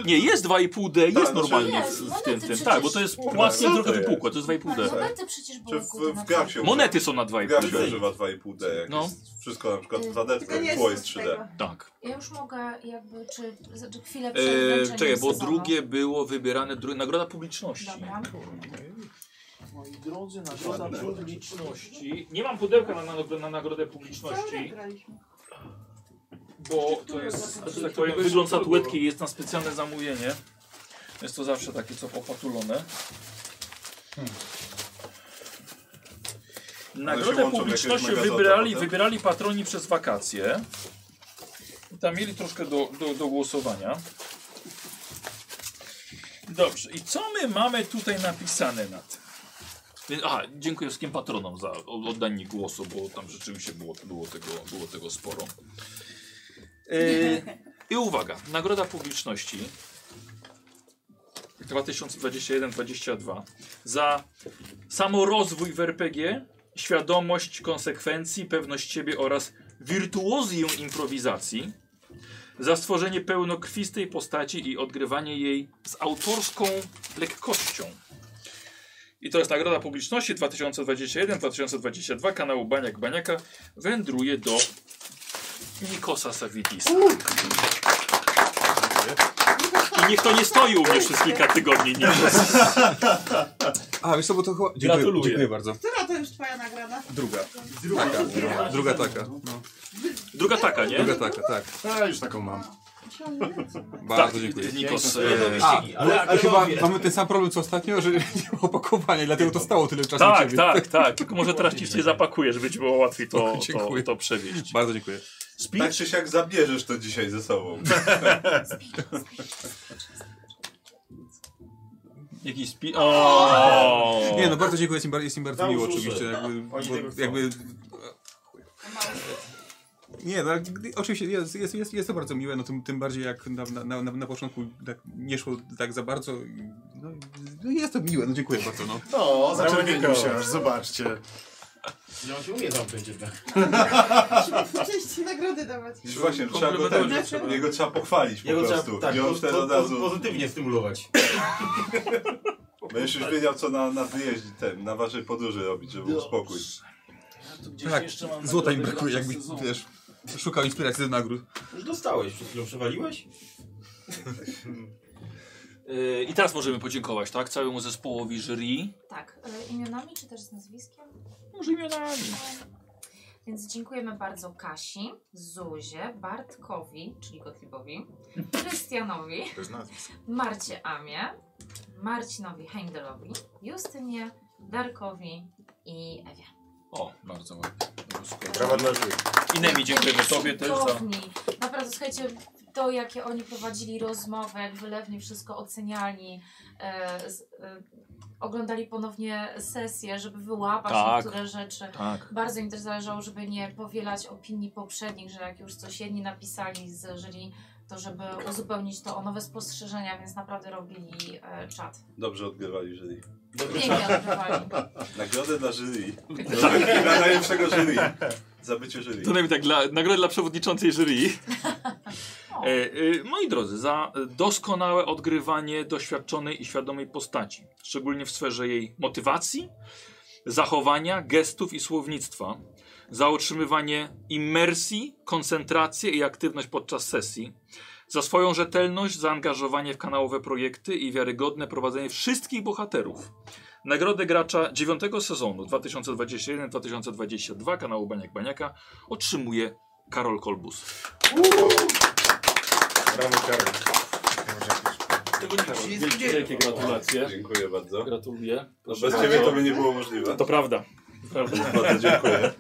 Speaker 2: Nie, jest 2,5D, jest
Speaker 9: znaczy-
Speaker 2: normalnie w,
Speaker 9: Jest,
Speaker 2: w
Speaker 9: monety
Speaker 2: tym, tym.
Speaker 9: przecież
Speaker 2: Tak, bo to jest
Speaker 9: były.
Speaker 2: płaskie,
Speaker 9: Co
Speaker 2: tylko
Speaker 9: to
Speaker 2: wypukłe, to
Speaker 9: jest?
Speaker 2: jest 2,5D.
Speaker 20: Monety przecież
Speaker 9: Czy
Speaker 20: były
Speaker 9: w,
Speaker 20: kurde na
Speaker 9: w grach się
Speaker 2: Monety są na
Speaker 9: W grach się
Speaker 2: 2,5D.
Speaker 9: używa 2,5D, jak
Speaker 2: No.
Speaker 9: jest wszystko na przykład
Speaker 20: Yy,
Speaker 9: 2D,
Speaker 20: tylko nie
Speaker 9: tylko tło jest
Speaker 20: jest
Speaker 9: 3D.
Speaker 20: tego.
Speaker 2: Tak.
Speaker 20: Ja już mogę jakby, czy, czy chwilę przed
Speaker 2: Eee,
Speaker 20: wręczeniem
Speaker 2: czekaj, bo
Speaker 20: sezonu.
Speaker 2: drugie było wybierane, dru... nagroda publiczności.
Speaker 20: Dobra.
Speaker 2: Moi drodzy, nagroda publiczności. Nie mam pudełka na, na, na nagrodę publiczności. Bo to jest, że tak powiem, wygląd statuetki jest na specjalne zamówienie. Jest to zawsze takie co opatulone. Hmm.
Speaker 9: One się
Speaker 2: Nagrodę
Speaker 9: łączą w
Speaker 2: publiczności
Speaker 9: jakiegoś magazynu
Speaker 2: wybierali,
Speaker 9: potem?
Speaker 2: wybierali patroni przez wakacje. I Tam mieli troszkę do, do, do głosowania. Dobrze, i co my mamy tutaj napisane na tym? Więc- Aha, dziękuję wszystkim patronom za o- oddanie głosu, bo tam rzeczywiście było, było, tego, było tego sporo. E, I uwaga, Nagroda Publiczności 2021-2022 za samorozwój w RPG, świadomość konsekwencji, pewność siebie oraz wirtuozję improwizacji, za stworzenie pełnokrwistej postaci i odgrywanie jej z autorską lekkością. I to jest Nagroda Publiczności 2021-2022 kanału Baniak Baniaka wędruje do Nikosa Savitisa. I niech to nie stoi u mnie przez kilka tygodni. Nie.
Speaker 10: A, wiesz co, bo to chyba... Dziękuję,
Speaker 2: Gratuluję.
Speaker 10: dziękuję bardzo.
Speaker 18: Która to już twoja nagroda?
Speaker 10: Druga. Taka.
Speaker 18: Druga.
Speaker 10: Druga taka. No.
Speaker 2: Druga taka, nie?
Speaker 10: Druga taka, tak.
Speaker 21: A, już taką mam.
Speaker 10: Bardzo
Speaker 2: Tak,
Speaker 10: dziękuję.
Speaker 2: Nikos,
Speaker 10: Piękne.
Speaker 2: e,
Speaker 10: A,
Speaker 2: ścigi, ale
Speaker 10: ale, ale chyba
Speaker 2: agrowie.
Speaker 10: mamy ten sam problem co ostatnio, że nie ma opakowania, dlatego to stało tyle czasu u
Speaker 2: Tak,
Speaker 10: ciebie.
Speaker 2: tak, tak. Tylko może teraz ci się zapakuje, żeby ci było łatwiej to, to,
Speaker 10: Dziękuję.
Speaker 2: to przewieźć.
Speaker 10: Bardzo dziękuję.
Speaker 9: Tak czy siak zabierzesz to dzisiaj ze sobą.
Speaker 2: Jakiś spi... O!
Speaker 10: Nie no, bardzo dziękuję, jest im, bar- jest im bardzo
Speaker 2: Tam
Speaker 10: miło
Speaker 2: już
Speaker 10: oczywiście.
Speaker 2: uszy.
Speaker 10: Jakby,
Speaker 2: Oni
Speaker 10: bo,
Speaker 2: tego chcą.
Speaker 10: jakby, nie, no, ale gdy- oczywiście jest, jest, jest, jest to bardzo miłe, no tym, tym bardziej jak na, na, na, na początku tak nie szło tak za bardzo. i- No, no jest to miłe, no dziękuję bardzo. No.
Speaker 21: O, zaczerwienił się aż, zobaczcie.
Speaker 13: No on się umie zamknąć jednak.
Speaker 18: Wcześniej nagrody dawać.
Speaker 9: Już właśnie, trzeba go, tak,
Speaker 20: Znaczy-
Speaker 9: jego trzeba pochwalić po
Speaker 13: Ja go trzeba
Speaker 9: prostu.
Speaker 13: tak,
Speaker 9: I on
Speaker 13: po,
Speaker 9: wtedy
Speaker 13: po,
Speaker 9: od razu...
Speaker 13: po, pozytywnie stymulować.
Speaker 9: Będziesz już wiedział, co na, na wyjeździe, ten, na waszej podróży robić, żeby
Speaker 2: No.
Speaker 9: był spokój.
Speaker 10: Tak, złota im brakuje, jakby wiesz, szukał inspiracji do nagród.
Speaker 13: Już dostałeś przed chwilą, przewaliłeś?
Speaker 2: E, I teraz możemy podziękować, tak? Całemu zespołowi jury.
Speaker 20: Tak, e, imionami czy też z nazwiskiem?
Speaker 2: Może imionami.
Speaker 20: Więc dziękujemy bardzo Kasi, Zuzie, Bartkowi, czyli Gottliebowi, Krystianowi,
Speaker 21: To jest nazwisko.
Speaker 20: Marcie Amie, Marcinowi Heindelowi, Justynie, Darkowi i Ewie.
Speaker 2: O, bardzo ładnie.
Speaker 21: Brawa dla jury.
Speaker 2: I Nemi, dziękujemy tobie też za...
Speaker 20: Cudowni. Naprawdę, słuchajcie, to jakie oni prowadzili rozmowę, jak wylewnie wszystko oceniali, e, z, e, oglądali ponownie sesję, żeby wyłapać
Speaker 2: Tak.
Speaker 20: niektóre rzeczy.
Speaker 2: Tak.
Speaker 20: Bardzo im też zależało, żeby nie powielać opinii poprzednich, że jak już coś jedni napisali z jury, to żeby uzupełnić to o nowe spostrzeżenia, więc naprawdę robili e, czat.
Speaker 9: Dobrze odgrywali jury.
Speaker 20: Pięknie odgrywali.
Speaker 9: Nagrodę dla jury.
Speaker 2: Tak.
Speaker 9: Nagrodę Dla najlepszego jury. Za bycie jury.
Speaker 2: To najmniej tak, dla, nagroda dla przewodniczącej jury. E, e, moi drodzy, za doskonałe odgrywanie doświadczonej i świadomej postaci, szczególnie w sferze jej motywacji, zachowania, gestów i słownictwa, za utrzymywanie imersji, koncentrację i aktywność podczas sesji, za swoją rzetelność, zaangażowanie w kanałowe projekty i wiarygodne prowadzenie wszystkich bohaterów, Nagrodę gracza 9 sezonu 2021-2022 kanału Baniak Baniaka otrzymuje Karol Kolbus.
Speaker 21: Brawo, Karol.
Speaker 2: Tego nie
Speaker 21: Jest
Speaker 2: Wielkie, wielkie
Speaker 21: dzień.
Speaker 2: gratulacje.
Speaker 9: Dziękuję bardzo.
Speaker 2: Gratuluję.
Speaker 9: No, Bez
Speaker 2: Proszę
Speaker 9: ciebie
Speaker 2: bardzo.
Speaker 9: to by nie było możliwe.
Speaker 2: To prawda. prawda.
Speaker 9: Bardzo dziękuję. E,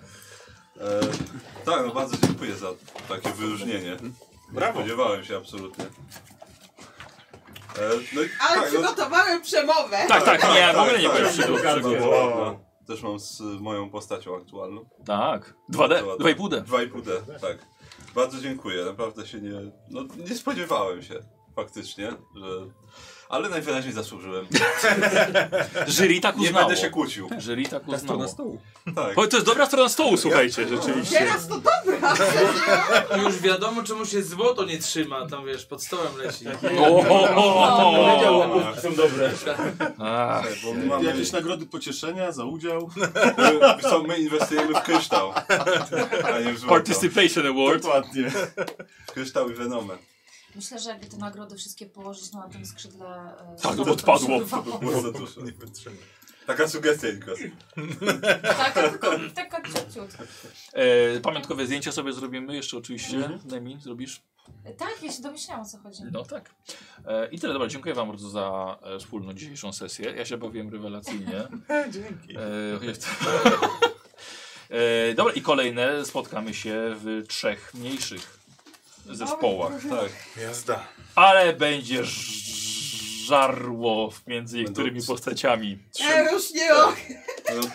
Speaker 9: tak, no bardzo dziękuję za takie wyróżnienie. Brawo. Nie spodziewałem się absolutnie. E, no i,
Speaker 18: Ale
Speaker 9: tak, no,
Speaker 18: przygotowałem przemowę.
Speaker 2: Tak,
Speaker 9: No, bo- no, Też mam z y, moją postacią aktualną.
Speaker 2: Tak. 2D, 2,5D.
Speaker 9: 2,5D, tak. Bardzo dziękuję, naprawdę się nie... No, nie spodziewałem się, faktycznie, że... Ale najwyraźniej zasłużyłem.
Speaker 2: Jury tak
Speaker 9: Nie
Speaker 2: uznało.
Speaker 9: będę się kłócił.
Speaker 2: Jury tak uznało.
Speaker 9: strona stołu. Tak.
Speaker 2: Bo to jest dobra strona stołu, słuchajcie, rzeczywiście.
Speaker 18: Teraz to dobra.
Speaker 29: Już wiadomo, czemu się złoto nie trzyma, tam wiesz, pod stołem leci.
Speaker 8: Powiedział, łapówki są dobre.
Speaker 2: Ach,
Speaker 9: Bo my mamy-
Speaker 14: Jakieś nagrody pocieszenia za udział?
Speaker 9: My- Co, my inwestujemy w kryształ, a nie w złoto.
Speaker 2: Participation Award.
Speaker 9: Dokładnie. Kryształ i Venomę.
Speaker 20: Myślę, że jakby te nagrody wszystkie położyć no, na tym skrzydle... e,
Speaker 9: Tak,
Speaker 2: no
Speaker 20: to
Speaker 9: to odpadło.
Speaker 20: by
Speaker 9: To by było za dużo. Taka sugestia, Nikos.
Speaker 20: Tak, tylko taka ciut.
Speaker 2: E, pamiątkowe zdjęcie sobie zrobimy jeszcze oczywiście.
Speaker 20: Mhm.
Speaker 2: Demi, zrobisz?
Speaker 20: Tak, ja się domyślałam o co chodzi.
Speaker 2: No tak. E, I tyle, dobra, dziękuję wam bardzo za e, wspólną dzisiejszą sesję. Ja się bawiłem rewelacyjnie.
Speaker 20: Dzięki.
Speaker 2: E, chociaż- e, dobra, i kolejne spotkamy się w trzech mniejszych zespołach.
Speaker 9: Tak.
Speaker 21: Jazda.
Speaker 2: Ale będzie ż- żarło między niektórymi postaciami.
Speaker 18: E, już nie o.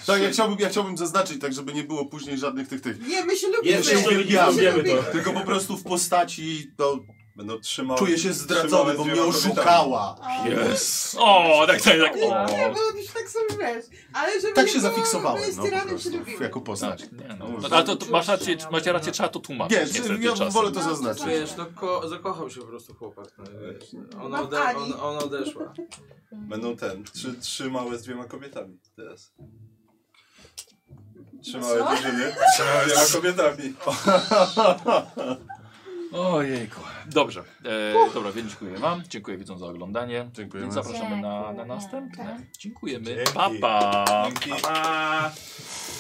Speaker 14: Tak, ja chciałbym, ja chciałbym zaznaczyć, tak żeby nie było później żadnych tych tych.
Speaker 18: Nie, my się lubimy.
Speaker 14: Ja się
Speaker 18: My się
Speaker 14: uwielbiam.
Speaker 18: lubimy.
Speaker 14: Tylko po prostu w postaci to
Speaker 9: no, będą trzymały.
Speaker 14: Czuję się zdradzony,
Speaker 9: trzymały
Speaker 14: bo
Speaker 9: z
Speaker 14: mnie
Speaker 9: dwiema
Speaker 14: oszukała.
Speaker 9: kobietami.
Speaker 2: Yes. O, tak, tak, tak. O.
Speaker 18: Nie, bo już tak sobie wiesz. Ale żeby
Speaker 14: Tak
Speaker 18: nie
Speaker 14: się
Speaker 18: było,
Speaker 14: zafiksowałem,
Speaker 18: My
Speaker 14: no, po
Speaker 18: styranem się
Speaker 14: prostu,
Speaker 18: lubimy.
Speaker 14: jako postać.
Speaker 2: Tak, nie, no. Ale to, to masz rację, macie rację, trzeba to tłumaczyć.
Speaker 14: Nie,
Speaker 2: niestety
Speaker 14: ja
Speaker 2: czasem.
Speaker 14: wolę to zaznaczyć.
Speaker 29: Wiesz, no ko- zakochał się po prostu chłopak. No, i wiesz, ona,
Speaker 9: No,
Speaker 29: ode-
Speaker 9: Ani.
Speaker 29: ona, ona odeszła.
Speaker 19: Mhm.
Speaker 9: Będą ten, trzy, trzy małe z dwiema kobietami teraz. Trzy małe
Speaker 29: Co?
Speaker 9: drużyny z dwiema kobietami.
Speaker 2: Ojejku. Dobrze, e, dobra, więc dziękuję wam, dziękuję widzom za oglądanie. Dziękujemy. Tak. Zapraszamy na, na następne. Dziękujemy, pa pa.
Speaker 9: Dzięki.
Speaker 2: pa, pa.